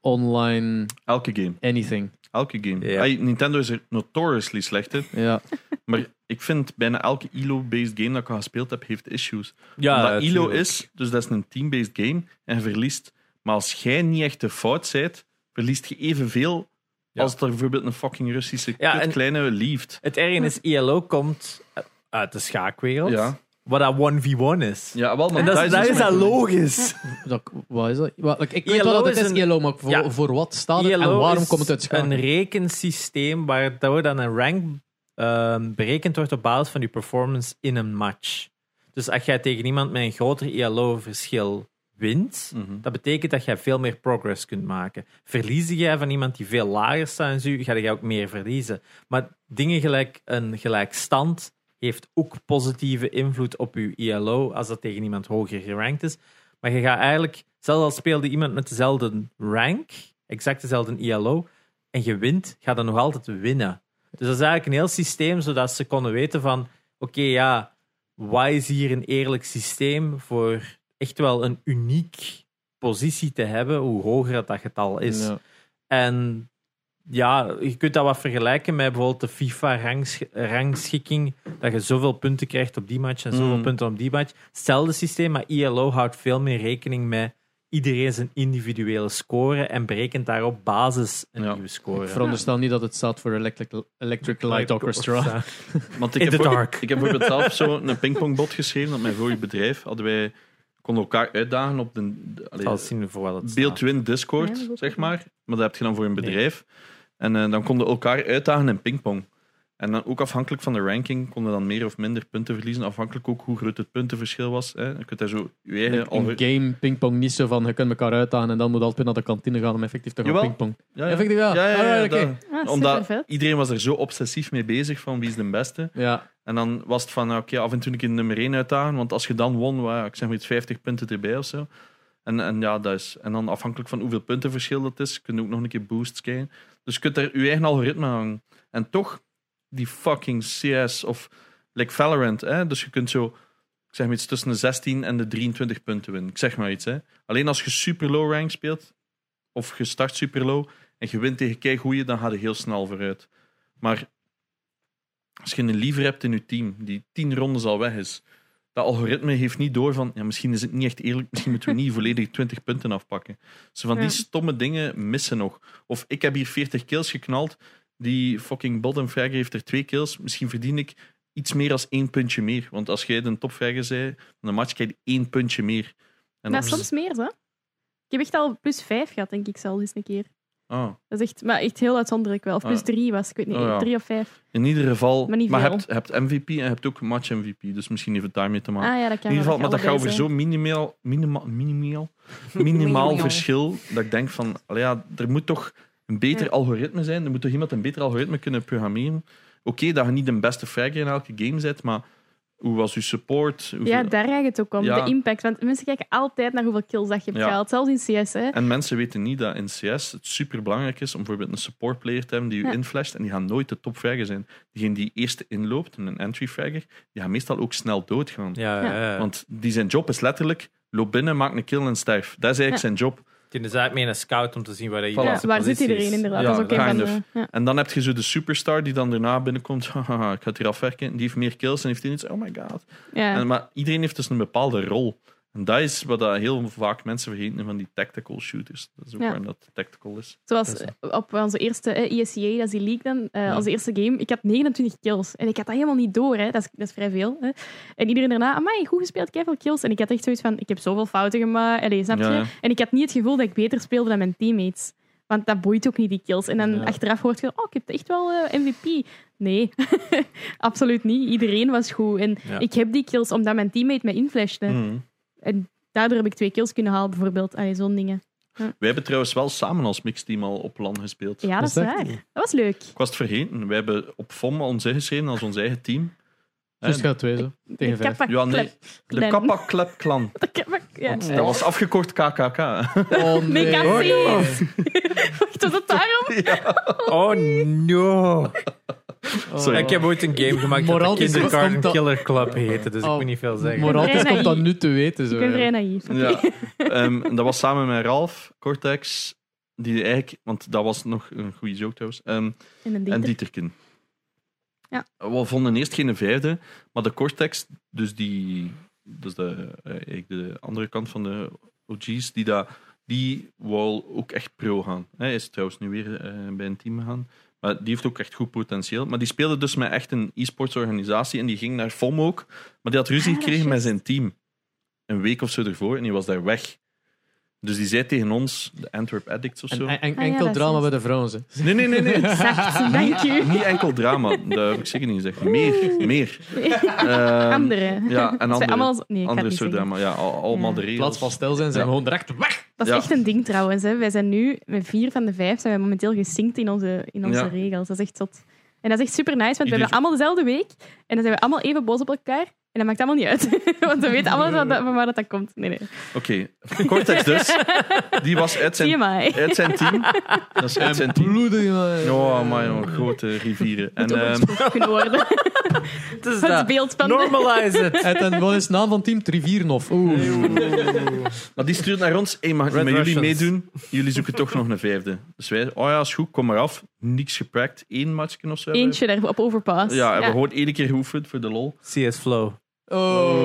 S2: online
S1: Elke game.
S2: anything.
S1: Elke game.
S3: Ja.
S1: Ay, Nintendo is er notoriously slecht in.
S2: Ja.
S1: Maar ik vind bijna elke ILO-based game dat ik al gespeeld heb, heeft issues.
S3: Ja,
S1: Omdat
S3: ja,
S1: ILO
S3: tuurlijk.
S1: is, dus dat is een team-based game, en je verliest. Maar als jij niet echt de fout zijt, verliest je evenveel
S3: Ja.
S1: als er bijvoorbeeld een fucking Russische
S3: Ja,
S1: kut
S3: en-
S1: kleine lieft.
S3: Het ergste is, ILO komt uit de schaakwereld,
S1: Ja.
S3: wat dat 1v1 is.
S1: Ja, wel, maar
S3: En dat, is- dat
S1: dus
S3: is
S1: mijn
S3: al
S1: probleem.
S3: logisch.
S2: Dat, wat is dat? Wat- ik weet
S3: ILO
S2: wel dat het
S3: E is
S2: is,
S3: een-
S2: ILO, maar voor,
S3: Ja.
S2: voor wat staat het en
S3: ILO
S2: waarom
S3: is
S2: komt het uit schaken?
S3: Een rekensysteem waar dat wordt dan een rank ehm, berekend wordt op basis van je performance in een match. Dus als jij tegen iemand met een groter ILO-verschil wint, dat betekent dat jij veel meer progress kunt maken. Verliezen jij van iemand die veel lager staat dan u, ga je ook meer verliezen. Maar dingen gelijk een gelijkstand heeft ook positieve invloed op je ILO als dat tegen iemand hoger gerankt is. Maar je gaat eigenlijk, zelfs al speelde iemand met dezelfde rank, exact dezelfde ILO, en je wint, gaat dan nog altijd winnen. Dus dat is eigenlijk een heel systeem, zodat ze konden weten van, oké ja, wat is hier een eerlijk systeem voor echt wel een uniek positie te hebben, hoe hoger dat, dat getal is.
S2: Ja.
S3: En ja, je kunt dat wat vergelijken met bijvoorbeeld de FIFA-rangschikking. Dat je zoveel punten krijgt op die match en zoveel
S1: Mm.
S3: punten op die match. Hetzelfde systeem, maar ILO houdt veel meer rekening met iedereen zijn individuele score en berekent daar op basis een
S1: Ja.
S3: nieuwe score.
S2: Ik veronderstel niet dat het staat voor Electric, electric Light Orchestra.
S3: eh,
S1: Want
S3: In
S1: ik
S3: the
S1: heb, ook-
S3: dark.
S1: ik heb bijvoorbeeld zelf zo een pingpongbot geschreven. Op mijn vorige bedrijf hadden wij, konden elkaar uitdagen op de, de- allee,
S3: Zal zien voor wat het staat.
S1: beeldwin Discord,
S4: Ja, dat is ook
S1: zeg
S4: goed.
S1: maar. Maar dat heb je dan voor een bedrijf. En eh, dan konden elkaar uitdagen in pingpong. En dan ook afhankelijk van de ranking konden dan meer of minder punten verliezen. Afhankelijk ook hoe groot het puntenverschil was. Hè. Je kunt daar zo je eigen
S2: In
S1: alge-
S2: game pingpong niet zo van, je kunt elkaar uitdagen en dan moet je altijd naar de kantine gaan om effectief te gaan
S1: Jawel.
S2: pingpong.
S1: Ja, ja.
S2: Effectief, ja.
S1: Ja, ja, ja,
S2: Alright, oké.
S1: dat-
S4: Ah,
S1: Omdat
S4: supervet.
S1: iedereen was er zo obsessief mee bezig van wie is de beste.
S2: Ja. dus
S1: En dan was het van, oké, af en toe een keer nummer 1 uitdagen. Want als je dan won, wa, ik zeg maar iets, 50 punten erbij of zo. En, en, ja, dat is, en dan afhankelijk van hoeveel puntenverschil dat is, kun je ook nog een keer boosts krijgen. Dus je kunt er je eigen algoritme aan hangen. En toch, die fucking CS of like Valorant, hè? dus je kunt zo, ik zeg maar iets, tussen de 16 en de 23 punten winnen. Ik zeg maar iets. Hè? Alleen als je super low rank speelt, of je start super low, en je wint tegen kei goeie, dan ga je heel snel vooruit. Maar als je een liever hebt in je team die tien rondes al weg is, dat algoritme heeft niet door van ja, misschien is het niet echt eerlijk, misschien moeten we niet volledig 20 punten afpakken. Ze van
S4: Ja.
S1: die stomme dingen missen nog. Of ik heb hier 40 kills geknald, die fucking bottom fragger heeft er twee kills, misschien verdien ik iets meer als één puntje meer. Want als jij de top fragger zei, dan een match krijg je één puntje meer. En
S4: Maar
S1: dat-
S4: soms meer, hè? Ik heb echt al plus vijf gehad, denk ik zelfs eens een keer.
S1: Ah.
S4: Dat is echt, maar echt heel uitzonderlijk wel. Of plus
S1: Ah.
S4: drie was, ik weet niet,
S1: Oh, ja.
S4: drie of vijf.
S1: In ieder geval,
S4: Maar niet
S1: maar je
S4: veel.
S1: hebt, je hebt MVP en je hebt ook match MVP, dus misschien heeft het daarmee te maken.
S4: Ah ja, dat kan
S1: In ieder
S4: wel,
S1: geval, maar dat gaat
S4: allebei
S1: over
S4: zijn.
S1: zo minimaal, minimaal,
S4: [laughs]
S1: minimaal, minimaal
S5: Minimaal.
S1: verschil. Dat ik denk van, allee, ja, er moet toch een beter
S4: Ja.
S1: algoritme zijn. Er moet toch iemand een beter algoritme kunnen programmeren. Oké, dat je niet de beste fragger in elke game zet, maar hoe was je support? Hoeveel-
S4: Ja, daar gaat het ook om,
S1: Ja.
S4: de impact. Want mensen kijken altijd naar hoeveel kills dat je hebt
S1: Ja.
S4: gehaald. Zelfs in CS, hè.
S1: En mensen weten niet dat in CS het super belangrijk is om bijvoorbeeld een support player te hebben die je
S4: Ja.
S1: inflasht. En die gaan nooit de top fragger zijn. Degene die eerst inloopt, een entry fragger, die gaan meestal ook snel doodgaan.
S3: Ja, eh,
S4: Ja.
S3: ja. want
S1: Want die zijn job is letterlijk: loop binnen, maak een kill en sterf. Dat is eigenlijk
S4: Ja.
S1: zijn job.
S3: je zaait mee naar scout om te zien waar dat
S1: Voilà.
S4: Ja,
S3: iedereen zijn
S4: waar zit
S3: positie
S4: iedereen
S3: is.
S4: inderdaad?
S1: Ja, dus.
S4: dat is ook een van
S1: kind
S4: de... Ja.
S1: En dan heb je zo de superstar die dan daarna binnenkomt. [laughs] Haha, ik ga het hier afwerken. Die heeft meer kills en heeft iets. Oh my god.
S4: Ja.
S1: En, maar iedereen heeft dus een bepaalde rol. En dat is wat dat heel vaak mensen vergeten van die tactical shooters. Dat is ook
S4: Ja.
S1: waarom dat tactical is.
S4: Zoals
S3: Dat is
S4: eh, op onze eerste eh, ESEA, dat is die league dan, eh,
S1: Ja.
S4: onze eerste game. Ik had 29 kills. En ik had dat helemaal niet door, hè. Dat, is, dat is vrij veel. Hè. En iedereen daarna, amai, goed gespeeld, keiveel kills. En ik had echt zoiets van, ik heb zoveel fouten gemaakt. Allee, snap je?
S1: Ja, ja.
S4: En ik had niet het gevoel dat ik beter speelde dan mijn teammates. Want dat boeit ook niet, die kills. En dan
S1: Ja.
S4: achteraf hoort je, oh, ik heb echt wel eh, MVP. Nee, [laughs] absoluut niet. Iedereen was goed. En
S3: Ja.
S4: ik heb die kills omdat mijn teammate me inflashte.
S1: Mhm.
S4: En daardoor heb ik twee kills kunnen halen, bijvoorbeeld. Allee, zo'n dingen.
S1: Wij hebben trouwens wel samen als mixteam al op LAN gespeeld.
S4: Ja, dat is
S2: Dat is echt-
S4: waar. Dat was leuk.
S1: Ik was het vergeten. Wij hebben op FOM ons ingeschreven als ons eigen team.
S2: Dus het
S1: En-
S2: gaat twee zo. Tegen
S4: Ik
S2: vijf.
S4: heb een
S1: ja, nee.
S4: klep.
S1: De Kappa Klep Clan.
S4: [laughs] Ik heb een- ja.
S1: Want Dat was afgekort KKK.
S2: Oh, nee.
S4: [laughs] Mega
S2: Oh,
S4: safe. [laughs] Wacht, was het daarom?
S3: Oh no!
S2: [laughs] Oh.
S1: Sorry.
S3: Ik heb ooit een game gemaakt
S2: Moraal
S3: dat de
S2: is-
S3: Kindergarten
S2: komt dat-
S3: Killer Club heette, dus
S2: Oh.
S3: ik moet niet veel
S2: nee.
S3: zeggen.
S2: Moraltis
S4: Ik ben
S2: komt dat
S4: vrij
S2: nu te weten. Zo,
S4: Ik ben vrij
S2: eigenlijk.
S4: naïef.
S1: Ja. Ehm, dat was samen met Ralf, Cortex, die eigenlijk, want dat was nog een goede joke trouwens, ehm,
S4: In een
S1: en
S4: dieter.
S1: Dieterken.
S4: Ja.
S1: We vonden eerst geen vijfde, maar de Cortex, dus die, dus de, eh, eigenlijk de andere kant van de OG's, die, dat, die wou ook echt pro gaan. Hij is trouwens nu weer eh, bij een team gegaan. Maar die heeft ook echt goed potentieel. Maar die speelde dus met echt een e-sports organisatie en die ging naar FOM ook. Maar die had ruzie
S4: Ah,
S1: gekregen met
S4: juist.
S1: zijn team. Een week of zo ervoor en die was daar weg. Dus die zei tegen ons, de Antwerp Addicts of zo.
S2: En, en- en-
S4: Ah, ja,
S2: enkel
S4: dat is
S2: drama
S4: juist.
S2: bij de vrouwen. ze.
S1: Nee, nee, nee, nee.
S4: [laughs] Zacht, dank u.
S1: Niet enkel drama, dat heb ik zeker niet gezegd. Meer, meer. [laughs] Ehm,
S4: [laughs] Andere.
S1: Ja, en
S4: Dat zijn
S1: andere,
S4: allemaal... Nee, ik ga het
S1: andere
S4: niet
S1: soort
S4: zeggen.
S1: drama. Ja, al- allemaal
S4: Ja.
S1: de
S2: In plaats van
S1: regels.
S2: stil zijn, zijn we
S1: Ja.
S2: gewoon direct weg.
S4: Dat is
S1: Ja.
S4: echt een ding trouwens. Hè. Wij zijn nu, met vier van de vijf, zijn we momenteel gesynct in onze, in onze
S1: Ja.
S4: regels. Dat is echt zot. En dat is echt super nice, want we
S1: Ieder-
S4: hebben allemaal dezelfde week. En dan zijn we allemaal even boos op elkaar. En dat maakt allemaal niet uit. [laughs] want we weten allemaal van, dat- van waar dat, dat komt. Nee, nee.
S1: Oké, Cortex dus. Die was uit
S4: Zie je
S1: zijn,
S4: mij.
S1: uit zijn team. Dat is uit zijn team.
S2: Bloeden, jongen.
S1: Oh, maar jongen, grote rivieren. En, ehm,
S4: kunnen
S1: [laughs]
S4: worden.
S3: Het is
S4: Het
S3: dat.
S4: beeld van...
S3: Normalize
S2: [laughs]
S3: het!
S2: En dan, wat is de naam van team? Triviernof. Oeh.
S1: maar die stuurt naar ons. Hey, mag ik niet
S3: Red
S1: met jullie
S3: Russians.
S1: meedoen? Jullie zoeken toch nog een vijfde. Dus wij, oh ja, is goed, kom maar af. Niks geprakt. Eén matchje of zo. hebben we.
S4: Eentje daarop overpass.
S1: Ja, hebben we gewoon één keer geoefend voor de lol.
S3: CS Flow.
S2: Oh.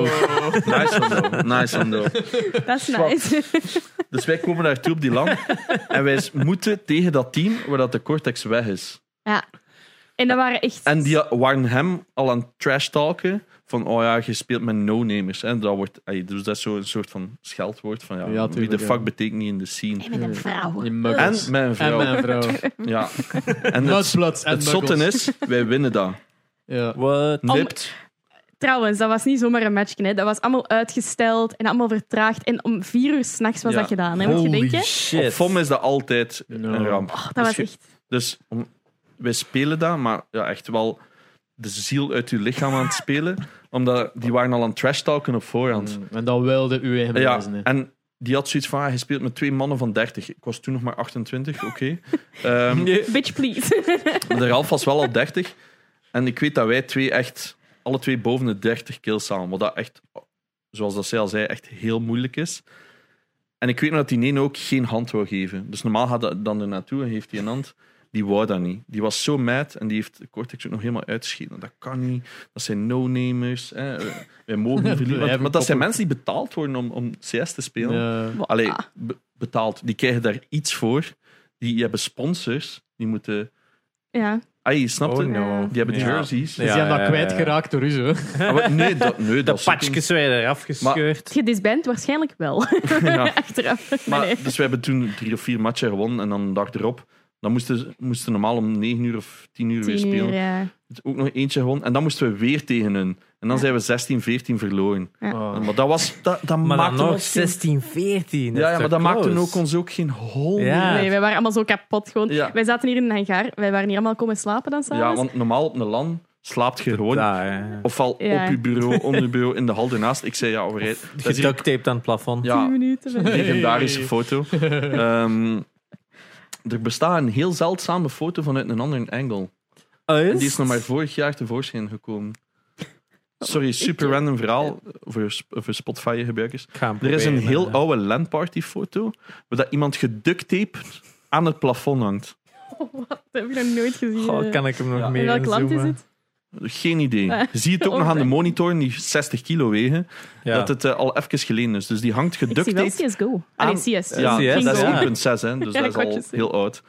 S1: Nice one, though. Nice one, though.
S4: dat is nice. [laughs]
S1: Dus wij komen daartoe op die land. En wij s- moeten tegen dat team waar dat de cortex weg is.
S4: En dat waren echt...
S1: En die waren hem al aan trash talken. van oh ja, je speelt met no-namers. En dat wordt, ey, dus dat is zo'n soort van scheldwoord van ja,
S2: Ja,
S1: wie de
S2: tuurlijk,
S1: fuck
S2: ja.
S1: betekent niet in de scene.
S4: En met een vrouw.
S2: Die
S1: En
S2: muggles.
S1: mijn
S2: En
S1: vrouw.
S2: mijn vrouw.
S4: [laughs]
S2: [laughs]
S1: Ja. En het,
S2: Bloods en
S1: het zotte
S2: muggles.
S1: is, wij winnen
S2: [laughs]
S1: dat.
S2: Ja.
S3: What?
S1: Nipt.
S4: Trouwens, dat was niet zomaar een matchje. Hè. Dat was allemaal uitgesteld en allemaal vertraagd. En om vier uur s'nachts was
S1: Ja.
S4: dat gedaan. Hè, moet je denken?
S3: Shit.
S1: Op FOM is dat altijd
S2: No.
S1: een ramp.
S4: Oh,
S1: Dus
S4: dat was
S1: je-
S4: echt...
S1: Dus om- wij spelen dat, maar ja, echt wel de ziel uit je lichaam aan het spelen. Omdat die waren al aan het trash talken op voorhand.
S2: Mm, En dan wilde u hem
S1: Ja,
S2: lezen. hè.
S1: en die had zoiets van, ah, je speelt met twee mannen van 30. Ik was toen nog maar 28, [laughs] oké. Ehm,
S4: Bitch,
S1: [laughs]
S4: please.
S1: maar de Ralf was wel al 30. En ik weet dat wij twee echt, alle twee boven de 30 kills staan. Wat dat echt, zoals dat zij al zei, echt heel moeilijk is. En ik weet nog dat die Nene ook geen hand wou geven. Dus normaal gaat dat dan er naartoe en heeft hij een hand. Die wou dat niet. Die was zo mad en die heeft de Cortex ook nog helemaal uitgeschreven. Dat kan niet. Dat zijn no-namers. Hè. Wij [laughs] mogen niet verliezen. Want, want dat zijn mensen die betaald worden om, om CS te spelen.
S2: Ja. Dus
S1: Allee,
S4: Ah,
S1: be- betaald. Die krijgen daar iets voor. Die hebben sponsors. Die moeten.
S4: Ja.
S1: Ai, snap je?
S3: Oh no.
S1: Die hebben
S3: Ja.
S1: jerseys.
S2: Dus
S3: [laughs] Ja,
S2: die hebben
S3: ja,
S2: dat
S3: ja, ja.
S2: kwijtgeraakt door
S1: [laughs]
S2: u, zo.
S1: Ah, maar nee, dat,
S3: [laughs]
S1: nee, dat
S3: De
S1: is ook
S3: patjes werden eraf gescheurd.
S4: Gedisband waarschijnlijk wel.
S1: niet- [laughs] Ja.
S4: [laughs] Achteraf. Nee,
S1: Maar,
S4: nee.
S1: Dus we hebben toen drie of vier matchen gewonnen. En dan de dag erop. Dan moesten ze- moesten normaal om 9 uur of 10 uur weer
S4: Tien
S1: spelen.
S4: uur, ja.
S1: Ook nog eentje gewonnen. En dan moesten we weer tegen hun. En dan
S4: Ja.
S1: zijn we 16, 14 verloren.
S2: Oh.
S1: Maar dat was. Dat, dat
S3: Maar dan
S1: maakte
S3: nog
S1: ons geen-
S3: 16, 14.
S1: Ja, ja, maar dat
S3: maakt
S1: maakte ook ons ook geen hol.
S3: Ja.
S4: Nee, wij waren allemaal zo kapot. Gewoon.
S1: Ah. Ja.
S4: Wij zaten hier in een hangar. Wij waren hier allemaal komen slapen dan s'avonds.
S1: Ja, want normaal op een LAN slaapt je gewoon
S3: Daar,
S1: Ofwel
S4: Ja.
S1: op uw bureau, onder uw bureau, in de hal ernaast. Ik zei, ja, we rijden. Dat is
S3: Geduct taped aan het plafond.
S4: Tien
S1: ja, [laughs]
S4: minuten.
S1: een legendarische
S3: [laughs]
S1: foto. Ehm, er bestaat een heel zeldzame foto vanuit een andere angle.
S3: Oh,
S1: En die is nog maar vorig jaar tevoorschijn gekomen. Sorry, super random verhaal voor, sp- voor Spotify-gebruikers.
S3: Ik ga hem
S1: Er is een
S3: proberen,
S1: heel
S3: eh.
S1: oude LAN-party-foto waar dat iemand geducttaped aan het plafond hangt.
S4: Oh, wat? Dat heb ik nog nooit gezien.
S3: Goh, kan ik hem nog
S1: Ja.
S3: meer
S4: in welk land is
S3: inzoomen?
S4: het?
S1: Geen idee. Je ziet het ook
S4: Oh
S1: nog aan de
S4: my.
S1: monitor, die 60 kilo wegen,
S3: Ja.
S1: dat het eh, al even geleden is. Dus die hangt
S4: Ik zie wel
S1: geducttaped
S4: CSGO.
S1: Aan-
S4: Allee, CS.
S1: Ah, Ja,
S3: CS,
S1: dat is
S3: ja.
S1: 3.6,
S4: [laughs]
S1: hè, dus
S4: Ja,
S1: dat is
S4: ik wou
S1: al
S4: het zeggen.
S1: heel oud.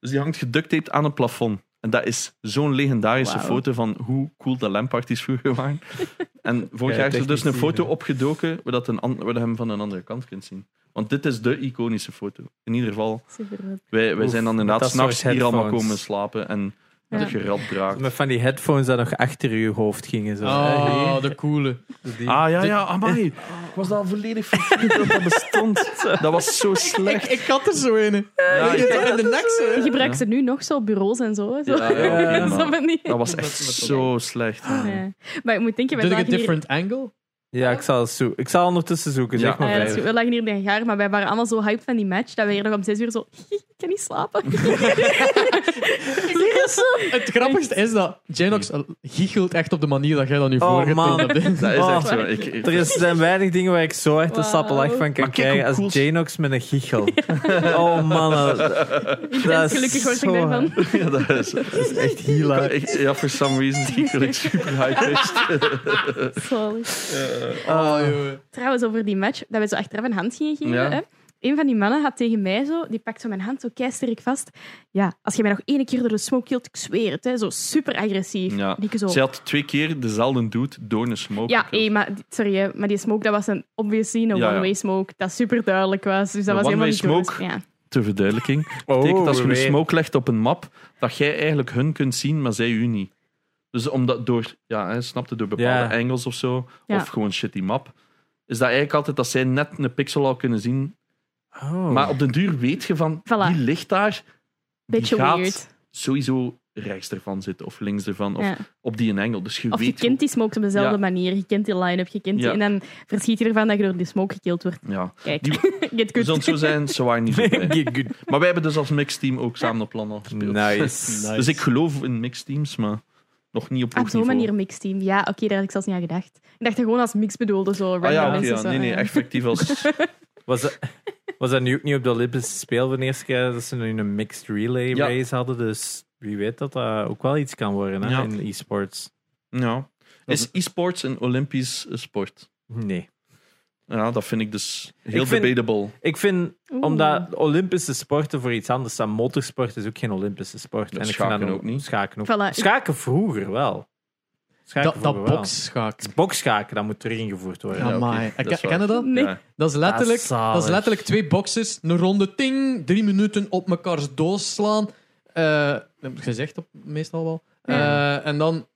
S1: Dus die hangt geducttaped aan een plafond. En dat is zo'n legendarische
S4: Wauw.
S1: foto van hoe cool de lamparties vroeger waren.
S3: [laughs]
S1: En vorig
S3: Ja,
S1: jaar is er dus
S3: technisch
S1: een
S3: zien,
S1: foto
S3: hè.
S1: opgedoken waar, dat een, an- waar dat je hem van een andere kant kunt zien. Want dit is de iconische foto. In ieder geval,
S4: Super.
S1: wij, wij
S3: Oef,
S1: zijn dan
S3: met
S1: inderdaad
S3: dat
S1: s'nachts
S3: soort
S1: hier allemaal
S3: headphones.
S1: komen slapen en
S4: Ja.
S1: dat gerad draagt.
S3: Met van die headphones dat nog achter je hoofd gingen. Zo.
S2: Oh, de coole.
S3: Die-
S1: Ah ja, ja, amai. Ik was daar volledig vergeten dat dat
S3: [laughs]
S1: bestond. Dat was zo
S2: Ik,
S1: slecht.
S2: [laughs] ik had er zo een.
S1: Ja, [laughs]
S2: Ik
S1: ik-
S2: heb toch in de nek zo.
S4: Gebruiken ze nu nog zo op bureaus en zo? hè? [laughs] zo.
S1: Ja, ja,
S3: ja.
S4: Op zo'n manier.
S1: dat
S4: [laughs]
S1: was echt
S2: Met- met-
S1: zo slecht.
S4: Nee. Maar ik moet denken, wij
S2: Did ik een
S4: lagen hier...
S2: different angle?
S3: Ja, ik zal, zo ik zal ondertussen zoeken.
S1: Ja.
S3: Zeg maar
S4: Ah, ja, dat is
S3: verder.
S4: goed. we lagen hier in de hangar, maar wij waren allemaal zo hyped van die match dat wij hier nog om zes uur zo... [laughs] Ik kan niet slapen. [laughs]
S2: Het grappigste is dat Janox giechelt echt op de manier dat jij dat nu
S3: Oh, man.
S1: [laughs]
S2: voorgetoond hebt.
S1: Dat is
S3: Oh.
S1: echt zo. Ik, ik-
S3: Er is- zijn weinig dingen waar ik zo echt een
S4: Wauw.
S3: sappe lach van kan
S1: Maar kijk hoe
S3: krijgen als
S1: cool-
S3: Janox met een giechel. Oh man, dat- dat is
S4: gelukkig word ik
S3: zo-
S4: daarvan.
S1: [laughs]
S4: [laughs]
S1: Ja, dat [laughs] is,
S3: Dat is echt hilarisch.
S1: ik- ja, for some reason giekel ik super [laughs] high-pitched.
S4: Zalig.
S2: Oh, joh.
S4: Trouwens, over die match, dat we zo achteraf een hand gingen geven.
S1: Ja.
S4: Hè? Een van die mannen had tegen mij zo, die pakt zo mijn hand zo keisterrijk vast. Ja, als je mij nog één keer door de smoke hield, ik zweer het, hè, zo super agressief.
S1: Ja.
S4: En ik zo,
S1: Zij had twee keer dezelfde dude door een smoke. eh,
S4: ja, hé, maar, die- sorry, hè, maar die smoke, dat was een obviously
S1: Ja,
S4: een
S1: ja.
S4: one-way smoke, dat super duidelijk was. Dus dat
S1: Een
S4: was helemaal
S1: one-way
S4: niet
S1: smoke?
S4: door. Ja.
S1: Ter verduidelijking.
S3: Oh,
S1: betekent als je een
S3: weer.
S1: smoke legt op een map, dat jij eigenlijk hun kunt zien, maar zij u niet. Dus omdat door, ja, hè, snapte, door bepaalde
S3: Ja.
S1: angles of zo,
S4: Ja.
S1: of gewoon shitty map, is dat eigenlijk altijd dat zij net een pixel al kunnen zien.
S3: Oh.
S1: Maar op den duur weet je van,
S4: Voilà.
S1: die ligt daar, die
S4: Beetje
S1: gaat
S4: weird.
S1: sowieso rechts ervan zitten, of links ervan, of
S4: Ja.
S1: op die een angle. Dus je
S4: Of je
S1: weet
S4: kent die smoke op dezelfde
S1: Ja.
S4: manier, je kent die line-up, je kent
S1: Ja.
S4: die, en dan verschiet je ervan dat je door die smoke gekild wordt.
S1: hoe- ja.
S4: Kijk,
S1: Die-
S4: [laughs] get
S1: Dus
S4: good.
S1: Zou
S4: [laughs]
S1: het zo zijn, ze waren [laughs] niet zo blij.
S3: [laughs]
S1: Maar wij hebben dus als mixteam ook samen op plan al gespeeld.
S3: Nice.
S1: [laughs] Dus ik geloof in mixteams, maar nog niet op hoog
S4: Op Ah, zo'n
S1: niveau.
S4: manier mixteam. Ja, oké, daar had ik zelfs niet aan gedacht. Ik dacht dat gewoon als mix bedoelde, zo random
S1: Ah ja, oké,
S4: mensen.
S1: ja.
S4: zo,
S1: nee, nee,
S4: ja.
S1: effectief
S4: [laughs]
S1: als...
S3: Was dat, was dat nu ook niet op de Olympische Speel van de eerste keer dat ze nu een mixed relay
S1: Ja.
S3: race hadden? Dus wie weet dat dat ook wel iets kan worden hè,
S1: Ja.
S3: in e-sports.
S1: Ja. Is e-sports een Olympisch eh, sport?
S3: Nee.
S1: Ja, dat vind ik dus heel
S3: Ik vind-
S1: debatable.
S3: Ik vind,
S4: Oeh.
S3: omdat Olympische sporten voor iets anders zijn, motorsport is ook geen Olympische sport.
S1: Ja,
S3: ik vind
S1: schaken
S3: dat
S1: ook niet.
S3: Schaken, ook.
S4: Voilà.
S3: schaken vroeger wel. Schaken
S2: Dat, dat
S3: bijvoorbeeld wel.
S2: boksschaak.
S3: Het is Boksschaken, dat moet erin gevoerd worden.
S1: Ja, oké.
S2: Amai.
S1: Dat
S2: Ken-
S1: is waar.
S2: Ken je dat?
S4: Nee.
S1: Ja.
S2: Dat is
S3: Dat
S2: letterlijk,
S3: is zalig.
S2: dat is letterlijk twee boxers, een ronde ting, drie minuten op mekaars doos slaan. Eh, dat heb ik gezegd op, meestal wel. Eh, en dan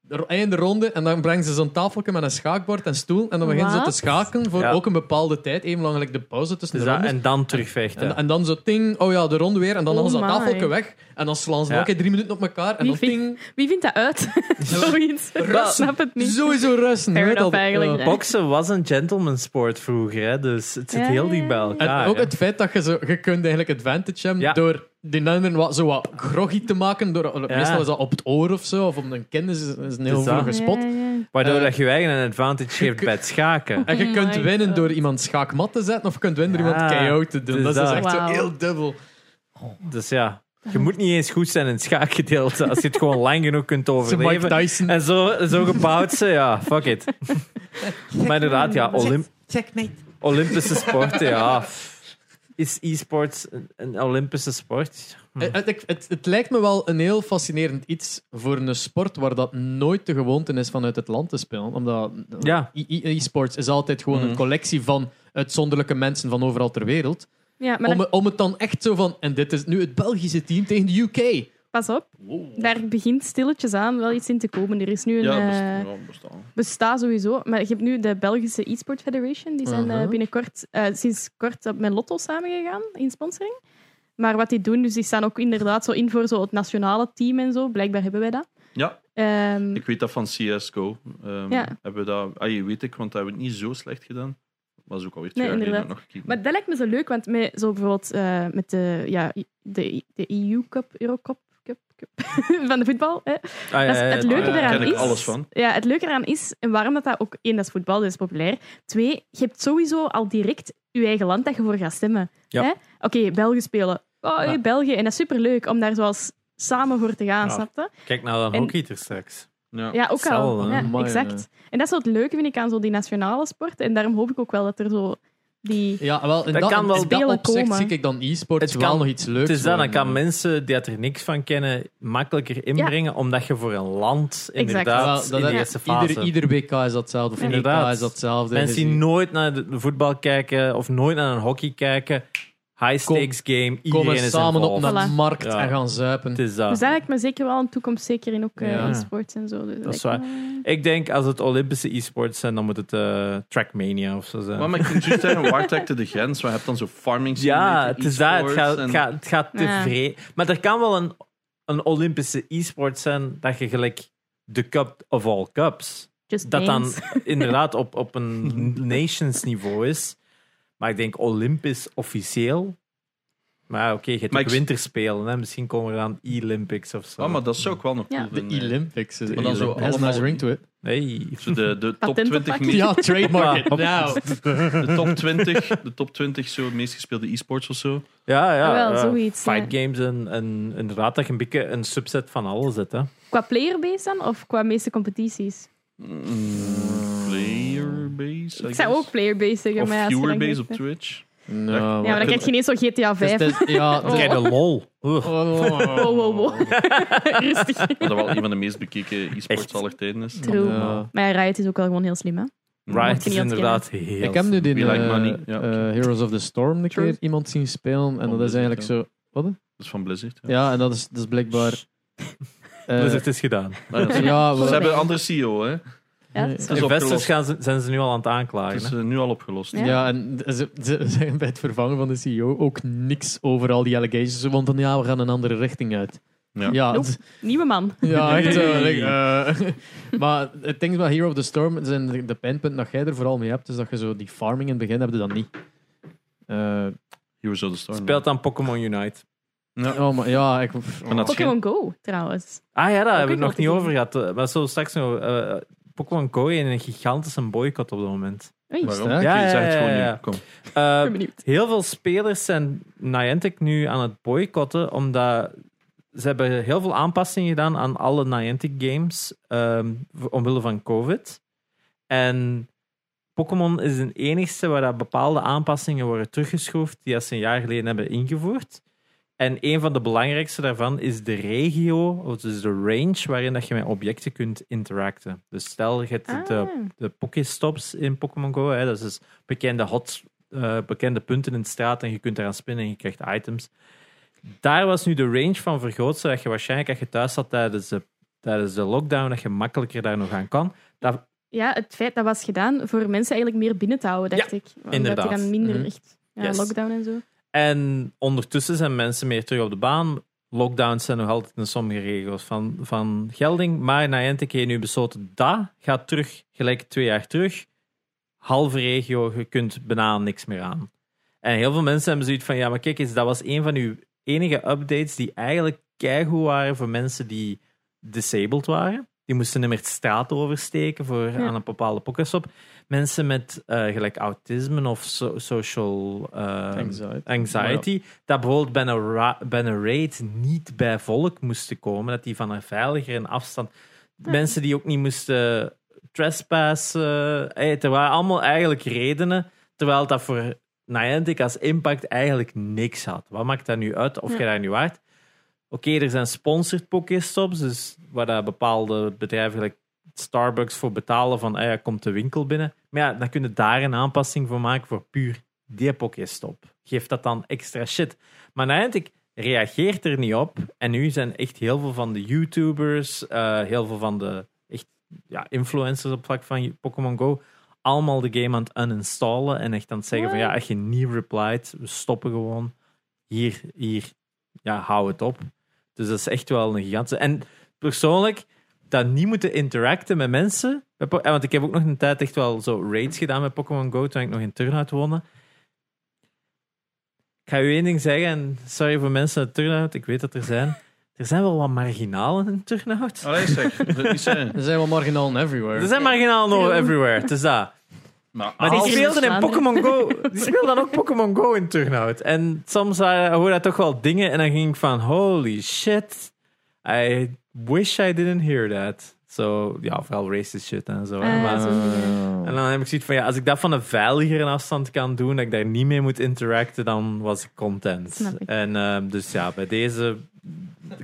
S2: de ro- einde ronde en dan brengen ze zo'n tafeltje met een schaakbord en stoel en dan beginnen ze
S4: Wat?
S2: te schaken voor
S3: Ja.
S2: ook een bepaalde tijd, even lang like de pauze tussen
S3: Dus
S2: de
S3: dat-
S2: rondes.
S3: en dan terugvechten.
S2: En, en dan zo ting, oh ja, de ronde weer en dan
S4: Oh
S2: alles dat
S4: my.
S2: tafeltje weg en dan slaan ze
S3: Ja.
S2: nog een drie minuten op elkaar en
S4: Wie
S2: dan
S4: vindt-
S2: ting,
S4: Wie vindt dat uit? [laughs] Zoiets. Ik
S2: Wel,
S4: snap het niet.
S2: sowieso rusten.
S4: Fair
S2: weet
S4: enough
S2: dat-
S4: eigenlijk,
S2: ja.
S4: ja.
S3: Boksen was een gentleman sport vroeger, hè, dus het zit
S4: Ja,
S3: heel
S4: ja,
S3: dicht bij
S4: ja.
S2: En
S3: elkaar.
S2: ook
S3: hè.
S2: het feit dat je zo, je kunt eigenlijk advantage hebben
S3: Ja.
S2: door die ander wat, zo wat groggy te maken. Door,
S3: Ja.
S2: Meestal is dat op het oor of zo, of om een kennis is, is een heel
S3: Dus dat-
S2: vroege spot.
S4: Ja, ja, ja.
S3: Waardoor
S2: eh,
S3: dat je je eigen een advantage geeft bij het schaken.
S2: En je
S4: Oh
S2: kunt
S4: my
S2: winnen
S4: God.
S2: door iemand schaakmat te zetten, of je kunt winnen door
S3: Ja,
S2: iemand KO te doen. dat
S3: dus
S2: is dus
S3: dat.
S2: echt zo
S4: Wauw.
S2: heel dubbel.
S3: Dus ja, je moet niet eens goed zijn in het schaakgedeelte als je het gewoon lang genoeg kunt
S2: Zo Mike
S3: overleven.
S2: Tyson.
S3: En zo, zo gebouwd ze, ja, fuck
S2: [laughs]
S3: it. Maar inderdaad, ja, Olymp Olympische sporten, ja. Is e-sports een- een Olympische sport?
S2: Eh, Het, het, het, het lijkt me wel een heel fascinerend iets voor een sport waar dat nooit de gewoonte is vanuit het land te spelen. Omdat
S3: Ja.
S2: e- e- e-sports is altijd gewoon
S3: Hm.
S1: Mhm.
S2: een collectie van uitzonderlijke mensen van overal ter wereld.
S4: Ja, maar
S2: Om,
S4: daar-
S2: om het dan echt zo van. En dit is nu het Belgische team tegen de UK.
S4: pas op. Daar begint stilletjes aan wel iets in te komen. Er is nu een...
S1: Ja,
S4: eh,
S1: best- ja, bestaan.
S4: bestaat sowieso. Maar je hebt nu de Belgische e-sport federation. Die zijn eh,
S2: Mhm.
S4: binnenkort, eh, sinds kort op met Lotto samengegaan in sponsoring. Maar wat die doen, dus die staan ook inderdaad zo in voor zo het nationale team en zo. Blijkbaar hebben wij dat.
S1: Ja,
S4: Ehm,
S1: ik weet dat van CSGO. Ehm
S4: Ja.
S1: Hebben we dat, ah, je weet ik, want dat hebben we niet zo slecht gedaan. Dat was ook alweer twee
S4: Nee,
S1: jaar geleden
S4: inderdaad.
S1: nog gekeken.
S4: maar dat lijkt me zo leuk, want met zo bijvoorbeeld eh, met de, ja, de, E- de EU Cup, Eurocup Cup, Cup, [laughs] van de voetbal. eh, Hè?
S3: Ah, ja,
S4: Dat is-
S3: ja,
S4: het
S3: ja,
S4: leuke
S3: ja,
S4: eraan
S1: ken ik
S4: is...
S1: alles van.
S4: Ja, het leuke eraan is, en waarom dat, dat ook... Eén, dat is voetbal, dat is populair. Twee, je hebt sowieso al direct je eigen land dat je voor gaat stemmen.
S3: Ja.
S4: Hè? Oké, België spelen. Oh, hey,
S3: Ja.
S4: België. En dat is superleuk om daar zoals samen voor te gaan,
S3: Ja.
S4: snap je?
S3: Kijk nou dan
S4: En-
S3: hockey er straks.
S1: Ja.
S4: Ja, ook
S3: Zal,
S4: al.
S3: hè? eh.
S4: Ja,
S2: Amai,
S4: exact. En dat is wat het leuke, vind ik, aan zo die nationale sport. En daarom hoop ik ook wel dat er zo die...
S2: Ja, wel. In
S3: Dat
S2: dat,
S3: kan
S2: in
S3: wel
S2: dat
S4: spelen
S2: opzicht
S4: komen.
S2: zie ik dan e-sports
S3: Het
S2: wel
S3: kan-
S2: nog iets leuks.
S3: Het is dat, dan
S2: worden.
S3: kan mensen die er niks van kennen makkelijker inbrengen, omdat je voor een land inderdaad
S2: Wel, dat-
S3: in de
S2: ja.
S3: eerste fase...
S2: Ieder, ieder WK is datzelfde. Of
S3: Inderdaad.
S2: EK is datzelfde.
S3: Mensen die nooit naar de voetbal kijken of nooit naar een hockey kijken, high stakes game, iedereen
S2: komen
S3: is
S2: samen op
S3: involved.
S2: een
S4: Voilà.
S2: markt
S3: Ja.
S2: en gaan zuipen.
S3: Het is dat.
S4: Dus dat lijkt me zeker wel een toekomst, zeker in ook eh,
S2: Ja.
S4: e-sports en zo. Dus
S3: Dat is
S4: lijkt me-
S3: Ik denk als het Olympische e-sports zijn, dan moet het eh, Trackmania of zo zijn.
S1: Maar, maar ik ging juist zeggen, waar trekt de grens? Want je hebt dan zo farming
S3: ja,
S1: simulator,
S3: het is dat. Het
S1: e-sports
S3: gaat,
S1: en-
S3: het gaat, het gaat te
S4: Ja.
S3: vreemd. Maar er kan wel een, een Olympische e-sport zijn dat je gelijk de cup of all cups,
S4: Just
S3: dat dan
S4: dance.
S3: [laughs] inderdaad op, op een nations niveau is. Maar ik denk Olympisch officieel. Maar oké, je hebt
S1: Maar
S3: ook
S1: ik-
S3: winterspelen. Hè? Misschien komen er aan e-Olympics of zo.
S1: Ah, maar dat zou ook wel nog
S4: Ja.
S1: cool
S2: De
S1: vinden,
S3: eh,
S1: ja.
S2: Olympics.
S1: Maar dan zo
S2: Has a nice
S1: allemaal-
S2: ring to it. [laughs]
S3: Nee.
S1: Zo
S3: [laughs]
S1: de, de,
S4: [laughs]
S1: top
S4: Patent
S1: 20
S4: oppakken.
S1: meest-
S2: Ja, trademark it
S3: Hoppa.
S1: nou.
S2: now.
S1: de top 20, de top 20 zo, meest gespeelde e-sports of zo.
S3: Ja, ja.
S4: Wel,
S3: ja.
S4: zoiets,
S3: Fight games en, en inderdaad dat je een beetje een subset van alles
S1: [laughs]
S3: zet. Hè?
S4: Qua playerbase dan, of qua meeste competities?
S1: Mm, Playerbase, I
S4: Ik zou
S1: guess.
S4: ook playerbase zeggen,
S1: Of
S4: maar ja, als je dan
S1: viewerbase op
S4: kijkt, hè.
S1: Twitch.
S2: Nou,
S4: Ja, maar dan krijg je ineens zo GTA 5.
S2: het is- het is-
S3: [laughs]
S2: ja, het is-
S3: Kijk, de lol. Ugh.
S2: Oh, oh, oh.
S4: [laughs] Wow, wow, wow.
S1: Oh.
S4: [laughs] Rustig.
S1: Wat wel een van de meest bekeken
S3: Echt?
S1: e-sports aller tijden is. Mm.
S4: True.
S2: Ja.
S4: Maar ja, Riot is ook wel gewoon heel slim, hè?
S3: Right,
S4: je
S3: is
S4: niet
S3: inderdaad heel...
S2: Ik heb nu die
S1: We like
S2: eh,
S1: money. Ja,
S2: eh, Heroes of the Storm een
S4: True.
S2: keer iemand zien spelen.
S1: Van
S2: En dat is
S1: Blizzard,
S2: eigenlijk
S1: ja.
S2: zo... Wat?
S1: Dat is van Blizzard. Ja.
S2: Ja, en dat is, dat is
S1: [laughs]
S2: blijkbaar... eh,
S3: Dus het is gedaan.
S1: Ah, ja, ze-
S2: ja,
S1: Ze
S2: we-
S1: hebben een andere CEO, hè.
S4: Ja,
S2: Nee.
S4: dat is
S1: is
S3: Investors
S1: opgelost.
S3: gaan ze, zijn ze nu al aan het
S1: Het is
S3: aanklagen. hè?
S1: eh, nu al opgelost.
S4: Ja.
S2: Ja, en ze, ze zeggen bij het vervangen van de CEO ook niks over al die allegations. Ze want van ja, we gaan een andere richting uit.
S1: Ja.
S2: ja,
S4: Nope.
S2: het-
S4: Nieuwe
S2: [laughs]
S4: man.
S2: ja, echt zo.
S3: Nee.
S2: like, eh, [laughs] maar het ding bij Hero of the Storm zijn de, de pijnpunten dat jij er vooral mee hebt, is dat je zo die farming in het begin hebt, dat niet. Eh,
S1: Heroes of the Storm.
S3: Speelt dan Pokémon Unite.
S1: Ja.
S2: oh, maar ja, ik...
S1: Maar dat is geen-
S4: Pokémon Go, trouwens.
S3: Ah ja, daar hebben we
S4: ik
S3: het nog
S4: wel
S3: niet
S4: te
S3: over gehad. eh, Maar zo straks nog... eh, Pokémon Go in een gigantische boycott op dat moment.
S4: Oei, ik
S1: Waarom?
S2: Ja,
S1: Oké,
S3: ja,
S1: zeg het gewoon
S3: ja, ja.
S1: nu. Kom.
S3: Eh,
S4: ben benieuwd.
S3: heel veel spelers zijn Niantic nu aan het boycotten, omdat ze hebben heel veel aanpassingen gedaan aan alle Niantic games ehm, v- omwille van COVID. En Pokémon is de enigste waar dat bepaalde aanpassingen worden teruggeschroefd die ze een jaar geleden hebben ingevoerd. En een van de belangrijkste daarvan is de regio, of dus de range waarin dat je met objecten kunt interacten. Dus stel, je hebt eh, de,
S4: Ah.
S3: de Pokéstops in Pokémon Go, hè, dat is dus bekende, hot, eh, bekende punten in de straat en je kunt eraan spinnen en je krijgt items. Daar was nu de range van vergroot, zodat je waarschijnlijk als je thuis zat tijdens de, tijdens de lockdown, dat je makkelijker daar nog aan kan.
S4: Ja, het feit dat was gedaan voor mensen eigenlijk meer binnen te houden, dacht ik. Omdat
S3: inderdaad.
S4: die dan minder
S2: Mhm.
S4: echt ja,
S3: Yes.
S4: lockdown en zo.
S3: En ondertussen zijn mensen meer terug op de baan. Lockdowns zijn nog altijd in sommige regio's van, van gelding. Maar Niantic heeft nu besloten, dat gaat terug, gelijk twee jaar terug. Halve regio, je kunt bijna niks meer aan. En heel veel mensen hebben zoiets van, ja, maar kijk eens, dat was een van uw enige updates die eigenlijk keigoed waren voor mensen die disabled waren. Die moesten niet meer de straat oversteken voor aan een bepaalde pokerstop. Mensen met eh, gelijk autisme of so- social eh,
S2: Anxiety.
S3: anxiety. Dat bijvoorbeeld bij een, ra- bij een raid niet bij volk moesten komen. Dat die van een veiliger en afstand. Mensen die ook niet moesten trespassen. Hey, er waren allemaal eigenlijk redenen. Terwijl dat voor Niantic als impact eigenlijk niks had. Wat maakt dat nu uit of
S4: Ja.
S3: je daar nu waard? Oké, er zijn sponsored Pokéstops. Dus waar daar bepaalde bedrijven gelijk Starbucks voor betalen van ah ja, komt de winkel binnen. Maar ja, dan kunnen daar een aanpassing voor maken voor puur die Pokéstop. Geeft dat dan extra shit. Maar Niantic reageert er niet op. En nu zijn echt heel veel van de YouTubers, eh, heel veel van de echt, ja, influencers op vlak van Pokémon Go, allemaal de game aan het uninstallen en echt aan het zeggen van ja,
S4: What?
S3: als je niet replied, we stoppen gewoon. Hier, hier, ja, hou het op. Dus dat is echt wel een gigantische... En persoonlijk, dat niet moeten interacten met mensen. Bij Po- eh, Want ik heb ook nog een tijd echt wel zo raids gedaan met Pokémon Go toen ik nog in Turnout woonde. Ik ga u één ding zeggen, en sorry voor mensen uit Turnout, ik weet dat er zijn. Er zijn wel wat marginalen in Turnout.
S1: Allee, zeg. [laughs] Dat is eh, niet zeggen.
S2: Er zijn wel marginalen everywhere.
S3: Er zijn marginalen over
S4: Ja.
S3: everywhere, het is dat.
S1: Maar,
S3: Maar die
S4: Als-
S3: speelden in
S4: Vlaanderen.
S3: Pokémon
S4: [laughs]
S3: Go. Die speelden dan ook Pokémon Go in Turnhout. En soms eh, hoorde ik toch wel dingen en dan ging ik van holy shit. I wish I didn't hear that. So, ja, vooral racist shit en zo. hè.
S4: Eh,
S3: maar,
S4: zo.
S3: en dan heb ik zoiets van ja, als ik dat van een veiliger afstand kan doen, dat ik daar niet mee moet interacten, dan was ik content.
S4: Snap ik.
S3: En ehm, dus ja, bij deze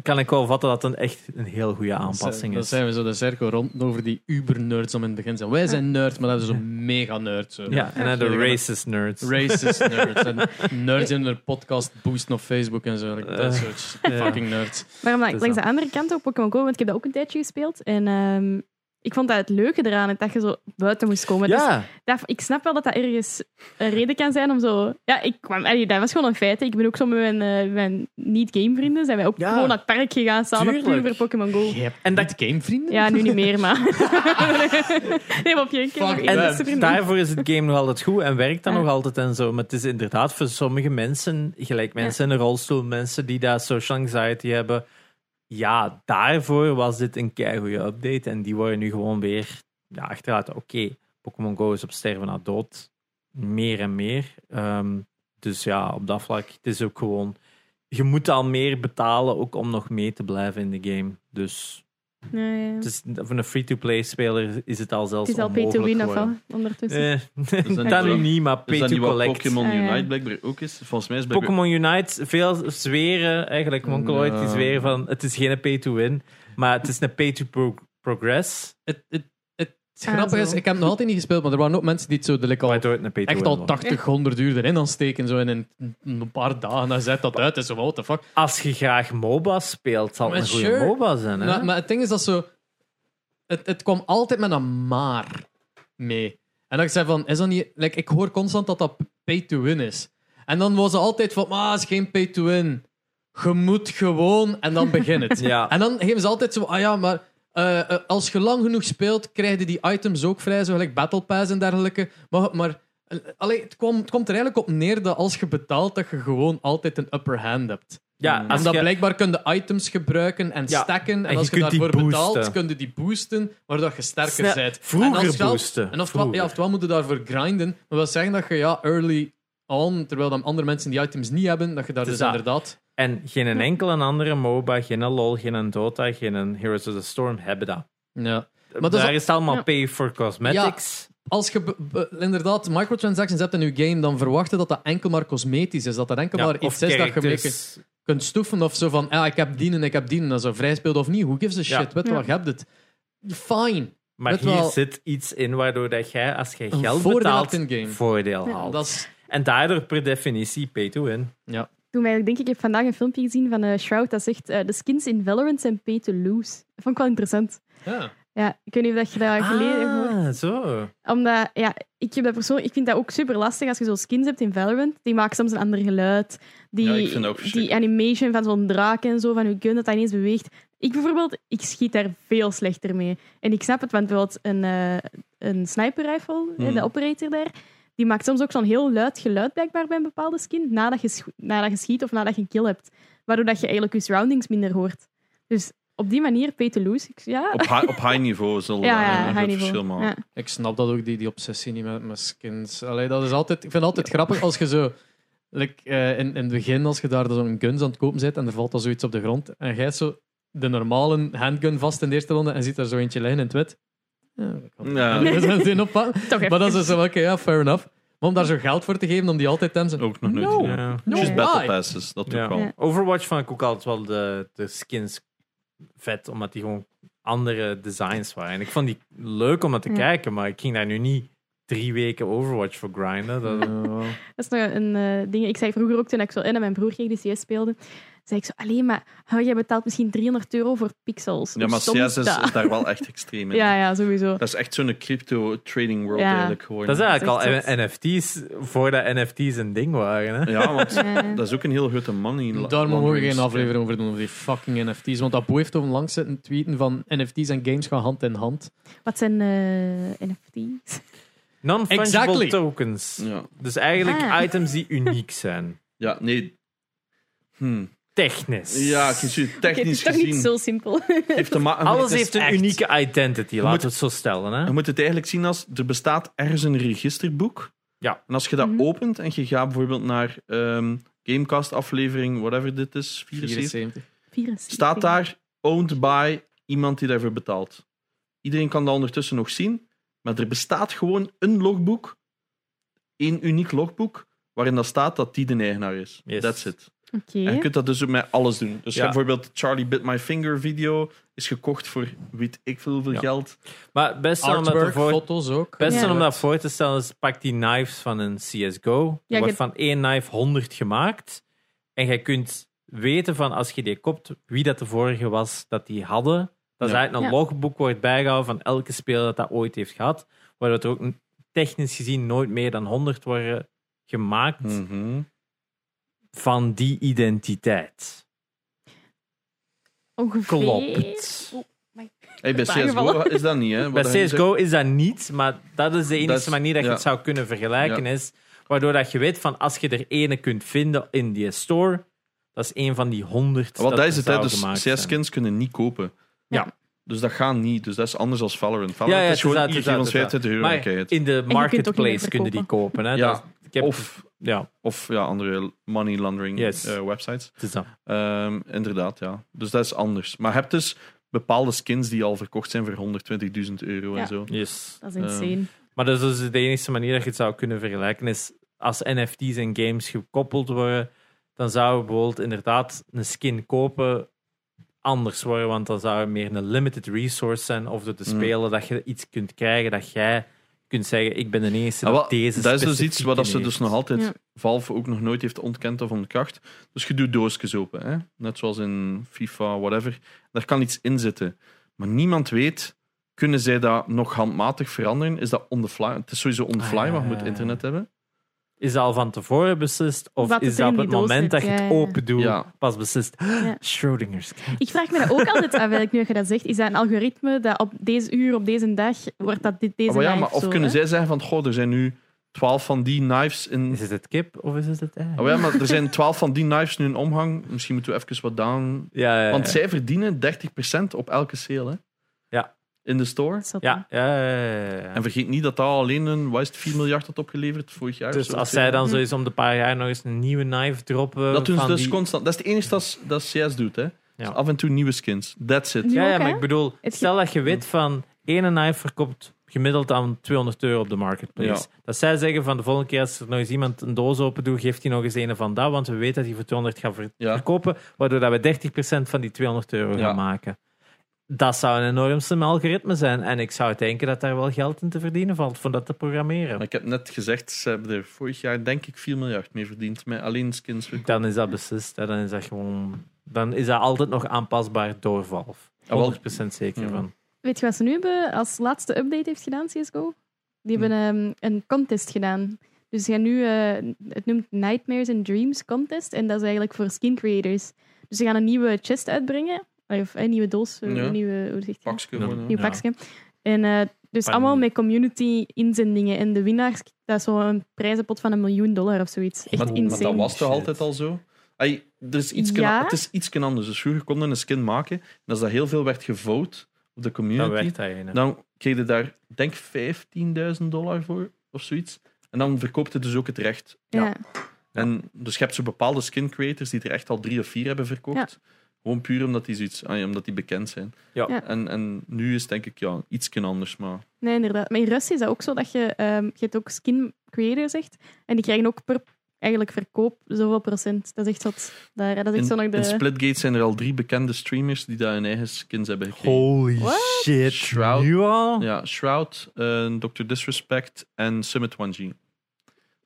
S3: kan ik wel vatten dat het een echt een heel goede aanpassing
S2: Dat
S3: is.
S2: zijn we zo de cirkel rond over die uber-nerds om in het begin te zijn. Wij zijn nerds, maar dat is zo'n mega-nerd. zo.
S3: Ja, en dan de racist nerds.
S2: Racist nerds. En nerds in hun podcast boosten op Facebook en zo. Like, dat
S3: Eh,
S2: soort
S3: ja.
S2: fucking nerds.
S4: Maar om dat-
S3: Dus
S4: langs
S3: dat-
S4: de andere kant ook Pokémon Go, want ik heb dat ook een tijdje gespeeld. En ehm, ik vond dat het leuke eraan, het dat je zo buiten moest komen. Dus
S3: Ja,
S4: dat- ik snap wel dat dat ergens een reden kan zijn om zo... Ja, ik kwam, allee, dat was gewoon een feit. hè. Ik ben ook zo met mijn, eh, mijn niet-gamevrienden, zijn wij ook
S3: Ja.
S4: gewoon naar het park gegaan samen, puur
S3: Tuurlijk.
S4: voor Pokémon Go.
S2: hebt
S3: En dat-
S2: niet gamevrienden?
S4: Ja, nu niet
S3: [laughs]
S4: meer, maar... nee, maar op je keer.
S2: Fuck,
S4: Ik
S2: en
S4: was er
S3: En
S4: niet.
S3: daarvoor is het game nog altijd goed en werkt dat
S4: Ja.
S3: nog altijd en zo. Maar het is inderdaad voor sommige mensen, gelijk mensen in een rolstoel, mensen die daar social anxiety hebben. Ja, daarvoor was dit een keigoede update en die worden nu gewoon weer ja, achteruit. Oké, Pokémon Go is op sterven na dood. Meer en meer. Ehm, dus ja, op dat vlak, het is ook gewoon... Je moet al meer betalen ook om nog mee te blijven in de game. Dus
S4: Ja, ja.
S3: het is, voor een free-to-play speler is het al zelfs
S4: eh, Het is al
S3: onmogelijk
S4: pay-to-win of
S3: geworden.
S4: al, ondertussen.
S3: Eh, [laughs]
S1: dat
S3: dat
S1: niet-
S3: niet, maar
S1: is
S3: pay
S1: dat
S3: to
S1: niet wat
S3: collect.
S1: Pokémon
S4: Ah, ja.
S1: Unite blijkbaar ook is? Volgens mij is blijkbaar...
S3: Pokémon Unite, veel zweren eigenlijk, Monkoloid, die
S2: Ja.
S3: zweren van het is geen pay to win, maar het is een pay to pro-
S2: [laughs]
S3: progress,
S2: Het, het, het
S4: Ah,
S2: grappige is,
S4: zo.
S2: ik heb nog altijd niet gespeeld, maar er waren ook mensen die het zo like, al,
S3: waardoor het een pay to
S2: echt
S3: win
S2: al
S3: wordt.
S2: 80, 100 uur erin aan steken. Zo, en in een paar dagen dan zet dat uit. En zo, what the fuck.
S3: Als je graag MOBA speelt, zal het een
S2: Maar
S3: goede
S2: sure.
S3: MOBA zijn. Hè?
S2: Maar, maar het ding is dat zo... Het, het kwam altijd met een maar mee. En dat ik zei van, is dat niet... Like, ik hoor constant dat dat pay-to-win is. En dan was ze altijd van, maar het is geen pay-to-win. Je moet gewoon... En dan begint het.
S3: [laughs] Ja.
S2: En dan geven ze altijd zo, ah ja, maar... eh, eh, als je lang genoeg speelt, krijg je die items ook vrij, zo gelijk Battle Pass en dergelijke. Maar, maar eh, allee, het, kwam, het komt er eigenlijk op neer dat als je betaalt, dat je gewoon altijd een upper hand hebt.
S3: ja, als
S2: En dat
S3: je-
S2: blijkbaar kun je items gebruiken en
S3: Ja,
S2: stacken. En,
S3: en
S2: als
S3: je
S2: je,
S3: kunt die
S2: daarvoor betaalt,
S3: boosten.
S2: kun je die boosten, waardoor je sterker
S3: Snel-
S2: bent.
S3: vroeger
S2: en als wel-
S3: boosten.
S2: En oftewel,
S3: Vroeger.
S2: ja, oftewel moet je daarvoor grinden. Maar dat wil zeggen dat je ja, early on, terwijl dan andere mensen die items niet hebben, dat je daar
S3: Het is
S2: dus
S3: dat.
S2: inderdaad...
S3: En geen een enkele andere MOBA, geen een LOL, geen een Dota, geen een Heroes of the Storm hebben dat.
S2: Ja. Maar dat is
S3: Daar
S2: al-
S3: is, het allemaal
S4: Ja.
S3: pay for cosmetics.
S2: als je be- be- inderdaad microtransactions hebt in je game, dan verwachten dat dat enkel maar cosmetisch is. Dat dat enkel
S3: Ja,
S2: maar
S3: of
S2: iets is dat je... een beetje-
S3: characters.
S2: kunt stoeven of zo van, ah, ik heb die en ik heb die en dat zo vrij speelt of niet. Who gives a
S3: Ja.
S2: shit? Weet je
S4: Ja.
S2: wel, je hebt het. Fine.
S3: Maar
S2: Weet
S3: hier
S2: wel-
S3: zit iets in waardoor dat jij, als jij
S2: Een
S3: geld
S2: voordeel
S3: betaalt,
S2: hebt in game.
S3: voordeel
S4: Ja,
S3: haalt.
S2: Dat is,
S3: En daardoor per definitie pay to win.
S4: Toen eigenlijk denk ik, ik heb vandaag een filmpje gezien van eh, Shroud dat zegt eh, de skins in Valorant zijn pay to lose. Dat vond ik wel interessant.
S2: ja.
S4: Ja, ik weet niet of dat je dat geleden hebt gehoord.
S3: ah, zo.
S4: Omdat, ja, ik, heb dat persoonlijk, ik vind dat ook super lastig als je zo skins hebt in Valorant. Die maken soms een ander geluid. Die,
S1: Ja, ik vind dat ook
S4: die
S1: verschrikkelijk.
S4: animation van zo'n draak en zo, van hoe gun dat dat ineens beweegt. Ik bijvoorbeeld, ik schiet daar veel slechter mee. En ik snap het, want bijvoorbeeld een, eh een sniper rifle, eh,
S1: Hmm.
S4: de operator daar, die maakt soms ook zo'n heel luid geluid blijkbaar bij een bepaalde skin, nadat je, scho- nadat je schiet of nadat je een kill hebt. Waardoor dat je eigenlijk je surroundings minder hoort. Dus op die manier, pay to lose. Ik- ja,
S1: Op, high, op high niveau zullen
S4: [laughs] ja,
S1: daar
S4: ja,
S1: een groot
S4: high niveau.
S1: verschil maken.
S4: Ja.
S2: Ik snap dat ook, die, die obsessie niet met, met skins. Allee, dat is altijd, ik vind het altijd grappig als je zo... like, eh, in, in het begin, als je daar zo'n guns aan het kopen zit en er valt al zoiets op de grond en jij hebt zo de normale handgun vast in de eerste ronde en ziet daar zo eentje liggen in het wit. Ja, ik kan
S1: Ja.
S2: het niet meteen oppakken.
S4: [laughs] Toch even.
S2: Maar dat is dus zo, oké, ja, fair enough. Maar om daar zo geld voor te geven, om die altijd te hebben, zo-
S1: Ook nog nooit.
S2: No.
S1: gedaan.
S3: Ja.
S2: No,
S1: Just
S4: Ja.
S1: battle
S2: why?
S1: passes, dat
S3: Ja.
S1: ook wel.
S4: Ja.
S3: Overwatch vond ik ook altijd wel de, de skins vet, omdat die gewoon andere designs waren. En ik vond die leuk om naar te
S4: Ja.
S3: kijken, maar ik ging daar nu niet drie weken Overwatch voor grinden. Dat,
S2: Ja.
S4: [laughs] Dat is nog een eh, ding. Ik zei vroeger ook toen ik zo in en mijn broer ging die CS speelde, zei ik zo, alleen maar, oh, jij betaalt misschien 300 euro voor pixels.
S1: Ja, maar CS
S4: Stom
S1: is,
S4: dat. [laughs]
S1: is daar wel echt extreem in.
S4: Ja, ja, sowieso.
S1: Dat is echt zo'n crypto trading world
S4: Ja.
S1: eigenlijk gewoon.
S3: dat is eigenlijk al
S4: echt
S3: NFT's, voordat NFT's een ding waren. Hè?
S1: Ja, want
S4: Ja.
S1: dat is ook een heel grote money. Oh, la-
S2: Daar mogen we
S1: laundering
S2: geen
S1: scam.
S2: aflevering over doen, over die fucking NFT's. Want Abu heeft over langs zitten tweeten van NFT's en games gaan hand in hand.
S4: Wat zijn eh, NFT's?
S3: Non-fungible
S2: Exactly.
S3: tokens.
S1: Ja.
S3: Dus eigenlijk
S4: Ah.
S3: items die uniek zijn.
S1: ja, nee. Hm.
S3: Technisch.
S1: Ja, ik zie het
S4: Oké, het
S1: technisch
S4: is [laughs] toch niet
S1: gezien.
S4: zo [laughs] simpel.
S1: heeft te maken met-
S3: Alles
S1: het is
S3: heeft een
S1: echt-
S3: unieke identity, laten
S1: moet-
S3: we het zo stellen.
S1: Je
S3: Hè?
S1: moet het eigenlijk zien als er bestaat ergens een registerboek.
S3: Ja.
S1: En als je dat
S4: Mhm.
S1: opent en je gaat bijvoorbeeld naar ehm, Gamecast aflevering, whatever dit is, 74,
S2: 74.
S4: Virus.
S1: staat daar owned by iemand die daarvoor betaalt. Iedereen kan dat ondertussen nog zien, maar er bestaat gewoon een logboek, één uniek logboek, waarin dat staat dat die de eigenaar is.
S3: Yes.
S1: That's it.
S4: Oké.
S1: En je kunt dat dus ook met alles doen. Dus
S3: Ja.
S1: je hebt bijvoorbeeld Charlie Bit My Finger video is gekocht voor weet ik veel hoeveel
S3: Ja.
S1: geld.
S3: Maar best wel om dat
S2: Artwork,
S3: ervoor-
S2: foto's ook.
S3: best wel
S4: Ja.
S3: om dat voor te stellen is, pak die knives van een CSGO.
S4: Ja,
S3: Er wordt
S4: je-
S3: van één knife 100 gemaakt. En je kunt weten van, als je die koopt, wie dat de vorige was dat die hadden. Dat is
S1: Ja.
S3: eigenlijk een
S4: Ja.
S3: logboek wordt bijgehouden van elke speler dat dat ooit heeft gehad. Waardoor er ook n- technisch gezien nooit meer dan 100 worden gemaakt
S1: Hmm. Mhm.
S3: van die identiteit.
S4: Ongeveer.
S3: Klopt.
S1: Hey, bij CSGO
S4: Aangevallen.
S1: is dat niet, hè?
S3: Bij
S1: Wat hij
S3: CSGO is dat niet, maar dat is de enige
S1: Dat is-
S3: manier dat je
S1: ja.
S3: het zou kunnen vergelijken. Is waardoor dat je weet van als je er ene kunt vinden in die store, dat is een van die honderd.
S1: Wat dat
S3: er
S1: is het, hè?
S3: zou
S1: Dus
S3: gemaakt zijn.
S1: CS-skins kunnen niet kopen.
S3: Ja.
S1: Dus dat gaat niet. Dus dat is anders dan Valorant. Valorant
S3: het
S1: is gewoon
S3: dat,
S1: hier,
S3: het
S1: geef
S3: dat,
S1: ons
S3: het dat.
S1: 25 euro en
S3: Maar
S1: krijg je het.
S3: in de
S4: meer
S3: marketplace kunnen die
S4: verkopen.
S3: kopen. Hè?
S1: Ja.
S3: Dat is- ik heb,
S1: Of,
S3: ja,
S1: of ja, andere money laundering
S3: Yes.
S1: eh, websites.
S3: het is dat.
S1: Ehm, inderdaad, ja. Dus dat is anders. Maar je hebt dus bepaalde skins die al verkocht zijn voor 120.000 euro
S4: Ja.
S1: en zo.
S3: Yes.
S4: Dat is insane.
S3: Maar dat is dus de enige manier dat je het zou kunnen vergelijken. Is als NFT's en games gekoppeld worden, dan zou je bijvoorbeeld inderdaad een skin kopen anders worden. Want dan zou het meer een limited resource zijn. Of door te
S1: Mm.
S3: spelen dat je iets kunt krijgen dat jij kunt zeggen: Ik ben de eerste.
S1: Ja,
S3: dat
S1: wel,
S3: deze
S1: dat is dus
S3: specifiek
S1: iets wat dat ze
S3: heeft.
S1: dus nog altijd,
S4: Ja.
S1: Valve ook nog nooit heeft ontkend of ontkracht. Dus je doet doosjes open, hè? net zoals in FIFA, whatever. Daar kan iets in zitten. Maar niemand weet, kunnen zij dat nog handmatig veranderen? Is dat on the fly? Het is sowieso on the
S3: Ah,
S1: fly, maar je moet
S3: ja.
S1: internet hebben.
S3: Is dat al van tevoren beslist? Of
S4: Wat
S3: is
S4: het
S3: dat
S4: in
S3: op
S4: die
S3: het
S4: doos
S3: moment
S4: zit,
S3: dat je
S4: ja,
S3: het
S4: ja.
S3: open doet,
S1: Ja.
S3: pas beslist?
S4: Ja.
S3: Schrodinger's
S1: Eh.
S3: cat.
S4: Ik vraag me dat ook altijd af, eigenlijk, nu je dat zegt. Is dat een algoritme dat op deze uur, op deze dag, wordt dat dit, deze
S1: Ah, Maar ja,
S4: knife
S1: maar of
S4: zo,
S1: kunnen
S4: hè?
S1: zij zeggen van, goh, er zijn nu twaalf van die knives in...
S3: Is het het kip of is het het ei?
S1: Oh ja, maar er zijn twaalf van die knives nu in omhang. Misschien moeten we even wat down...
S3: Ja, ja, ja.
S1: Want zij verdienen 30% op elke sale, hè?
S3: Ja.
S1: In de store.
S4: Dat is wat,
S3: ja, ja, ja, ja, ja.
S1: En vergeet niet dat dat alleen een wat is het, 4 miljard had opgeleverd vorig jaar.
S3: Dus
S1: Zo.
S3: als zij dan zo eens om de paar jaar nog eens een nieuwe knife droppen.
S1: dat doen ze
S3: van
S1: dus
S3: die-
S1: constant. Dat is het enige dat, dat CS doet, hè? Dus af en toe nieuwe skins. That's it.
S4: Nu
S3: Ja, ja,
S4: ook,
S3: maar
S4: hè?
S3: ik bedoel,
S1: Hm.
S4: Het ge-
S3: stel dat je weet van ene knife verkoopt gemiddeld aan 200 euro op de marketplace. Dat zij zeggen van de volgende keer als er nog eens iemand een doos open doet, geeft hij nog eens een van dat, want we weten dat hij voor 200 gaat ver-
S1: Ja.
S3: verkopen, waardoor dat we 30% van die 200 euro
S1: Ja.
S3: gaan maken. Dat zou een enorm slim algoritme zijn. En ik zou denken dat daar wel geld in te verdienen valt voor dat te programmeren.
S1: Maar ik heb net gezegd, ze hebben er vorig jaar denk ik 4 miljard mee verdiend met alleen skins.
S3: Dan is dat beslist. hè. Dan is dat gewoon. Dan is dat altijd nog aanpasbaar door Valve.
S1: Ah, wel.
S3: 100% zeker
S1: Ja.
S3: van.
S4: Weet je wat ze nu hebben als laatste update heeft gedaan, CSGO? Die hebben
S1: Hm.
S4: ehm, een contest gedaan. Dus ze gaan nu, eh, het noemt Nightmares and Dreams Contest. En dat is eigenlijk voor skin creators. Dus ze gaan een nieuwe chest uitbrengen. Of een nieuwe doos, eh,
S1: Ja.
S4: een nieuwe, hoe zeg je dat?
S1: Pakske gewoon. hè.
S4: Nieuw
S3: Ja.
S4: pakje. En eh, dus
S3: Maar-
S4: allemaal met community inzendingen. En de winnaars, dat is zo'n prijzenpot van een miljoen dollar of zoiets. Echt
S1: Maar, maar
S4: insane.
S1: dat was toch
S3: Shit.
S1: altijd al zo? Ai, er is iets
S4: Ja.
S1: Het is iets anders. Dus vroeger konden een skin maken. En als dat heel veel werd gevote op de
S3: Dan
S1: community,
S3: werkt dat in. hè.
S1: dan kreeg je daar denk 15.000 dollar voor of zoiets. En dan verkoopt het dus ook het recht.
S4: ja.
S1: En dus je hebt zo bepaalde skin creators die er echt al drie of vier hebben verkocht. Gewoon puur omdat die, zoiets, ah ja, omdat die bekend zijn.
S3: Ja.
S4: Ja.
S1: En, en nu is het denk ik ja, iets anders. Maar
S4: Nee, inderdaad. Maar in Rusland is dat ook zo dat je, ehm, je hebt ook skin creator zegt. En die krijgen ook per eigenlijk verkoop zoveel procent. Dat is echt wat daar. hè. Dat is
S1: in,
S4: echt zo nog
S1: in
S4: de.
S1: Splitgate zijn er al drie bekende streamers die daar hun eigen skins hebben gekregen.
S3: Holy
S4: What?
S3: shit.
S1: Shroud.
S3: Nu al?
S1: Ja, Shroud, eh, Dr. Disrespect en Summit 1G.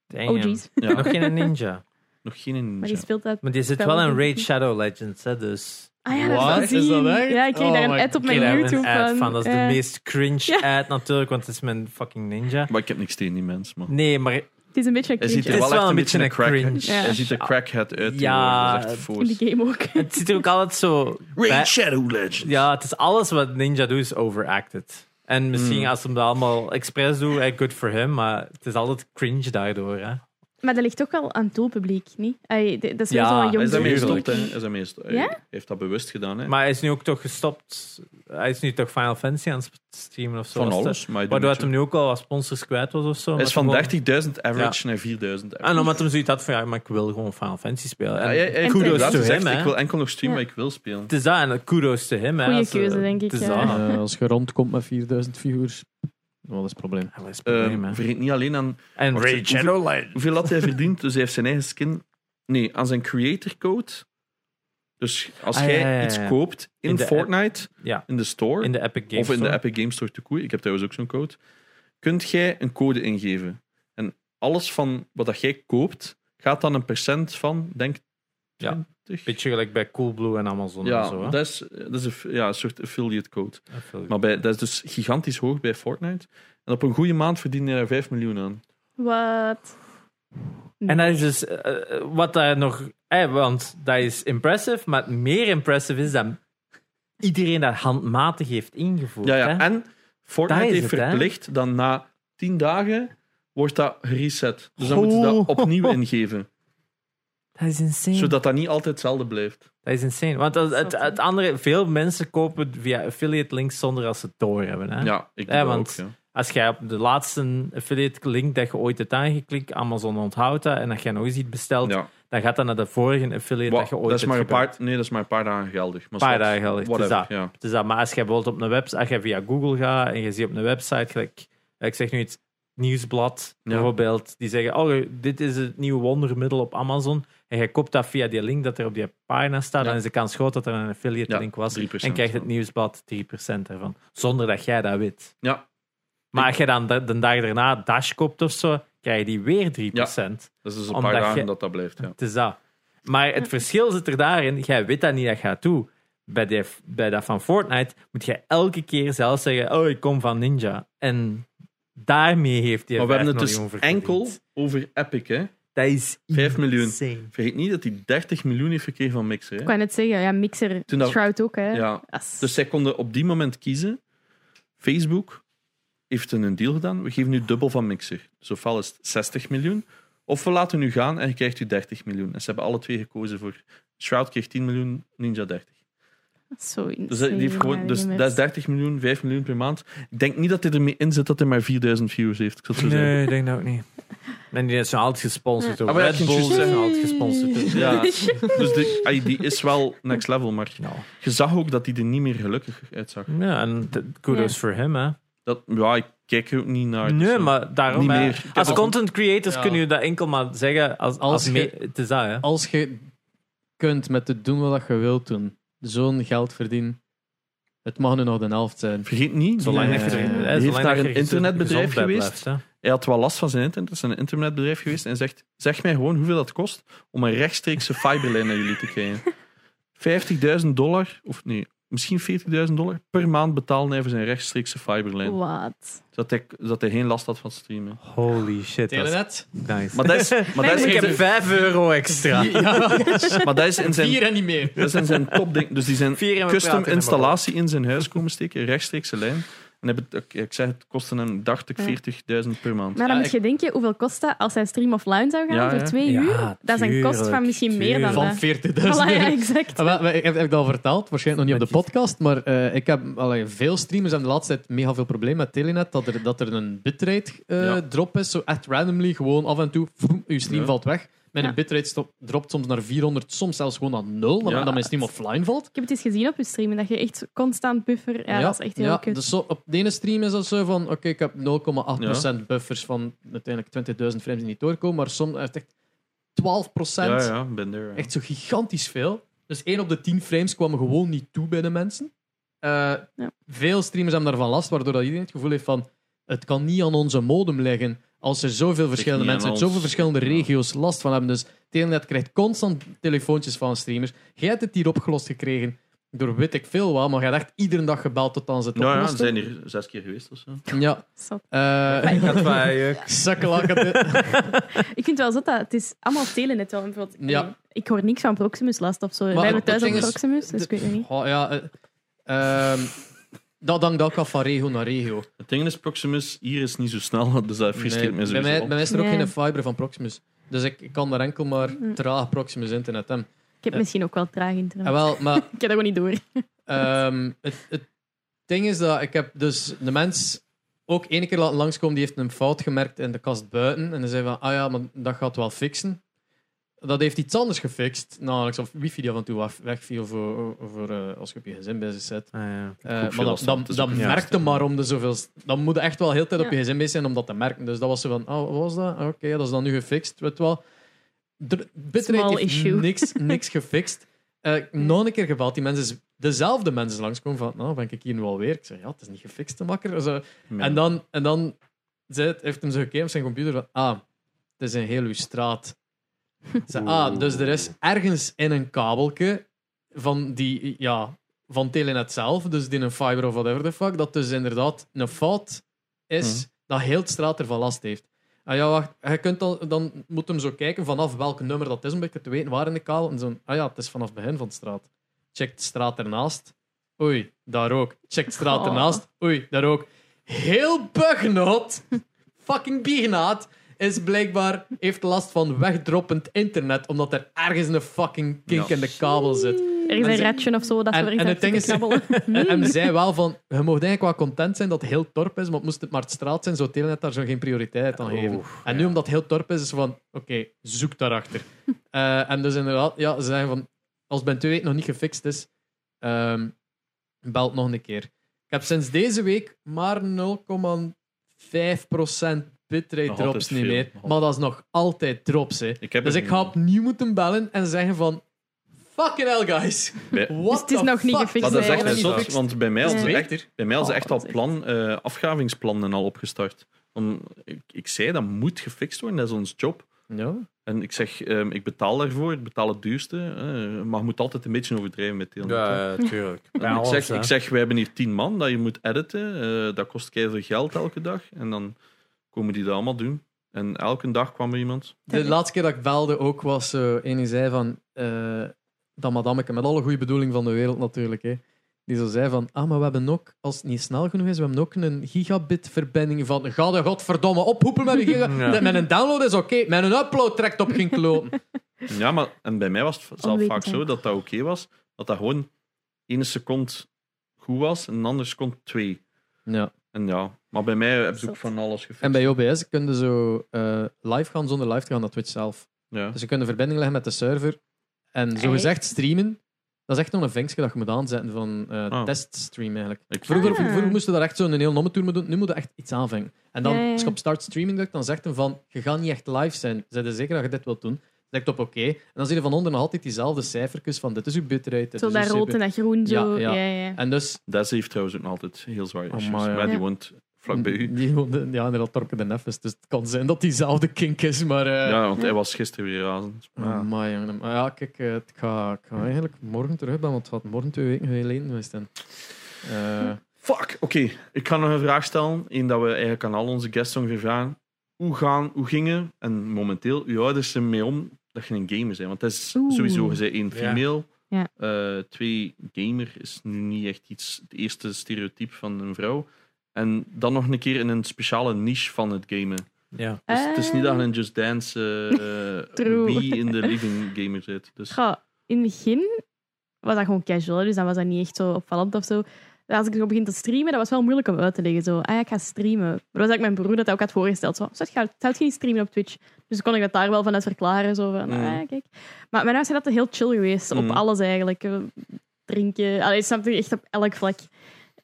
S3: Damn.
S4: Oh jeez.
S1: Ja,
S3: Nog geen ninja.
S1: [laughs] nog geen in
S4: Maar die speelt dat.
S3: Maar die zit
S4: Spel
S3: wel in
S4: ook
S3: Raid
S4: niet.
S3: Shadow Legends, hè, dus...
S4: Ah ja,
S2: What?
S4: dat
S2: Is
S4: is, zien.
S2: dat echt?
S4: Ja, ik kreeg daar
S2: Oh
S4: een
S2: my
S4: ad
S2: God.
S4: op
S3: Ik
S4: mijn
S3: daar
S4: YouTube
S3: een ad
S4: van.
S3: van. Dat is
S4: Eh,
S3: de meest cringe
S4: Ja.
S3: ad natuurlijk, want het is mijn fucking ninja.
S1: Maar ik heb niks tegen die mens, man.
S3: Nee, maar het
S4: Het is een beetje een
S1: Hij ziet
S4: cringe
S1: er wel
S3: is
S1: echt
S3: wel
S1: een
S3: een
S1: beetje een
S3: beetje een
S1: crackhead.
S3: cringe.
S4: Ja.
S1: Hij ziet er crackhead uit.
S3: Ja,
S1: Ja, dat is echt
S4: in de
S1: voor.
S4: game ook.
S1: [laughs]
S3: ziet er ook altijd zo... bij-
S1: Raid Shadow Legends.
S3: Ja, het is alles wat Ninja doet is overacted. En misschien
S1: Hmm.
S3: als ze hem dat allemaal expres doen, eh, good for him, maar het is altijd cringe daardoor. Hè.
S4: Maar dat ligt ook al aan het doelpubliek, niet? Ai, de- dat is
S3: Ja,
S4: wel zo'n
S1: Hij
S4: jong
S1: is daarmee
S4: doelpubliek.
S1: gestopt, hè. Hij is daarmee gestopt.
S4: Ja?
S1: Hij heeft dat bewust gedaan, [laughs] hè.
S3: Maar hij is nu ook toch gestopt. Hij is nu toch Final Fantasy aan het streamen of zo.
S1: Van
S3: was het?
S1: alles. Maar hij doet
S3: Waardoor
S1: het
S3: het hem nu ook al als sponsors kwijt was of zo.
S1: Hij is van 30.000 average naar 4.000 average. Ah,
S3: En Ah, nou, omdat hem zoiets had van ja, maar ik wil gewoon Final Fantasy spelen. En
S1: Hij- hij- hij heeft
S4: kudos
S1: inderdaad
S3: to
S1: gezegd,
S3: him, hè.
S1: Ik wil enkel nog streamen,
S4: Ja.
S1: maar ik wil spelen.
S3: het is dat en kudos te hem. hè.
S4: Goeie
S3: Als, eh,
S4: keuze, denk ik,
S3: Het is
S4: ja.
S3: dat.
S4: Ah.
S2: Eh, als je rondkomt met 4000 figuurs, wat is het probleem?
S3: Ja, dat is het
S1: Eh,
S3: probleem, hè.
S1: vergeet niet alleen aan
S3: en
S1: Wacht,
S3: Ray
S1: hoeveel-
S3: Shadow Legends.
S1: hoeveel had
S3: [laughs]
S1: hij verdiend. Dus hij heeft zijn eigen skin... Nee, aan zijn creator code. Dus als
S3: Ah,
S1: jij
S3: ja, ja, ja,
S1: iets
S3: ja.
S1: koopt in,
S3: In de app.
S1: Fortnite,
S3: Ja.
S1: in de store,
S3: In de Epic Games.
S1: of in de
S3: Store.
S1: Epic Game Store te koe, ik heb trouwens ook zo'n code, kunt jij een code ingeven. En alles van wat dat jij koopt, gaat dan een percent van, denk
S3: Ja.
S1: 20?
S3: Beetje gelijk bij Coolblue en Amazon en
S1: Ja,
S3: zo. hè.
S1: dat is, dat is een, f- ja, een soort affiliate code.
S3: Dat vind ik-
S1: Maar bij, dat is dus gigantisch hoog bij Fortnite. En op een goede maand verdien je daar 5 miljoen aan.
S4: Wat?
S3: En dat is dus eh, eh, wat daar nog. eh, want dat is impressive, maar meer impressive is dat iedereen dat handmatig heeft ingevoerd.
S1: Ja, ja.
S3: hè.
S1: En Fortnite
S3: Daar is
S1: heeft
S3: het, hè?
S1: verplicht dan na 10 dagen wordt dat gereset. Dus dan moeten ze dat
S3: Oh. [laughs]
S1: opnieuw ingeven.
S3: Dat is insane.
S1: Zodat dat niet altijd hetzelfde blijft.
S3: Dat is insane. Want het, het, het andere, veel mensen kopen via affiliate links zonder als ze het doorhebben. Hè?
S1: Ja, ik doe
S3: Ja,
S1: dat
S3: want-
S1: ook. Ja.
S3: Als jij op de laatste affiliate link dat je ooit hebt aangeklikt, Amazon onthoudt dat en dat jij nog eens iets bestelt,
S1: Ja.
S3: dan gaat dat naar de vorige affiliate
S1: Wa-
S3: dat je ooit
S1: dat is
S3: hebt
S1: maar een
S3: gebruikt.
S1: paar, nee, dat is maar een paar dagen geldig. Maar
S3: Een paar
S1: zwart,
S3: dagen geldig, het is
S1: whatever,
S3: dat. Het is dat. Maar als jij bijvoorbeeld op een website, als jij via Google gaat en je ziet op een website, gelijk, ik zeg nu iets, nieuwsblad
S1: Ja.
S3: bijvoorbeeld, die zeggen, oh, dit is het nieuwe wondermiddel op Amazon. En jij koopt dat via die link dat er op die pagina staat,
S1: Ja.
S3: dan is de kans groot dat er een affiliate
S1: Ja,
S3: link was.
S1: 3%,
S3: En krijgt het
S1: ja.
S3: nieuwsblad 3% ervan, zonder dat jij dat weet.
S1: Ja.
S3: Maar als je dan de, de dag daarna Dash koopt of zo, krijg je die weer 3%.
S1: Dat is dus een
S3: Omdat
S1: paar
S3: je-
S1: dagen dat dat blijft. Ja.
S3: Het is dat. Maar het verschil zit er daarin. Jij weet dat niet, dat gaat toe. Bij, die, bij dat van Fortnite moet je elke keer zelf zeggen: Oh, ik kom van Ninja. En daarmee heeft hij
S1: Maar we hebben het
S3: 5
S1: dus
S3: miljoen verdiend.
S1: enkel over Epic. Hè.
S3: Dat is
S1: 5 miljoen.
S3: insane.
S1: Vergeet niet dat hij 30 miljoen heeft gekregen van Mixer. Hè.
S4: Ik wou net zeggen, ja, Mixer,
S1: Toen dat-
S4: Shroud ook, hè.
S1: Ja.
S4: As-
S1: Dus zij konden op die moment kiezen. Facebook heeft een deal gedaan. We geven nu dubbel van Mixer. Dus ofwel is het 60 miljoen. Of we laten u gaan en je krijgt u 30 miljoen. En ze hebben alle twee gekozen voor. Shroud kreeg 10 miljoen, Ninja 30.
S4: Zo
S1: Dus, dat- die heeft
S4: insane,
S1: gewoon,
S4: ja,
S1: dus
S4: die
S1: dat
S4: mensen.
S1: is 30 miljoen, 5 miljoen per maand. Ik denk niet dat hij ermee in zit dat hij maar 4000 views heeft. Ik zal het zo zeggen.
S3: Nee, ik denk dat ook niet. En die is zo altijd gesponsord door
S1: Ah, maar ja,
S3: Red
S1: ik
S3: Bull.
S1: ging juist
S3: zijn
S1: zeggen.
S3: altijd gesponsord door-
S4: [laughs]
S1: Ja. Dus die, ai, die is wel next level, maar
S3: Nou.
S1: je zag ook dat hij er niet meer gelukkig uitzag.
S3: Ja, en t- kudos
S4: Ja.
S3: voor hem, hè.
S1: Dat, ja, ik kijk er ook niet naar. dus,
S3: Nee,
S1: eh,
S3: maar daarom.
S1: niet
S3: hè.
S1: meer. Ik heb
S3: Als
S1: al-
S3: content creators
S2: Ja.
S3: kun je dat enkel maar zeggen. Als, als,
S2: Als je-
S3: me- het is dat, hè.
S2: Als je kunt met het doen wat je wilt doen, zo'n geld verdienen, het mag nu nog de helft zijn.
S1: Vergeet niet,
S3: Zolang
S1: die,
S3: dat je-
S1: eh,
S3: hè,
S1: die
S3: zolang
S1: heeft
S3: dat
S1: daar
S3: je
S1: een
S3: gezond-
S1: internetbedrijf
S3: gezond bij
S1: geweest.
S3: blijft, hè.
S1: Hij had wel last van zijn internet. Het is een internetbedrijf geweest. En zegt: Zeg mij gewoon hoeveel dat kost om een rechtstreekse fiberlijn naar jullie te krijgen.
S3: [laughs]
S1: 50.000 dollar, of nee, misschien 40.000 dollar per maand betaalde hij voor zijn rechtstreekse fiberlijn.
S3: Oh.
S4: Wat?
S1: Zodat, hij, zodat hij geen last had van streamen.
S3: Holy shit, dat is
S2: Telenet?
S3: nice.
S1: Maar dat
S3: [laughs]
S1: is, maar dat is,
S3: ik heb 5 euro extra.
S2: Ja,
S1: maar dat is in zijn,
S2: vier en niet meer.
S1: dat is in zijn topding. Dus die zijn
S3: [laughs] Vier en we
S1: custom
S3: praten
S1: installatie in zijn huis komen steken, een rechtstreekse lijn. En hij bet- ik- ik zeg, het kostte hem, dacht ik,
S4: Ja.
S1: 40.000 per maand.
S4: Maar dan
S2: Ja,
S4: moet je denken, hoeveel kost dat als hij stream offline zou gaan
S1: Ja,
S4: voor
S1: ja.
S4: twee
S3: Ja,
S4: uur? dat is een kost van misschien
S3: tuurlijk,
S4: meer dan
S2: Van
S4: dat.
S2: [laughs] 40.000
S4: Voilà, ja,
S2: euro.
S4: exact.
S2: Ah, wel, wel, Ik heb, heb ik dat al verteld, waarschijnlijk nog niet op de podcast, maar eh, ik heb allee, veel streamers hebben de laatste tijd mega veel problemen met Telenet, dat er, dat er een bitrate eh,
S1: Ja.
S2: drop is, zo echt randomly, gewoon af en toe, vroom, uw stream
S1: Ja.
S2: valt weg. Mijn
S4: Ja.
S2: bitrate stop, dropt soms naar 400, soms zelfs gewoon naar 0,
S1: Ja.
S2: omdat mijn stream offline valt.
S4: Ik heb het eens gezien op je streamen, dat je echt constant buffer... Ja, dat is echt heel
S2: ja,
S4: kut.
S2: Dus zo, op de ene stream is dat zo van, oké, ik heb 0,8% buffers van uiteindelijk 20.000 frames die niet doorkomen, maar soms heeft echt 12%.
S1: Ja, ja, ben there. ja.
S2: Echt zo gigantisch veel. Dus 1 op de 10 frames kwamen gewoon niet toe bij de mensen. Eh, Veel streamers hebben daarvan last, waardoor dat iedereen het gevoel heeft van het kan niet aan onze modem liggen als er zoveel verschillende
S1: niet
S2: mensen
S1: aan
S2: uit
S1: ons.
S2: zoveel verschillende
S1: Ja.
S2: regio's last van hebben. Dus Telenet krijgt constant telefoontjes van streamers. Jij hebt het hier opgelost gekregen door weet ik veel wat, maar jij hebt echt iedere dag gebeld tot aan ze het
S1: Nou ja, ze zijn
S2: oplosten.
S1: hier zes keer geweest of zo.
S2: Ja.
S4: Zot.
S2: [laughs] Eh,
S3: Dat wij, eh,
S2: sukkelak had dit.
S4: Ik vind wel zot dat het is allemaal telenet wel. Bijvoorbeeld,
S2: Ja.
S4: eh, Ik hoor niks van Proximus last of zo. Wij hebben
S2: het
S4: thuis
S2: ding
S4: ook
S2: is-
S4: Proximus, dus ik weet het niet.
S2: Oh, ja, eh, ehm, dat hangt ook af van regio naar regio.
S1: Het ding is, Proximus hier is niet zo snel, dus dat frustreert
S2: Nee,
S1: me
S2: bij,
S1: sowieso.
S2: mij, bij mij is er ook
S4: Nee.
S2: geen fiber van Proximus. Dus ik, ik kan daar enkel maar
S4: Mm.
S2: traag Proximus internet hebben.
S4: Ik heb
S2: Ja.
S4: misschien ook wel traag internet.
S2: En Ah, wel, maar
S4: Ik heb dat gewoon niet door.
S2: ehm, het, het ding is dat ik heb dus de mens ook één keer laten langskomen, die heeft een fout gemerkt in de kast buiten. En dan zei van, ah ja, maar dat gaat wel fixen. Dat heeft iets anders gefixt, namelijk zo'n wifi die af en toe af- wegviel voor, voor, eh, als je op je gezin bezig zit.
S3: [laughs] ah, ja.
S2: Eh,
S1: ook veel
S2: maar
S1: last
S2: dat,
S1: van.
S2: dat,
S1: Het is
S2: dat
S1: ook niet
S2: merkte
S1: juist, hè.
S2: maar om de zoveel. Dan moet je echt wel heel de tijd op
S4: Ja.
S2: je gezin bezig zijn om dat te merken. Dus dat was zo van, oh, wat was dat? Ah, Oké, dat is dan nu gefixt. Weet wel. Dr- Bitrate
S4: Small
S2: heeft
S4: issue. [laughs]
S2: niks, niks gefixt. Eh, nog een keer gebeld, die mensen, is- dezelfde mensen langskomen van, nou ben ik hier nu alweer. Ik zeg, ja, het is niet gefixt, te makker. Zo.
S1: Nee.
S2: En dan, en dan zei het, heeft hem zo gekeken op zijn computer van, ah, het is een heel uw straat. Ik Zei, ah, dus er is ergens in een kabelke van die, ja, van Telenet zelf, dus die een fiber of whatever the fuck, dat dus inderdaad een fout is dat heel het straat ervan last heeft. Ah ja, wacht, je kunt dan, dan moet hem zo kijken vanaf welk nummer dat is, om een beetje te weten waar in de kabel. En zo, ah ja, het is vanaf het begin van de straat. Check de straat ernaast. Oei, daar ook. Check de straat
S4: Oh.
S2: ernaast. Oei, daar ook. Heel Buggenot, fucking Biegenaat, is blijkbaar heeft last van wegdroppend internet, omdat er ergens een fucking kink
S1: Ja.
S2: in de kabel zit.
S4: Er is
S2: En
S4: een
S2: ze-
S4: ratje of zo dat
S2: en-
S4: we
S2: en het
S4: echt
S2: ding
S4: te
S2: is-
S4: knabbelen.
S2: [laughs]
S4: Hmm.
S2: En, en zei wel van, je mag eigenlijk wel content zijn dat het heel torp is, maar moest het maar het straat zijn, zou Telenet daar zo geen prioriteit aan geven.
S3: Oeh,
S2: en nu, omdat het heel torp is, is van, oké, zoek
S4: [laughs]
S2: daarachter. Eh, en dus inderdaad, ja, ze zeggen van, als Ben 2 nog niet gefixt is, ehm belt nog een keer. Ik heb sinds deze week maar 0,5% bitrate
S1: Nog
S2: drops
S1: altijd
S2: niet
S1: veel.
S2: meer. Maar dat is nog altijd drops, hè.
S1: Ik heb
S2: Dus
S1: het
S2: ik ga opnieuw moeten bellen en zeggen van, fucking hell, guys.
S1: Bij-
S2: What
S4: Dus het is
S2: the
S4: nog niet
S2: fuck?
S4: gefixt,
S1: Maar dat is echt
S4: Nee,
S1: een
S4: niet
S1: zot,
S4: gefixt.
S1: want bij mij hadden ze
S4: Nee.
S1: echt, bij mij hadden ze
S4: Oh,
S1: echt al
S4: dat is
S1: plan, eh, afgravingsplannen al opgestart. Want ik, ik zei, dat moet gefixt worden, dat is ons job.
S2: Ja.
S1: En ik zeg, ehm, ik betaal daarvoor, ik betaal het duurste. eh, maar je moet altijd een beetje overdrijven met deel.
S3: Ja, ja, Eh, tuurlijk.
S1: ik, zeg, ik zeg, we hebben hier tien man dat je moet editen. eh, dat kost keihard geld elke dag. En dan komen die dat allemaal doen. En elke dag kwam er iemand.
S2: De laatste keer dat ik belde ook was zo en die zei van eh dat madameke, met alle goede bedoeling van de wereld natuurlijk, hè, die zo zei van ah, maar we hebben ook, als het niet snel genoeg is, we hebben ook een gigabit-verbinding van ga de godverdomme ophoepen met een gigabit.
S3: Ja.
S2: Met een download is oké, met een upload trekt op geen kloten.
S1: Ja, maar en bij mij was het zelf
S4: Onwetend
S1: vaak zo
S4: ook.
S1: dat dat oké was. Dat dat gewoon ene seconde goed was en een andere seconde twee.
S2: ja.
S1: En ja, maar bij mij hebben ze ook
S4: Zot.
S1: van alles gefixt.
S2: En bij OBS kun je zo eh, live gaan zonder live te gaan naar Twitch zelf.
S1: Ja.
S2: Dus je kunt een verbinding leggen met de server en
S4: Echt?
S2: zogezegd streamen Dat is echt nog een vinkje dat je moet aanzetten van eh,
S1: Ah.
S2: teststream eigenlijk.
S1: Ik-
S2: Vroeger,
S4: Ah.
S2: vroeger moesten daar echt zo'n heel nommertour mee doen. Nu moet je echt iets aanvangen. En dan,
S4: Ja, ja, ja.
S2: als je op start streaming drukt, dan zegt hem van, je gaat niet echt live zijn. Zij er zeker dat je dit wilt doen? Zegt op oké. En dan zie je van onder nog altijd diezelfde cijfertjes van, dit is uw bitrate, dit
S4: Zo
S2: is
S4: dat
S2: uw
S4: rood en
S2: CP.
S4: dat groen. Zo.
S2: Ja,
S4: Ja,
S2: ja.
S4: ja. ja,
S2: En dus...
S1: Des heeft trouwens ook nog altijd heel zwaar issues.
S2: maar ja.
S1: maar die
S4: Ja.
S1: woont vlak bij u.
S2: Die woonde- ja, inderdaad, Torke de Nef is. Dus het kan zijn dat diezelfde kink is, maar... eh,
S1: Ja, want hij was gisteren weer razend.
S2: Ja.
S1: Ja.
S2: Amai, jongen. Maar ja, kijk, eh, ik ga, ik ga eigenlijk morgen terug ben, want het gaat morgen twee weken geleden geweest zijn. Eh,
S1: Fuck, oké. Ik ga nog een vraag stellen. Eén dat we eigenlijk aan al onze guests ongeveer vragen. Hoe, gaan, hoe gingen, en momenteel, uw ouders ermee om dat je een gamer bent? Want dat is
S4: Oeh.
S1: sowieso, je bent één
S3: Ja.
S1: female.
S4: Ja.
S1: Eh, twee, gamer is nu niet echt iets, het eerste stereotype van een vrouw. En dan nog een keer in een speciale niche van het gamen.
S3: Ja.
S1: Dus het is niet dat je
S4: Eh.
S1: een Just Dance eh
S4: [laughs] True.
S1: wie in de living gamer zit. Dus
S4: Goh, in het begin was dat gewoon casual, hè, dus dan was dat niet echt zo opvallend of zo. En Als ik erop begin te streamen, dat was wel moeilijk om uit te leggen. Zo, ah ja, ik ga streamen. Maar dat was eigenlijk mijn broer dat hij ook had voorgesteld. Zo, zou je, zou je niet streamen op Twitch? Dus kon ik dat daar wel vanuit verklaren. Zo van,
S1: Mm.
S4: ah, ja, kijk. Maar mijn ouders zijn altijd heel chill geweest.
S1: Mm.
S4: Op alles eigenlijk. Eh, Drinken. Allee, snap je, echt op elk vlak.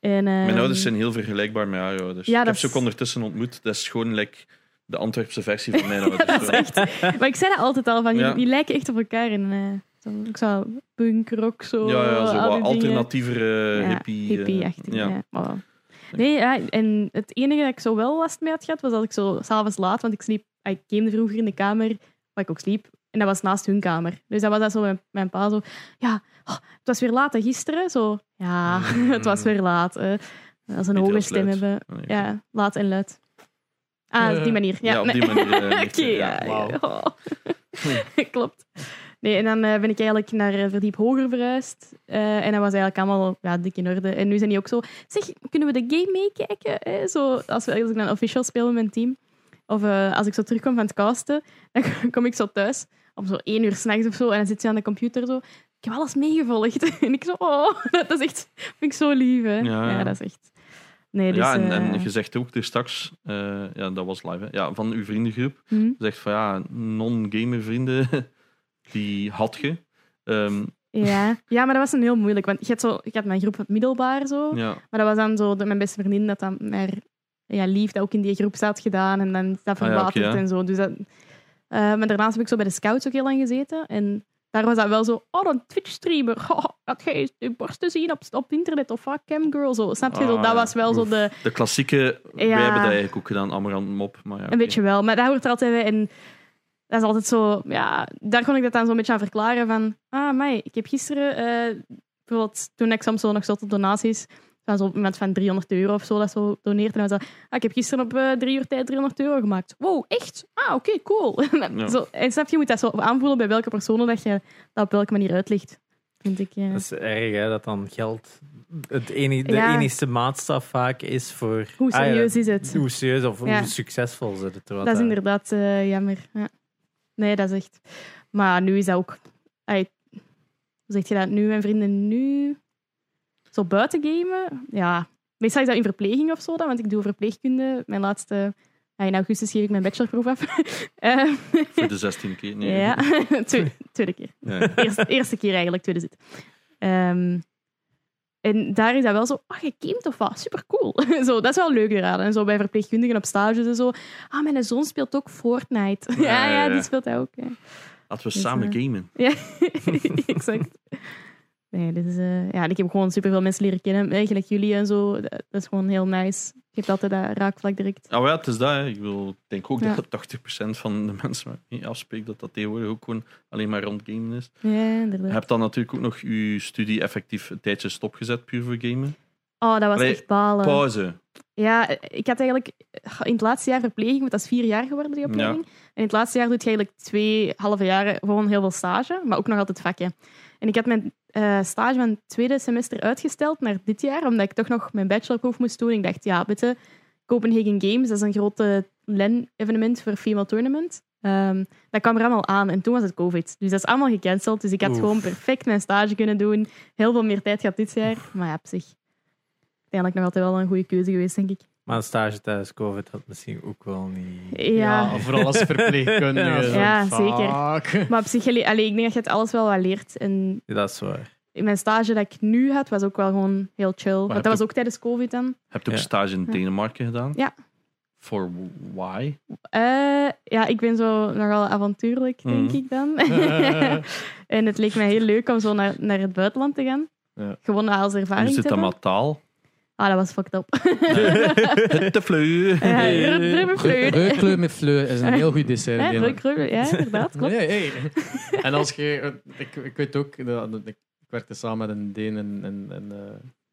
S4: En, ehm,
S1: Mijn ouders zijn heel vergelijkbaar met haar ouders.
S4: Ja,
S1: ik heb
S4: dat
S1: ze ook
S4: is-
S1: ondertussen ontmoet. Dat is gewoon like, de Antwerpse versie
S4: [laughs]
S1: van mijn ouders.
S4: [laughs] dat is echt... Maar ik zei dat altijd al, van,
S1: Ja.
S4: die, die lijken echt op elkaar. En, eh, zo, ik zou punk, rock, zo.
S1: ja, ja, zo
S4: al
S1: wat
S4: die dingen.
S1: alternatievere
S4: Ja,
S1: hippie. eh,
S4: hippie-achtig,
S1: ja.
S4: ja. Maar wel. Nee, ja, en het enige dat ik zo wel last mee had gehad, was dat ik zo s'avonds laat, want ik sliep, ik game vroeger in de kamer waar ik ook sliep, en dat was naast hun kamer. Dus dat was dat zo mijn, mijn pa zo, ja, oh, het was weer laat hè, gisteren, zo, ja, [laughs] het was weer laat. eh. als ze een
S1: Mm. Niet
S4: hoge
S1: heel
S4: stem
S1: luid.
S4: hebben,
S1: Ah, nee, oké.
S4: ja, laat en luid. Ah, op die manier. Ja,
S1: Ja, op die
S4: nee.
S1: manier.
S4: [laughs]
S1: eh,
S4: Oké,
S1: heeft hij-
S4: ja.
S1: ja.
S2: wauw.
S4: ja.
S1: [laughs]
S4: Oh. [laughs] Klopt. Nee, en dan eh, ben ik eigenlijk naar eh, verdiep hoger verhuisd. Eh, en dat was eigenlijk allemaal ja, dik in orde. En nu zijn die ook zo... Zeg, kunnen we de game meekijken? Eh, zo, als, we, als ik dan official speel met mijn team. Of eh, als ik zo terugkom van het casten, [laughs] dan kom ik zo thuis. Om zo één uur s'nachts of zo. En dan zit ze aan de computer zo... Ik heb alles meegevolgd. [laughs] En ik zo... Oh, dat is echt... vind ik zo lief, hè.
S1: Ja,
S4: Ja,
S1: ja.
S4: dat is echt... Nee, dus...
S1: Ja, en,
S4: eh,
S1: en je zegt ook er straks, eh, ja, dat was live, hè, ja, van uw vriendengroep.
S4: hm.
S1: Je zegt van ja, non-gamer vrienden, [laughs] die had je. Ehm,
S4: Ja. ja, maar dat was een heel moeilijk. Want je had, zo, ik had mijn groep van het middelbaar zo.
S1: ja.
S4: Maar dat was dan zo de, mijn beste vriendin dat dan naar ja, lief dat ook in die groep zat gedaan. En dan is dat
S1: Ah ja,
S4: verwaterd
S1: oké, ja.
S4: en zo. Dus dat, eh, maar daarnaast heb ik zo bij de scouts ook heel lang gezeten. En daar was dat wel zo, oh, een Twitch-streamer. [laughs] Oh, dat jij je borsten zien op, op internet of ah, camgirl. Zo. Snap je? zo,
S1: Ah,
S4: dat
S1: ja.
S4: was wel zo
S1: Oef.
S4: de...
S1: De klassieke, wij
S4: Ja.
S1: hebben dat eigenlijk ook gedaan, Amarant Mop. Maar ja,
S4: Een beetje wel, maar daar hoort er altijd bij. En dat is altijd zo, ja, daar kon ik dat dan zo'n beetje aan verklaren. Van, ah, mij, ik heb gisteren, eh, bijvoorbeeld toen ik soms zo nog zat op donaties, dan zo iemand van 300 euro of zo dat zo doneert. En dan was dat, ah, ik heb gisteren op eh, drie uur tijd 300 euro gemaakt. Wow, echt? Ah, oké, cool. [laughs]
S1: Ja.
S4: zo, en snap je, je moet dat zo aanvoelen bij welke personen dat je dat op welke manier uitlegt. Vind ik, eh. ja.
S3: Dat is erg, hè, dat dan geld het enige, de
S4: Ja.
S3: enige maatstaf vaak is voor...
S4: Hoe
S3: Ah, ja,
S4: serieus is het?
S3: Hoe serieus of
S4: Ja.
S3: hoe succesvol ze het
S4: Dat is inderdaad eh, jammer. Ja. Nee, dat is echt. Maar nu is dat ook. Ai, hoe zeg je dat nu, mijn vrienden? Nu. Zo buiten gamen? Ja. Meestal is dat in verpleging of zo, dan, want ik doe verpleegkunde. Mijn laatste. ah, in augustus geef ik mijn bachelorproef af. [laughs] Eh,
S1: Voor de 16 keer. Nee.
S4: [laughs] ja, [laughs] tweede, tweede keer.
S1: Ja.
S4: Eerste, eerste keer eigenlijk, tweede zit. Ehm, en daar is dat wel zo, ah, je gamet of wat? Supercool. [laughs] zo, dat is wel leuk eraan. En zo bij verpleegkundigen op stages en zo. Ah, mijn zoon speelt ook Fortnite.
S1: Ja,
S4: [laughs] Ja, ja,
S1: ja, ja.
S4: die speelt hij ook. Ja, [laughs]
S1: Laten we
S4: Dus,
S1: samen
S4: eh,
S1: gamen.
S4: ja [laughs] exact. Nee, dit is, eh, ja, en ik heb gewoon superveel mensen leren kennen. Eigenlijk jullie en zo. Dat, dat is gewoon heel nice. Je hebt altijd dat raakvlak direct.
S1: Nou ja, het is dat. Hè. Ik wil, ik denk ook
S4: Ja.
S1: dat 80% van de mensen waar ik mee afspreek, dat dat tegenwoordig ook gewoon alleen maar rond gamen is.
S4: Ja,
S1: Je
S4: inderdaad.
S1: hebt dan natuurlijk ook nog je studie effectief een tijdje stopgezet puur voor gamen.
S4: Oh, dat was
S1: Allee,
S4: echt balen.
S1: Pauze.
S4: Ja, eh, ik had eigenlijk in het laatste jaar verpleging, want dat is vier jaar geworden, die opleiding. En in het laatste jaar doe je eigenlijk twee halve jaren gewoon heel veel stage, maar ook nog altijd vakken. En ik had mijn eh, stage van het tweede semester uitgesteld naar dit jaar, omdat ik toch nog mijn bachelorproef moest doen. Ik dacht, ja, bitte, Copenhagen Games, dat is een grote LAN-evenement voor Female Tournament. Ehm, dat kwam er allemaal aan en toen was het COVID. Dus dat is allemaal gecanceld. Dus ik had
S3: Oef.
S4: gewoon perfect mijn stage kunnen doen. Heel veel meer tijd gehad dit jaar. Maar ja, op zich. Uiteindelijk nog altijd wel een goede keuze geweest, denk ik.
S3: Maar een stage tijdens COVID had misschien ook wel niet...
S4: Ja,
S2: vooral
S4: [laughs]
S2: als verpleegkundige.
S3: Ja,
S2: zo,
S4: ja,
S2: fuck.
S4: maar op zich, allee, allee, ik denk dat je het alles wel wat leert. En
S3: Ja, dat is waar.
S4: in mijn stage dat ik nu had, was ook wel gewoon heel chill.
S1: heb
S4: Want
S1: je-
S4: dat was ook tijdens COVID dan.
S1: Heb je ook
S3: Ja.
S1: stage in Denemarken gedaan?
S4: Ja.
S1: Voor why?
S4: Eh, ja, ik ben zo nogal avontuurlijk, denk
S1: Mhm.
S4: ik
S2: [laughs]
S4: dan. [laughs] en het leek mij heel leuk om zo naar, naar het buitenland te gaan.
S2: Ja.
S4: Gewoon als
S1: Hoe
S4: ervaring te
S1: zit dat
S4: hebben.
S1: met [laughs] taal?
S4: Ah, dat was fucked up.
S2: [laughs]
S1: Het te fleu.
S4: Ja, rubberen
S2: Re-
S4: fleur.
S1: [laughs]
S2: Reukleur met fleur is een heel
S4: [laughs]
S2: goed dessert.
S4: Ja,
S2: in Nederland.
S4: reukrubber. Ja, inderdaad, klopt.
S2: Nee, hey. En als je... eh, Ik, ik weet ook... dat- dat- Ik werkte samen met een Deen in, in, in, eh,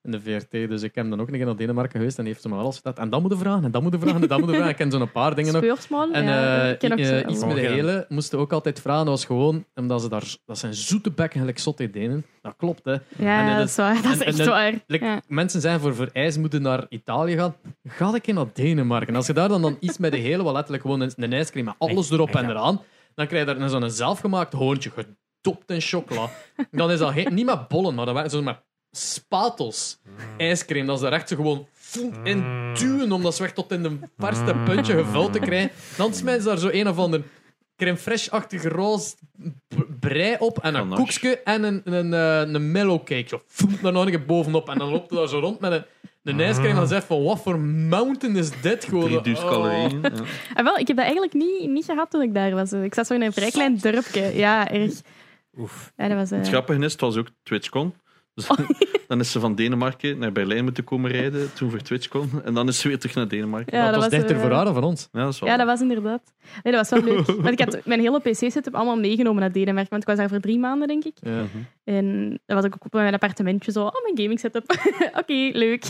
S2: in de VRT, dus ik heb dan ook een keer naar Denemarken geweest en die heeft ze me alles verteld. En dat moeten vragen, en dat moeten vragen, en dat moeten vragen. Ik ken zo'n paar dingen nog.
S4: Speursmal.
S2: En
S4: ja,
S2: eh,
S4: ik ken ook
S2: i-
S4: zo-
S2: eh, iets met de
S3: Morgen.
S2: hele moesten ook altijd vragen. Dat was gewoon omdat ze daar... Dat zijn zoete bekken, gelijk zotte Denen. Dat klopt, hè. en,
S4: Ja,
S2: eh,
S4: dat is waar. Dat is
S2: en-
S4: echt
S2: en-
S4: waar.
S2: Like,
S4: Ja.
S2: Mensen zijn voor vereis moeten naar Italië gaan. Ga ik in naar Denemarken. Als je daar dan, dan iets met de hele, wat letterlijk gewoon een, een ijscream met alles erop en eraan, dan krijg je daar een- zo'n zelfgemaakt hoontje gedopt in chocola. Dan is dat geen, niet met bollen, maar dat waren zo met spatels ijscream. Dat is daar echt zo gewoon voem in duwen om dat zo echt tot in de verste puntje gevuld te krijgen. Dan smijten ze daar zo een of ander crème fraîche-achtige roze b- brei op en een
S1: Ganache.
S2: koekje en een, een, eh, een mellow cake. Zo, voem, daar nog een keer bovenop. En dan loopt hij daar zo rond met een, een ijscream en dan zegt van, wat voor mountain is dit gewoon?
S1: 3000
S2: Oh.
S1: calorieën. Ja.
S4: Ah, wel, ik heb dat eigenlijk niet, niet gehad toen ik daar was. Ik zat zo in een vrij klein dorpje. Ja, erg.
S3: Oef.
S4: Ja, Oh, dat was, eh,
S1: Het grappige is, het was ook TwitchCon. Dus [laughs] dan is ze van Denemarken naar Berlijn moeten komen rijden, toen voor TwitchCon. En dan is ze weer terug naar Denemarken.
S4: Ja,
S2: dat, was dichter
S4: eh,
S2: voor haar dan voor ons.
S1: Ja, dat is wel
S4: Ja, dat was inderdaad. Nee, dat was wel leuk. Want ik had mijn hele PC-setup allemaal meegenomen naar Denemarken. Want ik was daar voor drie maanden, denk ik.
S2: Ja.
S4: En dat was ik ook op mijn appartementje zo. Oh, mijn gaming setup. [laughs] Oké, leuk.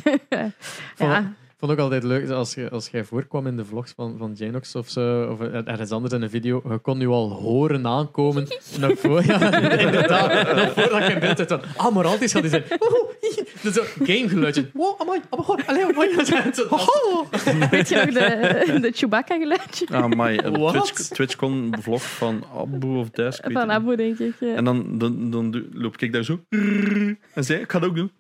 S2: Vond-
S4: ja.
S2: Ik vond het ook altijd leuk als, je, als jij voorkwam in de vlogs van, van Janox of zo, of eh, ergens anders in een video. Je kon nu al horen aankomen. nog voor, ja, inderdaad. Nog voordat je in beeld zit van. Ah, maar altijd gaat die zijn. Woehoe, hi, hi." Dus zo'n gamegeluidje. Wow, amai, amai, god, allee, amai. Zo, Ho, ho.
S4: [laughs] Weet je nog de, de Chewbacca-geluidje?
S1: Ah, my. Een
S2: Wat?
S1: Twitch, TwitchCon vlog van Abu of Desk. weet
S4: Van
S1: ik niet.
S4: Abu, denk ik. ja. [laughs]
S1: En dan, dan, dan doe- loop ik daar zo. En zij, ik ga dat ook doen.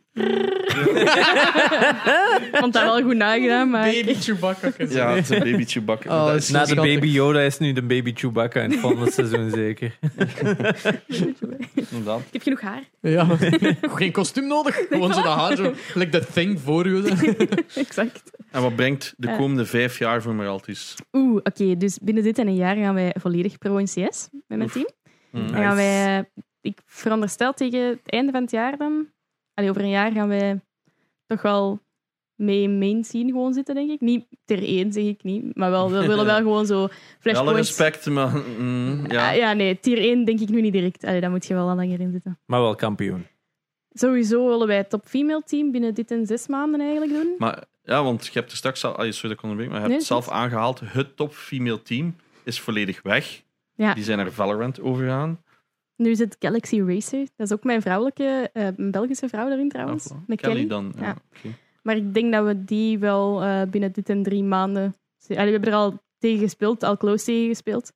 S4: vond dat wel goed nagedaan, maar...
S2: Baby Chewbacca.
S1: Ja, het is een baby Chewbacca.
S4: Oh,
S1: Maar dat is-
S3: Na de
S2: schattig.
S3: baby Yoda is nu de baby Chewbacca in het volgende seizoen [laughs] zeker.
S1: inderdaad.
S4: [laughs] Ik heb genoeg haar. [laughs]
S2: Ja. [laughs] Geen kostuum nodig. Gewoon zo dat haar zo. Like the thing voor je.
S4: Exact.
S1: En wat brengt de
S4: Eh.
S1: komende vijf jaar voor Meraltis?
S4: Oeh, oké. dus binnen dit en een jaar gaan wij volledig pro in CS met mijn team.
S1: Mm.
S4: Dan gaan wij... eh, Ik veronderstel tegen het einde van het jaar dan... Allee, over een jaar gaan wij toch wel mee in main scene gewoon zitten, denk ik. Niet ter één, zeg ik niet. Maar wel,
S1: [laughs]
S4: we willen wel gewoon zo
S1: Alle
S4: flashpoints...
S1: respect, maar... mm,
S4: Ah,
S1: ja.
S4: ja, nee, tier 1 denk ik nu niet direct. Allee, daar moet je wel al langer in zitten.
S3: Maar wel kampioen.
S4: Sowieso willen wij het top female team binnen dit en zes maanden eigenlijk doen.
S1: Maar, ja, want je hebt er straks al... ah, Sorry dat ik onderbreek, maar je hebt
S4: Nee,
S1: het zelf aangehaald. Het top female team is volledig weg.
S4: Ja.
S1: Die zijn naar Valorant overgegaan.
S4: Nu zit Galaxy Racer. Dat is ook mijn vrouwelijke, eh, een Belgische vrouw daarin trouwens.
S1: Ah, voilà.
S4: met Kelly.
S1: dan. Ja.
S4: Ja.
S1: oké.
S4: Maar ik denk dat we die wel eh, binnen dit en drie maanden... Allee, we hebben er al tegen gespeeld, al close tegen gespeeld.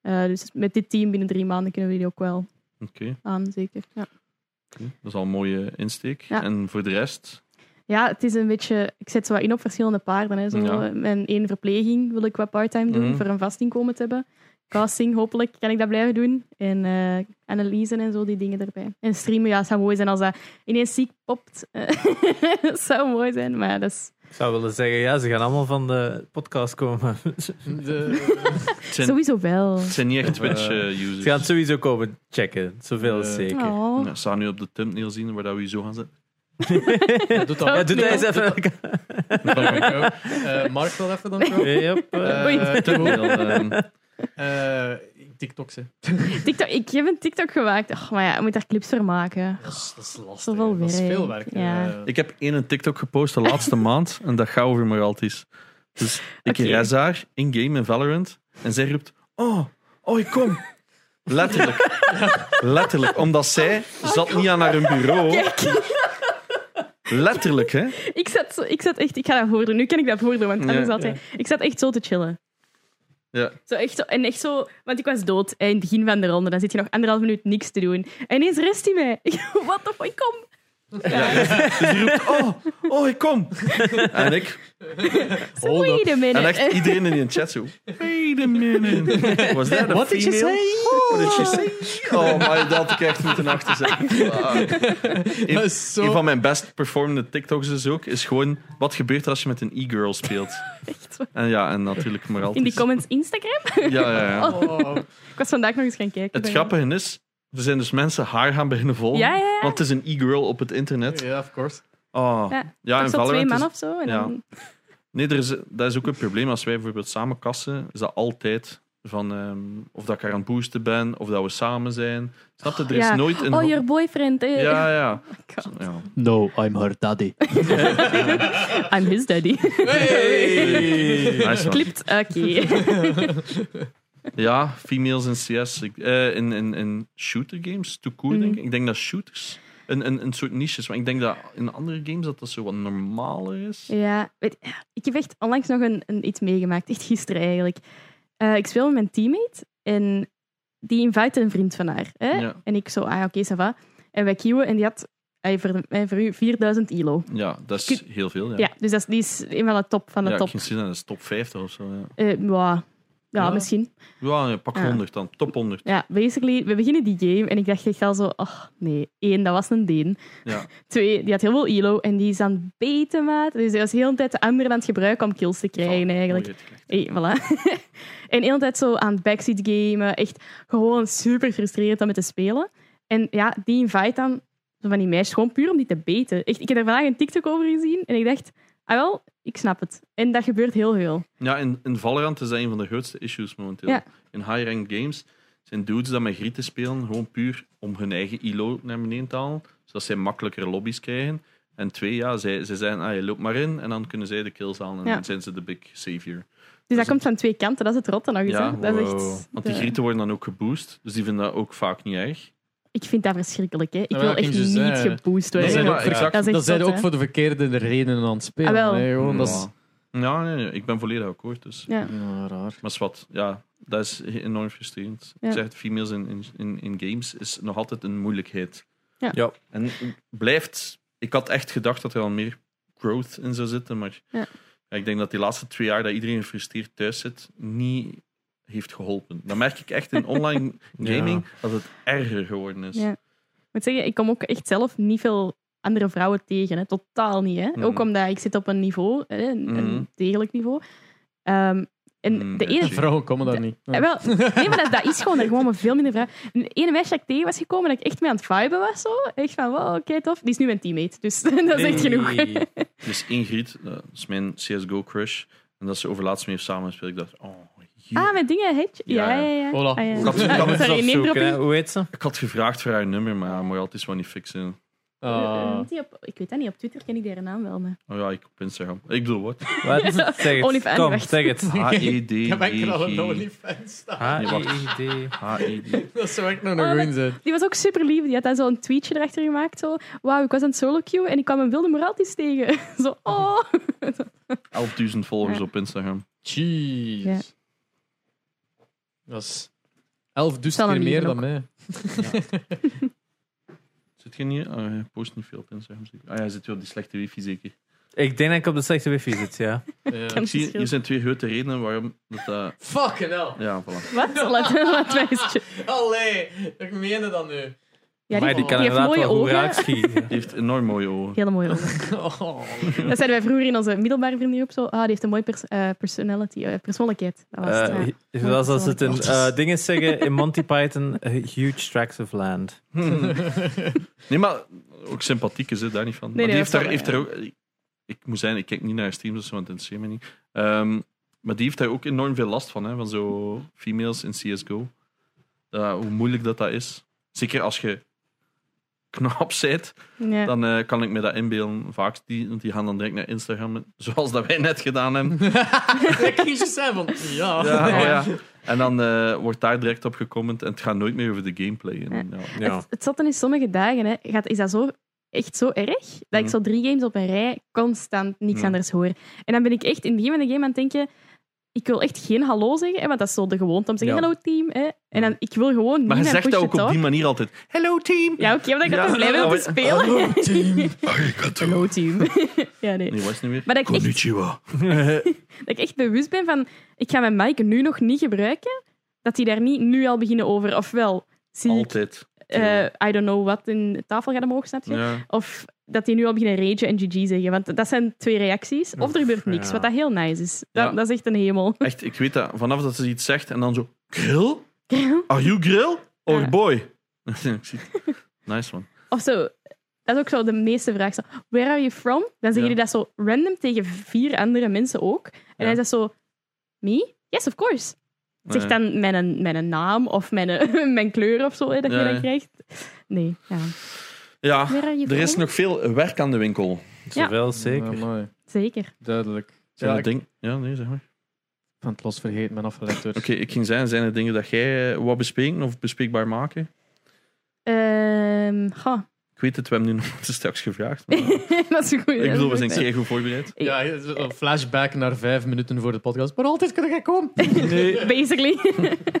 S4: Eh, dus met dit team binnen drie maanden kunnen we die ook wel
S1: Oké,
S4: aan, zeker. Ja.
S1: oké. dat is al een mooie insteek.
S4: Ja.
S1: En voor de rest...
S4: Ja, het is een beetje... Ik zet zo wat in op verschillende paarden. Hè. Zo,
S1: Ja.
S4: Mijn één verpleging wil ik wat part-time doen
S1: Mhm.
S4: voor een vast inkomen te hebben. Casting, hopelijk kan ik dat blijven doen. En eh analyse en zo, die dingen erbij. En streamen, ja, zou mooi zijn als dat ineens ziek popt. [laughs] Eh, zou mooi zijn, maar ja, dat is...
S3: Ik zou willen zeggen, ja, ze gaan allemaal van de podcast komen. maar ze
S2: De-
S1: Het zijn,
S4: Sowieso wel.
S1: het zijn niet echt eh, Twitch-users.
S3: gaan het sowieso komen checken. Zoveel is
S2: Eh,
S3: zeker.
S4: Oh.
S1: Ja, ze gaan nu op de thumbnail zien waar dat we zo gaan zitten.
S2: eh, Doet
S3: Ja,
S2: dat.
S3: doe dat eens even.
S2: Eh, Mark wil even dan. trouwen.
S3: [laughs] Yep.
S2: Eh,
S4: Oei.
S3: [laughs]
S2: Tubo.
S1: Thumbnail, ehm,
S2: Eh, TikTok, ze.
S4: TikTok, ik heb een TikTok gemaakt. Och, maar ja, je moet daar clips voor maken.
S2: Dat is, dat is lastig.
S4: Zoveel
S2: hè. dat is
S4: werk,
S2: veel werk.
S4: ja.
S2: eh.
S1: Ik heb één TikTok gepost de laatste maand en dat gaat over Moraltis. Dus ik
S4: Oké.
S1: res haar in-game in Valorant en zij roept: Oh, oh, ik kom. Letterlijk. Letterlijk, omdat zij zat niet aan haar bureau. Letterlijk, hè?
S4: Ik zat, zo- ik zat echt... Ik ga dat voordoen. Nu kan ik dat voordoen, want anders
S1: Ja.
S4: had hij... Ik zat echt zo te chillen.
S1: Ja.
S4: Zo echt zo, en echt zo, want ik was dood eh, in [laughs] het begin van de ronde. Dan zit je nog anderhalf minuut niks te doen. En ineens rest hij mij. Ik- Wat de fuck, kom.
S1: Ja, dus, dus die roept, oh, oh, ik kom. En ik,
S2: Hold up.
S4: Wait a
S1: en
S4: minute.
S1: echt iedereen in de chat zo, wait a minute. Was that a
S2: What did you
S1: female?
S2: say?
S1: What did you say? Oh, maar dat had ik echt moeten
S4: [laughs]
S1: achterzeggen. Een-
S2: Dat is zo...
S1: Een van mijn best performende TikToks dus ook, is gewoon, wat gebeurt er als je met een e-girl speelt?
S4: [laughs] Echt waar.
S1: En ja, en natuurlijk maar
S4: In
S1: altijd.
S4: die comments Instagram?
S1: Ja, ja, ja.
S2: Oh.
S4: Ik was vandaag nog eens gaan kijken.
S1: Het grappige is, er zijn dus mensen haar gaan beginnen volgen.
S4: Ja, ja, ja.
S1: Want het is een e-girl op het internet.
S2: Ja, of course.
S1: Oh.
S4: Ja,
S1: Ja,
S4: Ik
S1: en
S4: zat twee
S1: Valorant
S4: man
S1: is...
S4: of zo. En
S1: ja.
S4: dan,
S1: Nee, er is, dat is ook een probleem. Als wij bijvoorbeeld samen kassen, is dat altijd van ehm, of dat ik haar aan het boosten ben, of dat we samen zijn. Snap je? Er is
S4: Ja.
S1: nooit een...
S4: oh, your boyfriend. eh.
S1: ja, ja.
S4: Oh my God.
S1: ja.
S2: No, I'm her daddy.
S4: [laughs] I'm his daddy. [laughs]
S1: Nice one.
S4: Klipt, oké.
S1: [laughs] Ja, females in CS. ik- eh, in, in, in shooter games, to cool,
S4: Mhm.
S1: denk ik. Ik denk dat shooters een, een, een soort niche is. Maar ik denk dat in andere games dat dat zo wat normaler is.
S4: Ja, weet, ik heb echt onlangs nog een, een iets meegemaakt. Echt gisteren eigenlijk. Eh, ik speel met mijn teammate en die invite een vriend van haar. Hè?
S1: Ja.
S4: En ik zo, ah oké, ça va. En wij kieuwen en die had eh, voor, eh, voor u 4000 ilo.
S1: Ja, dat is heel veel. Ja,
S4: Ja, dus dat is, die is een van de top van de
S1: ja ik
S4: top.
S1: ging zien dat is top 50 of zo. Ja,
S4: Eh, wauw. ja,
S1: Ja.
S4: misschien.
S1: ja, ja, pak
S4: Ja.
S1: 100 dan. Top 100.
S4: Ja, basically, we beginnen die game en ik dacht echt al zo, oh nee. Eén, dat was een Deen.
S1: Ja.
S4: Twee, die had heel veel ilo en die is aan het beten, maat. Dus die was de hele tijd de andere aan het gebruiken om kills te
S1: Oh,
S4: krijgen eigenlijk.
S1: Mooi uitgelegd.
S4: Hey, voilà. [laughs] en de hele tijd zo aan het backseat gamen. Echt gewoon super frustrerend om met te spelen. En ja, die invite dan zo van die meisjes gewoon puur om die te beten. Echt, ik heb er vandaag een TikTok over gezien en ik dacht, ah wel, ik snap het. En dat gebeurt heel veel. Dus
S1: Ja, in, in Valorant is dat een van de grootste issues momenteel.
S4: Ja.
S1: In high-rank games zijn dudes dat met grieten spelen gewoon puur om hun eigen ILO naar beneden te halen, zodat zij makkelijker lobby's krijgen. En twee, ja, zij, zij zeggen, ah, je loopt maar in, en dan kunnen zij de kills halen, en
S4: Ja.
S1: dan zijn ze de big savior.
S4: Dus dat
S1: is-
S4: komt van twee kanten, dat is het rotte nog eens.
S1: Ja,
S4: hè. dat is echt,
S1: Want die
S4: de-
S1: grieten worden dan ook geboost, dus die vinden dat ook vaak niet erg.
S4: Ik vind dat verschrikkelijk. Hè. Ik
S2: Ja,
S4: wil
S2: dat
S4: echt
S2: kan
S4: niet
S2: je dus zeggen.
S4: geboost
S2: Dat
S4: worden.
S2: zijn
S1: maar
S2: ook,
S1: exact.
S4: Dat is echt
S2: dat zijn
S4: zot,
S2: ook
S4: hè.
S2: voor de verkeerde redenen aan het spelen.
S4: Ah, wel.
S2: hè, gewoon, dat is...
S1: Ja, nee, nee, ik ben volledig akkoord, dus...
S4: Ja.
S2: Ja, raar.
S1: Maar zwart, ja, dat is enorm frustrerend.
S4: Ja.
S1: Ik zeg het, females in, in, in, in games is nog altijd een moeilijkheid.
S4: Ja.
S3: Ja.
S1: En blijft... Ik had echt gedacht dat er al meer growth in zou zitten, maar
S4: Ja.
S1: ja, ik denk dat die laatste twee jaar dat iedereen gefrustreerd thuis zit, niet heeft geholpen. Dan merk ik echt in
S4: [laughs]
S1: online
S3: Ja.
S1: gaming dat het erger geworden is.
S4: Ja. Ik moet zeggen, ik kom ook echt zelf niet veel andere vrouwen tegen. Hè. Totaal niet. Hè.
S1: Mhm.
S4: Ook omdat ik zit op een niveau, hè, een,
S1: Mhm.
S4: een degelijk niveau. Ehm, en
S1: Mhm,
S4: de ene...
S1: edgy.
S2: Vrouwen komen daar niet.
S4: Eh, wel, nee, maar dat, dat is gewoon er gewoon maar veel minder vrouwen. En De ene meisje dat ik tegen was gekomen, dat ik echt mee aan het viben was. Zo. Echt van, wow, oké, tof. Die is nu mijn teammate, dus [laughs] dat is echt genoeg.
S3: Hey.
S1: Dus Ingrid, eh, dat is mijn CSGO crush, en dat ze over laatst mee heeft samengespeeld, ik dacht, oh, hier.
S4: [laughs] Ah, met dingen, Hedge? Ja,
S1: Ja,
S4: ja,
S1: ja.
S4: ja.
S2: Hola.
S4: Ah, ja.
S1: Ik had- ik
S4: Ah,
S1: had het
S4: sorry, name
S3: Zoeken, eh, hè.
S4: dropping.
S3: Hoe heet ze?
S1: Ik had gevraagd voor haar nummer, maar ja, Moralt is wel niet fixen.
S4: Eh, eh,
S2: Ah.
S4: noemt die op- Ik weet dat niet, op Twitter ken ik haar naam wel. Maar...
S1: Oh ja, ik op Instagram. Ik bedoel, wat? E
S3: Wat? Zeg het.
S4: OnlyFans.
S3: Kom, zeg het.
S4: [laughs]
S3: Ah,
S1: H-E-D-D-G.
S2: OnlyFans staan.
S3: H-I-D.
S1: H-E-D.
S2: Dat zou echt nog
S4: Oh,
S2: een
S4: dat-
S2: ruin zijn.
S4: Die was ook super lief. Die had daar zo'n tweetje erachter gemaakt. Zo, wauw, ik was aan het solo queue en ik kwam een wilde Moraltis tegen. [laughs] Zo, oh.
S1: 11.000 volgers op Instagram.
S2: Jeez.
S4: Ja.
S2: Dat is elf dus
S4: Zal
S2: keer
S4: hem
S2: meer
S4: hier
S2: dan
S4: ook. [laughs]
S2: mij.
S1: Zit je niet? Oh, hij post niet veel op Instagram. zeker. Ah ja, hij zit wel op die slechte wifi zeker.
S3: Ik denk dat ik op de slechte wifi zit, ja.
S2: Ja.
S1: Ik zie, hier zijn twee grote redenen waarom dat... dat-
S2: Fucking hell.
S1: ja, voilà.
S2: [laughs]
S4: Wat? [laughs] Laat, laat mij eens checken.
S2: Allee, ik meende dat
S4: [laughs]
S2: nu.
S4: Ja,
S3: maar die kan
S4: Oh. heeft
S3: inderdaad
S4: mooie
S3: wel goed
S4: ogen.
S1: Die
S3: raakschieten.
S1: heeft enorm mooie ogen.
S4: [laughs] Hele mooie ogen.
S2: Oh,
S4: Dat zeiden wij vroeger in onze middelbare vriendengroep zo. Ah, die heeft een mooie pers eh, personality, eh, persoonlijkheid. Dat was het,
S3: Eh,
S4: ja.
S3: Zoals als het in eh, dingen zeggen in Monty Python, eh, huge tracts of land.
S2: [laughs]
S1: Nee, maar ook sympathiek is het daar niet van.
S4: nee,
S1: maar die heeft
S4: dat
S1: daar,
S4: is
S1: heeft daar
S4: wel,
S1: ook... Ik, ik moet zijn, ik kijk niet naar streams of zo, want dat interesseert me niet. Ehm, maar die heeft daar ook enorm veel last van, hè, van zo females in CSGO. Eh, hoe moeilijk dat dat is. Zeker als je knap [laughs] bent,
S4: Ja.
S1: dan eh, kan ik me dat inbeelden. Vaak, die, want die gaan dan direct naar Instagram, zoals dat wij net gedaan hebben.
S2: [laughs] Ik kies je zijn van, ja.
S1: [laughs] Ja, oh ja. En dan eh, wordt daar direct op gecomment en het gaat nooit meer over de gameplay. En, ja.
S3: Ja.
S4: Het, het zat dan in sommige dagen. Hè. Gaat, is dat zo, echt zo erg? Dat ik
S1: Mm.
S4: zo drie games op een rij constant niks
S1: Mm.
S4: anders hoor. En dan ben ik echt in het begin van de game aan het denken... ik wil echt geen hallo zeggen, hè, want dat is zo de gewoonte om te zeggen
S1: Ja. Mm.
S4: hallo team. Hè. En dan, ik wil gewoon
S1: Maar je
S4: niet mijn
S1: zegt dat ook
S4: push-to-talk.
S1: op die manier altijd. Hello team!
S4: Ja, oké, omdat ik
S1: Ja.
S4: dat blij ben om te spelen.
S1: Hallo,
S4: team.
S1: Ai, gaat
S4: [laughs] Hallo team. [laughs] ja, nee.
S1: Nee, wat is het nu weer?
S4: Maar dat ik echt-
S1: Konnichiwa.
S4: Dat ik echt bewust ben van, ik ga mijn mic nu nog niet gebruiken, dat die daar niet nu al beginnen over. Ofwel, zie ik,
S1: [laughs] Altijd.
S4: eh, I don't know wat in de tafel gaat omhoog, snap je?
S1: Ja.
S4: Of dat die nu al beginnen ragen en GG zeggen. Want dat zijn twee reacties. Of er gebeurt niks,
S3: ja.
S4: wat dat heel nice is. Dat,
S1: Ja.
S4: dat is echt een hemel. [laughs]
S1: Echt, ik weet dat. Vanaf dat ze iets zegt en dan zo... Grill? Are you grill? Or
S4: Ja.
S1: boy? [laughs] Ik zie het. nice man.
S4: Of zo, dat is ook zo de meeste vraag. Zo, Where are you from? Dan zeggen
S1: Ja.
S4: die dat zo random tegen vier andere mensen ook. En
S1: Ja.
S4: hij zegt zo, me? Yes, of course. Zeg
S1: Nee.
S4: dan mijn, mijn naam of mijn, [laughs] mijn kleur of zo, hè, dat
S1: Ja,
S4: je dan
S1: ja.
S4: krijgt. Nee, ja.
S1: Ja,
S4: Where are you
S1: er is
S4: from?
S1: nog veel werk aan de winkel.
S3: Zowel zeker.
S2: Ja, mooi.
S4: Zeker.
S2: Duidelijk.
S1: Zijn
S2: Ja,
S1: er
S2: ik
S1: ding... ja, nee, zeg maar.
S2: ben het los vergeten, ben afgeleid door.
S1: Oké, ik ging zeggen, zijn er dingen dat jij eh, wou bespreken of bespreekbaar maken?
S4: Ehm, ha.
S1: Ik weet het, we hebben nu [laughs] nog straks gevraagd. Maar...
S4: [laughs] dat is een goeie.
S1: ik bedoel, we zijn zeer goed
S4: [laughs]
S1: voorbereid.
S2: Ja, een flashback naar vijf minuten voor de podcast. Maar altijd kan ik [laughs] komen.
S4: Basically.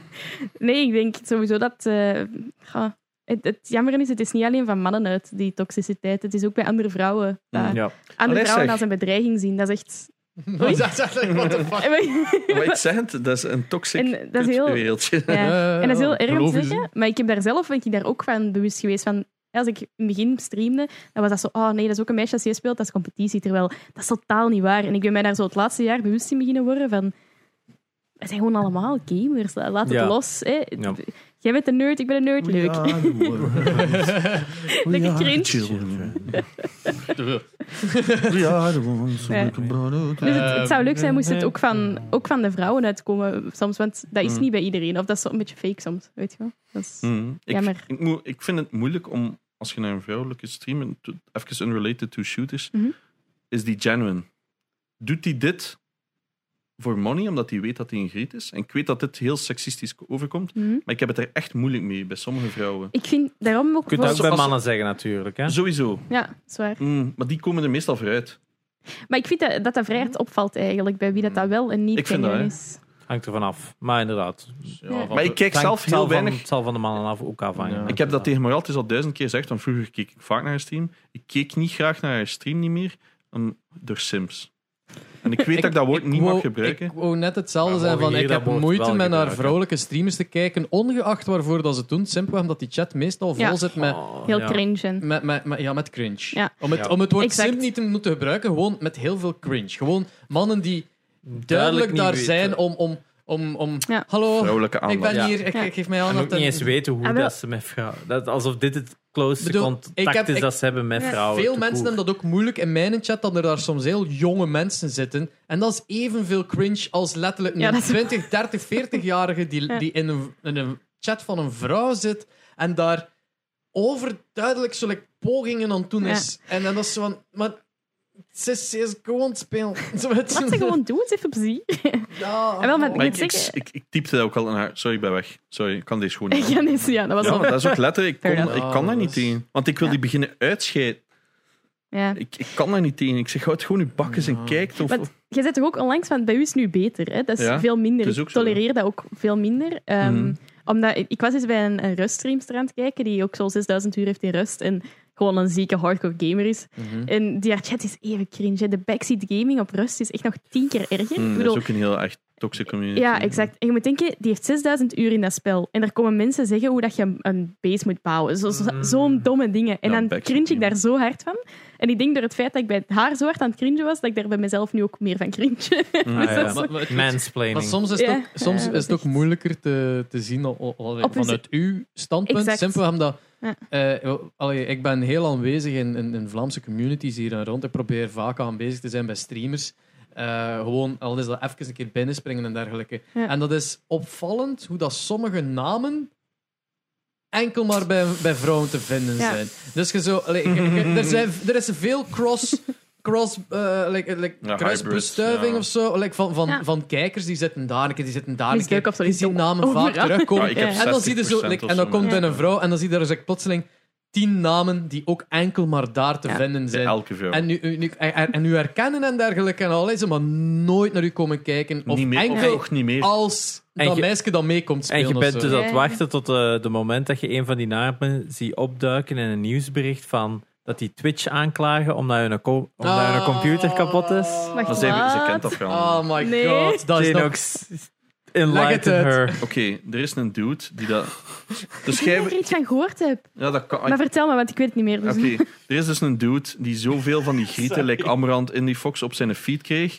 S4: [laughs] nee, ik denk sowieso dat... eh, ha. Het, het jammer is, het is niet alleen van mannen uit, die toxiciteit. Het is ook bij andere vrouwen. dat
S1: Mm,
S3: Ja.
S4: Andere
S1: Allee,
S4: vrouwen
S1: zeg.
S4: als een bedreiging zien. Dat is
S1: [laughs]
S4: echt...
S2: Dat is echt, what the fuck.
S1: Wat ik zeg, het, dat is een toxic
S4: En dat is heel-
S1: wereldje.
S4: Ja.
S2: Ja,
S4: en dat is heel
S2: ja,
S4: erg om
S2: geloof
S4: te
S2: je
S4: zeggen, maar ik heb daar zelf ben ik daar ook van bewust geweest van. Als ik in het begin streamde, dan was dat zo, oh nee, dat is ook een meisje dat ze speelt, dat is competitie. Terwijl, dat is totaal niet waar. En ik ben mij daar zo het laatste jaar bewust in beginnen worden van, we zijn gewoon allemaal gamers, la- laat het
S3: Ja.
S4: los. Hè.
S3: Ja.
S4: Jij bent een nerd, ik ben een nerd, [laughs] leuk.
S1: [laughs]
S3: Oh,
S4: Lekker cringe.
S3: [laughs]
S4: Ja. Dus het,
S1: Ehm,
S4: het zou leuk zijn moest het ook van, ook van de vrouwen uitkomen soms, want dat is
S1: Mm.
S4: niet bij iedereen. Of dat is zo een beetje fake soms, weet je wel. Dat is,
S1: Mhm. Ik,
S4: Jammer.
S1: ik, moet- ik vind het moeilijk om, als je naar een vrouwelijke streamer, to- even unrelated to shooters,
S4: Mhm.
S1: is die genuine. Doet hij dit voor money, omdat hij weet dat hij een griet is? En ik weet dat dit heel seksistisch overkomt,
S4: Mhm.
S1: maar ik heb het er echt moeilijk mee bij sommige vrouwen.
S4: Ik vind daarom ook...
S3: Je kunt dat
S1: Als-
S3: ook bij
S1: als-
S3: mannen zeggen natuurlijk. Hè?
S1: Sowieso.
S4: Ja, zwaar.
S1: Mm, maar die komen er meestal vooruit.
S4: Maar ik vind dat dat, dat vrij
S3: Mm.
S4: hard opvalt eigenlijk, bij wie dat, dat wel en niet
S1: Ik vind dat,
S4: kenner
S1: hè.
S4: is.
S3: Hangt er vanaf. Maar inderdaad.
S1: Maar ik kijk
S3: Het hangt-
S1: zelf
S3: het zal
S1: heel
S3: van-
S1: weinig.
S3: Het zal van de mannen af ook afhangen.
S2: Ja.
S1: Ik heb dat tegen Marielle het is al duizend keer gezegd, want vroeger keek ik vaak naar haar stream. Ik keek niet graag naar haar stream niet meer, om- door Sims. En ik weet dat ik dat woord niet
S2: wou-
S1: mag gebruiken.
S2: Ik wou net hetzelfde
S3: Maar
S2: zijn van
S3: mogen
S2: ik
S3: hier
S2: heb
S3: dat woord
S2: moeite
S3: wel
S2: met naar
S3: gebruiken?
S2: vrouwelijke streamers te kijken, ongeacht waarvoor dat ze het doen. Simpelweg omdat die chat meestal vol
S4: Ja.
S2: zit met,
S3: Oh,
S4: Heel
S3: ja.
S4: cringe. En,
S2: met, met, met- ja, met cringe.
S4: Ja.
S2: Om, het,
S3: Ja.
S2: om het woord
S4: Exact.
S2: simp niet te moeten gebruiken, gewoon met heel veel cringe. Gewoon mannen die duidelijk,
S3: niet
S2: daar
S3: weten.
S2: zijn om... om, om, om
S4: Ja.
S2: Hallo,
S1: Vrouwelijke
S2: ik ben
S1: aandacht.
S3: Ja.
S2: hier, ik,
S4: Ja.
S2: ik geef mij aan
S3: En ook
S2: dat...
S3: niet eens weten hoe
S4: Ah, wel.
S3: dat ze met vrouwen... Dat, alsof dit het closest
S2: Bedoel, ik
S3: contact
S2: heb-
S3: is
S2: ik-
S3: dat ze hebben met
S4: Ja.
S3: vrouwen.
S2: Veel
S3: te
S2: mensen
S3: koer.
S2: hebben dat ook moeilijk in mijn chat, dat er daar soms heel jonge mensen zitten. En dat is evenveel cringe als letterlijk een
S4: Ja, dat is-
S2: 20, 30, 40-jarige die,
S4: Ja.
S2: die in, een, in een chat van een vrouw zit en daar overduidelijk zulke pogingen aan het doen
S4: Ja.
S2: is. En, dan dat is zo van... Maar, ze is ze is gewoon speel. [laughs]
S4: laat ze gewoon doen, ze
S3: [laughs]
S4: even plezier.
S2: Ja,
S4: En wel met-
S1: Maar
S4: met-
S1: ik, ik,
S4: zeggen-
S1: ik, ik typte dat ook al in haar. Sorry, ik ben weg. Sorry, ik kan deze gewoon niet.
S4: Ja, nee, ja, dat was
S1: Ja,
S4: al.
S1: maar dat is ook letterlijk. Ik,
S4: Fair
S1: kon,
S2: enough.
S1: ik kan daar
S2: Ah,
S1: niet
S2: dat is-
S1: tegen. Want ik wil
S4: Ja.
S1: die beginnen uitscheiden.
S4: Ja.
S1: Ik, ik kan daar niet tegen. Ik zeg, houd gewoon uw bakjes en kijkt.
S4: [laughs]
S1: Of,
S4: Want jij zet toch ook onlangs van, bij u is het nu beter. Hè? Dat is
S1: Ja,
S4: veel minder.
S1: het is ook
S4: ik
S1: zo,
S4: tolereer dat ook veel minder. Ehm,
S1: Mhm.
S4: omdat, ik- ik was eens bij een, een ruststreamster aan het kijken, die ook zo'n 6000 uur heeft in rust en gewoon een zieke hardcore gamer is.
S1: Mhm.
S4: En die haar chat is even cringe. hè. De backseat gaming op rust is echt nog tien keer erger.
S1: Mm,
S4: ik
S1: dat is
S4: bedoel,
S1: ook een heel echt toxic community.
S4: Ja, exact. En je moet denken, die heeft 6000 uur in dat spel. En er komen mensen zeggen hoe dat je een base moet bouwen. Zo- zo-
S3: Mm.
S4: Zo'n domme dingen. En
S1: Ja,
S4: dan
S1: backseat
S4: cringe ik
S1: game.
S4: daar zo hard van. En ik denk door het feit dat ik bij haar zo hard aan het cringen was, dat ik daar bij mezelf nu ook meer van cringe. [laughs]
S3: Ah, ja.
S4: Dus
S2: Maar- maar het- Maar
S3: Mansplaining.
S2: soms is het
S4: Ja,
S2: ook, soms
S4: ja, dat
S2: is het
S4: is
S2: ook moeilijker te, te zien al- al- al-
S4: Op een-
S2: vanuit uw standpunt.
S4: Exact.
S2: Simpelweg omdat...
S4: Ja.
S2: eh, allee, ik ben heel aanwezig in, in, in Vlaamse communities hier en rond. Ik probeer vaak aanwezig te zijn bij streamers. Eh, gewoon, al is dat even een keer binnenspringen en dergelijke.
S4: Ja.
S2: En dat is opvallend hoe dat sommige namen enkel maar bij, bij vrouwen te vinden
S4: Ja.
S2: zijn. Dus je zo, allee, je- je- er, zijn, er is veel cross... cross eh, like, like,
S1: Ja,
S2: kruisbestuiving
S1: hybrids, ja.
S2: of zo. Like, van, van,
S4: Ja.
S2: van kijkers die zitten daar, een keer, die zitten daar.
S4: Die
S2: een keer.
S4: is leuk op zo'n
S2: Je ziet
S4: video.
S2: namen vaak
S4: Overal.
S2: terugkomen.
S1: Ja, ik heb
S4: Ja.
S2: En dan zie je zo,
S1: 60%
S2: like,
S1: of
S2: en
S1: zo,
S2: dan komt
S1: ja.
S2: er een vrouw en dan zie je daar dus like, plotseling tien namen die ook enkel maar daar te
S4: Ja.
S2: vinden zijn.
S1: Elke veel.
S2: En nu, nu, en, en u herkennen en dergelijke en al is het, maar nooit naar u komen kijken. Of
S1: niet meer, Oh, of
S2: enkel
S1: toch niet meer.
S2: als
S3: En
S2: dat
S3: je-
S2: meisje dan meekomt spelen.
S3: En je bent
S2: of
S3: dus
S2: zo.
S3: aan het
S4: Ja.
S3: wachten tot eh, de moment dat je een van die namen ziet opduiken in een nieuwsbericht van dat die Twitch aanklagen omdat hun, co- omdat
S2: Ah.
S3: hun computer kapot is.
S4: Wacht,
S1: Maar ze, ze
S4: Wat?
S1: kent dat wel.
S2: Oh my
S4: Nee.
S2: god, dat is
S3: Jane
S2: nog...
S3: ook s-
S2: Leg het
S3: enlighten
S2: uit.
S3: her.
S1: Oké, er is een dude die dat. Dus
S4: Ik
S1: jij.
S4: heb er iets van gehoord heb.
S1: Ja, dat kan.
S4: Maar vertel me, want ik weet het niet meer. Dus.
S1: Oké, er is dus een dude die zoveel van die grieten, like Amrand, Indie Fox, op zijn feed kreeg.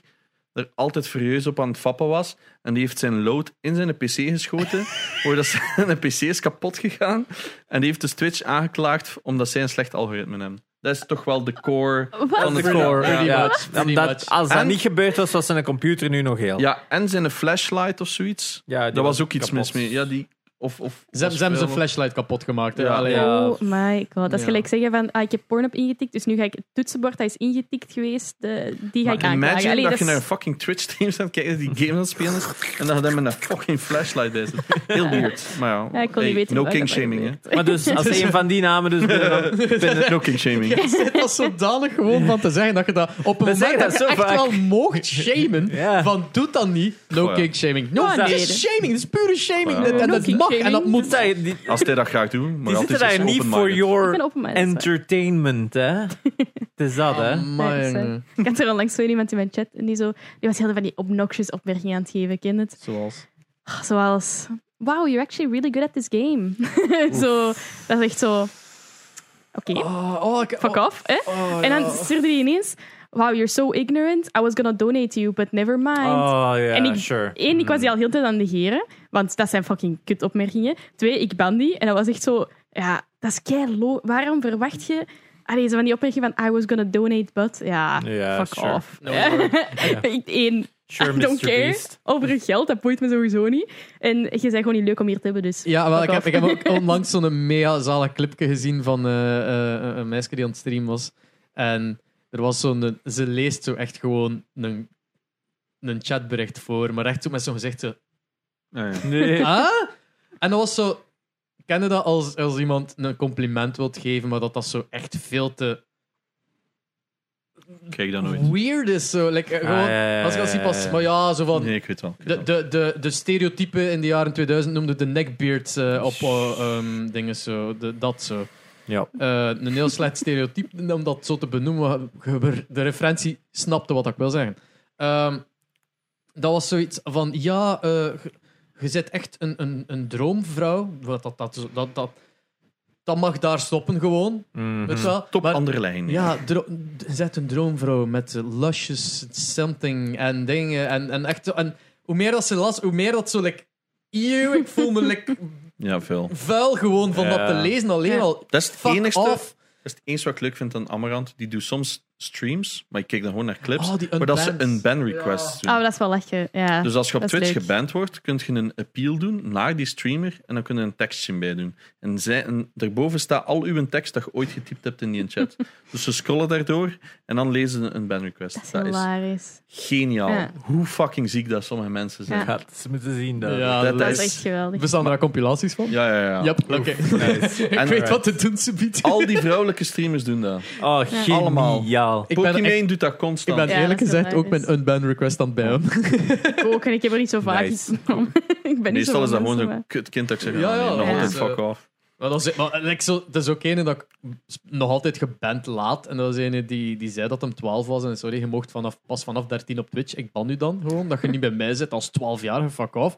S1: Er altijd furieus op aan het fappen was. En die heeft zijn load in zijn PC geschoten. Waardoor zijn PC is kapot gegaan. En die heeft dus Twitch aangeklaagd omdat zij een slecht algoritme hebben. Dat is toch wel de core.
S4: Wat?
S1: Van de
S3: The core.
S1: Ja.
S3: Ja.
S2: much, pretty
S3: Omdat,
S2: much.
S3: als dat
S1: En-
S3: niet gebeurd was, was zijn computer nu nog heel.
S1: Ja, en zijn flashlight of zoiets.
S3: Ja, die
S1: Dat was ook iets
S3: kapot.
S1: mis mee. Ja, die. Of, of,
S2: Ze hebben ze hebben zijn
S1: of-
S2: flashlight kapot gemaakt. hè.
S1: Ja.
S2: Allee.
S3: Ja.
S4: Oh my god. Dat is
S2: Ja.
S4: gelijk zeggen van, ah, ik heb porn op ingetikt, dus nu ga ik het toetsenbord, dat is ingetikt geweest, de, die ga ik
S1: Maar
S4: aanklagen.
S1: imagine
S4: Allee,
S1: dat,
S4: dat
S1: je naar
S4: is-
S1: een fucking Twitch-stream staat kijken die game aan het spelen
S4: [laughs]
S1: is en dat je dan met een fucking flashlight bij zit. Heel weird. Maar ja,
S4: Ja, ik kon
S1: hey,
S4: niet weten
S1: no
S4: wat ik
S1: king
S4: daarvan
S1: shaming, hè.
S4: [laughs] gebeurt.
S3: Maar dus
S2: [laughs]
S3: als een van die namen dus binnen- binnen-
S1: No king
S4: [laughs]
S1: shaming.
S2: Jij zit dat zodanig gewoon van te zeggen dat je dat op een moment
S3: zeggen
S2: dat,
S3: dat
S2: je
S3: zo
S2: echt
S3: vaak.
S2: wel mocht
S4: [laughs]
S2: shamen,
S3: Ja.
S2: van doet dat niet, no
S1: Goh, ja.
S2: kink shaming. No,
S4: Ah,
S2: dit
S4: nee.
S2: is shaming, dit is pure shaming.
S1: Goh, ja.
S2: En
S4: No
S2: dat
S4: kink
S2: mag en dat
S4: shaming.
S3: moet
S2: moet.
S3: zijn. Die, die
S1: Als hij dat graag doet, maar
S3: zitten
S1: altijd is dus
S3: daar
S1: hij
S3: niet voor
S1: open-minded.
S4: Ik ben
S3: your
S4: open minded.
S3: entertainment, hè? Het is dat,
S4: [laughs]
S3: hè?
S2: Amai,
S4: Ja,
S2: jongen.
S4: Ik had er onlangs zo iemand in mijn chat en die, zo, die was heel van die obnoxious opmerkingen aan het geven, ken je het?
S2: Zoals.
S4: Ah, Zoals, wow, you're actually really good at this game. [laughs] zo, dat is echt zo, oké,
S2: Oh, oh, ik-
S4: fuck
S2: oh,
S4: off, hè?
S2: oh,
S4: En
S2: ja.
S4: dan stuurde hij ineens, wow, you're so ignorant, I was gonna donate to you, but never mind.
S3: Oh ja,
S4: En ik-
S3: sure.
S4: Eén, ik was die al heel de tijd aan het negeren, want dat zijn fucking kutopmerkingen. Twee, ik ban die. En dat was echt zo, ja, dat is kei low. Waarom verwacht je. Allee, zo van die opmerking van I was gonna donate, but. Ja,
S3: Ja,
S4: fuck
S3: sure.
S4: off.
S2: No,
S4: Ja.
S2: hoor.
S4: [laughs] Ik- Eén,
S3: Sure,
S4: [laughs] I don't
S3: Mr.
S4: care
S3: Beast.
S4: over uw geld, dat boeit me sowieso niet. En je bent gewoon niet leuk om hier te hebben,
S2: [laughs]
S4: dus.
S2: Ja, wel,
S4: fuck
S2: ik, heb,
S4: off.
S2: ik heb ook onlangs zo'n mega zalig clipje gezien van eh, eh, eh, een meisje die aan het streamen was. En er was zo'n... Ze leest zo echt gewoon een, een chatbericht voor, maar echt zo met zo'n gezicht zo...
S1: Ja, ja.
S4: [laughs]
S3: Nee.
S2: Ah? En dat was zo... Ken je dat als, als iemand een compliment wilt geven, maar dat dat zo echt veel te
S1: Kijk dat nooit.
S2: weird is? Zo. Like, eh,
S3: Ah,
S2: gewoon,
S3: ja, ja, ja,
S2: Als ik als die
S3: ja,
S2: pas...
S3: ja.
S2: Maar ja, zo van...
S1: Nee, ik weet wel. ik weet
S2: De,
S1: wel.
S2: de, de, de stereotypen in de jaren 2000 noemden de neckbeards eh, op eh, ehm, dingen zo. De, dat zo.
S3: Ja.
S2: Eh, een heel slecht stereotype, [laughs] om dat zo te benoemen. ge- De referentie snapte wat ik wil zeggen. Ehm, dat was zoiets van: ja, eh, je- je zit echt een, een, een droomvrouw. Wat Dat, dat, dat, dat, dat mag daar stoppen, gewoon. Weet je wel?
S1: Top
S2: Maar-
S1: andere lijn.
S2: ja, dro- d- zet een droomvrouw met eh, luscious something en dingen. En, en, echt, zo- en hoe meer dat ze las, hoe meer dat zo... Like, eeuw, ik voel me like, [laughs]
S1: Ja, veel.
S2: vuil gewoon van dat
S3: Ja.
S2: te lezen. Alleen
S4: Ja.
S2: al,
S1: Dat is het
S2: fuck
S1: enigste.
S2: off.
S1: Dat is het enige wat ik leuk vind aan Amarant. Die doet soms streams, maar ik kijk dan gewoon naar clips.
S2: Oh, die
S1: maar dat ze
S2: unbanned.
S1: een ban request
S4: Oh,
S1: doen.
S4: dat is wel lachen. Ja.
S1: Dus als je op
S4: dat is
S1: Twitch
S4: leuk.
S1: geband wordt, kun je een appeal doen naar die streamer en dan kun je een tekstje bij doen. En, zij, en daarboven staat al uw tekst dat je ooit getypt hebt in die
S4: [laughs]
S1: chat. dus ze scrollen daardoor en dan lezen ze een ban request.
S4: dat is hilarisch.
S1: geniaal.
S4: Ja.
S1: Hoe fucking ziek dat sommige mensen zijn.
S4: Ja.
S1: Ja,
S3: Gaat ze moeten zien dat.
S2: Ja,
S1: dat
S2: dat,
S4: Dat
S1: is-
S4: is
S2: is...
S4: echt geweldig.
S2: Bestaan daar compilaties van?
S1: ja, ja. ja.
S2: Yep, oké. [laughs] ik
S1: En-
S2: weet wat te doen, ze biedt.
S1: Al die vrouwelijke streamers doen dat.
S3: Oh,
S1: Allemaal.
S3: geniaal.
S2: Ik ben,
S1: Pokémon
S2: echt-
S1: doet dat
S2: ik
S1: constant.
S2: ben
S4: Ja,
S2: eerlijk
S4: dat is
S2: gezegd ook
S4: hilarisch.
S2: mijn unban request aan het bijen.
S4: Ik ook, en ik heb er niet zo vaak
S3: Nice.
S4: iets van. [laughs] ik ben niet zo
S1: Meestal
S4: van
S1: is dat
S4: mensen,
S1: gewoon
S4: maar-
S1: zo'n kutkind dat ik zeg,
S2: Ja,
S1: ja,
S2: ja,
S1: nee, nog
S4: ja.
S1: altijd
S2: Dus, eh,
S1: fuck off.
S2: Maar dat is, maar, like, zo, dat is ook ene dat ik sp- nog altijd geband laat. En dat is ene die, die zei dat hem 12 was. En sorry, je mocht vanaf, pas vanaf 13 op Twitch. Ik ban u dan gewoon. Dat je niet bij mij zit als 12-jarige, fuck off.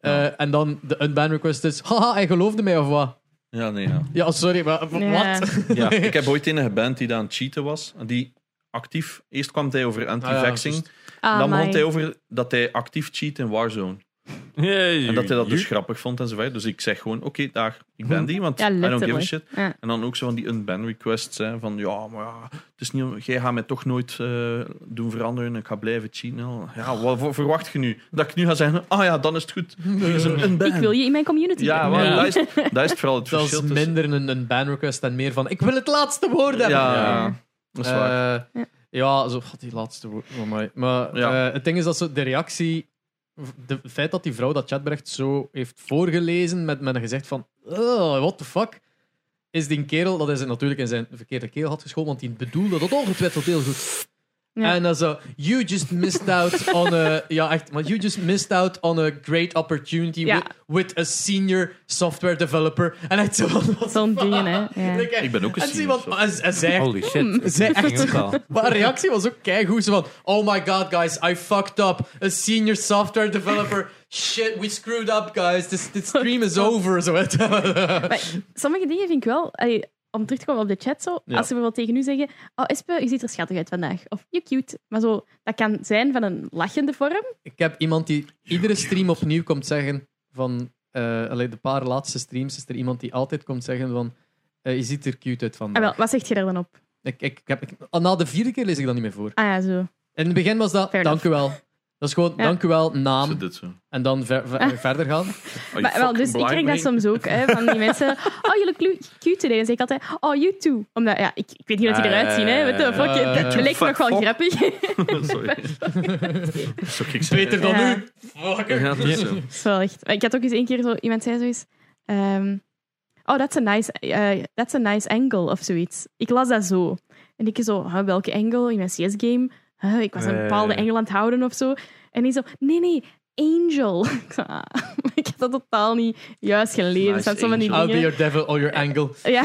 S2: Eh, en dan de unban request is. Haha, hij geloofde mij of wat?
S1: Ja, nee,
S2: [laughs]
S1: ja.
S2: Ja, sorry, maar w-
S4: Ja.
S2: wat? [laughs]
S1: ja. Ik heb ooit een geband die daar aan het cheaten was. En Die actief... Eerst kwam hij over anti-vaxxing.
S2: Ah, ja,
S4: Ah,
S1: dan
S4: amai.
S1: begon hij over dat hij actief cheat in Warzone. En dat hij dat dus grappig vond enzovoort. Dus ik zeg gewoon, oké, daar, ik ben die, want
S4: Ja,
S1: I don't give a
S4: letterlijk.
S1: shit.
S4: Ja.
S1: En dan ook zo van die unban requests, hè, van ja, maar ja, het is niet, om- jij gaat mij toch nooit eh, doen veranderen, ik ga blijven cheaten. Ja, wat voor- verwacht je nu? Dat ik nu ga zeggen, ah ja, dan is het [laughs] goed, hier is een unban.
S4: Ik wil je in mijn community.
S1: Ja, wel,
S2: Ja.
S1: Dat, is, dat is vooral het
S2: Dat is
S1: verschil tussen-
S2: minder een unban request en meer van. Ik wil het laatste woord hebben.
S1: Ja,
S4: Ja.
S1: dat is waar.
S2: Eh,
S4: Ja.
S2: ja, zo, god, die laatste woord. van mij. Maar
S1: Ja.
S2: eh, het ding is dat zo de reactie. de- Het feit dat die vrouw dat chatbericht zo heeft voorgelezen met, met een gezegd van. "Ugh, what the fuck. is die kerel, dat hij ze natuurlijk in zijn verkeerde keel had geschoten, want die bedoelde dat ongetwijfeld heel goed.
S4: Ja.
S2: En dan zo, you just missed out on a... [laughs] Ja, echt. Maar you just missed out on a great opportunity
S4: Ja.
S2: with, with a senior software developer. En echt zo van... [laughs] wat-
S4: Zo'n dingen, hè. Ja.
S2: denk echt-
S1: Ik ben ook een
S2: en zie wat-
S1: senior
S2: en, en zij
S3: Holy
S4: Hmm.
S3: shit.
S2: Zij
S3: Ik ging
S2: echt-
S3: ook al.
S2: maar haar reactie was ook keigoed. Ze van, oh my god, guys, I fucked up. A senior software developer. Shit, we screwed up, guys. This, this stream is over. Zo, weet je.
S4: Maar sommige dingen vind ik wel... allee, om terug te komen op de chat, zo,
S2: Ja.
S4: als ze bijvoorbeeld tegen u zeggen oh, Espe, je ziet er schattig uit vandaag. Of, je cute. Maar zo, dat kan zijn van een lachende vorm.
S2: [laughs] Ik heb iemand die iedere stream opnieuw komt zeggen van... eh allee, de paar laatste streams is er iemand die altijd komt zeggen van... eh, je ziet er cute uit
S4: Ah, wel,
S2: vandaag.
S4: wat zeg je daar dan op?
S2: Ik, ik, ik heb, ik- na de vierde keer lees ik dat niet meer voor.
S4: Ah ja, zo.
S2: In het begin was dat,
S4: Fair
S2: dank u wel. Dat is gewoon,
S4: Ja.
S2: dank u wel,
S1: Zo
S2: naam.
S1: dit zo. Oh,
S2: En dan ver- ver-
S4: Ah.
S2: verder gaan.
S1: you
S4: Maar, wel, dus ik
S1: Oh, fucking blind
S4: krijg dat
S1: man.
S4: soms ook, hè, van die
S1: [laughs]
S4: mensen. Oh, je look lu- cute today. Dan zeg ik altijd, oh, you too. Omdat, ja, ik, ik weet niet
S1: Ah,
S4: hoe die eruit zien, hè. What the fuck,
S2: Eh,
S4: dat
S2: eh,
S4: lijkt me nog wel
S1: fuck, fuck.
S4: grappig.
S1: [laughs]
S4: [laughs]
S1: Sorry. Dat is ook gek zijn.
S2: Beter dan
S4: Ja.
S2: u. Fucker.
S1: Ja, dat is zo.
S4: Dat is [laughs] wel echt... Ik had ook eens één keer zo... Iemand zei zoiets... ehm, oh, that's a, nice, eh, that's a nice angle, of zoiets. Ik las dat zo. En ik zo... huh, welke angle? In mijn CS-game? Huh, ik was een
S3: Eh.
S4: bepaalde angle aan het houden, of zo. En die zo... Nee, nee, angel. [laughs] ik zo... ah, ik had dat totaal niet juist gelezen.
S1: Nice
S4: dat zijn allemaal
S2: I'll be
S4: die dingen.
S2: your devil or your angle.
S4: Ja.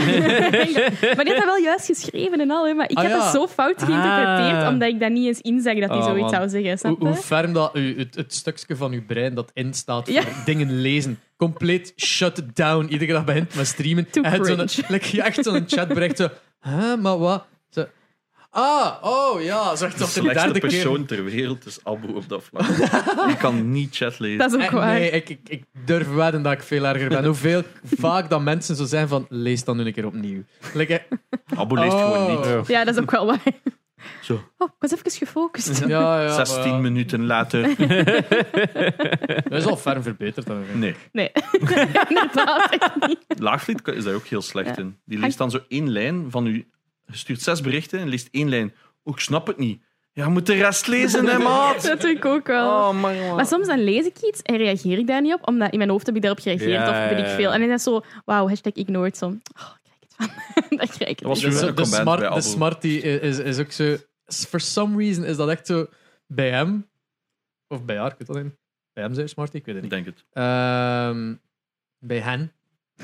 S4: [laughs] maar die had dat wel juist geschreven en al, hè. Maar ik
S2: Ah,
S4: had
S2: ja.
S4: dat zo fout geïnterpreteerd,
S3: Ah.
S4: omdat ik dat niet eens inzag dat hij
S3: Oh,
S4: zoiets
S3: man.
S4: zou zeggen.
S2: Hoe,
S4: Snap
S2: hoe
S4: je?
S2: ferm dat u, het, het stukje van uw brein dat instaat voor
S4: Ja.
S2: [laughs] dingen lezen. Compleet shut down. Iedere dag begint met streamen.
S4: Too
S2: en het zo'n,
S4: cringe.
S2: like, je echt zo'n chatbericht. Zo, hè, maar wat? Zo, ah, oh ja. Zo echt
S1: De
S2: op de
S1: slechtste
S2: derde keer.
S1: persoon ter wereld is Abu op dat vlak. Ik kan niet chat lezen.
S4: Dat is ook
S2: Eh,
S4: waar.
S2: nee, ik, ik, ik durf wedden dat ik veel erger ben.
S4: [laughs]
S2: Hoeveel vaak dat mensen zo zijn van, lees dan nu een keer opnieuw. Like, eh,
S1: Abu leest gewoon
S2: Oh.
S1: niet.
S4: Ja, dat is ook wel waar.
S1: Zo.
S4: Oh, ik was even gefocust.
S2: eh, ja, ja,
S1: 16
S2: maar ja.
S1: minuten later.
S2: Dat is al ferm verbeterd. Dan,
S1: Nee,
S4: Nee, [laughs] inderdaad. echt niet.
S1: Laagvliet is daar ook heel slecht
S4: Ja.
S1: in. Die leest dan zo één lijn van u. Je stuurt zes berichten en leest één lijn. Oh, ik snap het niet. Ja, je moet de rest lezen, hè, maat.
S4: Dat doe ik ook wel.
S1: Oh, man.
S4: Maar soms dan lees ik iets en reageer ik daar niet op, omdat in mijn hoofd heb ik daarop gereageerd
S3: Ja,
S4: of weet
S3: ja,
S4: ik
S3: ja.
S4: veel. En dan is dat zo, wauw, hashtag ignored. Zo, oh, krijg ik het van. [laughs] Dat krijg ik
S1: Dat was
S4: het.
S2: Dus
S1: weer
S2: zo-
S1: een
S2: de,
S1: comment
S2: smart,
S1: bij
S2: de
S1: Apple.
S2: smart die i- is, is ook zo. s- For some reason is dat echt zo bij hem. Of bij haar, ik weet dat niet. Bij hem zijn smartie, ik weet het
S1: Ik
S2: niet.
S1: denk het.
S2: Ehm, bij hen.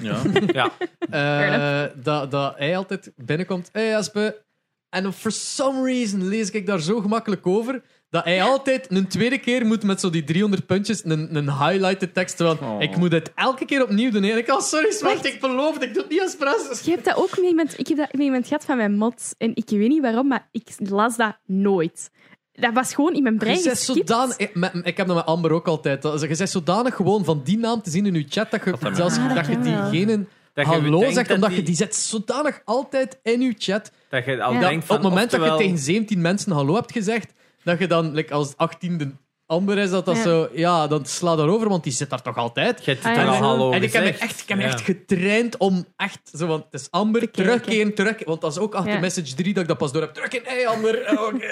S1: Ja.
S3: Ja.
S2: Eh, dat, dat hij altijd binnenkomt. Hé, hey, Aspe. En for some reason lees ik daar zo gemakkelijk over. Dat hij altijd een tweede keer moet met zo die 300 puntjes een, een highlighted tekst. Terwijl
S1: Oh.
S2: ik moet het elke keer opnieuw doen. En ik al, sorry, smart, ik beloof het. Ik doe het niet als pres.
S4: Je hebt dat ook met iemand, ik heb dat met iemand gehad van mijn mods. En ik weet niet waarom, maar ik las dat nooit. Dat was gewoon in mijn brein
S2: Je bent
S4: geskipt.
S2: zodanig, ik, met- eh, ik heb dat met Amber ook altijd. Dat, je bent zodanig gewoon van die naam te zien in je chat dat je
S1: dat
S2: zelfs
S4: kan. Ah,
S2: dat
S4: dat
S2: je
S4: kan wel.
S2: diegene
S3: Dat je
S2: hallo
S3: denkt
S2: zegt,
S3: dat
S2: omdat
S3: die-
S2: je die zet zodanig altijd in je chat.
S3: Dat je al
S4: Ja.
S2: Dat
S3: denkt
S2: op
S3: van,
S2: het moment dat
S3: oftewel-
S2: je tegen 17 mensen hallo hebt gezegd, dat je dan like, als 18e Amber is, dat dat
S4: Ja.
S2: zo, ja, dan sla daarover, want die zit daar toch altijd.
S3: Je hebt
S4: Ah,
S3: het
S4: ja.
S3: al
S4: En-
S3: hallo
S2: en ik heb me
S3: gezegd.
S2: echt, ik heb me
S3: Ja.
S2: echt getraind om echt zo, want het is Amber,
S4: kijken.
S2: terugkeren, terug. Want dat is ook achter
S4: Ja.
S2: message 3 dat ik dat pas door heb. Terugkeren, hey Amber. [laughs] Oh, oké.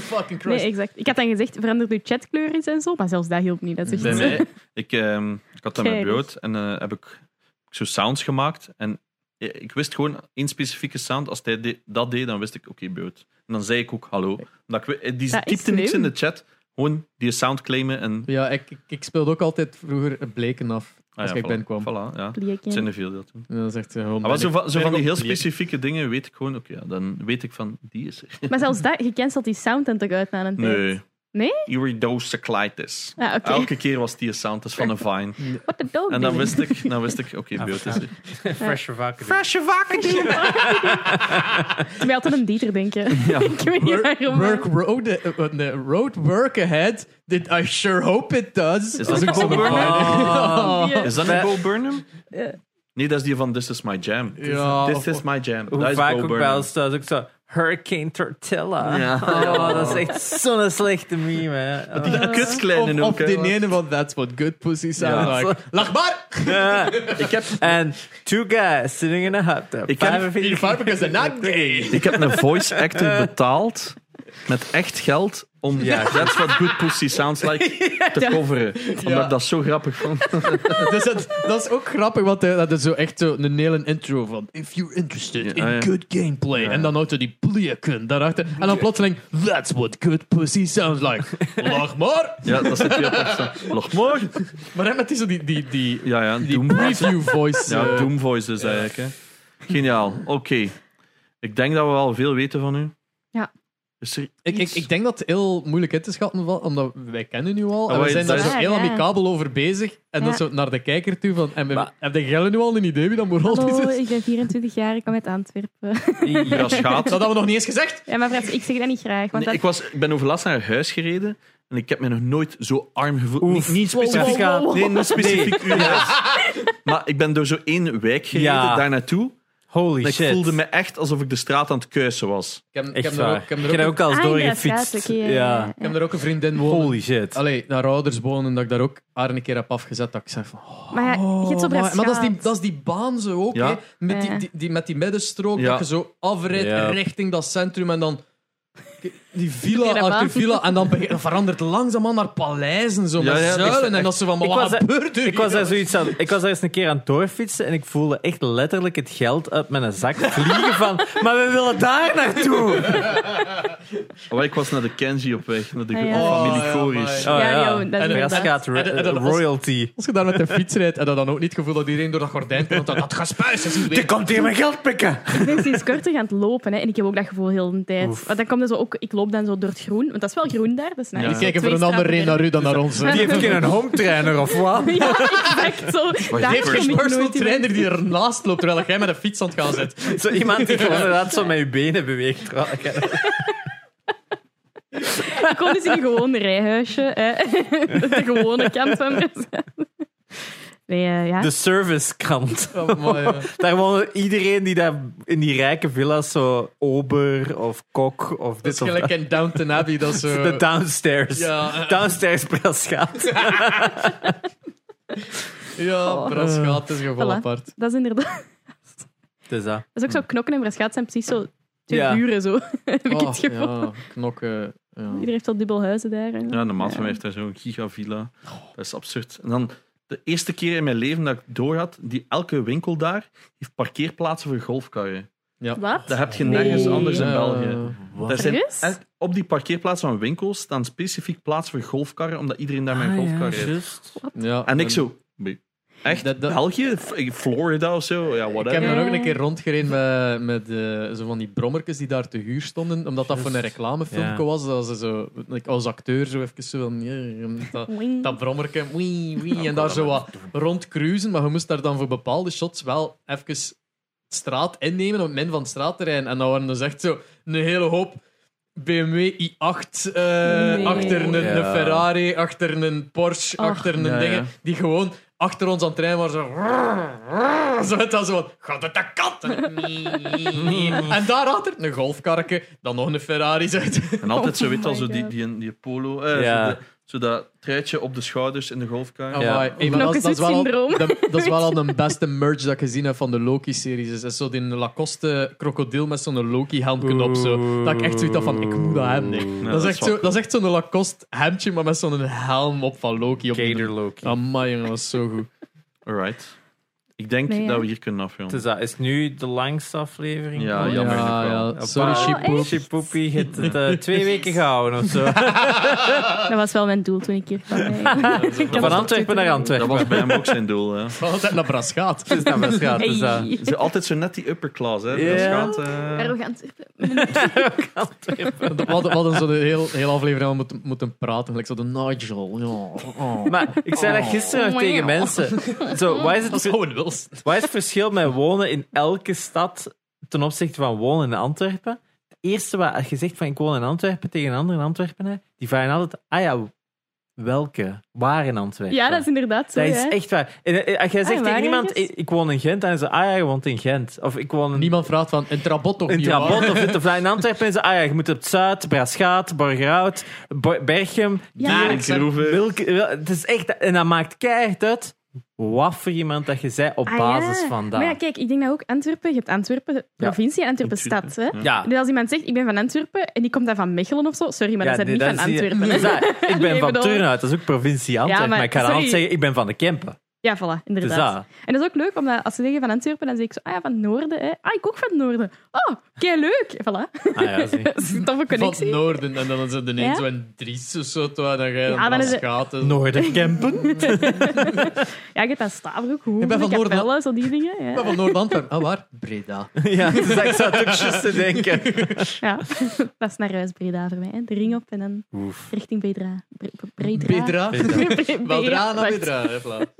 S2: Fucking Christ.
S4: Nee, exact. Ik had dan gezegd, verander je chatkleur eens en zo. Maar zelfs dat hielp niet. Dat is
S1: Bij
S4: echt... [laughs]
S1: mij, ik, ehm, ik had dat met
S4: Keigoed.
S1: brood en eh, heb ik zo sounds gemaakt. En i- ik wist gewoon één specifieke sound. Als hij de- dat deed, dan wist ik, oké, brood. En dan zei ik ook hallo. Omdat ik, we- eh, die
S4: Dat is
S1: typte niks in
S4: slim.
S1: de chat. Gewoon die sound claimen en...
S2: Ja, ik, ik, ik speelde ook altijd vroeger bleken af
S1: Ah
S2: als
S1: ja,
S2: ik
S1: voilà.
S2: binnenkwam.
S1: Voilà, ja.
S4: Plek, hè.
S1: Het zijn er veel dat doen.
S2: En dan zegt ze "Oh, gewoon.
S1: Maar zo,
S2: ben
S1: van, zo van die heel
S2: Bleken.
S1: specifieke dingen weet ik gewoon, oké, ja, dan weet ik van, die is er.
S4: Maar zelfs dat, je cancelt die sound dan toch uit na een tijd?
S1: Nee.
S4: Nee?
S1: Iridocyclitis.
S4: Ah, oké.
S1: Elke keer was die een sound, dat is van een vine.
S2: [laughs]
S4: What the dog
S1: En dan
S4: doing?
S1: wist
S4: [laughs]
S1: ik, dan wist ik oké, beeld is er.
S3: Fresh vacuum.
S4: Ik ben altijd aan Dieter denken. [laughs] ik weet niet
S2: Work,
S4: waarom.
S2: work road, eh, eh, nee, road work ahead. Did I sure hope it does. Dus
S1: Is dat een [laughs]
S2: zo
S1: Bob
S3: oh,
S1: Burnham?
S2: Oh.
S4: Ja.
S1: Is dat een Bo Burnham? Nee, dat is die van This Is My Jam.
S2: Ja,
S1: This
S2: of-
S1: Is My Jam.
S3: Hoe
S1: dat is
S3: vaak
S1: Bo
S3: ook bij
S1: Burnham.
S3: ons thuis ook zo... Hurricane Tortilla.
S1: Ja.
S3: [laughs] Oh, dat is echt zo'n slechte meme, hè. Oh.
S1: Die kutkleine
S2: Eh, Of, of
S1: ook. hè.
S2: die ene van That's What Good Pussy Sounds
S3: Ja.
S2: Like. Lach maar!
S3: Ja.
S1: Ik heb,
S3: En two guys sitting in a hot tub.
S1: Ik heb-
S3: 45
S1: [laughs]
S2: Five because they're not gay. Eh.
S1: ik heb een voice actor betaald met echt geld om ja, That's What Good Pussy Sounds
S2: [laughs]
S1: Like te
S4: Ja.
S1: coveren. Omdat
S2: Ja.
S1: ik dat zo grappig
S2: [laughs]
S1: vond.
S2: Dus dat, dat is ook grappig, want eh, dat is zo echt zo een hele intro van. If you're interested in
S1: Ja, ja.
S2: good gameplay. En dan houdt hij die plieken daarachter. En dan plotseling, that's what good pussy sounds
S1: [laughs]
S2: like. Lach maar!
S1: Ja, dat zit heel erg zo. Nog mooi.
S2: Maar hem met die, zo die, die, die,
S1: Ja, ja,
S2: die
S1: Doom.
S2: preview voice.
S1: Ja,
S2: eh,
S1: Doom Voice dus eigenlijk. Hè. Geniaal. Oké. Ik denk dat we al veel weten van u.
S4: Ja.
S1: Is er
S2: Ik, ik,
S1: iets?
S2: ik denk dat het heel moeilijk in te schatten valt, omdat wij kennen u al.
S1: Ah,
S2: En we
S1: wij-
S2: zijn daar
S1: dat
S2: zo
S1: is-
S2: heel
S4: Ja, ja.
S2: amicabel over bezig. En dat
S4: Ja.
S2: zo naar de kijker toe van... En we,
S3: Maar-
S2: heb jij nu al een idee wie dat moraal
S4: Hallo,
S2: is?
S4: Oh, ik ben 24 jaar, ik kom uit Antwerpen. [laughs]
S2: [laughs]
S1: Ja, schaat.
S2: Dat hadden we nog niet eens gezegd.
S4: Ja, maar Frans, ik zeg dat niet graag. Want
S1: Nee, ik, was, ik ben overlast naar huis gereden en ik heb me nog nooit zo arm gevoeld. Niet, niet specifiek.
S4: wow, wow, wow.
S1: Nee, niet specifiek uw huis. Maar ik ben door zo één wijk gereden
S3: Ja.
S1: daar naartoe.
S3: Holy
S1: En ik
S3: shit.
S1: voelde me echt alsof ik de straat aan het kuisen was.
S2: Ik heb, ik
S3: Echt
S2: heb, er,
S3: waar.
S2: ook, ik heb,
S3: Ik heb
S2: er,
S3: daar
S2: ook,
S3: ook al eens
S4: Ah,
S3: doorgefietst.
S4: inderdaad, oké, ja,
S3: ja.
S4: ja.
S2: ik heb er ook een vriendin wonen.
S3: Holy shit.
S2: Allee, naar ouders wonen, dat ik daar ook haar een keer heb afgezet. Dat ik zeg van... oh,
S4: Maar ja, je hebt
S2: maar, maar
S4: zo
S2: dat, is die,
S4: beschaamd.
S2: dat is die baan zo ook,
S1: Ja.
S2: hè. Met die,
S4: Ja.
S2: die, die- met die middenstrook,
S1: Ja.
S2: dat je zo afrijdt
S3: Ja.
S2: richting dat centrum en dan... [laughs] Die
S4: Ja,
S2: villa,
S4: dat
S2: achter
S4: baan.
S2: villa, en dan begint- verandert langzaamaan naar paleizen, zo
S1: Ja,
S2: met
S1: ja,
S2: zuilen.
S1: echt,
S2: en dat ze van, maar
S3: Ik
S2: wat
S3: was daar-
S2: gebeurt er
S3: Ik was,
S2: hier?
S3: daar zoiets aan, ik was daar eens een keer aan het doorfietsen en ik voelde echt letterlijk het geld uit mijn zak vliegen van... [laughs] Maar we willen daar
S2: [laughs]
S3: naartoe!
S1: Maar ik was naar de Kenji op weg, naar de
S4: Ah, ja.
S2: Oh,
S1: familie
S2: ja,
S1: Goris.
S2: maar-
S4: Ja, ja, dat
S2: En de
S4: inderdaad.
S3: Rascaat ro-
S2: En- en dat was-
S3: eh,
S2: [laughs]
S3: royalty.
S2: Als je daar met de fiets rijdt en dat dan ook niet het gevoel dat iedereen door dat gordijn komt, dan dat gespuis is hier weer.
S3: komt hier mijn geld pikken!
S4: Ik ben sinds kort gaan het lopen hè, en ik heb ook dat gevoel heel de tijd.
S3: Oef.
S4: Want dan komt er zo ook, ik loop dan zo door het groen, want dat is wel groen daar. Dat is nou
S2: Die
S4: echt
S2: kijken
S4: zo
S2: voor een
S4: twee
S2: ander reden naar
S4: straten
S2: u dan naar ons. hè.
S3: Die heeft geen home trainer of wat?
S4: verder. [laughs] Ja, exact zo. Daar
S2: Die heeft
S4: kom
S2: geen
S4: ik
S2: personal
S4: nooit in.
S2: trainer die ernaast loopt terwijl jij met een fiets aan het gaan zit.
S3: [laughs]
S2: [laughs]
S3: Zo iemand die gewoon inderdaad zo met je benen beweegt. [laughs]
S4: Ik kom dus in een gewoon rijhuisje. Hè. [laughs] De gewone kant van
S2: [laughs]
S4: mezelf. Nee, eh, ja.
S2: Dus-
S3: De servicekant.
S2: Oh, mooi, ja.
S3: [laughs] Daar woonde iedereen die daar in die rijke villa's zo ober of kok of
S2: Het is
S3: dit of
S2: gelijk
S3: dat.
S2: in Downton Abbey, dat is zo...
S3: [laughs] De downstairs.
S2: Ja, eh,
S3: [laughs] Downstairs Brasgaat.
S2: ja
S4: Oh.
S2: Brasgaat is gewoon
S4: Voilà.
S2: apart.
S4: dat is inderdaad.
S3: Het is dat.
S4: Dat is ook zo knokken en brasgaat zijn precies zo twee
S3: Ja.
S4: buren zo. [laughs] [laughs] Heb ik
S2: Oh,
S4: het gevoel.
S2: Ja, knokken. Ja.
S4: Iedereen heeft al dubbel huizen daar. hè.
S1: Ja, de maat van mij heeft daar zo'n gigavilla. Dat is absurd. En dan de eerste keer in mijn leven dat ik door had, die elke winkel daar heeft parkeerplaatsen voor golfkarren.
S4: Wat?
S1: Dat heb je
S4: Nee.
S1: nergens anders in
S2: Ja.
S1: België. Daar zijn,
S4: Serieus?
S1: en op die parkeerplaats van winkels staan specifiek plaatsen voor golfkarren, omdat iedereen daar
S4: Ah,
S1: met een golfkar rijdt.
S2: Ja,
S1: En ik zo... Echt?
S2: Dat- dat-
S1: België? F- Florida of zo? Ja,
S2: Ik heb
S1: whatever.
S2: er ook een keer rondgereden met, met eh, zo van die brommertjes die daar te huur stonden, omdat dat voor een reclamefilmpje
S3: Ja.
S2: was. Dat ze zo, ik als acteur zo even zo van... eh, dat-
S4: Wing.
S2: dat brommerke, wii, wii, en daar zo wat rond cruisen. Maar je moest daar dan voor bepaalde shots wel even straat innemen op het min van het straatterrein. En dan waren dus echt zo een hele hoop BMW i8 eh,
S4: Nee.
S2: achter een,
S3: Ja.
S2: een Ferrari, achter een Porsche,
S4: Ach.
S2: achter een
S1: Ja,
S2: dingen,
S1: ja.
S2: die gewoon achter ons aan het trein waren zo... Zo het dan zo van, gaat het dat kat? En,
S1: [laughs]
S2: en daarachter een golfkarretje, dan nog een Ferrari. zo.
S1: En altijd zo
S4: Oh
S1: weet al
S4: my
S1: zo die,
S4: God.
S1: die, die polo, eh,
S3: Ja.
S1: zo, de- zo dat truitje op de schouders in de golfkar.
S2: Oh,
S3: Ja.
S2: maar- hey, maar dat, is- dat is wel al,
S4: Knokkenzoet-syndroom.
S2: de, dat is wel al de beste merch dat ik gezien heb van de Loki-series. Dat is zo die Lacoste krokodil met zo'n Loki-helmje op. Zo. Dat ik echt zoiets had van, ik moet dat hebben. nee.
S1: Ja,
S2: dat,
S1: dat
S2: is
S1: is
S2: echt
S1: wel
S2: zo, dat is echt zo'n Lacoste hemdje, maar met zo'n helm op van Loki. Op
S3: Gator Loki.
S2: Amai, jongen, dat was zo goed.
S1: Alright. Ik denk
S4: Nee, ja.
S1: dat we hier kunnen
S3: Het
S1: afronden.
S3: is dat. Is nu de langste aflevering?
S1: Ja,
S3: Oh,
S1: jammer.
S2: ja,
S1: wel.
S2: ja. Sorry,
S3: Appa.
S2: Sheepoop.
S3: Sheepoopie, je hebt het eh, twee weken gehouden of zo.
S4: [laughs] Dat was wel mijn doel toen ik hier
S2: [laughs]
S4: kwam. hè. Ik had
S3: Van
S4: het
S3: Antwerpen
S4: op
S3: naar
S1: Dat
S3: Antwerpen.
S1: was bij hem ook zijn doel.
S4: [laughs]
S1: Hè.
S2: Van altijd naar Bras gaat.
S3: Het is naar Brasgaat.
S4: Twitter.
S3: Dus, eh, dus,
S4: Hey.
S1: Ze altijd zo net die upper class, hè?
S3: Ja.
S1: Dat gaat, eh,
S4: Arrogant.
S2: We hadden, we hadden zo de heel, heel aflevering al moeten, moeten praten. Gelijk zo de Nigel. Ja. Oh.
S3: Maar ik zei dat gisteren nog
S4: Oh.
S3: tegen mensen.
S4: [laughs]
S3: Zo, wat is
S2: Dat
S3: het
S2: is Owen Wilson.
S3: Wat is het verschil met wonen in elke stad ten opzichte van wonen in Antwerpen? Het eerste wat als je zegt van ik woon in Antwerpen tegen een ander in Antwerpen, die vragen altijd, ah ja, welke? Waar in Antwerpen?
S4: Ja, dat is inderdaad zo.
S3: Dat is
S4: hè.
S3: echt waar. En eh, als jij
S4: Ah,
S3: zegt
S4: waar
S3: tegen iemand,
S4: ergens?
S3: ik, ik woon in Gent, dan is ze, ah ja, je woont in Gent. Of ik woon in,
S2: Niemand vraagt van, een trabot toch
S3: in
S2: niet waar?
S3: Trabant of dit of dat. In Antwerpen is ze, ah ja, je moet op het Zuid, Braschaat, Borgerhout, Bo- Berchem,
S4: Ja.
S3: Dieren,
S1: Groeven.
S3: Wilke- wel- Het is echt, en dat maakt keihard uit wat voor iemand dat je zij op
S4: Ah,
S3: basis
S4: ja.
S3: van dat.
S4: Maar ja, kijk, ik denk dat ook Antwerpen... Je hebt Antwerpen de provincie en Antwerpen stad, hè.
S3: Ja.
S4: Dus als iemand zegt, ik ben van Antwerpen en die komt dan van Mechelen of zo... Sorry, maar
S3: Ja,
S4: dat
S3: nee,
S4: zijn niet van
S3: zie je-
S4: Antwerpen.
S3: [laughs]
S4: hè.
S3: Dus dat- ik ben
S4: Nee,
S3: van
S4: bedoel-
S3: Turnhout, dat is ook provincie Antwerpen.
S4: Ja, maar-
S3: maar, ik ga dan altijd
S4: sorry.
S3: zeggen, ik ben van de Kempen.
S4: Ja, voilà,
S3: Het is
S4: inderdaad.
S3: dat.
S4: En dat is ook leuk, omdat als ze zeggen van Antwerpen, dan zeg ik zo... Ah ja, van het noorden, hè. Ah, ik ook van het noorden. Oh, kei leuk. Voilà.
S3: Ah, ja, zie.
S4: [laughs] dat is een toffe
S2: Van het
S4: connectie.
S2: noorden. En dan is het
S4: Ja?
S2: ineens zo een Dries of zo. terwijl Dan ga je
S4: Ja,
S2: dan
S4: dan is het-
S2: gaat.
S3: Noorderkempen?
S4: [laughs] Ja, je hebt dan Stabroek,
S2: Ik ben van
S4: Hoeveel,
S2: Noorden.
S4: Capelle, zo die dingen.
S2: Ik
S4: Ja.
S2: ben van Noord-Antwerpen. Ah, waar? Breda.
S3: [laughs] ja, dus ik zat ook juist te denken.
S4: [laughs] Ja. dat is naar huis Breda voor mij. hè. De ring op en dan
S3: Oef.
S4: richting Breda. Bre- Bre- Breda. [laughs]
S2: Bedra.
S4: Bre-
S2: Beldra naar
S4: Wacht.
S2: Bedra. hè, voilà.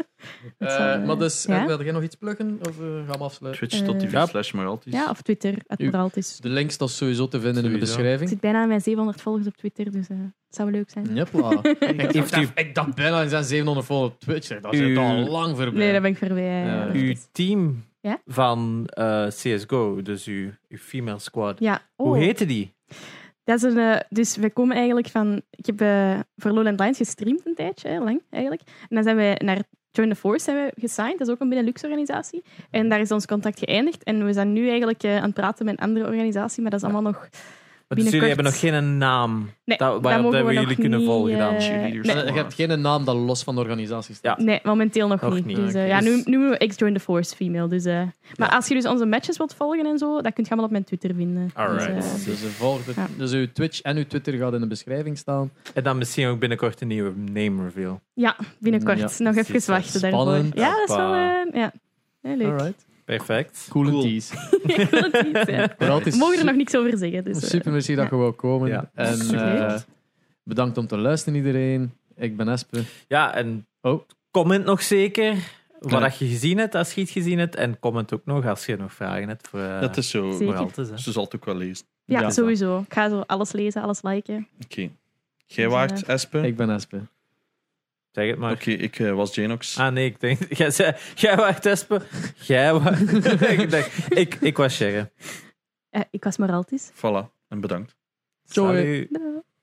S4: Dat zal,
S2: Eh,
S4: eh,
S2: Maar dus,
S4: ja?
S2: eh, wil jij nog iets pluggen? Of eh, gaan we afsluiten?
S1: Twitch.tv
S4: Eh.
S3: Ja.
S1: slash Moraltis.
S4: Ja, of Twitter. Het
S2: U-
S4: moraal is.
S2: De link staat sowieso te vinden in de
S3: Sowieso.
S4: Ik
S2: beschrijving.
S4: zit bijna aan mijn 700 volgers op Twitter, dus eh het zou leuk zijn.
S2: Jepla. Ik,
S3: Heeft u-
S2: dacht- [laughs] ik dacht bijna, er zijn 700 vol op Twitch. zeg, Dat is
S3: U-
S2: echt al lang voorbij.
S4: Nee, daar ben ik voorbij. eh,
S2: Ja.
S4: dat
S3: Uw
S4: is-
S3: team
S4: Ja?
S3: van eh, CSGO, dus uw, uw female squad,
S4: Ja. Oh.
S3: hoe heette die?
S4: Dat is een, eh, dus we komen eigenlijk van... Ik heb eh, voor Lowland Lines gestreamd een tijdje, hè, lang eigenlijk. En dan zijn we naar Join the Force zijn we gesigned. Dat is ook een Benelux-organisatie. En daar is ons contact geëindigd. En we zijn nu eigenlijk eh, aan het praten met een andere organisatie, maar dat is allemaal nog...
S3: Want dus
S4: Binnenkort.
S3: jullie hebben nog geen naam.
S4: Nee,
S3: Dat-
S4: dat,
S3: waarop
S4: mogen
S3: hebben
S4: we nog
S3: jullie kunnen
S4: niet,
S3: volgen dan?
S4: eh,
S1: Cheerleaders.
S4: nee,
S2: Dus, Je hebt geen naam dat los van de organisatie staat.
S4: nee, momenteel nog,
S3: Nog
S4: niet.
S3: niet.
S4: Dus, eh,
S2: Oké.
S4: ja, nu
S2: Dus-
S4: noemen we X Join the Force female. Dus, eh, maar als je dus onze matches wilt volgen en zo, dat kun je allemaal op mijn Twitter vinden.
S3: Alright.
S4: Dus, eh,
S2: Dus, eh, volg de-
S4: Ja.
S2: dus uw Twitch en uw Twitter gaat in de beschrijving staan.
S3: En dan misschien ook binnenkort een nieuwe name reveal.
S4: ja, binnenkort.
S2: Ja,
S4: nog
S3: precies,
S4: even
S3: ja.
S4: wachten daarvoor.
S2: Spannend.
S4: Ja, dat is wel... eh, ja. Ja, leuk.
S2: Alright.
S3: Perfect.
S2: Coole
S1: Cool.
S2: tease.
S4: [laughs] Ik wil het niet, ja.
S2: Vooral, het
S4: We
S2: is
S4: mogen er
S2: su-
S4: nog niks over zeggen. Dus, eh,
S2: super merci dat je wou komen.
S3: Ja.
S2: En
S4: Super.
S2: eh, bedankt om te luisteren iedereen. Ik ben Espen.
S3: Ja, en
S2: Oh.
S3: comment nog zeker wat
S1: Ja.
S3: dat je gezien hebt als je iets gezien hebt. En comment ook nog als je nog vragen hebt voor eh,
S1: Dat is zo.
S4: Zeker.
S3: Moraltes, hè.
S1: Ze zal het ook wel lezen.
S4: ja,
S3: Ja.
S4: sowieso. Ik ga zo alles lezen, alles liken.
S1: Oké. Jij waart Espen. Oké,
S2: Ik ben Espen.
S3: Zeg het maar.
S1: ik eh, was Janox.
S3: Ah nee, ik denk... [laughs] Jij, zei, jij was Espen. Jij
S1: [laughs]
S3: was... [laughs] ik, denk, ik, ik was Sharon.
S4: Eh, ik was Moraltis.
S1: Voilà. En bedankt.
S2: Ciao.
S3: Salut.
S4: Dag.